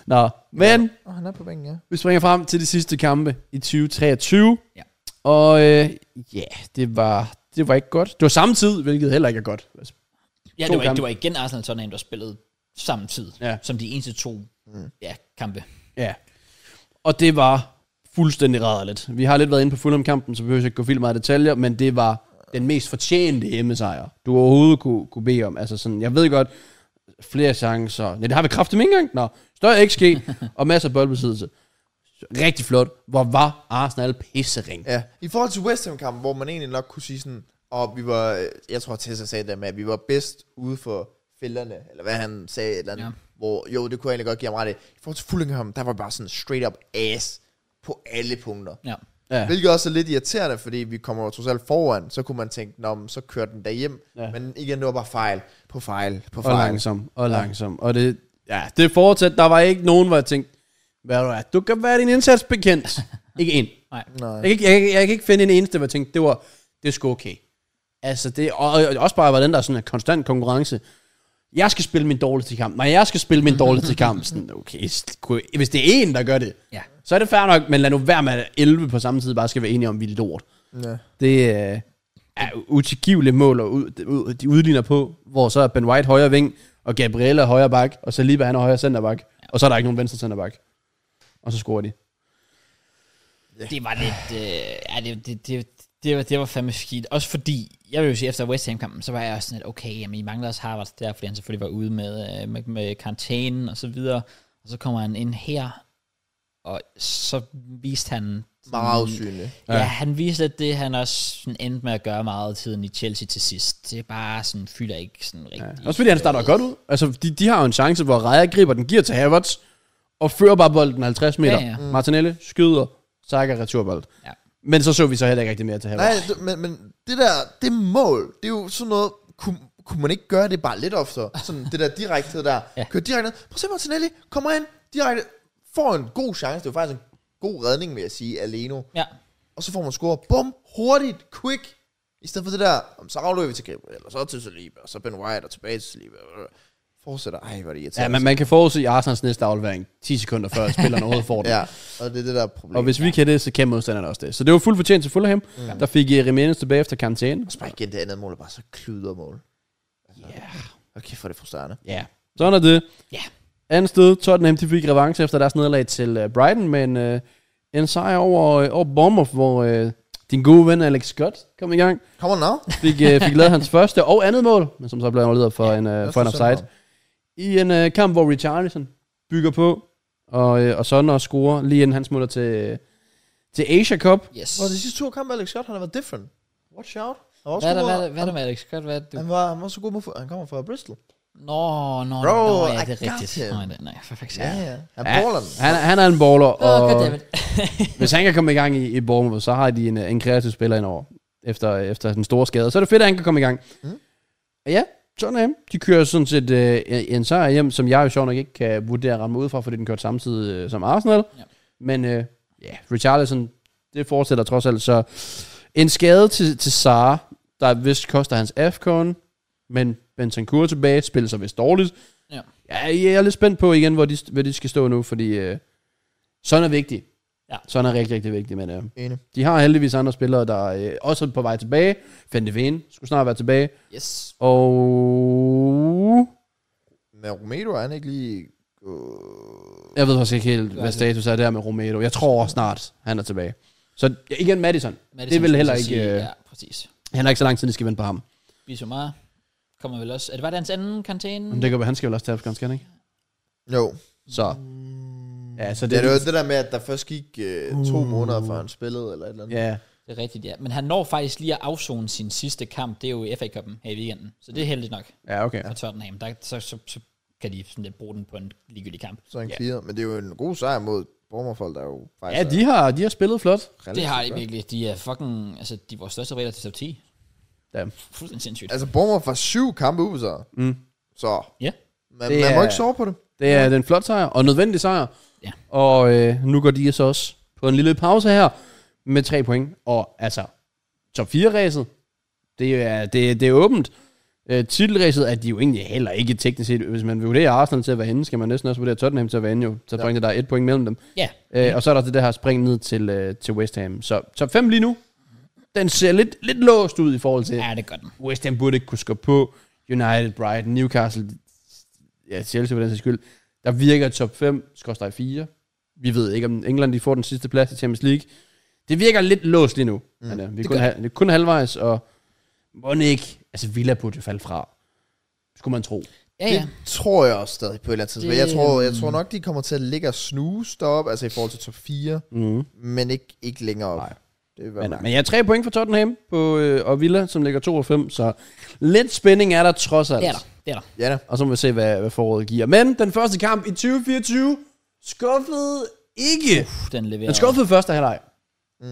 B: Nå, men
C: Åh, han er på bænken, ja.
B: vi springer frem til de sidste kampe i 2023.
A: Ja.
B: Og øh, ja, det var, det var ikke godt. Det var samme tid, hvilket heller ikke er godt. Altså,
A: Ja,
B: To
A: det var, ikke,
B: kampe.
A: det var igen Arsenal og Tottenham, der spillede samme tid,
B: Ja.
A: ja. som de eneste to mm. ja, kampe.
B: Ja. Og det var fuldstændig rædderligt. Vi har lidt været inde på Fulham-kampen, så vi behøver ikke gå vildt meget i detaljer, men det var den mest fortjente hjemmesejr, du overhovedet kunne, kunne bede om. Altså sådan, jeg ved godt, flere chancer. Nej, det har vi kraftigt ikke engang. Nå, større XG og masser af boldbesiddelse. Rigtig flot. Hvor var Arsenal pissering.
C: Ja. I forhold til West Ham-kampen, hvor man egentlig nok kunne sige sådan, og vi var, øh, jeg tror Tessa sagde det med, at vi var bedst ude for fælderne, eller hvad han sagde, et eller andet, ja.
A: Ja.
C: hvor jo, det kunne jeg egentlig godt give ham ret i. I forhold til Fullingham, der var bare sådan straight up ass på alle punkter.
A: Ja.
B: Ja.
C: Hvilket også er lidt irriterende, fordi vi kommer jo trods alt foran, så kunne man tænke, nå, men så kører den der hjem. Ja. Men igen, det var bare fejl på fejl på
B: Og
C: fejl.
B: langsom, og langsom. Og det, ja, det fortsat. Der var ikke nogen, hvor jeg tænkte, hvad du er, du kan være din indsats bekendt. ikke en.
A: Nej.
C: Nej.
B: Jeg kan, ikke, jeg, kan- jeg kan ikke finde en eneste, hvor jeg tænkte, det var, det er sgu okay. Altså, det, og, og også bare, hvordan der er sådan en konstant konkurrence. Jeg skal spille min dårligste kamp. Nej, jeg skal spille min dårligste kamp. Sådan, okay, s- kunne- hvis det er en, der gør det,
A: Ja.
B: så er det fair nok, men lad nu være med at 11 på samme tid bare skal være enige om, vi er lort.
C: Ja.
B: Det øh, er utilgivelige mål, og ud, ud, de udligner på, hvor så er Ben White højre ving, og Gabriella højre bak, og så Liba han er højre centerback, og så er der ikke nogen venstre centerback. Og så scorer de.
A: Det var lidt... Øh, ja, det, det, det, det, var, det var fandme skidt. Også fordi, jeg vil jo sige, efter West Ham-kampen, så var jeg også sådan lidt, okay, jamen, I mangler også Harvard der, fordi han selvfølgelig var ude med, øh, med, med karantænen og så videre. Og så kommer han ind her, og så viste han...
C: Meget usynlig.
A: Ja,
B: Ja.
A: ja, han viste lidt det, han også sådan endte med at gøre meget af tiden i Chelsea til sidst. Det er bare sådan, fylder ikke sådan rigtig...
B: Også fordi han starter godt ud. Altså, de, de har jo en chance, hvor Raja griber den, giver til Havertz, og fører bare bolden 50 meter.
A: Ja, ja.
B: Mm. Martinelli skyder, Saka returbold.
A: Ja.
B: Men så så vi så heller ikke rigtig mere til
C: Nej,
B: Havertz.
C: du, men, men det der, det mål, det er jo sådan noget, kunne, kunne man ikke gøre det bare lidt oftere? Sådan det der direkte der, ja.
A: Ja.
C: kør direkte ned. Prøv at se Martinelli, kommer ind direkte, får en god chance, det er jo faktisk en god redning, vil jeg sige, alene.
A: Ja,
C: Og så får man score, bum, hurtigt, quick. I stedet for det der, om så afløber vi til Gabriel, og så til Saliba, og så Ben White, og tilbage til Saliba. Fortsætter, ej, hvor er det
B: Ja,
C: irriterende.
B: men man kan forudse Arsens næste aflevering 10 sekunder før spilleren overhovedet får den.
C: ja, og det er det der problem.
B: Og hvis vi kan det, så kan modstanderne også det. Så det var fuldt fortjent til Fulham. Der fik eh, Jimenez tilbage efter karantæne.
C: Så bare igen det andet mål, er bare så kluder mål.
B: Ja.
C: Okay, for det er frustrerende.
B: Ja. Sådan er det.
A: Ja.
B: Andet sted, Tottenham de fik revanche efter deres nederlag til uh, Brighton, men uh, en sejr over, uh, over Bournemouth, hvor uh, din gode ven Alex Scott kom i gang.
C: Kommer den af?
B: Fik, uh, fik lavet hans første og andet mål, men som så blev annulleret for ja, en, uh, for en
C: synes jeg
B: offside. I en uh, kamp, hvor Richarlison bygger på, og, uh, og sådan og scorer, lige inden han smutter til, uh, til Asia Cup.
A: yes.
C: Hvor de sidste to kampe, Alex Scott, han har været different. Watch out. Han var også
A: Hvad er der,
C: god
A: hvad er
C: mod-
A: der, hvad er der med Alex Scott? Hvad er det, du
C: Han var, han var så god mod fod- Han kommer fra Bristol.
A: Nå, nå, nå,
C: Bro, I
A: ja, det
C: got
A: er rigtigt.
C: him.
A: Nej, nej, nej, for faktisk.
C: Ja,
A: Ja.
C: ja. Han baller den.
B: Han, er- han er en baller,
A: Åh,
B: og
A: goddammit.
B: hvis han kan komme i gang i, i Bournemouth, så har de en, øh, en kreativ spiller indover, efter, efter den store skade. Så er det fedt, at han kan komme i gang. Mm.
A: Mhm.
B: Ja, Tottenham, de kører sådan set øh, en sejr hjem, som jeg jo sjovt nok ikke kan vurdere at ramme ud fra, fordi den kørte samtidig øh, som Arsenal. Ja.
A: Ja.
B: Men øh, ja, Richarlison, det fortsætter trods alt. Så en skade til, til Sara, der vist koster hans AFCON, men Bentancur tilbage, spiller sig vist dårligt.
A: Ja.
B: Ja, jeg er lidt spændt på igen, hvor de, hvor de skal stå nu, fordi øh, sådan er vigtigt.
A: Ja.
B: Så han er rigtig, rigtig vigtig med det.
C: Enig.
B: De har heldigvis andre spillere, der er, øh, også er på vej tilbage. Van de Ven skulle snart være tilbage.
A: Yes.
B: Og...
C: Men Romero er han ikke lige...
B: Jeg ved faktisk ikke helt, hvad status er der med Romero. Jeg tror også snart, han er tilbage. Så ja, igen, Madison.
A: Madison,
B: Det vil
A: skulle
B: heller
A: jeg
B: ikke,
A: sige.
B: øh,
A: Ja, præcis.
B: Han har ikke så lang tid, de skal vente på ham.
A: Bissouma kommer vel også... Er det bare hans anden karantæne?
B: Men det kan være, han skal vel også tabes ganske, ikke?
C: Jo.
B: Så.
A: Mm.
B: Ja, så
C: Det
B: det...
C: er jo det der med, at der først gik øh, to måneder, før han spillede, eller et eller andet.
B: Ja,
A: Det er rigtigt, ja. Men han når faktisk lige at afzone sin sidste kamp. Det er jo i FA-cupen her i weekenden. Så det er heldigt nok
B: ja okay.
A: for Tottenham. Der, så, så, så, kan de sådan lidt bruge den på en ligegyldig kamp.
C: Så han clearer. Men det er jo en god sejr mod Bormerfolk, der er jo faktisk
B: Ja, de har, de har spillet flot.
C: er
A: Det har de
C: relativt godt.
A: virkelig. De er fucking... Altså, de er vores største regler til top 10.
B: Ja.
A: Fuldstændig sindssygt.
C: Altså, Bormer var syv kampe ude, så.
B: Mm.
C: Så
A: Ja.
C: man,
B: Det
C: man må
B: er-
C: ikke sove på det.
B: Det er den flot sejr, og nødvendig sejr.
A: Ja.
B: Og øh, nu går de så også på en lille pause her, med tre point. Og altså, top 4-ræset, det er, det, det er åbent. Øh, titelræset er de jo egentlig heller ikke teknisk set. Hvis man vurderer Arsenal til at være inde, skal man næsten også vurdere Tottenham til at være inde jo. Så ja. der er et point mellem dem.
A: Ja.
B: Øh, og så er der det der her spring ned til, øh, til West Ham. Så top 5 lige nu, den ser lidt, lidt låst ud i forhold til,
A: Ja, det gør den.
B: West Ham burde ikke kunne skubbe på. United, Brighton, Newcastle, ja, Chelsea for den sags skyld. Der virker top 5, skorstræk 4. Vi ved ikke, om England de får den sidste plads i Champions League. Det virker lidt låst lige nu. Mm, men, uh, vi er kun,
A: gør
B: ha- det er kun halvvejs, og må den ikke, altså Villa burde jo falde fra. Skulle man tro.
A: Ja, ja.
C: Det tror jeg også stadig på et eller andet tidspunkt.
A: Det-
C: Jeg tror, jeg tror nok, de kommer til at ligge og snuse deroppe, altså i forhold til top 4,
B: Mm.
C: men ikke, ikke længere op.
B: Nej.
C: Nej. Det vil
B: Men,
C: være
B: men jeg har tre point for Tottenham på, øh, og Villa, som ligger 2 og 5, så lidt spænding er der trods alt.
A: Det er der. Det er der.
C: Ja, da.
B: Og så må vi se, hvad, hvad foråret giver. Men den første kamp i 2024 skuffede ikke. Uff.
A: Den leverer.
B: Den skuffede første halvleg. Mm.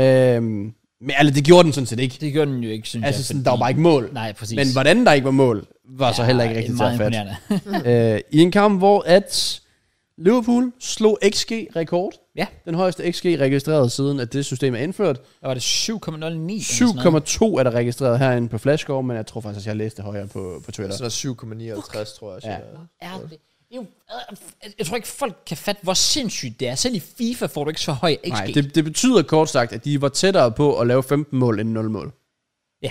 B: Øhm, men altså, det gjorde den sådan set ikke.
A: Det gjorde den jo ikke, synes
B: Altså,
A: jeg.
B: sådan,
A: fordi-
B: der var bare ikke mål.
A: Nej, præcis.
B: Men hvordan der ikke var mål, var ja, så heller ikke
A: Ja,
B: rigtig
A: det
B: til
A: er
B: at
A: meget
B: fatte.
A: imponerende.
B: Øh, I en kamp, hvor at Liverpool slog XG-rekord.
A: ja,
B: Den højeste XG registreret siden, at det system er indført.
A: der var det 7,09.
B: 7,2 er der registreret herinde på Flashcore, men jeg tror faktisk, at jeg læste det højere på, på Twitter.
C: Sådan noget 7,59, tror jeg.
B: Ja.
C: Ja.
A: Ja, det, det er jo, øh, jeg tror ikke, folk kan fatte, hvor sindssygt det er. Selv i FIFA får du ikke så høj XG.
B: Nej, det, det betyder kort sagt, at de var tættere på at lave 15 mål end 0 mål.
A: Ja,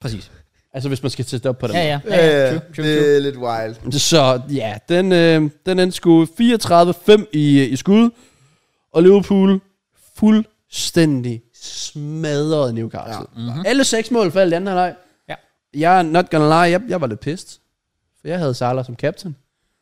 A: præcis.
B: Altså hvis man skal teste op på dem.
A: Ja, ja. ja, ja.
C: Ja,
A: True, true, true.
C: Øh, det er lidt wild.
B: Så ja, den, øh, den endte sgu 34-5 i, i skud. Og Liverpool fuldstændig smadrede Newcastle. Ja. Mm-hmm. Alle seks mål faldt i anden halvleg.
A: mhm. Ja.
B: Jeg er not gonna lie, jeg, jeg var lidt pissed. For jeg havde Salah som captain.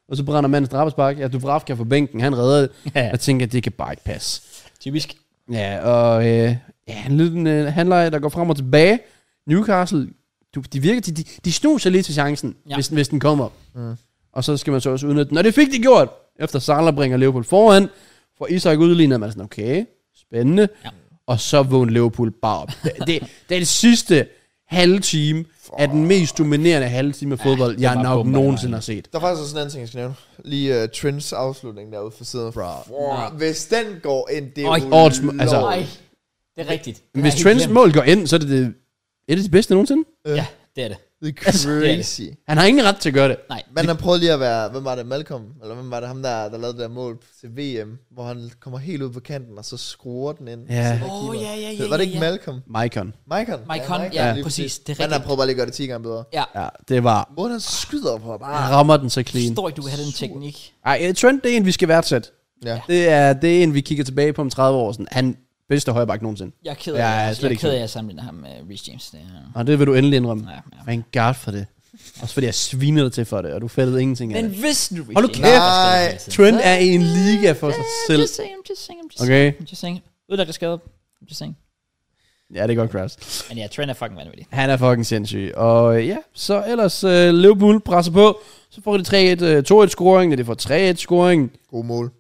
B: Og så brænder mandens straffespark. Ja, Dubravka fra bænken, han redder det.
A: Ja.
B: Jeg tænker, det kan bare ikke passe.
A: Typisk.
B: Ja, og øh, ja, en lille øh, handler, der går frem og tilbage. Newcastle, du, de virker, de, de, de snuser lige til chancen, ja.
A: Ja.
B: hvis, den- hvis den kommer. Mm. Og så skal man så også udnytte den. Og det fik de gjort, efter Salah bringer Liverpool foran. For Isak udligner man er sådan, okay, spændende.
A: Ja.
B: Og så vågner Liverpool bare op. Det, det, det er det sidste halve time af den mest dominerende halve time af fodbold, ja, jeg
A: var
B: nok
A: bomber, det
B: nogensinde
A: var.
B: har set.
C: Der er faktisk også en anden ting, jeg skal nævne. Lige uh, Trins afslutning derude for siden. Wow. Hvis den går ind, det er
A: Oj.
C: jo
B: Årets- altså-
C: lort.
A: Nej, det er rigtigt. Det
B: Hvis
A: er helt
B: Trents
A: glemt.
B: mål går ind, så er det det, er det, det bedste nogensinde.
A: Ja, det er det.
C: Det er
B: Altså,
A: det er det.
C: crazy.
B: Han har ingen ret til at gøre det.
A: Nej,
C: Man har prøvet lige at være, hvem var det, Malcolm? Eller hvem var det, ham der, der lavede det der mål til VM, hvor han kommer helt ud på kanten, og så skruer den ind.
B: Ja.
C: Åh,
A: Åh, ja, ja, ja,
C: Var
A: ja,
C: det ikke
A: ja.
C: Malcolm?
B: Maikon.
C: Maicon?
A: Maicon,
C: Maicon,
A: ja,
C: lige
A: præcis. Det er
C: Man har
A: rigtigt.
C: prøvet bare lige at gøre det 10 gange bedre.
A: ja.
B: Ja, det var
C: Måden han skyder på, er
A: Ah.
C: bare...
B: Han rammer den så clean.
A: Forstår ikke, du kan have den teknik.
B: Ej, Trent, det er en, vi skal værdsætte.
C: Ja.
B: Det er, det er en, vi kigger tilbage på om 30 år. Sådan. Han bedste højreback nogensinde.
A: Jeg er ked af,
B: Ja,
A: ja,
B: jeg er
A: jeg,
B: slet
A: jeg er
B: ikke
A: ked af,
B: ked.
A: at jeg sammenligner ham med Reece James. Det er,
B: Og det vil du endelig indrømme.
A: ja, ja.
B: Thank God for det. Også fordi jeg svinede dig til for det, og du fattede ingenting af
A: Men
B: det.
A: hvis nu Reece
B: Hold nu
A: James-
B: kæft.
C: Nej.
B: Trent er i en liga for sig
A: I'm
B: selv.
A: Just saying, I'm just saying, I'm just
B: Okay?
A: saying. I'm just saying. Udlagt og skadet. I'm just saying.
B: Ja, det er godt, Kraus.
A: Men ja, Trent er fucking vanvittig.
B: Han er fucking sindssyg. Og øh, ja, så ellers øh, Liverpool presser på. Så får de 3-1, øh, 2-1-scoring, og de får 3-1-scoring.
C: God mål.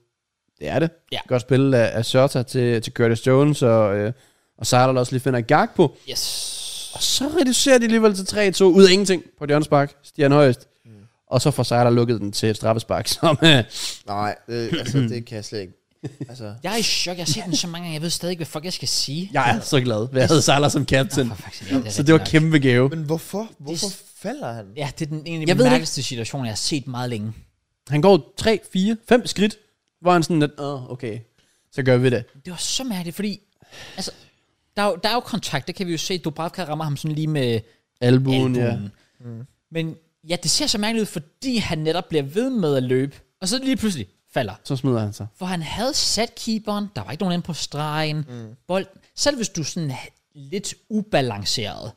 B: Det er det.
A: Ja.
B: Godt spil af, af Sørta til, til Curtis Jones, og, øh, og Sartre, der også lige finder gag på.
A: Yes.
B: Og så reducerer de alligevel til 3-2 ud af ingenting på et hjørnespark. Stian Højst. Mm. Og så får Sejler lukket den til et straffespark, som øh,
C: Nej, det, altså, det kan jeg slet ikke. Altså,
A: Jeg er i chok. Jeg har set den så mange gange. Jeg ved stadig ikke, hvad fuck jeg skal sige.
B: jeg er så glad. Jeg havde Sejler som captain.
A: For fuck's sake, ja, er
B: Så det var
A: rigtigt nok.
B: kæmpe gave.
C: men hvorfor? Hvorfor falder han?
A: Ja, det er den en af
B: Jeg
A: de
B: ved det
A: mærkeligste situationer, jeg har set meget længe.
B: Han går 3, 4, 5 skridt, hvor han sådan lidt, åh, okay. så gør vi det.
A: Det var så mærkeligt, fordi... Altså, der er, jo, der er jo kontakt, det kan vi jo se. Dubravka rammer ham sådan lige med
B: Albuen, ja.
A: albuen. Ja. Men ja, det ser så mærkeligt ud, fordi han netop bliver ved med at løbe. Og så lige pludselig falder.
B: Så smider han sig.
A: For han havde sat keeperen, der var ikke nogen inde på stregen, mm. bolden. Selv hvis du sådan er lidt ubalanceret,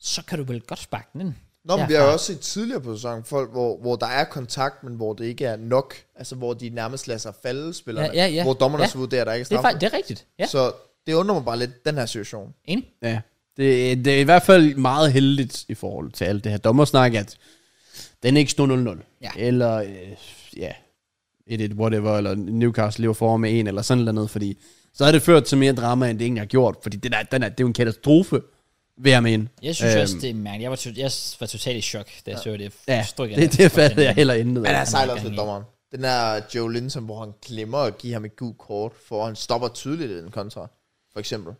A: så kan du vel godt sparke den ind.
D: Nå, men vi
A: Ja.
D: har jo også set tidligere på sæsonen folk, hvor, hvor der er kontakt, men hvor det ikke er nok. Altså, hvor de nærmest lader sig falde spillerne.
A: Ja, ja, ja.
D: Hvor dommerne
A: Ja.
D: ja. så vurderer, at der ikke er
A: Det er,
D: straffe.
A: faktisk, det er rigtigt. Ja,
D: Så det undrer mig bare lidt, den her situation.
A: enig.
B: Ja. Det, det er i hvert fald meget heldigt i forhold til alt det her dommersnak, at den ikke stod 0-0.
A: Ja.
B: Eller, øh, ja, 1-1, whatever, eller Newcastle lever foran med en, eller sådan noget andet, fordi så havde det ført til mere drama, end det egentlig har gjort, fordi det, der, den er, det er jo en katastrofe, vil jeg mene.
A: Jeg synes øhm. også, det er mærkeligt. Jeg var, to- jeg var totalt i chok, da jeg så det.
B: Ja,
A: Stryk af altså-
B: det, det fattede jeg heller inden.
D: Men han
A: er
D: sejler
A: gang
D: også lidt
A: i.
D: dommeren. Den der Joe Linton, hvor han glemmer at give ham et gult kort, for han stopper tydeligt i den kontra, for eksempel.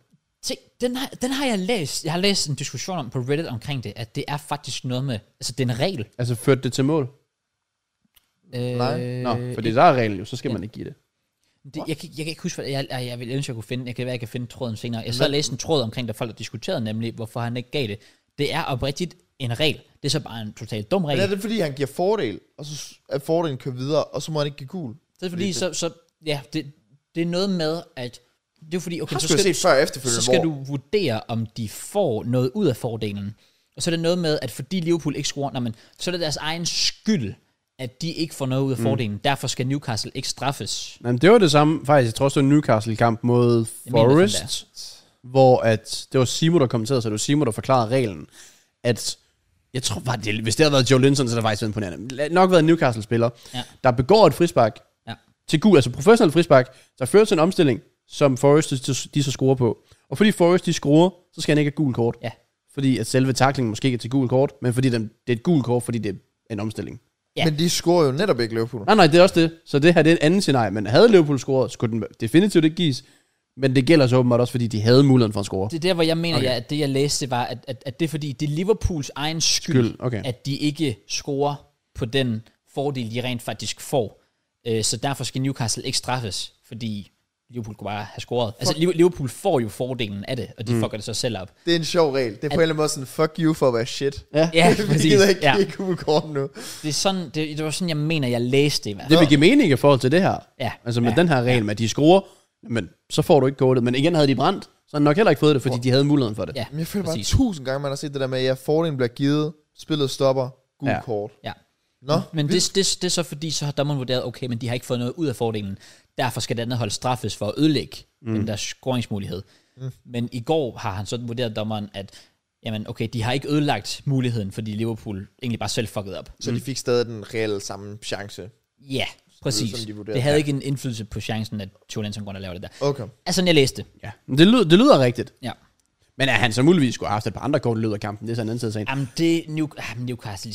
A: Se, den har, den har jeg læst. Jeg har læst en diskussion om på Reddit omkring det, at det er faktisk noget med, altså det er en regel.
B: Altså, førte det til mål?
A: Øh,
D: Nej.
B: Nå, fordi der er reglen jo, så skal man ikke give det.
A: Det, jeg, kan, jeg kan ikke huske, hvad jeg, jeg, jeg vil ønske, jeg kunne finde. Jeg kan være, jeg kan finde tråden senere. Jeg så og læste en tråd omkring, der folk der diskuterede nemlig, hvorfor han ikke gav det. Det er oprigtigt en regel. Det er så bare en totalt dum regel.
D: Men er
A: Det
D: det, fordi han giver fordel, og så s- at fordelen kører videre, og så må han ikke give gul?
A: er fordi, så, så, ja, det, det er noget med, at det er fordi, okay,
D: Har
A: så
D: du
A: skal,
D: set før og
A: så
D: efterfølgende,
A: skal
D: hvor-
A: du vurdere, om de får noget ud af fordelen. Og så er det noget med, at fordi Liverpool ikke scorer, nej, men, så er det deres egen skyld, at de ikke får noget
D: Mm.
A: ud af fordelen. Derfor skal Newcastle ikke straffes.
B: Jamen, det var det samme, faktisk, jeg tror også, det var en Newcastle-kamp mod
A: mener, det er
B: Forest, hvor at, det var Simo, der kommenterede, så det var Simo, der forklarede reglen, at, jeg tror bare, det, hvis det havde været Joe Linton, så havde det faktisk været imponerende. Lad- Nok været en Newcastle-spiller,
A: Ja.
B: der begår et frispark
A: Ja.
B: til gul, altså professionel frispark, der fører til en omstilling, som Forrest de, de så scorer på. Og fordi Forrest de scorer, så skal han ikke have gul kort.
A: Ja.
B: Fordi at selve taklingen måske ikke er til gul kort, men fordi den, det er et gul kort, fordi det er en omstilling.
A: Ja.
D: Ja. Men de scorer jo netop ikke Liverpool.
B: Nej, nej, det er også det. Så det her, det er et andet scenarie. Men havde Liverpool scoret, skulle den definitivt ikke gives. Men det gælder så åbenbart også, fordi de havde muligheden for at score.
A: Det er der, hvor jeg mener, okay. ja, at det jeg læste var, at, at, at det er fordi, det er Liverpools egen skyld,
B: Skyld, okay.
A: at de ikke scorer på den fordel, de rent faktisk får. Øh, så derfor skal Newcastle ikke straffes, fordi Liverpool kunne bare have scoret. Altså Liv- Liverpool får jo fordelen af det, og de mm. fucker det så selv op.
D: Det er en sjov regel. Det er på en eller anden måde sådan, fuck you for at være shit.
B: Ja.
A: Ja,
D: Vi
A: præcis.
D: gider ikke
A: Ja.
D: give gul kort nu.
A: Det, er sådan, det, det var sådan, jeg mener, jeg læste det i hvert
B: Det
A: fald.
B: vil give mening i forhold til det her.
A: Ja.
B: Altså med
A: Ja.
B: ja. den her regel med, at de scorer, men så får du ikke kortet. Men igen havde de brændt, så havde de nok heller ikke fået det, fordi de havde muligheden for det.
A: Ja,
D: Men jeg føler bare
A: præcis.
D: tusind gange, man har set det der med, at ja, fordelen bliver givet, spillet stopper, gul
B: Ja.
D: ja. kort.
A: Ja.
D: Nå,
A: Men det, det, det er så fordi, så har dommeren vurderet, okay, men de har ikke fået noget ud af fordelen. Derfor skal det andet hold straffes for at ødelægge mm. den der scoringsmulighed. Mm. Men i går har han så vurderet dommeren, at jamen, okay, de har ikke ødelagt muligheden, fordi Liverpool egentlig bare selv fucked op.
D: så de fik stadig den reelle samme chance.
A: Ja, præcis.
D: sådan, de
A: Det,
D: vurderede.
A: det havde ikke en indflydelse på chancen, at Tio Lensen går ind og laver det der.
D: Okay.
A: Altså, sådan jeg læste det.
B: ja. Men det, lyder, det lyder rigtigt.
A: Ja.
B: Men at han så muligvis skulle have haft et par andre kort i løbet af kampen, det er sådan en anden side af sagen.
A: Jamen, det New, ah, Newcastle.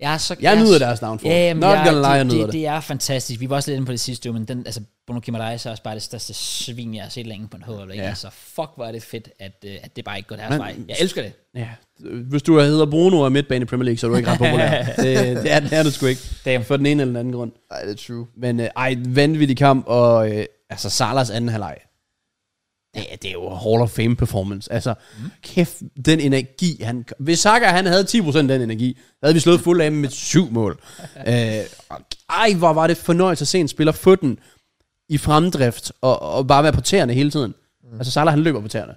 A: Jeg, er så,
B: Jeg
A: er
B: nyder
A: så-
B: deres downfall.
A: Ja, jamen,
B: Not
A: jeg,
B: gonna lie, jeg
A: det,
B: nyder
A: det,
B: det.
A: det. er fantastisk. Vi var også lidt inde på det sidste uge, men den, altså, Bruno Gimareis er også bare det største svin, jeg har set længe på en hold. Ja.
B: Ja.
A: Altså, fuck, hvor er det fedt, at, øh, at det bare ikke går deres
B: Men-
A: vej. Jeg elsker det.
B: Ja. Hvis du hedder Bruno og er midtbane i Premier League, så er du ikke ret populær. det, det, er, det er du sgu ikke.
A: Damn.
B: For den ene eller den anden grund.
D: Ej, det er true.
B: Men øh, ej, vanvittig kamp, og øh, altså Salas anden halvleg, det, er- det er jo Hall of Fame performance. Altså, mm. kæft, den energi, han... Hvis Saka, han havde 10% den energi, havde vi slået fuld af med syv mål. Øh, og ej, hvor var det fornøjelse at se en spiller få den i fremdrift, og, og bare være på tæerne hele tiden. Mm. Altså, Salah, han løber på tæerne.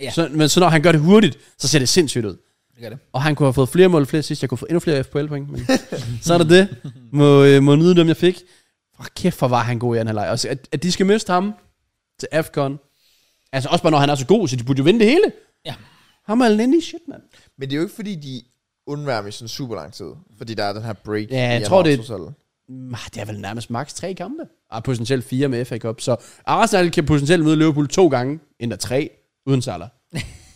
A: Ja.
B: Ja. Så, men så når han gør det hurtigt, så ser det sindssygt ud.
A: Det gør det.
B: Og han kunne have fået flere mål flere sidst. Jeg kunne få endnu flere FPL-point. Men så er det det. Må, øh, må nyde dem, jeg fik. For kæft, hvor var han god i den her leg. Og så, at, at de skal miste ham til AFCON. Altså også bare, når han er så god, så de burde jo vinde det hele.
A: Ja.
B: Ham og Lenny, shit, mand.
D: Men det er jo ikke, fordi de undværer mig sådan super lang tid. Fordi der er den her break.
B: Ja, jeg
D: i
B: tror,
D: januar,
B: det er-
D: trods alt.
B: Mm, ah, Det er vel nærmest max tre kampe. Og potentielt fire med FA Cup. Så Arsenal kan potentielt møde Liverpool to gange, endda tre, uden Salah.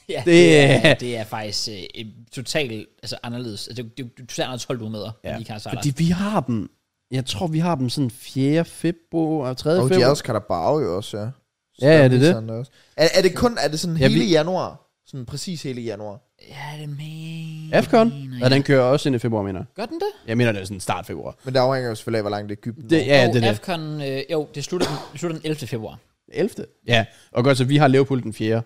A: Ja,
B: Det-
A: det, er, det er faktisk øh, et totalt altså, anderledes. Altså, det, det, det er totalt anderledes hold, du møder, ja. Kan
B: Fordi vi har dem, jeg tror, vi har dem sådan 4. februar, 3.
D: Og de er
B: februar.
D: også Carabao jo også, ja. Så
B: Ja, ja,
D: der
B: det er
D: viser
B: det.
D: han også. Er, er det kun, er det sådan
B: Ja,
D: hele
B: vi-
D: januar? Sådan præcis hele januar?
A: Ja, det mener
B: AFCON,
A: jeg.
B: ja, den kører også ind i februar, mener jeg.
A: Gør den det?
B: Jeg mener, det er sådan start februar.
D: Men der afhænger jo selvfølgelig af, hvor langt det er Ægypten.
B: Det, ja,
A: Og
B: det er det.
A: AFCON, øh, jo, det slutter den, det slutter den 11. februar.
B: 11. Ja, og godt, så vi har Liverpool den 4.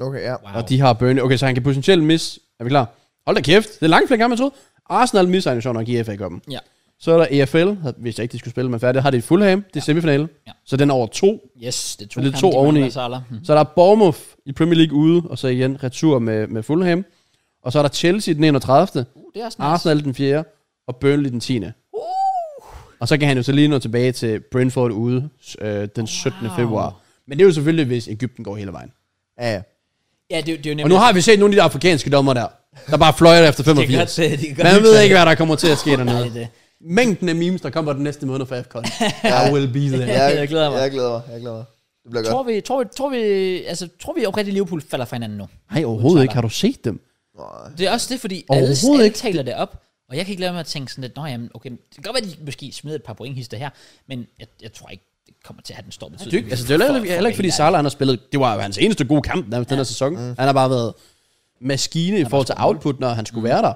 D: Okay, ja.
A: Wow.
B: Og de har Burnley. Okay, så han kan potentielt misse... Er vi klar? Hold da kæft. Det er langt flere kampe, jeg troede. Arsenal misser han jo sjovt nok i FA Cup'en.
A: Ja.
B: Så er der EFL, hvis jeg ikke de skulle spille, men færdig. Har de Fulham, det er semifinale.
A: Ja.
B: Så den er over to.
A: Yes, det er to,
B: Men det er
A: kampe,
B: to
A: de
B: oveni.
A: mangler Salah. Mhm.
B: Mm-hmm. Så er der Bournemouth i Premier League ude, og så igen retur med, med Fulham. Og så er der Chelsea den 31.
A: Uh, det er også nice. Uh.
B: Arsenal den 4. og Burnley den 10. Og så kan han jo så lige nå tilbage til Brentford ude øh, den 17.
A: Wow.
B: februar. Men det er jo selvfølgelig, hvis Ægypten går hele vejen.
D: Ja, ja.
A: Ja, det, det er jo
B: Og
A: nemlig...
B: nu har vi set nogle af de der afrikanske dommer der, der bare fløjer efter
A: det kan
B: 85.
A: godt, det kan godt
B: Man ved
A: være.
B: ikke, hvad der kommer til at ske
A: Nej,
B: dernede.
A: det er det.
B: Mængden af memes, der kommer den næste måned fra FCON. I will be there.
A: Ja, jeg glæder mig.
D: Jeg glæder mig, jeg glæder mig. Det bliver godt.
A: Tror vi, tror, vi, tror vi, altså, tror vi oprigtigt, Liverpool falder fra hinanden nu?
B: Nej, overhovedet ikke. Har du set dem?
A: Det er også det, fordi alle,
B: Overhovedet
A: alle
B: ikke.
A: taler det op, og jeg kan ikke lade mig at tænke sådan lidt, nå jamen, okay, det kan godt være, at de måske smider et par pointhister her, men jeg, jeg tror ikke, det kommer til at have den store
B: Det er
A: betydning.
B: ikke, altså, det er jo heller, heller ikke, fordi Salah han har spillet, det var jo hans eneste gode kamp nærmest den her
A: Mm.
B: sæson. Han har bare været maskine i forhold til output, når han skulle være der.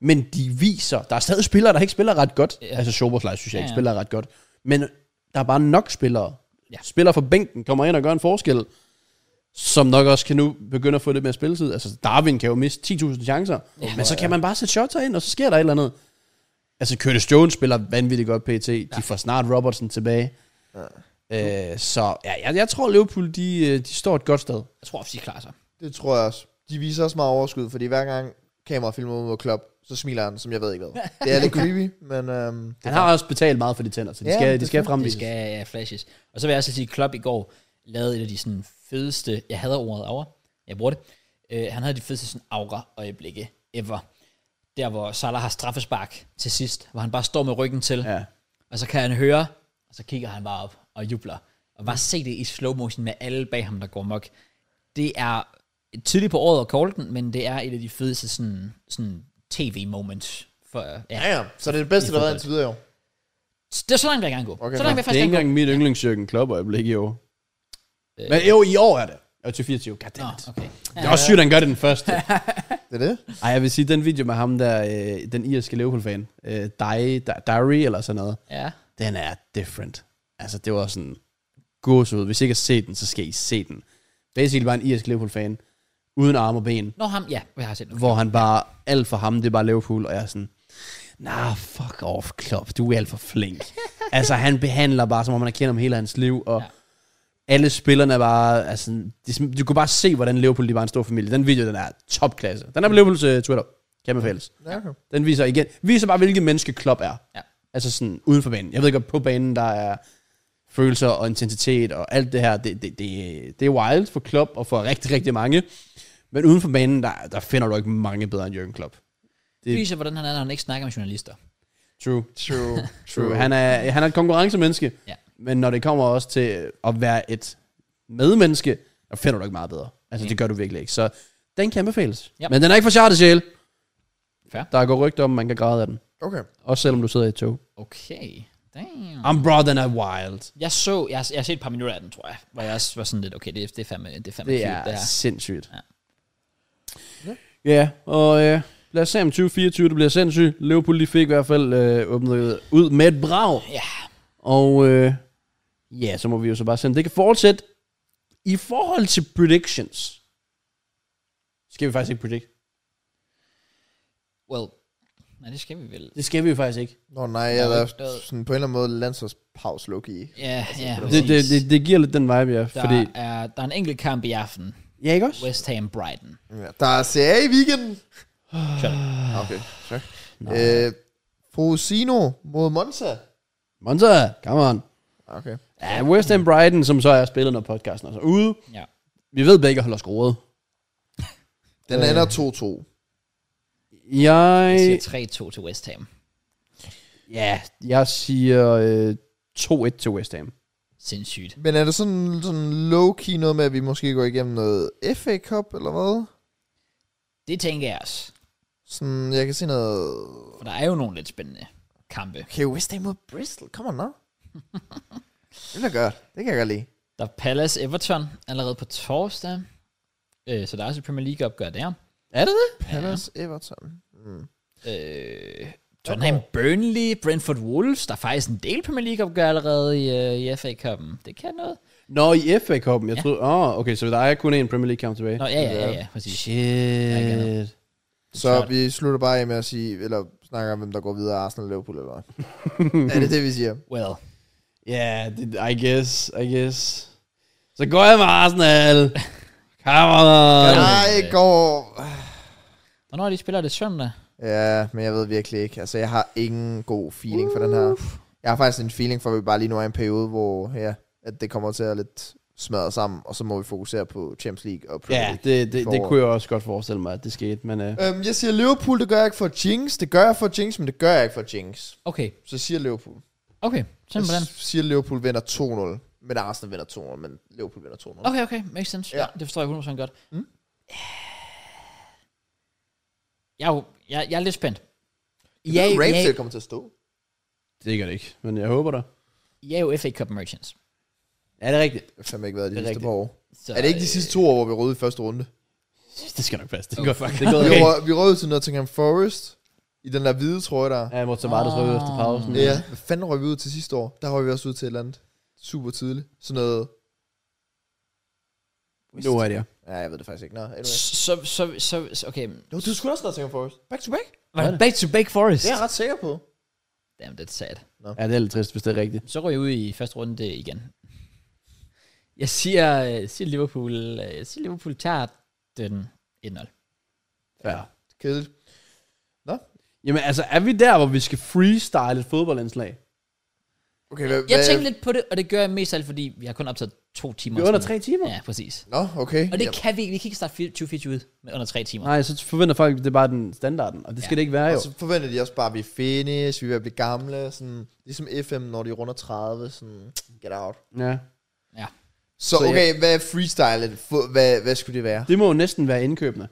B: Men de viser, der er stadig spillere, der ikke spiller ret godt. Altså Soberslej synes jeg
A: Ja,
B: ikke
A: ja.
B: spiller ret godt. Men der er bare nok spillere.
A: Ja.
B: Spillere fra bænken kommer ind og gør en forskel, som nok også kan nu begynde at få lidt mere spilletid. Altså Darwin kan jo miste 10.000 chancer, men så kan man bare sætte shots ind, og så sker der et eller andet. Altså Curtis Jones spiller vanvittigt godt PT. De får snart Robertson tilbage. Øh, så ja, jeg, jeg tror, Liverpool de, øh, de står et godt sted.
A: Jeg tror, at de klarer sig.
D: Det tror jeg også. De viser også meget overskud, fordi hver gang kamera filmer ud mod Klopp, så smiler han, som jeg ved ikke hvad. Det er lidt creepy, men øhm,
B: Han har også betalt meget for de tænder, så de
D: Ja,
B: ja, skal,
D: det
B: de
D: er
B: skal
D: fint.
A: Det
B: fremvise. Skal.
A: skal ja, flashes. Og så vil jeg også sige, at Klopp i går lavede et af de sådan, fedeste, jeg hader ordet aura, jeg bruger det, øh, han havde de fedeste sådan, aura-øjeblikke ever. Der, hvor Salah har straffespark til sidst, hvor han bare står med ryggen til,
B: Ja.
A: og så kan han høre, og så kigger han bare op og jubler. Og bare se det i slow motion med alle bag ham, der går mok. Det er tidligt på året at kalde den, men det er et af de fedeste sådan, sådan tv-moments. For, ja.
D: ja, ja. Så det er det bedste, der har været indtil videre i år.
A: Det er så langt, vil jeg gerne gå.
D: Okay,
A: så langt vil jeg
B: Det er
A: faktisk
B: ikke
A: gerne gå.
B: engang mit yndlingsjørgen Klopp øjeblik i år. Men jo, i år er det. Jeg er til 24. God damn it.
A: Nå, okay.
B: Det er også sygt, at han gør det den første.
D: Det er det?
B: Ej, jeg vil sige, den video med ham der, øh, den irske Liverpool-fan, øh, Di, Di- Diary eller sådan noget,
A: Ja.
B: den er different. Altså, det var sådan gåsehud. Hvis I ikke har set den, så skal I se den. Basically bare en irsk Liverpool-fan, uden arme og ben,
A: Nå, ham, ja, jeg har set det.
B: hvor han bare, alt for ham, det er bare Liverpool, og jeg er sådan, nah, fuck off, Klopp, du er alt for flink. altså, han behandler bare, som om han har kendt ham hele hans liv, og
A: Ja.
B: ja. alle spillerne er bare, altså, de, sim- du kunne bare se, hvordan Liverpool, de var en stor familie. Den video, den er topklasse. Den er på Liverpools uh, Twitter. Kan man fælles.
D: Ja, okay.
B: Den viser igen, viser bare, hvilket menneske Klopp er.
A: Ja.
B: Altså sådan uden for banen. Jeg ved godt, på banen, der er følelser og intensitet og alt det her. Det, det, det, det er wild for Klopp og for rigtig, rigtig mange. Men uden for banen, der, der finder du ikke mange bedre end Jürgen Klopp.
A: Det viser, hvordan han er, når han ikke snakker med journalister.
B: True.
D: True.
B: True. Han er, han er et konkurrencemenneske.
A: Ja.
B: Men når det kommer også til at være et medmenneske, der finder du ikke meget bedre.
A: Mm.
B: Altså, det gør du virkelig ikke. Så den kan anbefales.
A: Yep.
B: Men den er ikke for charter sjæl.
A: Fair.
B: Der går rygter om, at man kan græde af den.
D: Okay.
B: Også selvom du sidder i et tog.
A: Okay. Damn.
B: I'm bro, den er wild.
A: Jeg så, jeg, har- jeg har set et par minutter af den, tror jeg, hvor jeg også var sådan lidt, okay, det, er- det er fandme, det er fandme
B: Det
A: cute,
B: er
A: det her.
B: sindssygt.
A: Ja.
B: Ja, yeah, og øh, lad os se om 2024, det bliver sindssygt. Liverpool de fik i hvert fald øh, åbnet ud med et brag.
A: Ja.
B: Og øh, ja, så må vi jo så bare se, om det kan fortsætte. I forhold til predictions, skal vi faktisk ikke predict.
A: Well, nej, det skal vi vel.
B: Det skal vi jo faktisk ikke.
D: Nå nej,
A: Jeg
D: jeg
A: er
D: er
A: ikke død.
D: sådan på en eller anden måde landsholdspause low key.
A: Ja, ja,
B: Det, det, det, det giver lidt den vibe, ja.
A: Der,
B: Fordi,
A: er, der er en enkelt kamp i aften.
B: ja, ikke også?
A: West Ham Brighton.
D: Ja. Der er serie i weekenden.
A: Shut up.
D: Okay, sorry. Øh, Fosino mod Monza.
B: Monza, come on.
D: Okay.
B: Ja, West Ham Brighton, som så er spillet, når podcasten er så ude.
A: Ja.
B: Vi ved begge holder skruet.
D: Den
B: Øh.
D: ender 2-2.
A: Jeg siger
B: Jeg,
A: 3-2 til West Ham.
B: ja, jeg siger øh, 2-1 til West Ham.
A: Sindssygt.
D: Men er det sådan, sådan low-key noget med, at vi måske går igennem noget FA Cup eller hvad?
A: Det tænker jeg også.
D: Sådan, jeg kan se noget...
A: For der er jo nogle lidt spændende kampe.
D: Okay, West Ham mod Bristol. Kom on, nå. det bliver godt. Det kan jeg godt lide.
A: Der er Palace Everton allerede på torsdag. Øh, så der er også et Premier League opgør der.
B: Er det det?
D: Palace Everton. Mm.
A: Øh, Tottenham Burnley, Brentford Wolves. Der er faktisk en del Premier League opgør allerede i, øh, i FA Cup'en. Det kan noget.
B: Nå, i FA Cup'en, jeg troede... Åh, oh, okay, så der er kun én Premier League kamp tilbage.
A: Nå, ja, ja, ja, ja, præcis.
B: Shit.
C: Så vi slutter bare af med at sige, eller snakker om, hvem der går videre, Arsenal og Liverpool, eller hvad? er det det, vi siger?
A: Well,
B: Ja, yeah, I guess, I guess. Så går jeg med Arsenal. Come on.
C: Nej, går...
A: hvornår er de spiller det søndag?
C: Ja, men jeg ved virkelig ikke. Altså, jeg har ingen god feeling for den her. Jeg har faktisk en feeling for, at vi bare lige nu er i en periode, hvor ja, at det kommer til at lidt smadre sammen, og så må vi fokusere på Champions League og Premier
B: Ja,
C: League.
B: det, det, det
C: Forår.
B: kunne jeg også godt forestille mig, at det skete, men... Uh,
C: Øhm, jeg siger Liverpool, det gør jeg ikke for Jinx. Det gør jeg for Jinx, men det gør jeg ikke for Jinx.
A: Okay,
C: Så siger Liverpool.
A: okay,
C: Jeg
A: simpelthen.
C: s- siger Liverpool vinder 2-0. Men Arsenal vinder 2-0, men Liverpool vinder 2-0.
A: Okay, okay, makes sense.
C: Ja.
A: Ja. Det forstår jeg 100% godt. Mm. Jeg, er jo, jeg, jeg er lidt spændt. I er,
C: Ja,
A: jo- I,
C: Ramsey
A: er,
C: kommer til at stå.
B: det gør det ikke, men jeg håber da.
A: I er jo FA Cup Merchants.
B: Ja, det er rigtigt.
C: Det har fandme ikke været de
B: Det er
C: sidste
B: rigtigt.
C: par år.
A: Så, øh,
C: Er det ikke de sidste to år, hvor vi røde i første runde?
B: Det skal nok passe. Det går oh, fuck. Det
C: Okay.
B: går
C: Vi,
B: okay.
C: rød, vi rød til Nottingham Forest, i den der hvide trøje der.
B: Ja, jeg måtte så meget, der ud efter pausen.
C: Ja. Hvad fanden røg vi ud til sidste år? Der røg vi også ud til et eller andet. Super tidligt. Sådan noget...
B: Nu er det jeg.
C: Ja, jeg ved det faktisk ikke. Nå, anyway.
A: Så, så, så, så, okay.
C: No, du skulle også Nottingham Forest. Back to back.
A: Var det back to back Forest?
C: Det er jeg ret sikker på.
A: Damn, det er sad.
B: Ja, det er lidt trist, hvis det er rigtigt.
A: Så går jeg ud i første runde igen. Jeg siger, jeg siger Liverpool, jeg siger Liverpool tager den 1-0.
B: Ja.
C: Kedeligt.
B: Jamen altså, er vi der, hvor vi skal freestyle et fodboldindslag?
C: Okay, hvad,
A: Jeg
C: hvad-
A: tænkte lidt på det, og det gør jeg mest af alt, fordi vi har kun optaget to timer.
B: Vi er under
A: sådan.
B: tre timer.
A: Ja, præcis.
C: Nå, okay.
A: Og det
C: Jamen,
A: kan vi ikke. Vi kan ikke starte 2024 ud med under tre timer.
B: Nej, så forventer folk, at det er bare den standarden, og det skal
A: Ja.
B: det ikke være jo.
C: og så forventer de også bare, at vi er finish, vi er ved at blive gamle, sådan, ligesom FM, når de runder 30, sådan, get out.
B: Ja.
A: Ja.
C: Så,
B: Så ja.
C: okay, hvad er freestyle? Fu- Hvad, hvad skulle det være?
B: Det må jo næsten være indkøbende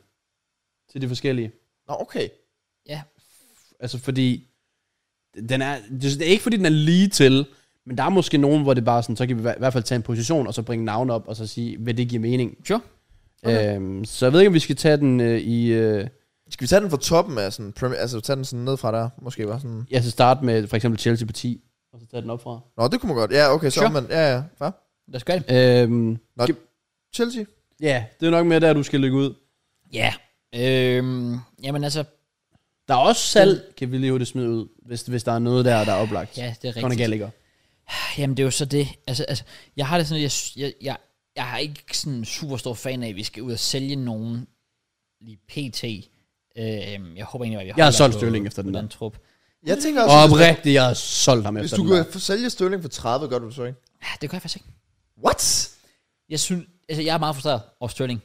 B: til de forskellige.
C: Nå, okay.
A: Ja.
B: Altså fordi, den er, det er ikke fordi, den er lige til, men der er måske nogen, hvor det bare er sådan, så kan vi i hvert fald tage en position, og så bringe navn op, og så sige, hvad det giver mening.
A: Sure.
B: Okay. Øhm, så jeg ved ikke, om vi skal tage den øh, i... Øh,
C: Skal vi tage den fra toppen af sådan, premier, altså tage den sådan ned fra der, måske bare sådan.
B: jeg skal starte med for eksempel Chelsea på 10, og så tage den op fra.
C: Nå, det kunne man godt. Ja, okay, så
A: Sure.
C: sure. man, ja, ja, hva?
A: Lad os gøre det.
B: Øhm,
C: Nå,
B: Skal-
C: Chelsea.
B: ja, det er nok mere der, du skal lykke ud.
A: Ja. Øhm, jamen altså,
B: Der er også salg, kan vi lige hurtigt smide ud, hvis, hvis der er noget der, der er oplagt.
A: ja, det er
B: Conor
A: rigtigt.
B: Gallagher.
A: Jamen det er jo så det. Altså, altså jeg har det sådan, at jeg, jeg, jeg, jeg har ikke sådan en super stor fan af, at vi skal ud og sælge nogen lige pt. Øhm, jeg håber egentlig, at vi
B: Jeg har
A: holder
B: solgt
A: på-
B: Sterling efter den
A: på
B: der.
A: Den trup.
C: Jeg tænker også, hvis,
B: Oprigtigt, jeg har solgt ham
C: hvis
B: efter
C: du
B: den
C: kunne
B: der.
C: få- sælge Sterling for 30, gør du det så ikke?
A: Ja, det gør jeg faktisk ikke.
C: What?
A: Jeg synes, altså jeg er meget frustreret over Sterling.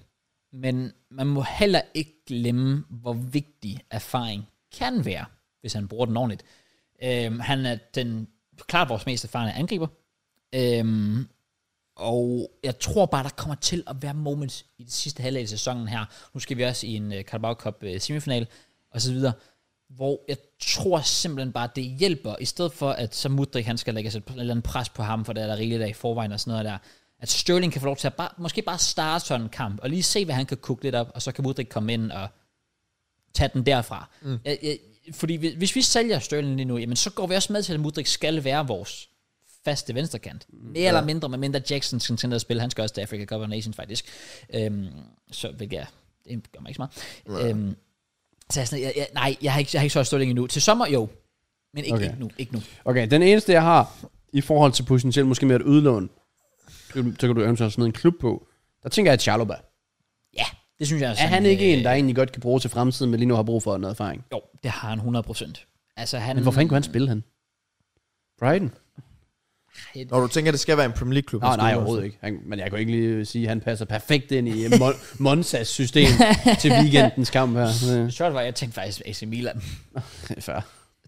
A: Men man må heller ikke glemme, hvor vigtig erfaring kan være, hvis han bruger den ordentligt. Øhm, han er den klart vores mest erfarne angriber. Øhm, og jeg tror bare, der kommer til at være moments i det sidste halvdel af sæsonen her. Nu skal vi også i en øh, Carabao Cup øh, semifinal og så videre, hvor jeg tror simpelthen bare, det hjælper, i stedet for at så Mudrik, han skal lægge et eller andet pres på ham, for der er der rigeligt af i forvejen og sådan noget der, at Sterling kan få lov til at bare, måske bare starte sådan en kamp, og lige se, hvad han kan kukke lidt op, og så kan Mudrik komme ind og tage den derfra. Mm. Jeg, jeg, fordi hvis, hvis vi sælger Sterling lige nu, jamen så går vi også med til, at Mudrik skal være vores faste venstrekant. Mere Mm. ja. eller mindre, med mindre Jackson skal til at spille. Han skal også til Africa Cup of Nations faktisk. Øhm, så hvilket er, det gør mig ikke så meget. Ja. Øhm, så jeg, er sådan, jeg, jeg, nej, jeg har ikke, jeg har ikke solgt Sterling endnu. Til sommer, jo. Men ikke, okay.
B: Okay.
A: ikke nu, ikke nu.
B: Okay, den eneste, jeg har i forhold til potentielt måske mere et udlån, så kan du eventuelt smide en klub på. Der tænker jeg, at Charlotte
A: Ja, det synes jeg også.
B: Er han ikke en, der egentlig godt kan bruge til fremtiden, men lige nu har brug for noget erfaring?
A: Jo, det har han 100%. Altså han...
B: Men hvorfor ikke kunne han spille han? Brighton?
C: Når du tænker, at det skal være en Premier League-klub.
B: Nå, nej, overhovedet ikke. Han, men jeg kan ikke lige sige, at han passer perfekt ind i øh, Mon- Monzas system til weekendens kamp her. Øh,
A: Sjovt var, jeg tænkte faktisk AC Milan.
B: Fair.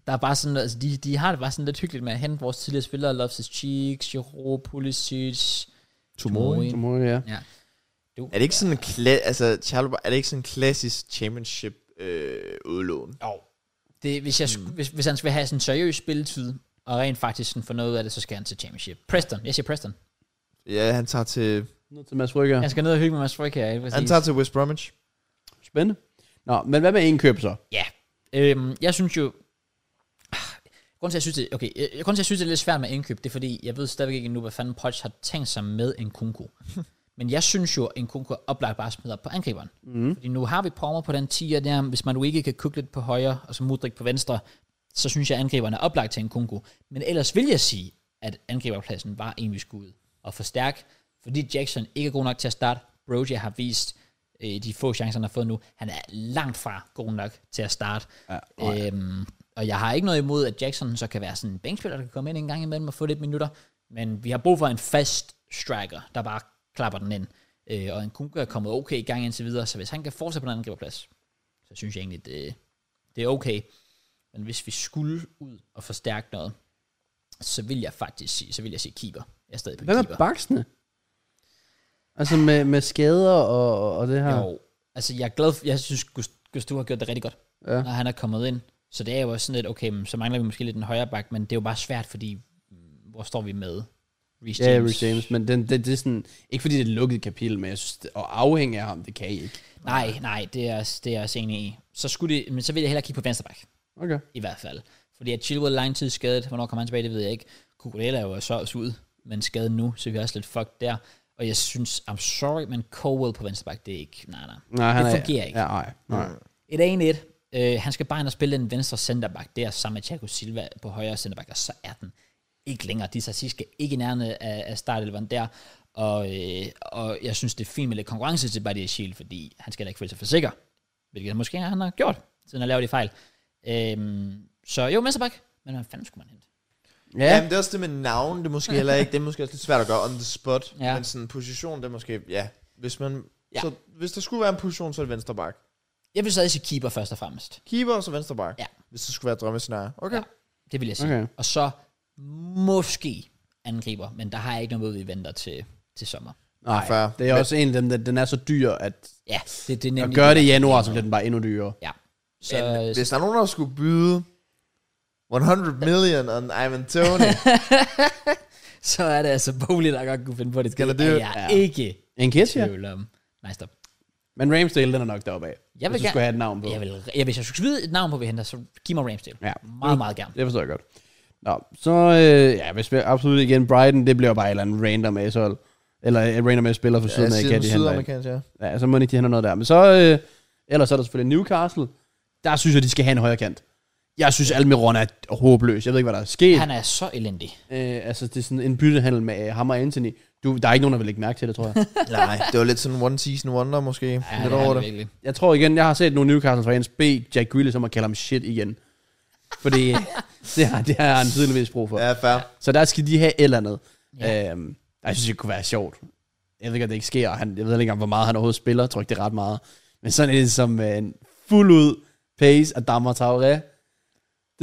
A: Der er bare sådan, altså de, de har det bare sådan lidt hyggeligt med at hente vores tidligere spillere, Loftus Cheeks, Giroud, Pulisic, Tomori.
B: Så må jeg, ja.
A: Ja. Du,
C: Er det ikke sådan en kla- altså, Charlo, er det ikke sådan en klassisk championship øh, udlån?
A: Jo. Det, hvis, jeg, mm. hvis, hvis han skal have sådan en seriøs spilletid, og rent faktisk sådan få noget af det, så skal han til championship. Preston, jeg siger Preston.
C: Ja, han tager til,
B: Ned til Mads Brygger.
A: Han skal ned og hygge med Mads Frøk her, ikke
C: han
A: præcis?
C: tager til West Bromwich.
B: Spændende. Nå, men hvad med en køb så?
A: Ja. Øhm, jeg synes jo... Grunden til, at jeg synes, det, okay, jeg, grunden til, at jeg synes, det er lidt svært med indkøb, det er fordi, jeg ved stadigvæk ikke endnu, hvad fanden Poch har tænkt sig med en kunko. Men jeg synes jo, at en kunko oplagt bare smider på angriberen. Mm. Fordi nu har vi Palmer på den 10'er der, hvis man nu ikke kan kugle lidt på højre, og så Mudrik på venstre, så synes jeg, at angriberen er oplagt til en kunko. Men ellers vil jeg sige, at angriberpladsen var en, vi skulle ud og forstærke, fordi Jackson ikke er god nok til at starte. Brogia har vist øh, de få chancer, han har fået nu. Han er langt fra god nok til at starte. Ja, øhm, og jeg har ikke noget imod, at Jackson så kan være sådan en bænkspiller, der kan komme ind en gang imellem og få lidt minutter. Men vi har brug for en fast striker, der bare klapper den ind. Øh, og en Kunke er kommet okay i gang indtil videre, så hvis han kan fortsætte på den angriberplads, så synes jeg egentlig, det, det er okay. Men hvis vi skulle ud og forstærke noget, så vil jeg faktisk sige, så vil jeg sige keeper. Jeg er stadig på
B: Hvad med
A: keeper.
B: baksene? Altså med, med skader og, og det her.
A: Jo, altså jeg er glad for, jeg synes, Gustav har gjort det rigtig godt, ja.
B: Ja.
A: når han er kommet ind. Så det er jo også sådan lidt, okay, men så mangler vi måske lidt en højre bak, men det er jo bare svært, fordi mm, hvor står vi med Reece
B: Ja,
A: James?
B: Rick James, men den, det, det er sådan, ikke fordi det er et lukket kapitel, men jeg synes, det, at afhænge af ham, det kan I ikke.
A: Nej, nej, det er, jeg- det er jeg også enig i. Så, skulle det, men så vil jeg hellere kigge på venstre bak,
B: Okay.
A: i hvert fald. Fordi at Chilwell er lang tid skadet, hvornår kommer han tilbage, det ved jeg ikke. Kukurella er jo så også ud, men skadet nu, så vi er også lidt fucked der. Og jeg synes, I'm sorry, men Cowell på venstre bak, det er ikke, nej, nej.
B: Nej, han
A: Det
B: er,
A: fungerer ikke. Mm.
B: Ja, nej, nej.
A: Et en et. Øh, han skal bare ind og spille den venstre centerback der, sammen med Thiago Silva på højre centerback, og så er den ikke længere. De sig skal ikke i nærheden af, af startelveren der, og, øh, og jeg synes, det er fint med lidt konkurrence til Badia Shield, fordi han skal da ikke føle sig for sikker, hvilket måske han har gjort, siden han lavede de fejl. Øhm, så jo, venstreback, men hvad fanden skulle man hente?
C: Ja.
B: Ja,
C: Jamen, det er også det med navn, det er måske heller ikke, det er måske også lidt svært at gøre on the spot,
A: Ja.
C: ja. men sådan en position, det er måske, ja, hvis man, ja. så hvis der skulle være en position, så er det venstre bak.
A: Jeg vil stadig sige keeper først og fremmest.
C: Keeper og så venstre bak,
A: Ja.
C: hvis det skulle være et drømmescenarie. Okay.
A: Ja.
C: Ja.
A: Det vil jeg sige. Okay.
B: Okay.
A: Og så måske angriber, men der har jeg ikke noget, vi venter til, til sommer.
B: nej.
C: fair.
B: Det er
C: Men-
B: også en af dem, der, den er så dyr, at
A: Ja, det, det er
B: at
A: nemlig...
B: gøre det i januar, så bliver den bare endnu dyrere.
A: Ja. Så, øh,
C: Men hvis der er nogen, der skulle byde 100 million on Ivan Tony,
A: så er det altså bolig, der godt kunne finde på det. Skal det er
C: det?
A: jeg
B: Ja.
A: ja. ikke i
B: En kiss, ja.
A: tvivl om. Nej, stop.
B: Men Ramsdale, den er nok deroppe af.
A: Jeg vil
B: hvis du
A: gerne-
B: skulle have et navn på.
A: Jeg vil, jeg, hvis jeg skulle smide et navn på, vi henter, så giv mig Ramsdale.
B: Ja.
A: Meget, meget gerne.
B: Det forstår jeg godt. Nå, så øh, ja, hvis vi absolut igen Brighton, det bliver bare et eller andet random asshole. Eller et random ass spiller fra
C: ja,
B: Sydamerika,
C: siden
B: de henter.
C: sydamerikansk, ja.
B: Ja, så må de ikke, de henter noget der. Men så, øh, ellers er der selvfølgelig Newcastle. Der synes jeg, de skal have en højre kant. Jeg synes, Almiron er håbløs. Jeg ved ikke, hvad der er sket.
A: Han er så elendig.
B: Øh, altså, det er sådan en byttehandel med øh, ham og Anthony. Du, der er ikke nogen, der vil lægge mærke til det, tror jeg.
C: Nej, det var lidt sådan one season wonder måske, ja, lidt
A: er
C: over
A: han
C: det.
A: virkelig.
B: jeg tror igen, jeg har set nogle Newcastle fans bede Jack Grealish om at kalde ham shit igen. Fordi øh, det, har, det har han tydeligvis brug for.
C: Ja, fair.
B: Så der skal de have et eller andet.
A: Ja.
B: Ja. Øhm, jeg synes, det kunne være sjovt. Jeg ved ikke, at det ikke sker. Han, jeg ved ikke engang, hvor meget han overhovedet spiller. Jeg tror ikke, det er ret meget. Men sådan en som øh, en fuld ud pace af Dammer Traoré.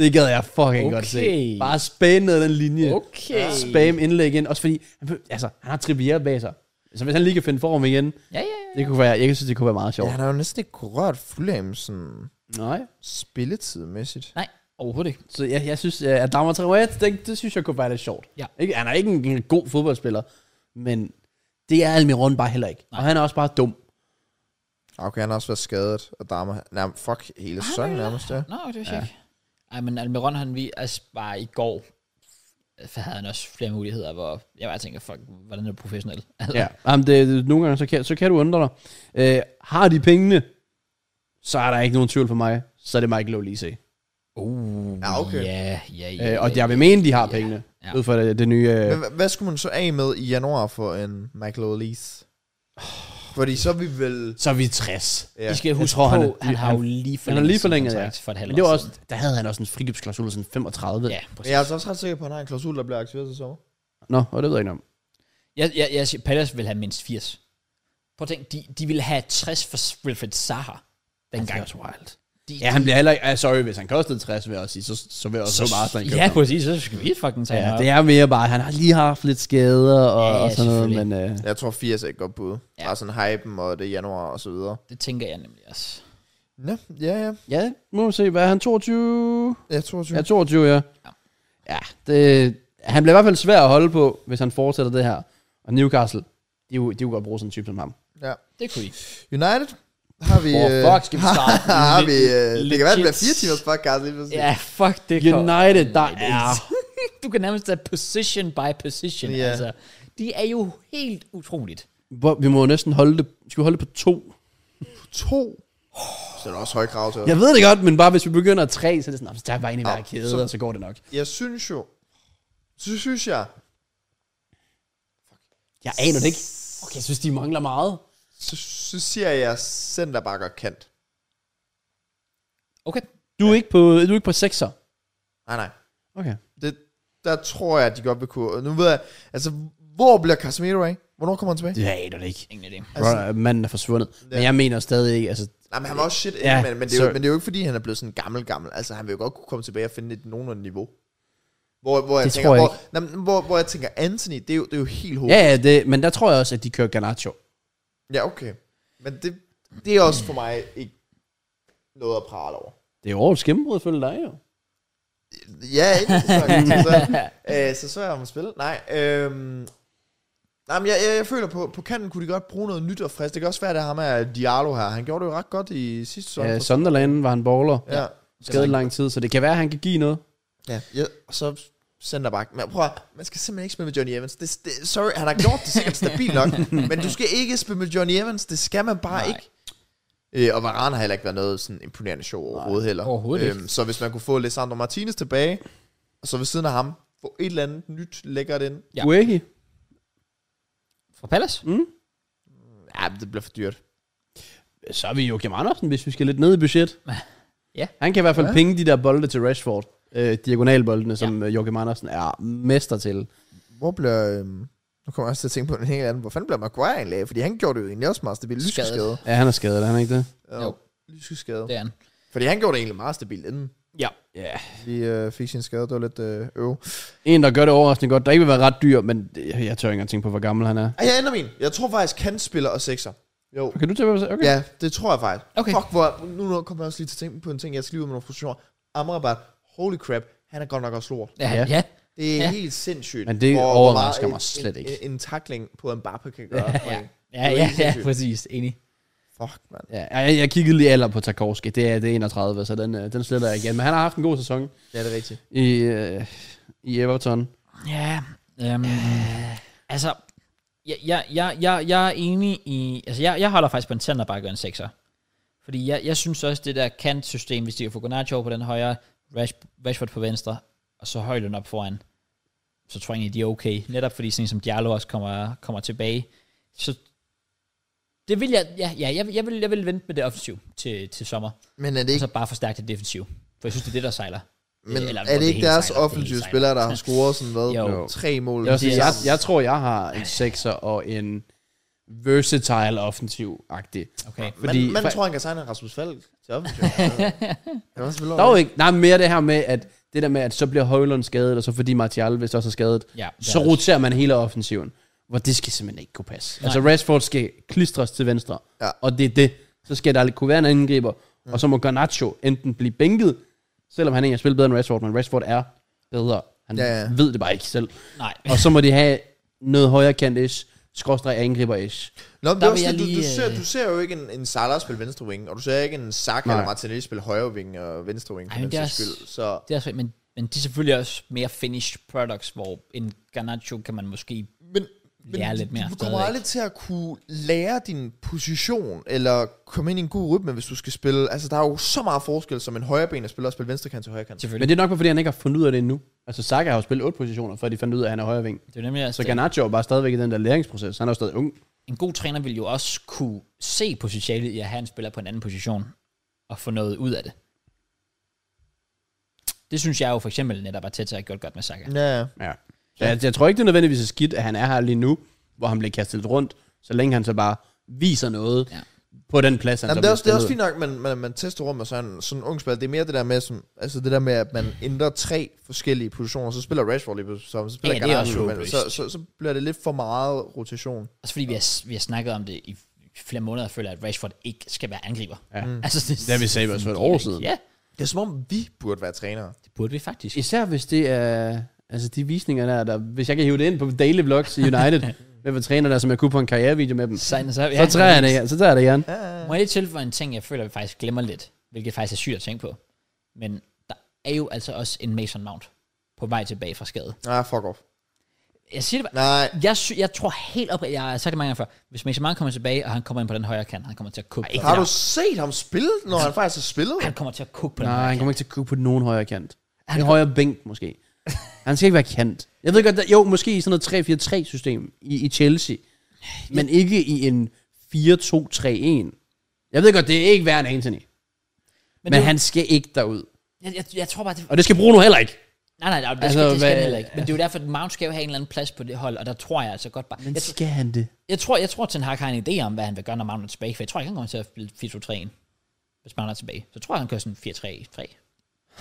B: Det gad jeg fucking okay. godt se.
A: Okay.
B: Bare spam ned ad den linje.
A: Okay.
B: Spam indlæg igen. Også fordi, han, behøver- altså, han har Trivier bag sig. Så hvis han lige kan finde form igen,
A: Ja, ja, ja.
B: det kunne være, jeg synes, det kunne være meget
C: Ja,
B: sjovt.
C: han har jo næsten ikke kunne rørt Fulham sådan
B: Nej.
C: spilletidmæssigt.
A: Nej, overhovedet ikke.
B: Så jeg, jeg synes, øh, at Dammer Traoré, det, det synes jeg kunne være lidt sjovt.
A: Ja.
B: Ikke, han er ikke en, en god fodboldspiller, men det er Almiron bare heller ikke. Nej. Og han er også bare dum.
C: Okay, han har også været skadet, og Dama, nej, fuck, hele sæsonen nærmest, ja.
A: Nå, det er ikke. Ej, men Almiron, han vi altså bare i går, for havde han også flere muligheder, hvor jeg bare tænker, fuck, hvordan er det professionelt? Altså,
B: Ja. Jamen, det, det- nogle gange, så kan, så kan du undre dig. Øh, har de pengene, så er der ikke nogen tvivl for mig. Så er det Michael Olise.
A: Uh,
C: Ja, okay.
A: Ja, ja, ja.
B: Øh, og jeg vil mene, de har
A: Ja.
B: pengene.
A: Ja.
B: Ud fra det, det nye... Øh,
C: Men hva- hvad skulle man så af med i januar for en Michael O'Lease? Fordi så er vi vel...
B: så er vi 60.
C: Ja.
A: I skal huske
B: tror,
A: på,
B: han
A: han,
B: er-
A: han har jo lige
B: Han
A: forlænget,
B: har lige
A: sin
B: forlænget, ja.
A: kontrakt for et halvt
B: Men det var
A: år
B: også,
A: siden.
B: der havde han også en frikøbsklausul, sådan 35.
A: Ja,
C: Men jeg er altså også ret sikker på, at han har en klausul, der bliver aktiveret til sommer.
B: Nå, og det ved jeg ikke om.
A: Jeg, jeg, jeg siger, Palace vil have mindst 80. Prøv at tænke, de, de ville have 60 for Wilfred Zaha dengang.
B: Altså, også wild.
A: De,
B: Ja, han bliver heller ikke... ah, sorry, hvis han kostede 60, vil jeg også sige, så, så vil jeg også så, meget, at han købte
A: Ja,
B: ham.
A: præcis. Så skal vi fucking tage
B: Ja,
A: ham
B: det
A: op.
B: er mere bare, han har lige haft lidt skader og,
A: Ja,
B: ja,
A: ja,
B: og sådan noget, men
A: selvfølgelig.
B: øh,
C: Jeg tror 80 er et godt bud.
A: Ja.
C: Ja. Bare sådan hypen, og det er januar og så videre.
A: Det tænker jeg nemlig også.
C: Nå, ja, ja.
B: ja, må vi se, hvad er han, 22?
C: Jeg tror,
B: Ja, 22, ja.
A: Ja.
B: Ja, det, han bliver i hvert fald svær at holde på, hvis han fortsætter det her. Og Newcastle, de, er jo- de kunne godt bruge sådan en type som ham.
C: ja.
A: Det kunne I.
C: United?
D: Har vi...
A: Hvor
D: øh,
A: fuck skal vi starte?
D: har vi... øh, det kan være, det bliver
A: Legit.
D: fire timers podcast lige pludselig.
A: Ja, fuck det. Carl.
B: United, der er...
A: du kan nærmest tage position by position.
D: Ja.
A: Altså, de er jo helt utroligt.
B: Hvor, vi må jo næsten holde det... Skal vi holde det på to?
D: To.
C: Så er der også høje krav til os.
B: Jeg ved det godt, men bare hvis vi begynder at tre, så er det sådan, "Nå, men så tager jeg bare en i hver
C: Au,
B: kæde,
C: så-
B: og så går det nok.
C: Jeg synes jo, så synes jeg,
B: Jeg aner det ikke. Okay, jeg synes, de mangler meget.
C: så, så siger jeg centerbakker kant.
A: Okay.
B: Du er ikke på, du er ikke på sekser.
C: Nej, nej.
B: Okay.
C: Det, der tror jeg, at de godt vil kunne. Nu ved jeg, altså, hvor bliver Casemiro af? Hvornår kommer han tilbage?
B: Jeg aner det ikke.
A: Ingen idé.
C: Altså-
B: Altså, manden er forsvundet. Ja. Men jeg mener stadig ikke, altså...
C: Nej, men han var også shit,
B: Ja,
C: ja, men, men, det er jo,
B: så-
C: men det er jo ikke, fordi han er blevet sådan gammel, gammel. Altså, han vil jo godt kunne komme tilbage og finde et nogenlunde niveau. Hvor, hvor jeg
B: Det
C: tænker,
B: tror jeg
C: hvor, nej, men hvor, hvor jeg tænker, Anthony, det er jo, det er jo helt hovedet.
B: Ja, ja, det, men der tror jeg også, at de kører Garnacho.
C: Ja. ja, okay. Men det, det er også for mig ikke noget at prale over.
B: Det er jo årets gennembrud, ifølge dig, jo.
C: Ja, ikke så, så, øh, så så jeg om at spille. Nej, øhm, nej men jeg, jeg, jeg føler, på, på kanten kunne de godt bruge noget nyt og frisk. Det kan også være, at det er ham af Diallo her. Han gjorde det jo ret godt i sidste sæson.
B: Ja, Sunderland var han bowler.
C: ja.
B: Skadet lang tid, så det kan være, at han kan give noget.
C: Ja, ja og så centerback. Men prøv at- man skal simpelthen ikke spille med Johnny Evans. Det, det, sorry, han har gjort det sikkert stabilt nok, men du skal ikke spille med Johnny Evans. Det skal man bare Nej. ikke. Øh, og Varane har heller ikke været noget sådan imponerende show overhovedet heller. Øhm,
A: overhovedet ikke.
C: så hvis man kunne få Lissandro Martinez tilbage, og så ved siden af ham, få et eller andet nyt lækkert ind.
A: Ja.
B: Ja. Uegi.
A: Fra Palace? Mm.
C: Ja, det bliver for dyrt.
B: Så er vi jo Kim Andersen, hvis vi skal lidt ned i budget.
A: Ja.
B: Han kan i hvert fald ja. pinge de der bolde til Rashford. Øh, diagonalboldene, som ja. Joachim Andersen er mester til.
D: Hvor bliver... Øhm, nu kommer jeg også til at tænke på en helt anden. Hvor fanden bliver Maguire egentlig af? Fordi han gjorde det jo egentlig også meget stabilt.
A: Skadet.
D: Lyskeskade.
B: Ja, han er skadet, er han ikke det?
C: Ja,
A: Jo.
C: Lyskeskade.
A: Det er han.
C: Fordi han gjorde det egentlig meget stabilt inden.
A: Ja.
B: Ja.
D: Vi øh, fik sin skade. Det var lidt øh, øv.
B: En, der gør det overraskende godt, der ikke vil være ret dyr, men det- jeg tør ikke engang tænke på, hvor gammel han er.
C: Ej, jeg ændrer min. Jeg tror faktisk, kan spiller og sekser. Jo.
B: Kan du tage på Okay.
C: Ja, det tror jeg faktisk.
A: Okay.
C: Fuck, hvor, nu nu kommer jeg også lige til at tænke på en ting, jeg skal lige ud med nogle frustrationer. Amrabat, holy crap, han er godt nok også lort.
A: Ja,
B: Ja.
A: ja. ja.
C: Det er
A: Ja.
C: ja. helt sindssygt.
B: Men det
C: hvor- hvor
B: overrasker
C: meget
B: mig slet
C: en,
B: ikke.
C: En, en, tackling på en Mbappe kan gøre. for en.
A: Ja,
C: Det er
A: ja,
C: helt
A: ja,
C: sindssygt.
A: præcis. Enig.
C: Fuck, mand.
B: Ja, jeg, jeg kiggede lige alder på Tarkovski. Det er, det er 31, så den, øh, den sletter jeg igen. Men han har haft en god sæson
C: Ja, det er rigtigt.
B: i, øh, i Everton.
A: Ja, øhm, altså, jeg, jeg, jeg, jeg, jeg er enig i, altså jeg, jeg holder faktisk på en centerback og en sekser. Fordi jeg, jeg synes også, det der kantsystem, hvis de kan få Garnacho over på den højre, Rash, Rashford på venstre, og så Højlund op foran, så tror jeg egentlig, de er okay. Netop fordi sådan en som Diallo også kommer, kommer tilbage. Så det vil jeg, ja, ja jeg, vil- jeg, vil, jeg vil vente med det offensiv til, til sommer.
D: Men er det
A: Og
D: ikke,
A: så bare forstærke det defensiv. For jeg synes, det er det, der sejler.
D: men
A: Eller,
D: er
A: hvor
D: det
A: hele
D: ikke deres
A: sejler, det hele
D: offensive
A: sejler.
D: spillere, der har scoret sådan hvad?
A: Jo.
D: Tre mål.
B: Jeg,
A: Det
B: sige,
A: er-
B: jeg, jeg tror, jeg har en sekser og en versatile offensiv-agtig.
A: Okay.
C: Fordi,
B: Fordi-
C: man, man tror, han kan signe en Rasmus Falk til offensiv.
D: Det var selvfølgelig
B: Dog ikke. Nej, mere det her med, at det der med, at så bliver Højlund skadet, og så fordi Martial hvis også er skadet,
A: Ja,
B: så
A: ja.
B: roterer man hele offensiven. Hvor det skal simpelthen ikke kunne passe. Altså Rashford skal klistres til venstre,
D: Ja.
B: og det er det. Så skal der aldrig kunne være en angriber, og så må Garnacho enten blive bænket, selvom han egentlig har spillet bedre end Rashford, men Rashford er bedre. Han
D: Ja, ja.
B: ved det bare ikke selv.
A: Nej.
B: Og så må de have noget højere kant ish, skråstreg angriber ish.
C: Nå, men det
A: Der
C: er
A: vil
C: også,
A: jeg
C: det, du, du,
A: lige,
C: ser,
A: øh,
C: du ser jo ikke en, en Salah spille venstre wing, og du ser ikke en Saka
B: Nej.
C: eller Martinelli spille højre wing og venstre wing.
A: Ej,
C: Ej,
A: men
C: men
A: det er også-
C: skyld. Så
A: Det er også, men, men de er selvfølgelig også mere finished products, hvor en Garnacho kan man måske...
C: Men, men
A: Lære lidt mere
C: du kommer
A: stadigvæk.
C: aldrig til at kunne lære din position, eller komme ind i en god rytme, hvis du skal spille. Altså, der er jo så meget forskel, som en højrebenet spiller og spille venstrekant til højrekant.
A: Selvfølgelig.
B: Men det er nok bare, fordi han ikke har fundet ud af det endnu. Altså Saka har jo spillet otte positioner, før de fandt ud af, at han er højre ving.
A: Det er jo nemlig altså,
B: Så Garnacho er bare stadigvæk i den der læringsproces. Han er jo stadig ung.
A: en god træner vil jo også kunne se potentialet i at have en spiller på en anden position, og få noget ud af det. Det synes jeg jo for eksempel netop at Teta har gjort godt med Saka.
C: Ja,
B: Ja. Så jeg, jeg, tror ikke, det er nødvendigvis er skidt, at han er her lige nu, hvor han bliver kastet lidt rundt, så længe han så bare viser noget
A: Ja.
B: ja. på den plads,
A: Altså,
B: han
C: Jamen,
B: så
C: det,
B: bliver
C: er også, det er også fint
B: stillet.
C: nok, at man, man, man tester rum med sådan, sådan en ung spiller. Det er mere det der med, som, altså det der med at man ændrer tre forskellige positioner, så spiller Rashford lige pludselig, så, så spiller
A: Ja,
C: ja,
A: det er også
C: Garnacho, men
A: håbløst.
C: så, så, så bliver det lidt for meget rotation.
A: Også fordi vi har, vi har snakket om det i flere måneder, og føler, at Rashford ikke skal være angriber.
B: Ja.
A: Altså, det,
B: Det har vi sagt også for et år siden.
A: Ja,
C: Det er som om, vi burde være trænere.
A: det burde vi faktisk.
B: Især hvis det er... Altså de visninger der, der, hvis jeg kan hive det ind på daily vlogs i United, Hvem var træner der, som jeg kunne på en karrierevideo med dem? Så
A: Sign us up. Ja,
B: tager jeg det, igen. så tager jeg det igen.
A: Må jeg lige tilføje en ting, jeg føler, vi faktisk glemmer lidt, hvilket faktisk er sygt at tænke på. Men der er jo altså også en Mason Mount på vej tilbage fra skade.
C: Ah, fuck off.
A: Jeg siger det bare,
C: Nej.
A: jeg, sy- jeg tror helt op, jeg har sagt det mange gange før, hvis Mason Mount kommer tilbage, og han kommer ind på den højre kant, han kommer til at kukke på,
C: Har
A: den-
C: du set ham spille, når han faktisk har spillet?
A: han kommer til at kukke på den
B: Nej,
A: højre
B: han
A: kant.
B: kommer ikke til at kunne på nogen højere kant. En højere bænk, måske. Han skal ikke være kant. Jeg ved godt, der, jo, måske i sådan noget 3-4-3-system i, i Chelsea. Men ikke i en 4-2-3-1. Jeg ved godt, det er ikke værd en Anthony. Men,
A: Men,
B: men
A: det, han,
B: han skal ikke derud.
A: jeg, jeg, jeg, tror bare, det,
B: Og det skal Bruno heller ikke.
A: nej, nej, nej, det,
B: Altså,
A: altså, skal, det skal
B: hvad-
A: han heller ikke. Men det er jo derfor, at Mount skal jo have en eller anden plads på det hold, og der tror jeg altså godt bare, jeg, tror-
B: skal han det?
A: jeg, tror, jeg tror, Ten Hag har en idé om, hvad han vil gøre, når Mount er tilbage, for jeg tror ikke, han kommer til at spille 4-2-3-1, hvis Mount er tilbage. Så tror jeg, han kører sådan 4-3-3.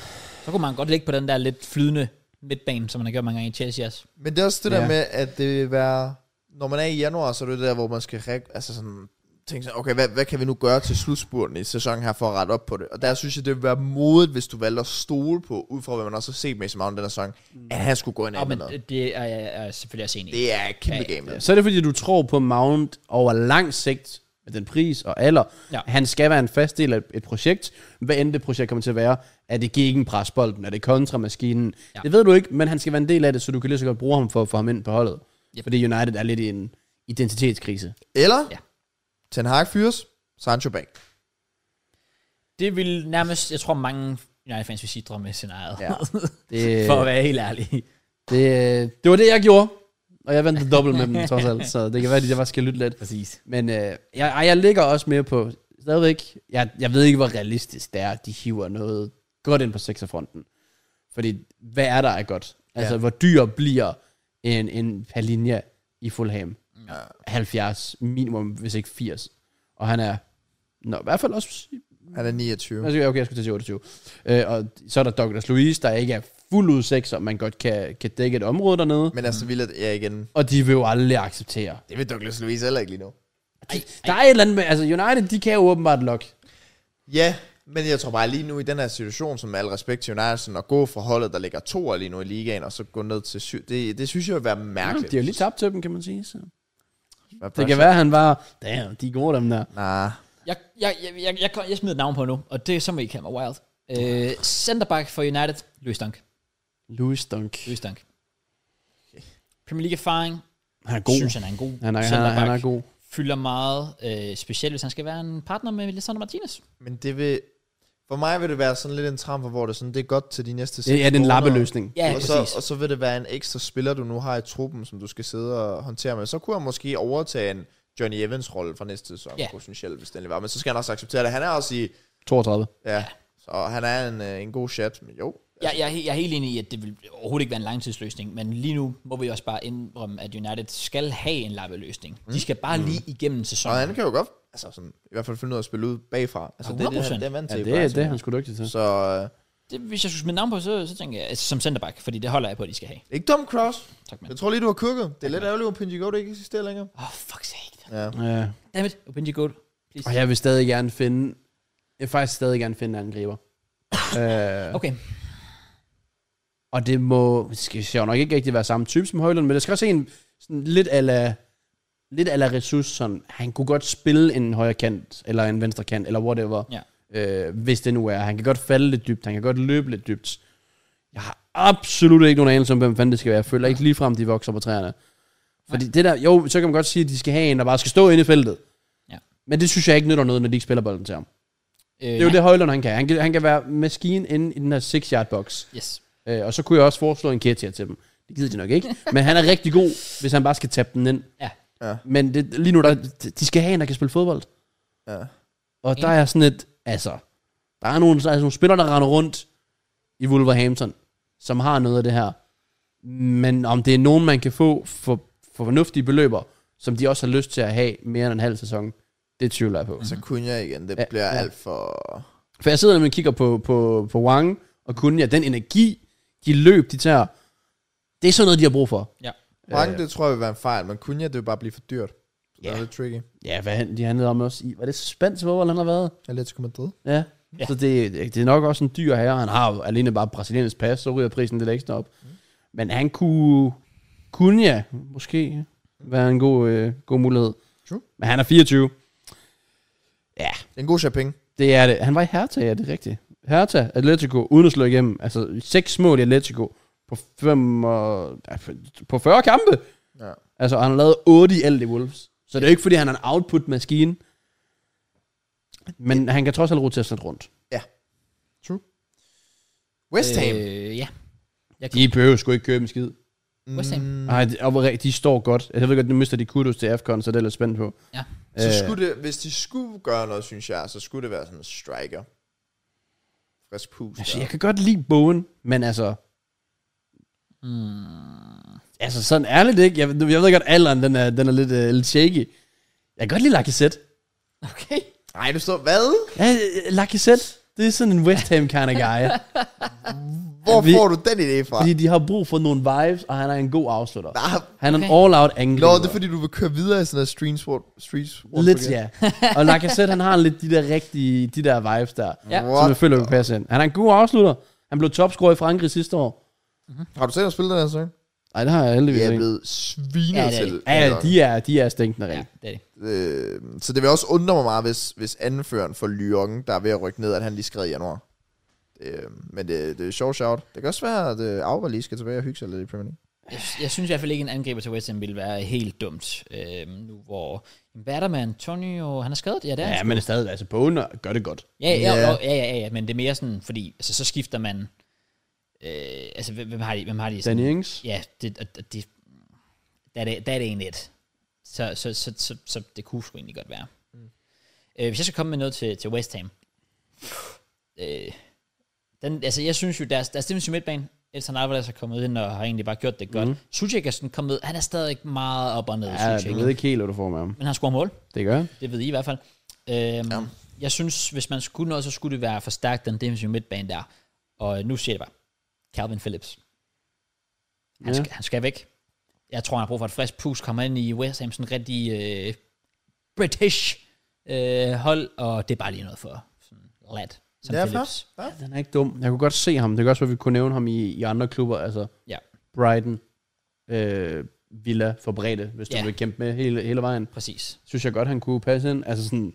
A: Så kunne man godt ligge på den der lidt flydende midtbane, som man har gjort mange gange i Chelsea også.
C: Men det er også det
B: Ja.
C: der med, at det vil være... Når man er i januar, så er det der, hvor man skal re- altså sådan, tænke sådan, okay, hvad, hvad kan vi nu gøre til slutspurten i sæsonen her for at rette op på det? Og der synes jeg, det ville være modigt, hvis du valgte at stole på, ud fra hvad man også har set Mason Mount den her sæson, at han skulle gå ind
A: Ja,
C: og med
A: Mm. men
C: noget.
A: det, det er jeg er selvfølgelig også enig i.
C: Det er et kæmpe
A: Ja, ja,
C: game. Ja.
B: Så er det, fordi du tror på Mount over lang sigt, med den pris og alder.
A: Ja.
B: Ja. Han skal være en fast del af et projekt. Hvad end det projekt kommer til at være. Er det gegen presbolden? Er det kontramaskinen?
A: Ja.
B: Ja. Det ved du ikke, men han skal være en del af det, så du kan lige så godt bruge ham for at få ham ind på holdet.
A: Yep.
B: Yep. Fordi United er lidt i en identitetskrise.
C: Eller,
A: Ja.
C: ja. Ten Hag fyres, Sancho Bank.
A: Det vil nærmest, jeg tror mange United-fans vil sige drømmescenariet. Ja.
C: Ja.
B: Det,
A: For at være helt ærlig.
B: det, det var det, jeg gjorde. Og jeg vandt dobbelt med dem, trods alt. Så det kan være, at jeg bare skal lytte lidt.
A: Præcis.
B: Men øh, jeg, ej, jeg ligger også mere på, stadigvæk, jeg, jeg ved ikke, hvor realistisk det er, at de hiver noget godt ind på sekserfronten. Fordi, hvad er der af godt? Altså, ja.
C: Ja.
B: hvor dyr bliver en, en Palinja i Fulham? Ja. 70 minimum, hvis ikke 80. Og han er, nå, i hvert fald også,
C: Han er 29.
A: Mm.
B: altså, okay, jeg skulle til at sige 28. Øh, og så er der Douglas Luiz, der ikke er fuld ud sekser, man godt kan, kan dække et område dernede.
C: Men altså, vil jeg igen...
B: Og de vil jo aldrig acceptere.
C: Det vil Douglas Luiz heller ikke lige nu.
A: Ej,
B: Der er et eller andet med, altså United, de kan jo åbenbart lokke.
C: Ja, men jeg tror bare lige nu i den her situation, som med al respekt til United, sådan at gå fra holdet, der ligger to lige nu i ligaen, og så gå ned til syv, det, det synes jeg vil være mærkeligt.
B: Det er jo lige tabt til dem, kan man sige. Så.
C: Hvad
B: Det kan
C: pressure?
B: være, han var, damn, de er gode dem der.
C: Nah.
A: Jeg, jeg, jeg, jeg, jeg, jeg smider et navn på nu, og det er som I kalde mig wild. Øh, centerback for United, Louis Dunk.
B: Louis Dunk.
A: Louis Dunk. Premier League erfaring,
B: Han er
A: synes
B: god.
A: han er en god
B: Han er, han, er,
A: centerback.
B: han er god.
A: Fylder meget, øh, specielt hvis han skal være en partner med Lisandro Martinez.
C: Men det vil... For mig vil det være sådan lidt en tram, hvor det er sådan, det er godt til de næste
B: Det er den
C: måneder.
B: lappeløsning.
A: Ja,
C: og,
A: præcis.
C: så, og så vil det være en ekstra spiller, du nu har i truppen, som du skal sidde og håndtere med. Så kunne han måske overtage en Johnny Evans rolle fra næste sæson,
A: Ja.
C: yeah. potentielt, hvis den lige var. Men så skal han også acceptere det. Han er også i...
B: 32.
C: Ja, så han er en, øh, en god chat. Men jo,
A: Jeg, jeg, er he- jeg er helt enig i, at det vil overhovedet ikke være en langtidsløsning, men lige nu må vi også bare indrømme, at United skal have en lappeløsning. De skal bare lige igennem
C: Mm. Og han
A: sæsonen.
C: kan jo godt, altså sådan, i hvert fald finde ud af at spille ud bagfra. Altså, det er det,
A: 100%.
C: han, det er vant
B: Ja,
C: til.
B: det, er- det er han sgu dygtig til.
C: Så øh,
A: Det, hvis jeg skulle smide navn på, så, så tænker jeg, altså, som centerback, fordi det holder jeg på, at de skal have.
C: ikke dum cross.
A: Tak, mand.
C: Jeg tror lige, du har kukket. Det er lidt ærgerligt, at Pinjigo ikke eksisterer længere.
A: Åh, oh, fuck sake.
C: Ja.
B: Ja.
A: Dammit, Opinji Gold.
B: Og jeg vil stadig gerne finde, jeg vil faktisk stadig gerne finde en angriber. øh,
A: Okay,
B: og det må, det skal sjovt nok ikke rigtig være samme type som Højlund, men det skal også en sådan lidt ala lidt ala ressource, sådan, han kunne godt spille en højre kant, eller en venstre kant, eller whatever.
A: ja.
B: øh, hvis det nu er. Han kan godt falde lidt dybt, han kan godt løbe lidt dybt. Jeg har absolut ikke nogen anelse om, hvem fanden det skal være. Jeg føler ikke ligefrem, de vokser på træerne. Fordi det der, jo, så kan man godt sige, at de skal have en, der bare skal stå inde i feltet.
A: Ja.
B: Men det synes jeg ikke nytter noget, når de ikke spiller bolden til ham.
A: Øh,
B: Det er jo det, Højlund han kan. Han kan, han kan være maskinen inde i den her 6-yard box.
A: Yes.
B: Øh, og så kunne jeg også foreslå en Ketia til dem. Det gider de nok ikke. Men han er rigtig god, hvis han bare skal tabe den ind.
A: Ja.
C: Ja.
B: Men det, lige nu, der, de skal have en, der kan spille fodbold.
C: Ja.
B: Og der er sådan et, altså, der er nogle, der er nogle spillere, der render rundt i Wolverhampton, som har noget af det her. Men om det er nogen, man kan få for, for fornuftige beløber, som de også har lyst til at have mere end en halv sæson, det tvivler jeg på.
C: Så kunne jeg igen. Det
B: Ja,
C: bliver
B: ja.
C: alt for...
B: For jeg sidder nemlig og kigger på, på, på Wang og Kunja, den energi, de løb, de tager, det er sådan noget, de har brug for.
C: Mange, det tror jeg vil være en fejl, men kunne jeg, det vil bare blive for dyrt. Så
B: Ja.
C: det er lidt tricky.
B: Ja, hvad han, de handlede om også i, var det spansk fodbold, han har været?
C: Atletico Madrid.
B: Ja.
A: Ja.
B: ja. Så det, det er nok også en dyr herre. Han har jo alene bare brasiliansk pas, så ryger prisen lidt ekstra op. Men han kunne... Kunne ja, måske. være en god, øh, god mulighed.
C: True.
B: Men han er 24. Ja,
C: Det er en god shopping.
B: det er det. Han var i Hertha, ja, det er rigtigt. Hertha, Atletico, uden at slå igennem. Altså, seks mål i Atletico på, fem og, ja, på 40 kampe.
C: Ja.
B: Altså, og han har lavet 8 i alt i Wolves. Så det er jo ikke, fordi han er en output-maskine. Men han kan trods alt rotere sig lidt rundt.
C: West Ham.
A: Øh, ja. Jeg
B: De behøver sgu ikke købe en skid.
A: West Ham.
C: Mm.
B: Nej, de, og hvor re- de står godt. Altså, Jeg ved godt, nu mister de kudos til AFCON, så det er lidt spændt på.
A: Ja.
C: Så
B: Øh,
C: skulle det, hvis de skulle gøre noget, synes jeg, så skulle det være sådan en striker. Frisk pus.
B: altså,
C: der.
B: jeg kan godt lide Bowen, men altså... Mm. Altså, sådan ærligt ikke. Jeg, jeg ved godt, alderen den er, den er lidt, uh, lidt shaky. Jeg kan godt lide Lacazette.
A: Okay.
C: Nej, du står, hvad?
B: Ja, øh, Lacazette, det er sådan en West Ham kind of guy.
C: Hvor
B: Vi-
C: vi... får du den idé fra?
B: fordi de har brug for nogle vibes, og han er en god afslutter.
C: Nej,
B: Han er en
A: Okay.
B: all-out angriber.
C: Nå, det er fordi, du vil køre videre i sådan noget street sport. Street sport
B: Lidt, ja. Og Lacazette, han har lidt de der rigtige, de der vibes der.
A: Ja.
B: Som
C: What?
B: jeg føler, vi passer ind. Han er en god afslutter. Han blev topscorer i Frankrig sidste år.
C: Har du selv spillet den her sang?
B: Nej, det har jeg
C: Vi
B: heldigvis
C: er
B: ikke.
C: blevet svinet
A: Ja,
C: ja,
A: det er
C: til.
B: Ja, ja, de er, de er stinkende
A: Ja,
B: rent.
A: det er det.
C: Øh, så det vil også undre mig meget, hvis, hvis anføreren for Lyon, der er ved at rykke ned, at han lige skred i januar. Øh, men det, det er sjovt shout. Det kan også være, at øh, Auber lige skal tilbage og hygge sig lidt i Premier League.
A: Jeg, jeg synes i hvert fald ikke, en angriber til West Ham ville være helt dumt. Øhm, nu hvor... Hvad er der med Antonio? Han er skadet? Ja, det er
B: Ja,
A: han.
B: ja men stadig, altså Bogen gør det godt.
A: Ja, ja,
C: Ja.
A: ja. Ja, ja, ja, ja, men det er mere sådan, fordi altså, så skifter man... Øh, altså, hvem hvem har de? Hvem har de sådan,
B: Danny Ings.
A: Ja, det, og- og det, der, er det, der er det egentlig et. Så, så, så, så, så det kunne sgu egentlig godt være. Mm. Øh, hvis jeg skal komme med noget til, til West Ham. Øh, den, altså, jeg synes jo, deres, deres defensive midtbane, Elton Alvarez er kommet ind og har egentlig bare gjort det godt. Mm. Suchek er sådan kommet han er stadig meget op og ned,
B: Ja,
A: ja,
B: du
A: Suchek.
B: ved ikke helt, hvad du får med ham.
A: Men han scorer mål.
B: Det gør han.
A: Det ved I i hvert fald. Øhm, ja. Jeg synes, hvis man skulle noget, så skulle det være forstærkt den defensive midtbane der. Og nu siger jeg det bare. Calvin Phillips. Han,
B: Ja.
A: ja. skal, han skal væk. Jeg tror, han har brug for et frisk pus. Kommer ind i West Ham, sådan en rigtig øh, british øh, hold. Og det er bare lige noget for sådan en lad. Som
C: Ja,
A: Phillips.
B: Den er ikke dum. Jeg kunne godt se ham. Det kan også være, vi kunne nævne ham i, i andre klubber. Altså
A: Ja,
B: Brighton, øh, Villa, Forbrede, hvis du
A: Ja.
B: vil kæmpe med hele, hele vejen.
A: præcis.
B: Synes jeg godt, han kunne passe ind. Altså sådan,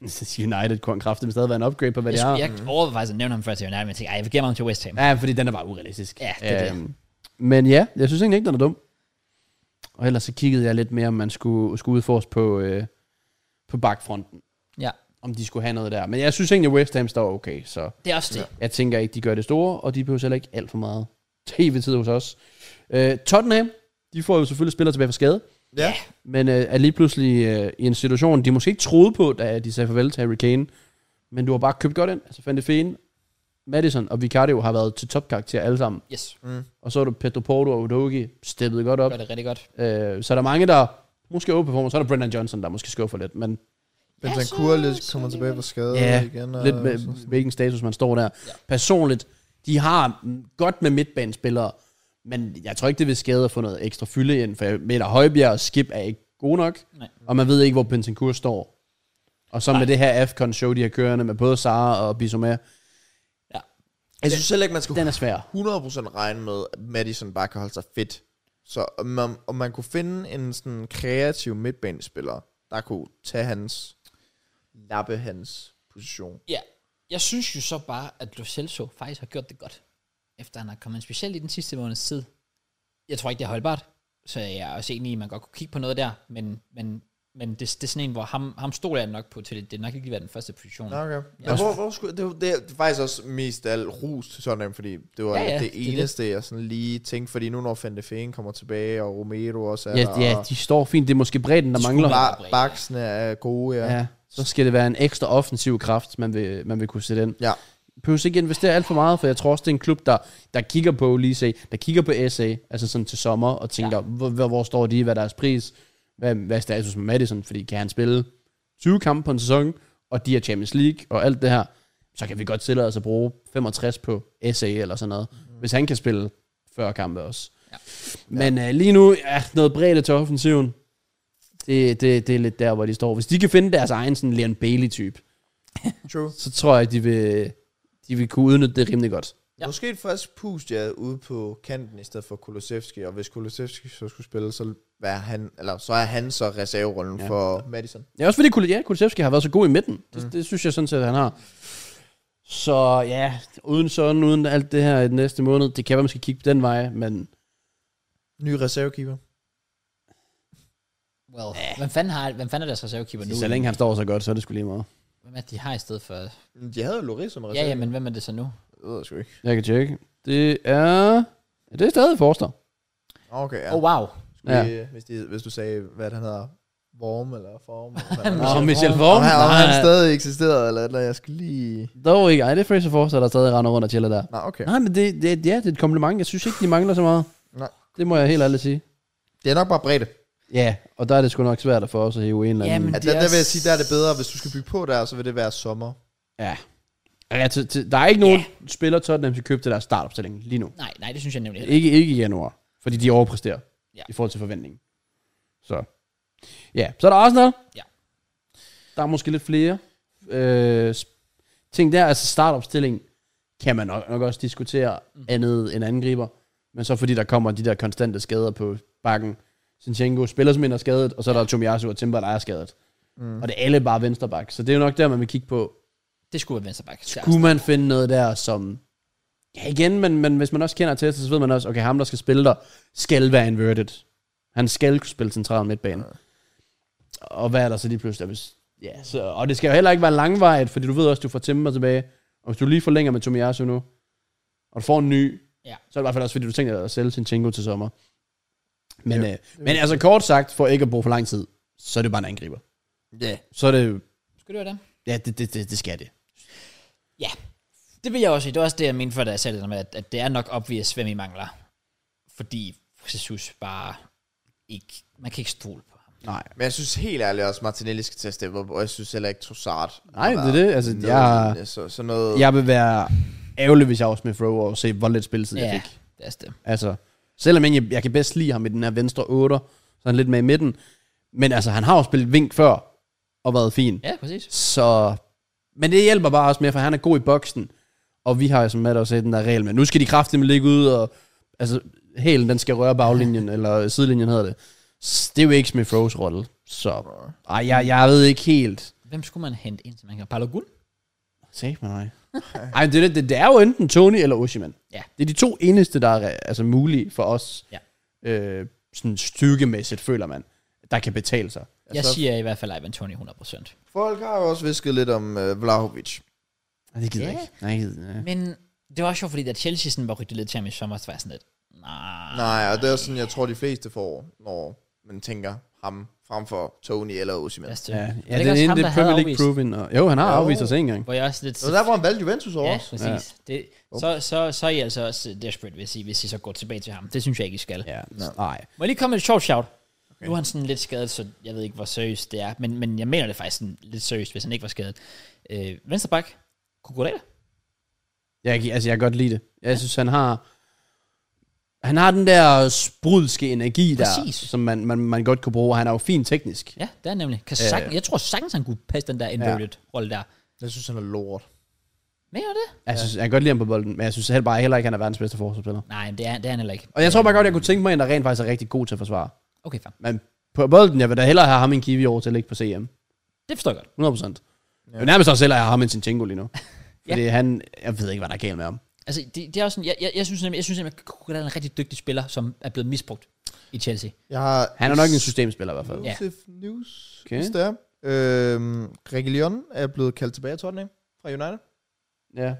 B: United kunne han kraftigt stadig være en upgrade på, hvad
A: Jeg,
B: det er.
A: skulle- jeg overvejede faktisk at nævne ham før til United, men jeg tænkte, ej, jeg vil gemme ham til West Ham.
B: Ja, fordi den er bare urealistisk. Øhm,
A: Ja, det er det.
B: Men ja, jeg synes egentlig ikke, den er dum. Og ellers så kiggede jeg lidt mere, om man skulle, skulle udforske på, øh, på bakfronten.
A: Ja.
B: Om de skulle have noget der. Men jeg synes egentlig, at West Ham står okay. Så
A: Det er også det.
B: jeg tænker ikke, de gør det store, og de behøver heller ikke alt for meget tv-tid hos os. Øh, Tottenham, de får jo selvfølgelig spillere tilbage fra skade.
C: Ja.
B: Men øh, er lige pludselig øh, i en situation, de måske ikke troede på, da de sagde farvel til Harry Kane. Men du har bare købt godt ind. Altså Van de Feen, Madison og Vicario har været til topkarakter alle sammen.
A: Yes,
B: Og så er du Pedro Porto og Udogi steppet godt op.
A: gør det rigtig godt.
B: Øh, så er der mange, der måske overperformer. Så er der Brendan Johnson, der måske skuffer lidt. Men
C: Bentancur
A: så-
C: lidt
A: så
C: kommer tilbage på skade
B: Ja,
C: igen.
B: lidt med, hvilken status man står der. Ja. Personligt, de har mm, godt med midtbanespillere. Men jeg tror ikke, det vil skade at få noget ekstra fylde ind. For jeg mener, Højbjerg og Skip er ikke gode nok.
A: Nej.
B: Og man ved ikke, hvor Bentancur står. Og så med det her AFCON-show, de har kørende med både Sara og Bissouma.
C: Jeg synes heller ikke, man skulle
B: Den er svær.
C: 100% regne med, at Madison bare kan holde sig fedt. Så om man, om man kunne finde en sådan kreativ midtbanespiller, der kunne tage hans, lappe hans position.
A: Ja, jeg synes jo så bare, at Lo Celso faktisk har gjort det godt, efter han har kommet ind, specielt i den sidste måneds tid. Jeg tror ikke, det er holdbart, så jeg er også enig i, at man godt kunne kigge på noget der, men, men, men det, det er sådan en, hvor ham, ham stoler jeg nok på til, det, det er nok ikke lige været den første position.
C: Nå, Okay.
A: Ja.
C: Men hvor, hvor skulle, det, var- det, er- det er faktisk også mest al ros til Tottenham, fordi det var
A: Ja,
C: ja,
A: ja,
C: ja, det
A: det er det.
C: eneste, det. jeg sådan lige tænkte, fordi nu når Fente Fane kommer tilbage, og Romero også er
B: Ja,
C: der,
B: ja,
C: og
B: de står fint. Det er måske bredden, der mangler.
C: bar, baksene er gode, ja. ja.
B: Ja, så skal det være en ekstra offensiv kraft, man vil, man vil kunne sætte ind.
C: Ja.
B: Behøver ikke investere alt for meget, for jeg tror også, det er en klub, der, der kigger på Olise, der kigger på SA, altså sådan til sommer, og tænker, ja. hvor, hvor, hvor står de, hvad er deres pris, hvad, hvad er status med Madison, fordi kan han spille 20 kampe på en sæson, og de er Champions League, og alt det her, så kan vi godt tillade os at bruge 65 på SA eller sådan noget, mm. hvis han kan spille 40 kampe også.
A: Ja.
B: Men øh, lige nu, ja, noget bredt til offensiven, det, det, det er lidt der, hvor de står. Hvis de kan finde deres egen sådan Leon Bailey-type,
C: True.
B: så tror jeg, de vil, de vil kunne udnytte det rimelig godt.
A: Ja.
C: Ja. Måske et frisk pust, ja, ude på kanten, i stedet for Kulusevski, og hvis Kulusevski så skulle spille, så hvad er han, eller så er han så reserverollen
B: Ja.
C: ja. for Madison.
B: Ja, også fordi Kul- ja, Kulisevski har været så god i midten. Det, mm. det synes jeg sådan set, at han har. Så ja, uden sådan, uden alt det her i den næste måned, det kan være, man skal kigge den vej, men
C: Ny reservekeeper.
A: Well, hvem, fanden har, hvem fanden er deres reservekeeper nu?
B: så længe han står så godt, så er det sgu lige meget.
A: Hvem er det, de har i stedet for?
C: Mm, De havde jo Loris som
A: Ja,
C: reserve.
A: ja, men hvem er det så nu?
C: Det ved jeg sgu ikke.
B: Jeg kan tjekke. Det er... Ja, det er stadig Forster.
C: Okay, ja.
A: Åh, oh, wow.
B: Ja.
C: ja. Hvis, de, hvis du sagde, hvad han hedder, Worm eller Form.
A: Michel
B: Nå,
A: Vorm.
B: Michel
C: Om
B: Vorm.
C: han, om han
B: Nej,
C: stadig eksisterede, eller, et eller andet. jeg skal lige...
B: dog ikke. Ej, det er Fraser Forster, der stadig render rundt og chiller der.
C: Nå, okay.
B: Nej, men det, det, ja, det er et kompliment. Jeg synes ikke, de mangler så meget.
C: Nej.
B: Det må jeg helt ærligt sige.
C: Det er nok bare bredde.
B: Ja, og der er det sgu nok svært at få os at hive en eller anden.
A: Jamen,
C: Ja,
A: Det
C: der,
A: er
C: der, vil jeg
A: s-
C: sige, der er det bedre. Hvis du skal bygge på der, så vil det være sommer.
B: Ja. ja til, til, der er ikke nogen yeah. spiller Tottenham skal købe til deres startopstilling lige nu.
A: Nej, nej, det synes jeg nemlig heller ikke.
B: Ikke, ikke i januar, fordi de overpræsterer
A: Ja.
B: ja. i forhold til forventningen. Så ja, så er der Arsenal.
A: Ja.
B: Der er måske lidt flere øh, sp- ting der. Altså startopstilling kan man nok, nok også diskutere mm. andet end angriber. Men så fordi der kommer de der konstante skader på bakken. Sinchenko spiller som en er skadet, og så er der Tomiyasu og Timber, der er skadet. Mm. Og det er alle bare vensterbak. Så det er jo nok der, man vil kigge på,
A: Det skulle være venstreback.
B: kunne man finde noget der, som... Ja, igen, men, men hvis man også kender til så ved man også, okay, ham, der skal spille der, skal være inverted. Han skal kunne spille central midtbane. Og hvad er der så lige pludselig? Hvis, ja, så, og det skal jo heller ikke være langvejt, fordi du ved også, du får Timber tilbage. Og hvis du lige forlænger med Tomiyasu nu, og du får en ny,
A: Ja.
B: så er det i hvert fald også, fordi du tænker dig at sælge Sinchenko til sommer. Men, øh, men altså kort sagt, for ikke at bruge for lang tid, så er det bare en angriber.
C: Ja.
B: Så er det,
A: Skulle det være det?
B: ja, det, det, det, det skal det.
A: Ja, det vil jeg også sige. Det var også det, jeg mente før, da jeg sagde det der med, at, at det er nok obvious, hvem I mangler. Fordi Jesus bare ikke... Man kan ikke stole på ham.
B: Nej.
C: Men jeg synes helt ærligt også, Martinelli skal til at steppe op, og jeg synes heller ikke Trossard. har
B: Nej, det er
C: været
B: det. Altså, jeg-
C: nedadgående. så, sådan noget...
B: Jeg vil være ærgerlig, hvis jeg var Smith Rowe og se, hvor lidt spilletid jeg
A: Ja,
B: fik.
A: det er også det.
B: Altså, selvom jeg, jeg kan bedst lide ham i den her venstre 8, så han er lidt med i midten. Men altså, han har jo spillet vink før og været fin.
A: Ja, præcis.
B: Så, men det hjælper bare også mere, for han er god i boksen. Og vi har jo som Matt også set den der regel med, nu skal de kraftigt ligge ud, og altså, hælen den skal røre baglinjen, eller sidelinjen hedder det. S- Det er jo ikke Smith Rowe's rolle. Så ej, jeg, jeg ved ikke helt.
A: Hvem skulle man hente ind, som man kan? Palogun?
B: Sagde man nej. Ej, men det, er det, det, det er jo enten Tony eller Oshiman.
A: Ja.
B: Det er de to eneste, der er altså, mulige for os,
A: Ja.
B: øh, sådan styrkemæssigt, føler man, der kan betale sig.
A: Jeg
C: så-
A: siger i hvert fald Ivan Tony 100%.
C: Folk har jo også visket lidt om øh, Vlahovic.
B: Nej, det gider
A: Ja.
B: jeg ikke. Nej, det gider jeg ikke.
A: Men det var også sjovt, fordi da Chelsea sådan var rygtet lidt til ham i sommer, så var jeg sådan lidt, nej,
C: Nej, og det er sådan, jeg tror, de fleste får, når man tænker ham frem for Tony eller Osimhen.
A: lad os det.
B: Ja,
A: Var
B: ja
A: ikke
B: det,
A: også
B: det,
A: ham,
B: det
A: der
B: er
A: havde
B: Premier League
A: afvist?
B: proven. Og, jo, han har
C: Jo.
B: afvist os en gang.
A: Hvor jeg også lidt...
C: Det var der, hvor han valgte Juventus over
A: Ja,
C: os.
A: præcis. Det, så, så, så er I altså også desperate, hvis I, hvis I så går tilbage til ham. Det synes jeg ikke, I skal.
B: Ja, nej.
A: Må jeg lige komme med et sjovt shout? Okay. Nu er han sådan lidt skadet, så jeg ved ikke, hvor seriøst det er. Men, men jeg mener det faktisk sådan lidt seriøst, hvis han ikke var skadet. Øh, Vensterbak, Kukurela.
B: Jeg, kan- altså, jeg kan godt lide det. Jeg synes, han har... Han har den der sprudske energi
A: Præcis.
B: der, som man, man, man godt kunne bruge. Han er jo fin teknisk.
A: Ja, det er han nemlig. Kan sagtens, jeg tror sagtens, han kunne passe den der inverted ja. rolle der.
C: Jeg synes, han er lort.
A: Mener du det?
B: Jeg, synes, jeg kan godt lide ham på bolden, men jeg synes heller bare heller ikke, han er verdens bedste forsvarsspiller.
A: Nej, det er, det er han heller ikke.
B: Og jeg tror bare godt, jeg kunne tænke mig en, der rent faktisk er rigtig god til at forsvare.
A: Okay, fair.
B: Men på bolden, jeg vil da hellere have ham en kiwi over til at ligge på CM.
A: Det forstår jeg godt.
B: 100%. Ja. Nærmest også hellere have ham en Sinchenko lige nu. Fordi han, jeg ved ikke, hvad der er galt med ham.
A: Altså, det, det er også sådan, jeg, jeg, jeg synes nemlig, jeg synes nemlig, at Kukurela er en rigtig dygtig spiller, som er blevet misbrugt i Chelsea.
C: Jeg har
B: Han er nok en systemspiller i hvert fald.
A: Ja.
C: Joseph News,
B: Okay.
C: okay. hvis det er. Øhm, Reguilon er blevet kaldt tilbage af Tottenham fra United.
B: Ja.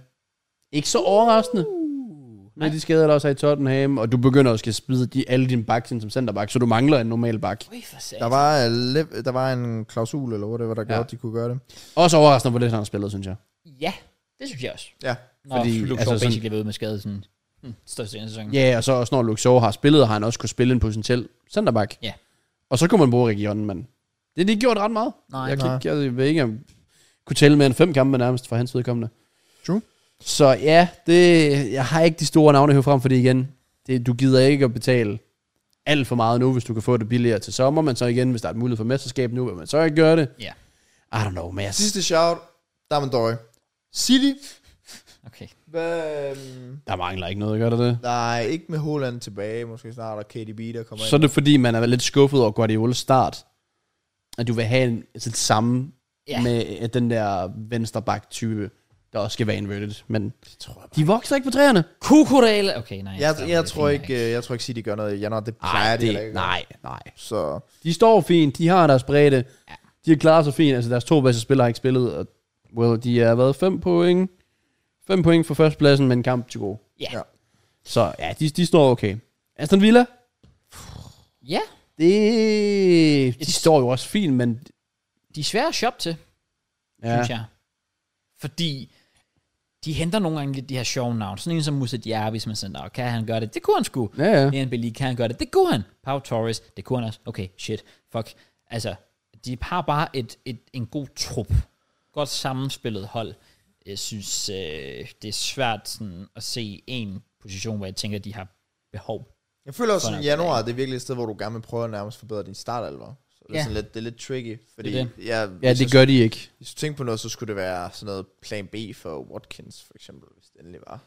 B: Ikke så overraskende. Men de skader der også er i Tottenham, og du begynder også at spide de, alle dine backs ind som centerback, så du mangler en normal back.
A: Ui, for satan.
C: Der var, øh, lev- der var en klausul, eller hvad det var, der gjorde, at de kunne gøre det.
B: Også overraskende, hvor lidt han har spillet, synes jeg.
A: Ja, det synes jeg også.
C: Ja.
A: Når
B: Fordi,
A: Fordi, Luke
B: altså
A: altså
B: sådan-
A: basically sådan, ved med skade sådan, hmm, største del af sæsonen.
B: Ja, og så også når Luke Shaw har spillet, har han også kunne spille en potentiel centerback.
A: Ja.
B: Og så kunne man bruge regionen, men det har de ikke gjort ret meget.
A: Nej.
B: jeg, kan ikke, jeg ved ikke, om kunne tælle mere end fem kampe nærmest for hans vedkommende.
C: True.
B: Så ja, det, jeg har ikke de store navne her frem, fordi igen, det, du gider ikke at betale alt for meget nu, hvis du kan få det billigere til sommer, men så igen, hvis der er en mulighed for mesterskab nu, vil man så ikke gøre det.
A: Ja.
B: I don't know, men jeg,
C: Sidste shout, Damendøj. City
A: Okay.
C: Hvad, øhm,
B: Der mangler ikke noget, gør der det?
C: nej, ikke med Holland tilbage, måske snart, og KDB, der kommer
B: Så er det fordi, man er lidt skuffet over Guardiola start, at du vil have en, altså det samme
A: Ja.
B: ja. med øh, den der venstre bak type der også skal være inverted, men de vokser ikke på træerne.
A: Kukurela. Okay, nej.
C: Jeg,
A: stop.
C: jeg,
A: Det
C: tror
A: er
C: ikke, øh, jeg tror ikke City gør noget i januar. Det plejer
B: Nej,
C: de heller
B: det,
C: ikke.
B: nej, nej.
C: Så
B: De står fint, de har deres bredde, de har klaret sig fint, altså deres to bedste spillere har ikke spillet, og well, de har været fem point, fem point for førstepladsen, men en kamp til gode.
A: Ja.
C: Ja.
B: Så ja, de, de står okay. Aston Villa,
A: Ja,
B: det, de
A: Et-
B: står jo også fint, men
A: de er svære at shoppe til, ja.
B: ja,
A: synes jeg. Fordi de henter nogle gange lidt de her sjove navne. Sådan en som Musa Diaby, som er sådan, "Nå, kan han gøre det? Det kunne han sgu.
B: ja, ja.
A: Ian Belli, kan han gøre det? Det kunne han. Pau Torres, det kunne han også. Okay, shit, fuck. Altså, de har bare et, et, en god trup. Godt sammenspillet hold. Jeg synes, øh, det er svært sådan, at se en position, hvor jeg tænker, de har behov.
C: jeg føler også,
A: Sådan
C: at
A: er det.
C: januar det er virkelig et sted, hvor du gerne vil prøve at nærmest forbedre din startalver. Så det er,
A: Ja.
C: ja. sådan lidt, det er lidt tricky, fordi
A: Det er
C: det
A: det.
C: det. Ja,
B: Ja, det gør de ikke.
C: Hvis du tænker på noget, så skulle det være sådan noget plan B for Watkins, for eksempel, hvis det endelig var.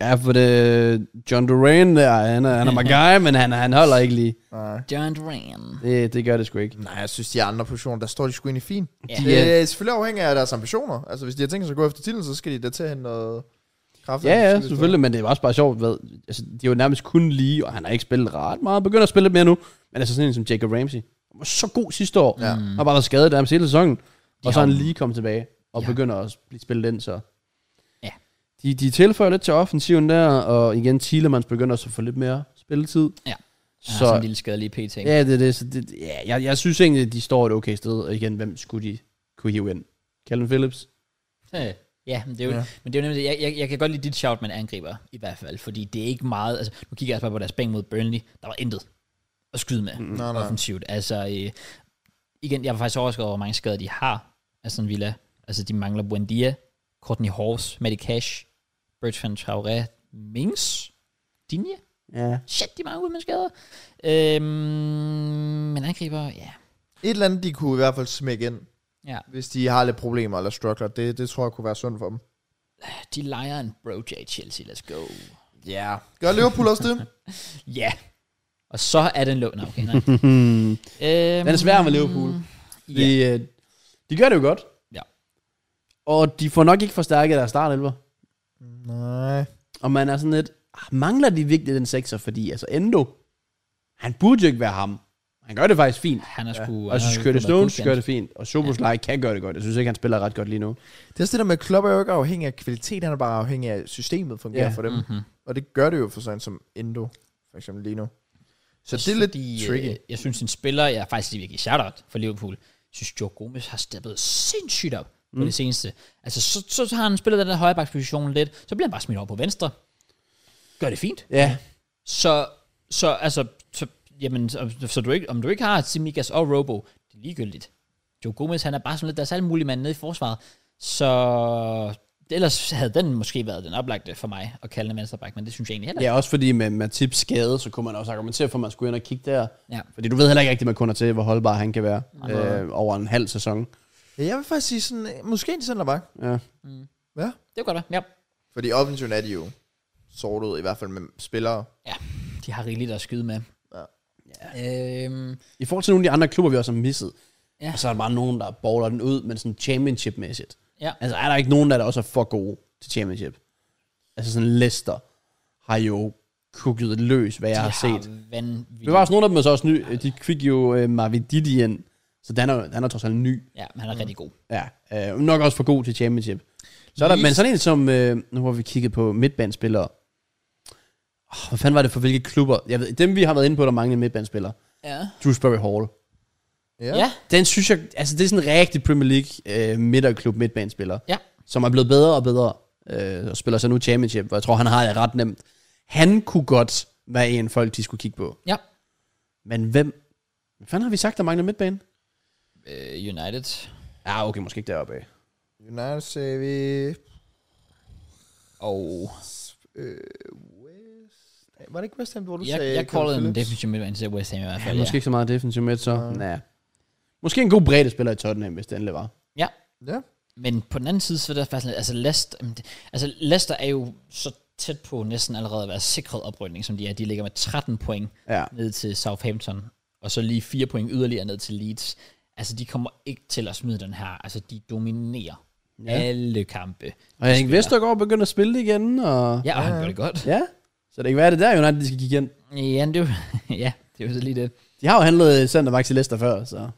B: Ja, for det John Duran der, han er, han er my guy, men han, han holder ikke lige.
C: Nej.
A: John Duran.
B: Det, det gør det sgu ikke.
C: Nej, jeg synes, de andre positioner, der står de sgu egentlig fint.
A: Ja.
C: Yeah. Det er selvfølgelig afhængigt af deres ambitioner. Altså, hvis de har tænkt sig at gå efter titlen, så skal de da til at hente noget kraft.
B: Ja, ja, selvfølgelig, men det er også bare sjovt, hvad, altså, det er jo nærmest kun lige, og han har ikke spillet ret meget, begynder at spille lidt mere nu, men altså sådan en som Jacob Ramsey, han var så god sidste år, ja. har bare været skadet nærmest hele sæsonen, og så er han lige kommet tilbage, og
A: Ja.
B: ja. begynder at blive spillet ind, så
A: Ja.
B: de, de tilføjer lidt til offensiven der, og igen, Thielemans begynder også at få lidt mere spilletid.
A: Ja. Så,
B: Så,
A: sådan en lille skadelig p-ting. Ja.
B: ja, det er det, så det, ja, jeg, jeg synes egentlig, at de står et okay sted, og igen, hvem skulle de kunne hive ind? Calvin Phillips?
A: Øh, Ja, men det er jo, ja.
C: Ja.
A: men det er jo nemlig, det. jeg, jeg, jeg kan godt lide dit shout, man angriber i hvert fald, fordi det er ikke meget, altså, nu kigger jeg altså bare på deres bænk mod Burnley, der var intet at skyde med mm,
C: nej, nej.
A: offensivt. Altså, øh, igen, jeg var faktisk overrasket over, hvor mange skader de har, Aston Villa. Altså, de mangler Buendia, Courtney Horse, Matty Cash, Bertrand Traoré, Mings, Dinje.
B: Ja.
A: Shit, de er mange ude med skader. Øhm, men angriber, ja.
C: Et eller andet, de kunne i hvert fald smække ind,
A: ja.
C: hvis de har lidt problemer eller struggler. Det, det tror jeg kunne være sundt for dem.
A: De leger en Broja i Chelsea, let's go.
C: Ja. Yeah. Gør Liverpool også det?
A: Ja. Og så er den lån. Okay, nej. øhm,
B: Den er svær med Liverpool.
A: Ja.
B: De, øh, de gør det jo godt.
A: Ja.
B: Og de får nok ikke forstærket deres startelver.
C: Nej.
B: Og man er sådan lidt, "Ah, mangler de virkelig den sekser? Fordi altså Endo, han burde jo ikke være ham. Han gør det faktisk fint.
A: Han Uh, er sgu...
B: Og jeg synes, Curtis Stones gør det fint. Og Soboslej ja. kan gøre det godt. Jeg synes ikke, han spiller ret godt lige nu.
C: Det er også det der med, at Klopp er jo ikke afhængig af kvalitet, han er bare afhængig af at systemet fungerer
B: Ja.
C: for dem.
A: Mm-hmm.
C: Og det gør det jo for sådan som Endo, for eksempel lige nu. Så det er lidt tricky.
A: Øh, jeg synes, en spiller... Jeg er faktisk lige virkelig shout-out for Liverpool. Jeg synes, Joe Gomez har steppet sindssygt op på mm. det seneste. Altså, så, så, så har han spillet den der højrebaksposition lidt. Så bliver han bare smidt over på venstre. Gør det fint.
B: Ja,
A: Så, så altså... Så, jamen, så, så du ikke, om du ikke har Simikas og Robo, det er ligegyldigt. Joe Gomez, han er bare sådan lidt deres alle mulige mand nede i forsvaret. Så ellers havde den måske været den oplagte for mig at kalde en venstreback, men det synes jeg egentlig heller ikke.
B: ja også fordi med, med tips skade, så kunne man også argumentere for, at man skulle ind og kigge der.
A: Ja.
B: Fordi du ved heller ikke rigtigt, man kunder til, hvor holdbar han kan være øh, over en halv sæson.
C: Ja, jeg vil faktisk sige sådan, øh, måske en centerback.
B: Ja.
C: Ja.
A: Det kunne godt være. Ja.
C: Fordi offensiven er de jo sortet, i hvert fald med spillere.
A: De har rigeligt at skyde med.
C: Ja.
A: Ja. Øhm,
B: I forhold til nogle af de andre klubber, vi også har misset,
A: Ja.
B: ja. og så er der bare nogen, der baller den ud, men sådan championship-mæssigt.
A: ja.
B: Altså er der ikke nogen, der, der også er for gode til championship? Altså sådan Leicester har jo kukket løs, hvad jeg har, set.
A: Vanvittigt.
B: Det var også nogle af dem, der så også ny. De fik jo øh, Marvididi ind, så han er, han er trods alt ny.
A: Ja, men han er mm. rigtig god.
B: Ja, øh, nok også for god til championship. Så er der,
C: Leeds.
B: men sådan en som, øh, nu har vi kigget på midtbandspillere. Oh, hvad fanden var det for hvilke klubber? Jeg ved, dem vi har været inde på, der manglede midtbandspillere.
A: Ja.
B: Dewsbury Hall.
A: Ja. ja.
B: Den synes jeg, altså det er sådan en rigtig Premier League øh, midterklub midtbanespiller,
A: Ja.
B: som er blevet bedre og bedre, øh, og spiller så nu championship, hvor jeg tror, han har det ret nemt. Han kunne godt være en folk, de skulle kigge på.
A: Ja.
B: Men hvem? Hvad fanden har vi sagt, der mangler midtbane?
A: Øh, United.
B: Ja, okay, måske ikke deroppe af.
C: United sagde vi...
A: Og
C: Øh, West... Var det ikke West Ham, hvor du
A: jeg,
C: sagde...
A: jeg
C: Calvin
A: callede en
C: Phillips?
A: defensive midtbane til West Ham i hvert
B: Ja,
A: fald.
B: måske ikke så meget defensiv midt, så. Ja. Måske en god bredde spiller i Tottenham, hvis det endelig var.
A: Ja.
C: Ja.
A: Men på den anden side, så er det faktisk lidt, altså Leicester, jamen, det- altså Leicester er jo så tæt på næsten allerede at være sikret oprykning, som de er. De ligger med 13 point
B: Ja.
A: ned til Southampton, og så lige 4 point yderligere ned til Leeds. Altså, de kommer ikke til at smide den her. Altså, de dominerer ja. alle kampe.
B: Og Henrik Vestergaard begynder at spille igen, og...
A: Ja, og han gør det godt.
B: ja. Så det kan være, det er der United, de skal kigge ind.
A: Ja, det er jo- ja, det er jo så lige det.
B: De har jo handlet center Maxi Leicester før, så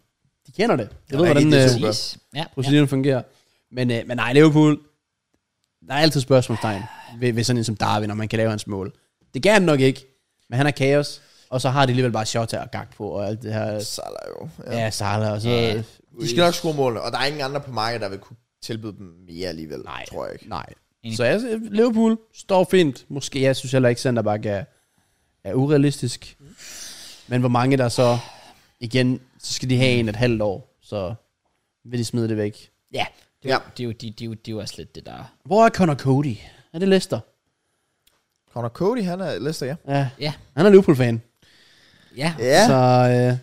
B: de kender det. Jeg ved,
C: rigtig,
B: hvordan
C: det er
B: øh,
C: super.
A: Præcis. Ja, ja.
B: proceduren fungerer. Men, øh, men nej, Liverpool, der er altid spørgsmålstegn ved, ved sådan en som Darwin, om man kan lave hans mål. Det kan han nok ikke, men han er kaos. Og så har de alligevel bare Shota og Gak på, og alt det her.
C: Salah jo. Ja.
B: Ja, Salah og så...
A: Ja.
C: De skal nok score målene, og der er ingen andre på markedet, der vil kunne tilbyde dem mere alligevel,
B: Nej,
C: tror jeg ikke.
B: nej. Så jeg, Liverpool står fint. Måske, jeg synes heller ikke, Centerback er, er urealistisk. Men hvor mange der så... Igen, så skal de have en et halvt år, så vil de smide det væk.
A: ja. Det, er,
C: Ja.
A: jo- det, er jo, de- det, er jo, det er jo også lidt det, der...
B: Hvor er Connor Cody? Er det Leicester?
C: Connor Cody, han er Leicester, ja.
B: Ja.
A: Ja,
B: Han er Liverpool-fan.
A: ja.
C: Ja,
B: Så øh,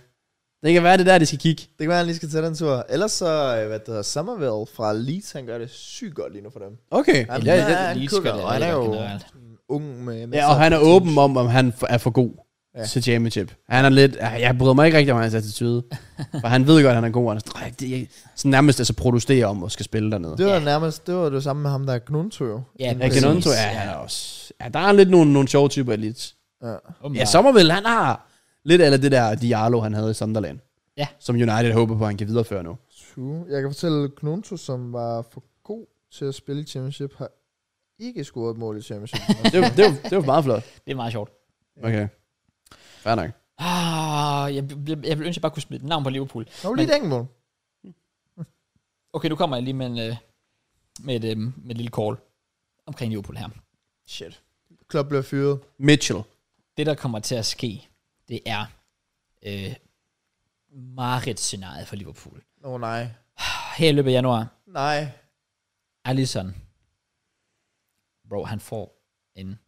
B: det kan være, det er der, de skal kigge.
C: det kan være, han lige skal tage den tur. Ellers så, øh, hvad det hedder, Somerville fra Leeds, han gør det sygt godt lige nu for dem.
B: Okay.
C: Han,
A: Ja,
C: ja,
A: ja,
C: ja, han,
A: Leeds
C: kukker,
A: gør det
C: og han er
A: rigtig
C: jo
A: godt generelt.
C: sådan ung med...
B: Ja, og han er åben om, om han f- er for god ja.
C: Ja.
B: til championship. Han er lidt, ah, jeg bryder mig ikke rigtig om hans attitude. for han ved godt, at han er god, og han er sådan, "Ej, det er så nærmest altså protesterer om at skal spille dernede.
C: Det var
A: Ja.
C: nærmest, det var det samme med ham, der er Gnunto jo.
A: Ja,
C: Inden
B: Ja,
A: præcis.
C: for-
B: Canonto, ja, han er også... Ja, der er lidt nogle, nogle sjove typer lidt.
C: Ja.
B: Ja, Sommerville, han har lidt af det der Diallo, han havde i Sunderland.
A: Ja.
B: Som United håber på, at han kan videreføre nu.
C: True. Jeg kan fortælle, at Gnunto, som var for god til at spille i championship, har ikke scoret et mål i championship.
B: Det var, det var, det var meget flot.
A: Det er meget sjovt.
B: Okay. Fair nok.
A: Ah, jeg, jeg, jeg ville ønske, jeg bare kunne smide et navn på Liverpool.
C: Der var lige et enkelt mål.
A: Okay, nu kommer jeg lige med, en, øh, med, et, øh, med et lille call omkring Liverpool her.
C: Shit. Klopp blev fyret.
B: Mitchell.
A: Det, der kommer til at ske, det er øh, scenariet for Liverpool.
C: Åh oh, nej.
A: Her i løbet af januar,
C: Nej.
A: Alisson, bro, han får en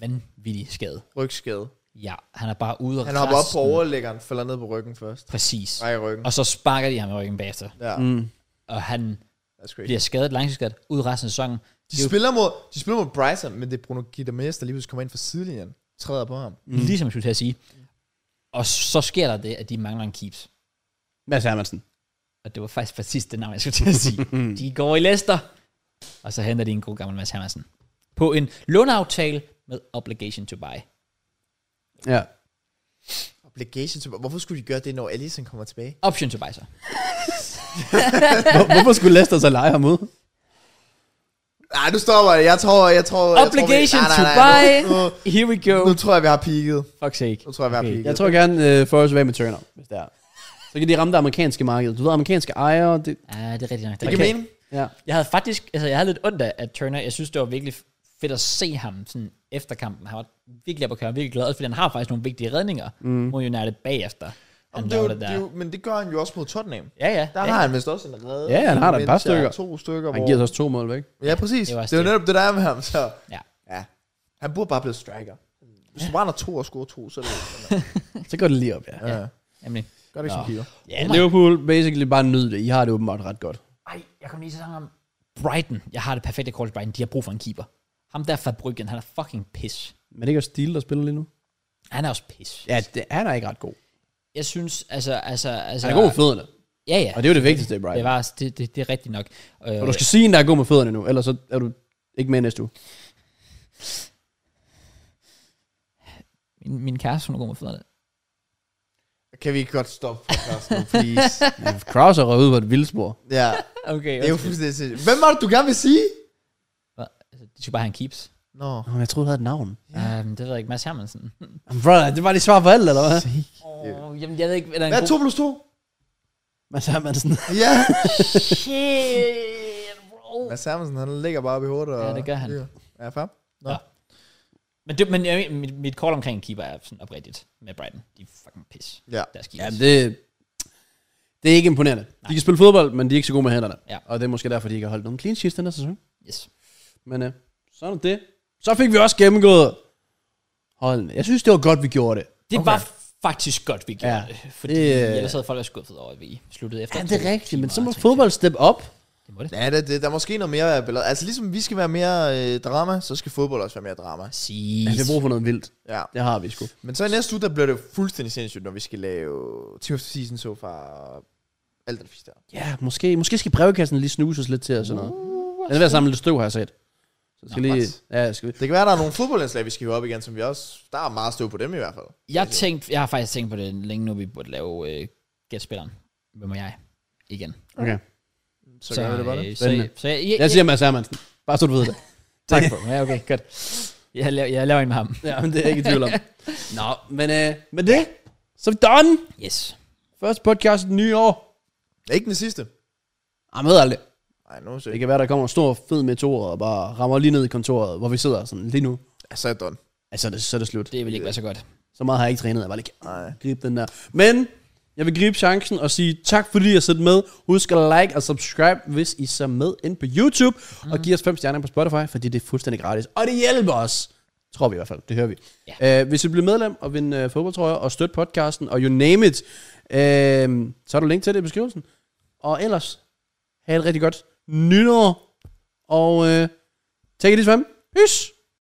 A: vanvittig skade.
C: Rygskade.
A: Ja, han er bare ude og
C: Han hopper op på overlæggeren, falder ned på ryggen først.
A: Præcis.
C: Nej, i ryggen.
A: Og så sparker de ham i ryggen bagefter.
C: Ja,
B: Mm.
A: Og han
C: that's crazy.
A: bliver skadet, langtidsskadet, ud resten af sæsonen.
C: De spiller, mod, de spiller mod Bryson, men det er Bruno Guidames, der lige pludselig kommer ind fra sidelinjen. Træder på ham.
A: Mm. Ligesom jeg skulle til at sige. Og så sker der det, at de mangler en keeps.
B: Mads Hermansen.
A: Og det var faktisk præcis det navn, jeg skulle til at sige.
C: Mm.
A: de går i Leicester. Og så henter de en god gammel Mads Hermansen. På en låneaftale med obligation to buy.
B: Ja.
C: Obligation til... Hvorfor skulle de gøre det, når Allison kommer tilbage?
A: Option to buy så.
B: Hvor, hvorfor skulle Leicester så lege ham ud?
C: Nej, du stopper det. Jeg tror, jeg tror... jeg tror, vi-
A: Obligation
C: Nej, nej,
A: to
C: nej,
A: buy.
C: Nu, nu,
A: Here we go.
C: nu, tror jeg, vi har peaked.
A: Fuck's sake.
C: Nu tror jeg, vi har
A: Okay.
C: peaked.
B: Jeg tror gerne, uh, Forrest vil med Turner, hvis det er. Så kan de ramme det amerikanske marked. Du ved, amerikanske ejere, det,
A: Ja, det er rigtigt nok.
C: det
A: er
C: kan
A: rigtigt.
C: mening.
B: ja.
A: Jeg havde faktisk, altså jeg havde lidt ondt af at Turner. Jeg synes, det var virkelig fedt at se ham sådan efter kampen. Han var virkelig oppe at køre, virkelig glad, også fordi han har faktisk nogle vigtige redninger mm. mod United bagefter. Han Jamen,
C: Jamen, det er jo,
A: det
C: det er
A: der.
C: jo, men det gør han jo også mod Tottenham.
A: ja, ja.
C: Der
A: ja.
C: har han vist også en redde.
B: Ja, han har da et par
C: Mens der er
B: stykker.
C: To stykker,
B: Han
C: hvor...
B: giver os også to mål væk.
C: Ja,
A: Det
C: præcis. Det
A: var
C: er,
A: også
C: jo
A: det.
C: netop det, der er med ham, så...
A: ja.
C: Ja. Han burde bare blive striker. Hvis du brænder to og scorer to, så er det jo...
B: Så går det lige op, ja. ja.
A: Jamen,
C: Gør det ikke som keeper.
A: ja
B: Oh
A: oh
B: Liverpool basically bare nyd det. I har det åbenbart ret godt.
A: Ej, jeg kom lige til at snakke om Brighton. Jeg har det perfekte kort til Brighton. De har brug for en keeper. Ham der fra Bryggen, han er fucking piss.
B: Men det er ikke også Steele, der spiller lige nu?
A: Han er også piss.
B: Ja, det, han er ikke ret god.
A: Jeg synes, altså... altså, altså
B: Han er god med fødderne.
A: Ja, ja.
B: Og det er jo det vigtigste, Brian.
A: Det, var, det, det, det er rigtigt nok. Øh,
B: Og du skal sige, at der er god med fødderne nu, ellers så er du ikke med næste uge.
A: min, min kæreste, hun er god med fødderne.
C: Kan vi ikke godt stoppe podcasten, nu, please?
B: Ja, Kraus er røget ud på et vildspor.
C: ja,
A: Okay,
C: det er jo fuldstændig sindssygt. Hvem var det, du gerne vil sige?
A: Altså, De skal bare have en keeps.
C: Nå.
B: Nå, men jeg troede, du havde et navn.
A: Ja. Um, det ved jeg ikke, Mads Hermansen.
B: Jamen, Brother, det var de svar på alt, eller hvad?
A: Oh, jamen, jeg ved ikke, hvad der er
C: Hvad
A: en god...
C: er 2 plus 2?
B: Mads Hermansen.
C: Ja.
A: Shit, bro.
C: Mads Hermansen, han ligger bare oppe i hovedet. Og
A: Ja, det gør han.
C: Ja, fam.
A: Men, det, men jeg, mit, mit call omkring en keeper er sådan oprigtigt med Brighton. De er fucking pis.
C: Ja.
A: Der skal
B: Jamen, det, det er ikke imponerende. Nej. De kan spille fodbold, men de er ikke så gode med hænderne.
A: Ja.
B: Og det er måske derfor, de ikke har holdt nogen clean sheets den her sæson.
A: Yes.
B: Men øh, sådan er det. Så fik vi også gennemgået holdene. Jeg synes, det var godt, vi gjorde det.
A: Det okay. var faktisk godt, vi gjorde
B: Ja.
A: ja. det. Fordi
B: Det,
A: det,
B: øh,
A: ellers havde folk været skuffet over, at vi sluttede efter.
B: Ja,
A: to
B: det er rigtigt, men
A: timer
B: så
A: og
B: må
A: tre
B: fodbold steppe op.
A: Det må det.
C: Ja, det, det, der er måske noget mere billede. Altså ligesom vi skal være mere øh, drama, så skal fodbold også være mere drama.
B: Ja,
A: Præcis.
B: vi har brug for noget vildt.
C: Ja.
B: Det har vi sgu.
C: Men så i næste uge, der bliver det jo fuldstændig sindssygt, når vi skal lave Team of the Season so far. og Alt det fisk der.
B: Ja, måske, måske skal brevkassen lige snuses lidt til og sådan noget. Den er ved at samle lidt støv, har jeg set. Så jeg skal
C: Nå,
B: lige...
C: what?
B: Ja, jeg skal...
C: Det kan være, der er nogle fodboldindslag, vi skal hive op igen, som vi også... Der er meget støv på dem i hvert fald.
A: Jeg, tænkte, jeg har faktisk tænkt på det længe nu, vi burde lave øh, gætspilleren. Hvem er jeg? Igen.
B: Okay.
C: Så, så gør vi det bare.
A: øh,
C: det.
A: så,
B: Spændende.
A: så, jeg, jeg,
B: Jeg
A: jeg,
B: siger Mads Hermansen. Bare så du ved det.
A: tak for det. Ja, okay, godt. Jeg laver, jeg laver en med ham.
B: Ja, men det er jeg ikke i tvivl om. Nå, men øh, med det, så er vi done.
A: Yes.
B: Første podcast i det nye år.
C: Ikke den sidste.
B: Ej, man ved aldrig.
C: Nej, nu
B: Det
C: ser
B: kan være, der kommer en stor, fed meteor og bare rammer lige ned i kontoret, hvor vi sidder sådan lige nu.
C: jeg. Så er jeg done.
B: Altså, det, så er det slut.
A: Det vil ikke være så godt.
B: Så meget har jeg ikke trænet, jeg bare lige kan gribe den der. Men jeg vil gribe chancen og sige tak, fordi I har siddet med. Husk at like og subscribe, hvis I ser med ind på YouTube. Mm. Og giv os fem stjerner på Spotify, fordi det er fuldstændig gratis. Og det hjælper os. Tror vi i hvert fald, det hører vi. Ja. Øh, hvis I bliver medlem og vinder øh, fodboldtrøjer og støtter podcasten og you name it, øh, så er du link til det i beskrivelsen. Og ellers, have et rigtig godt nytår. Og øh, take it easy, fam. Peace.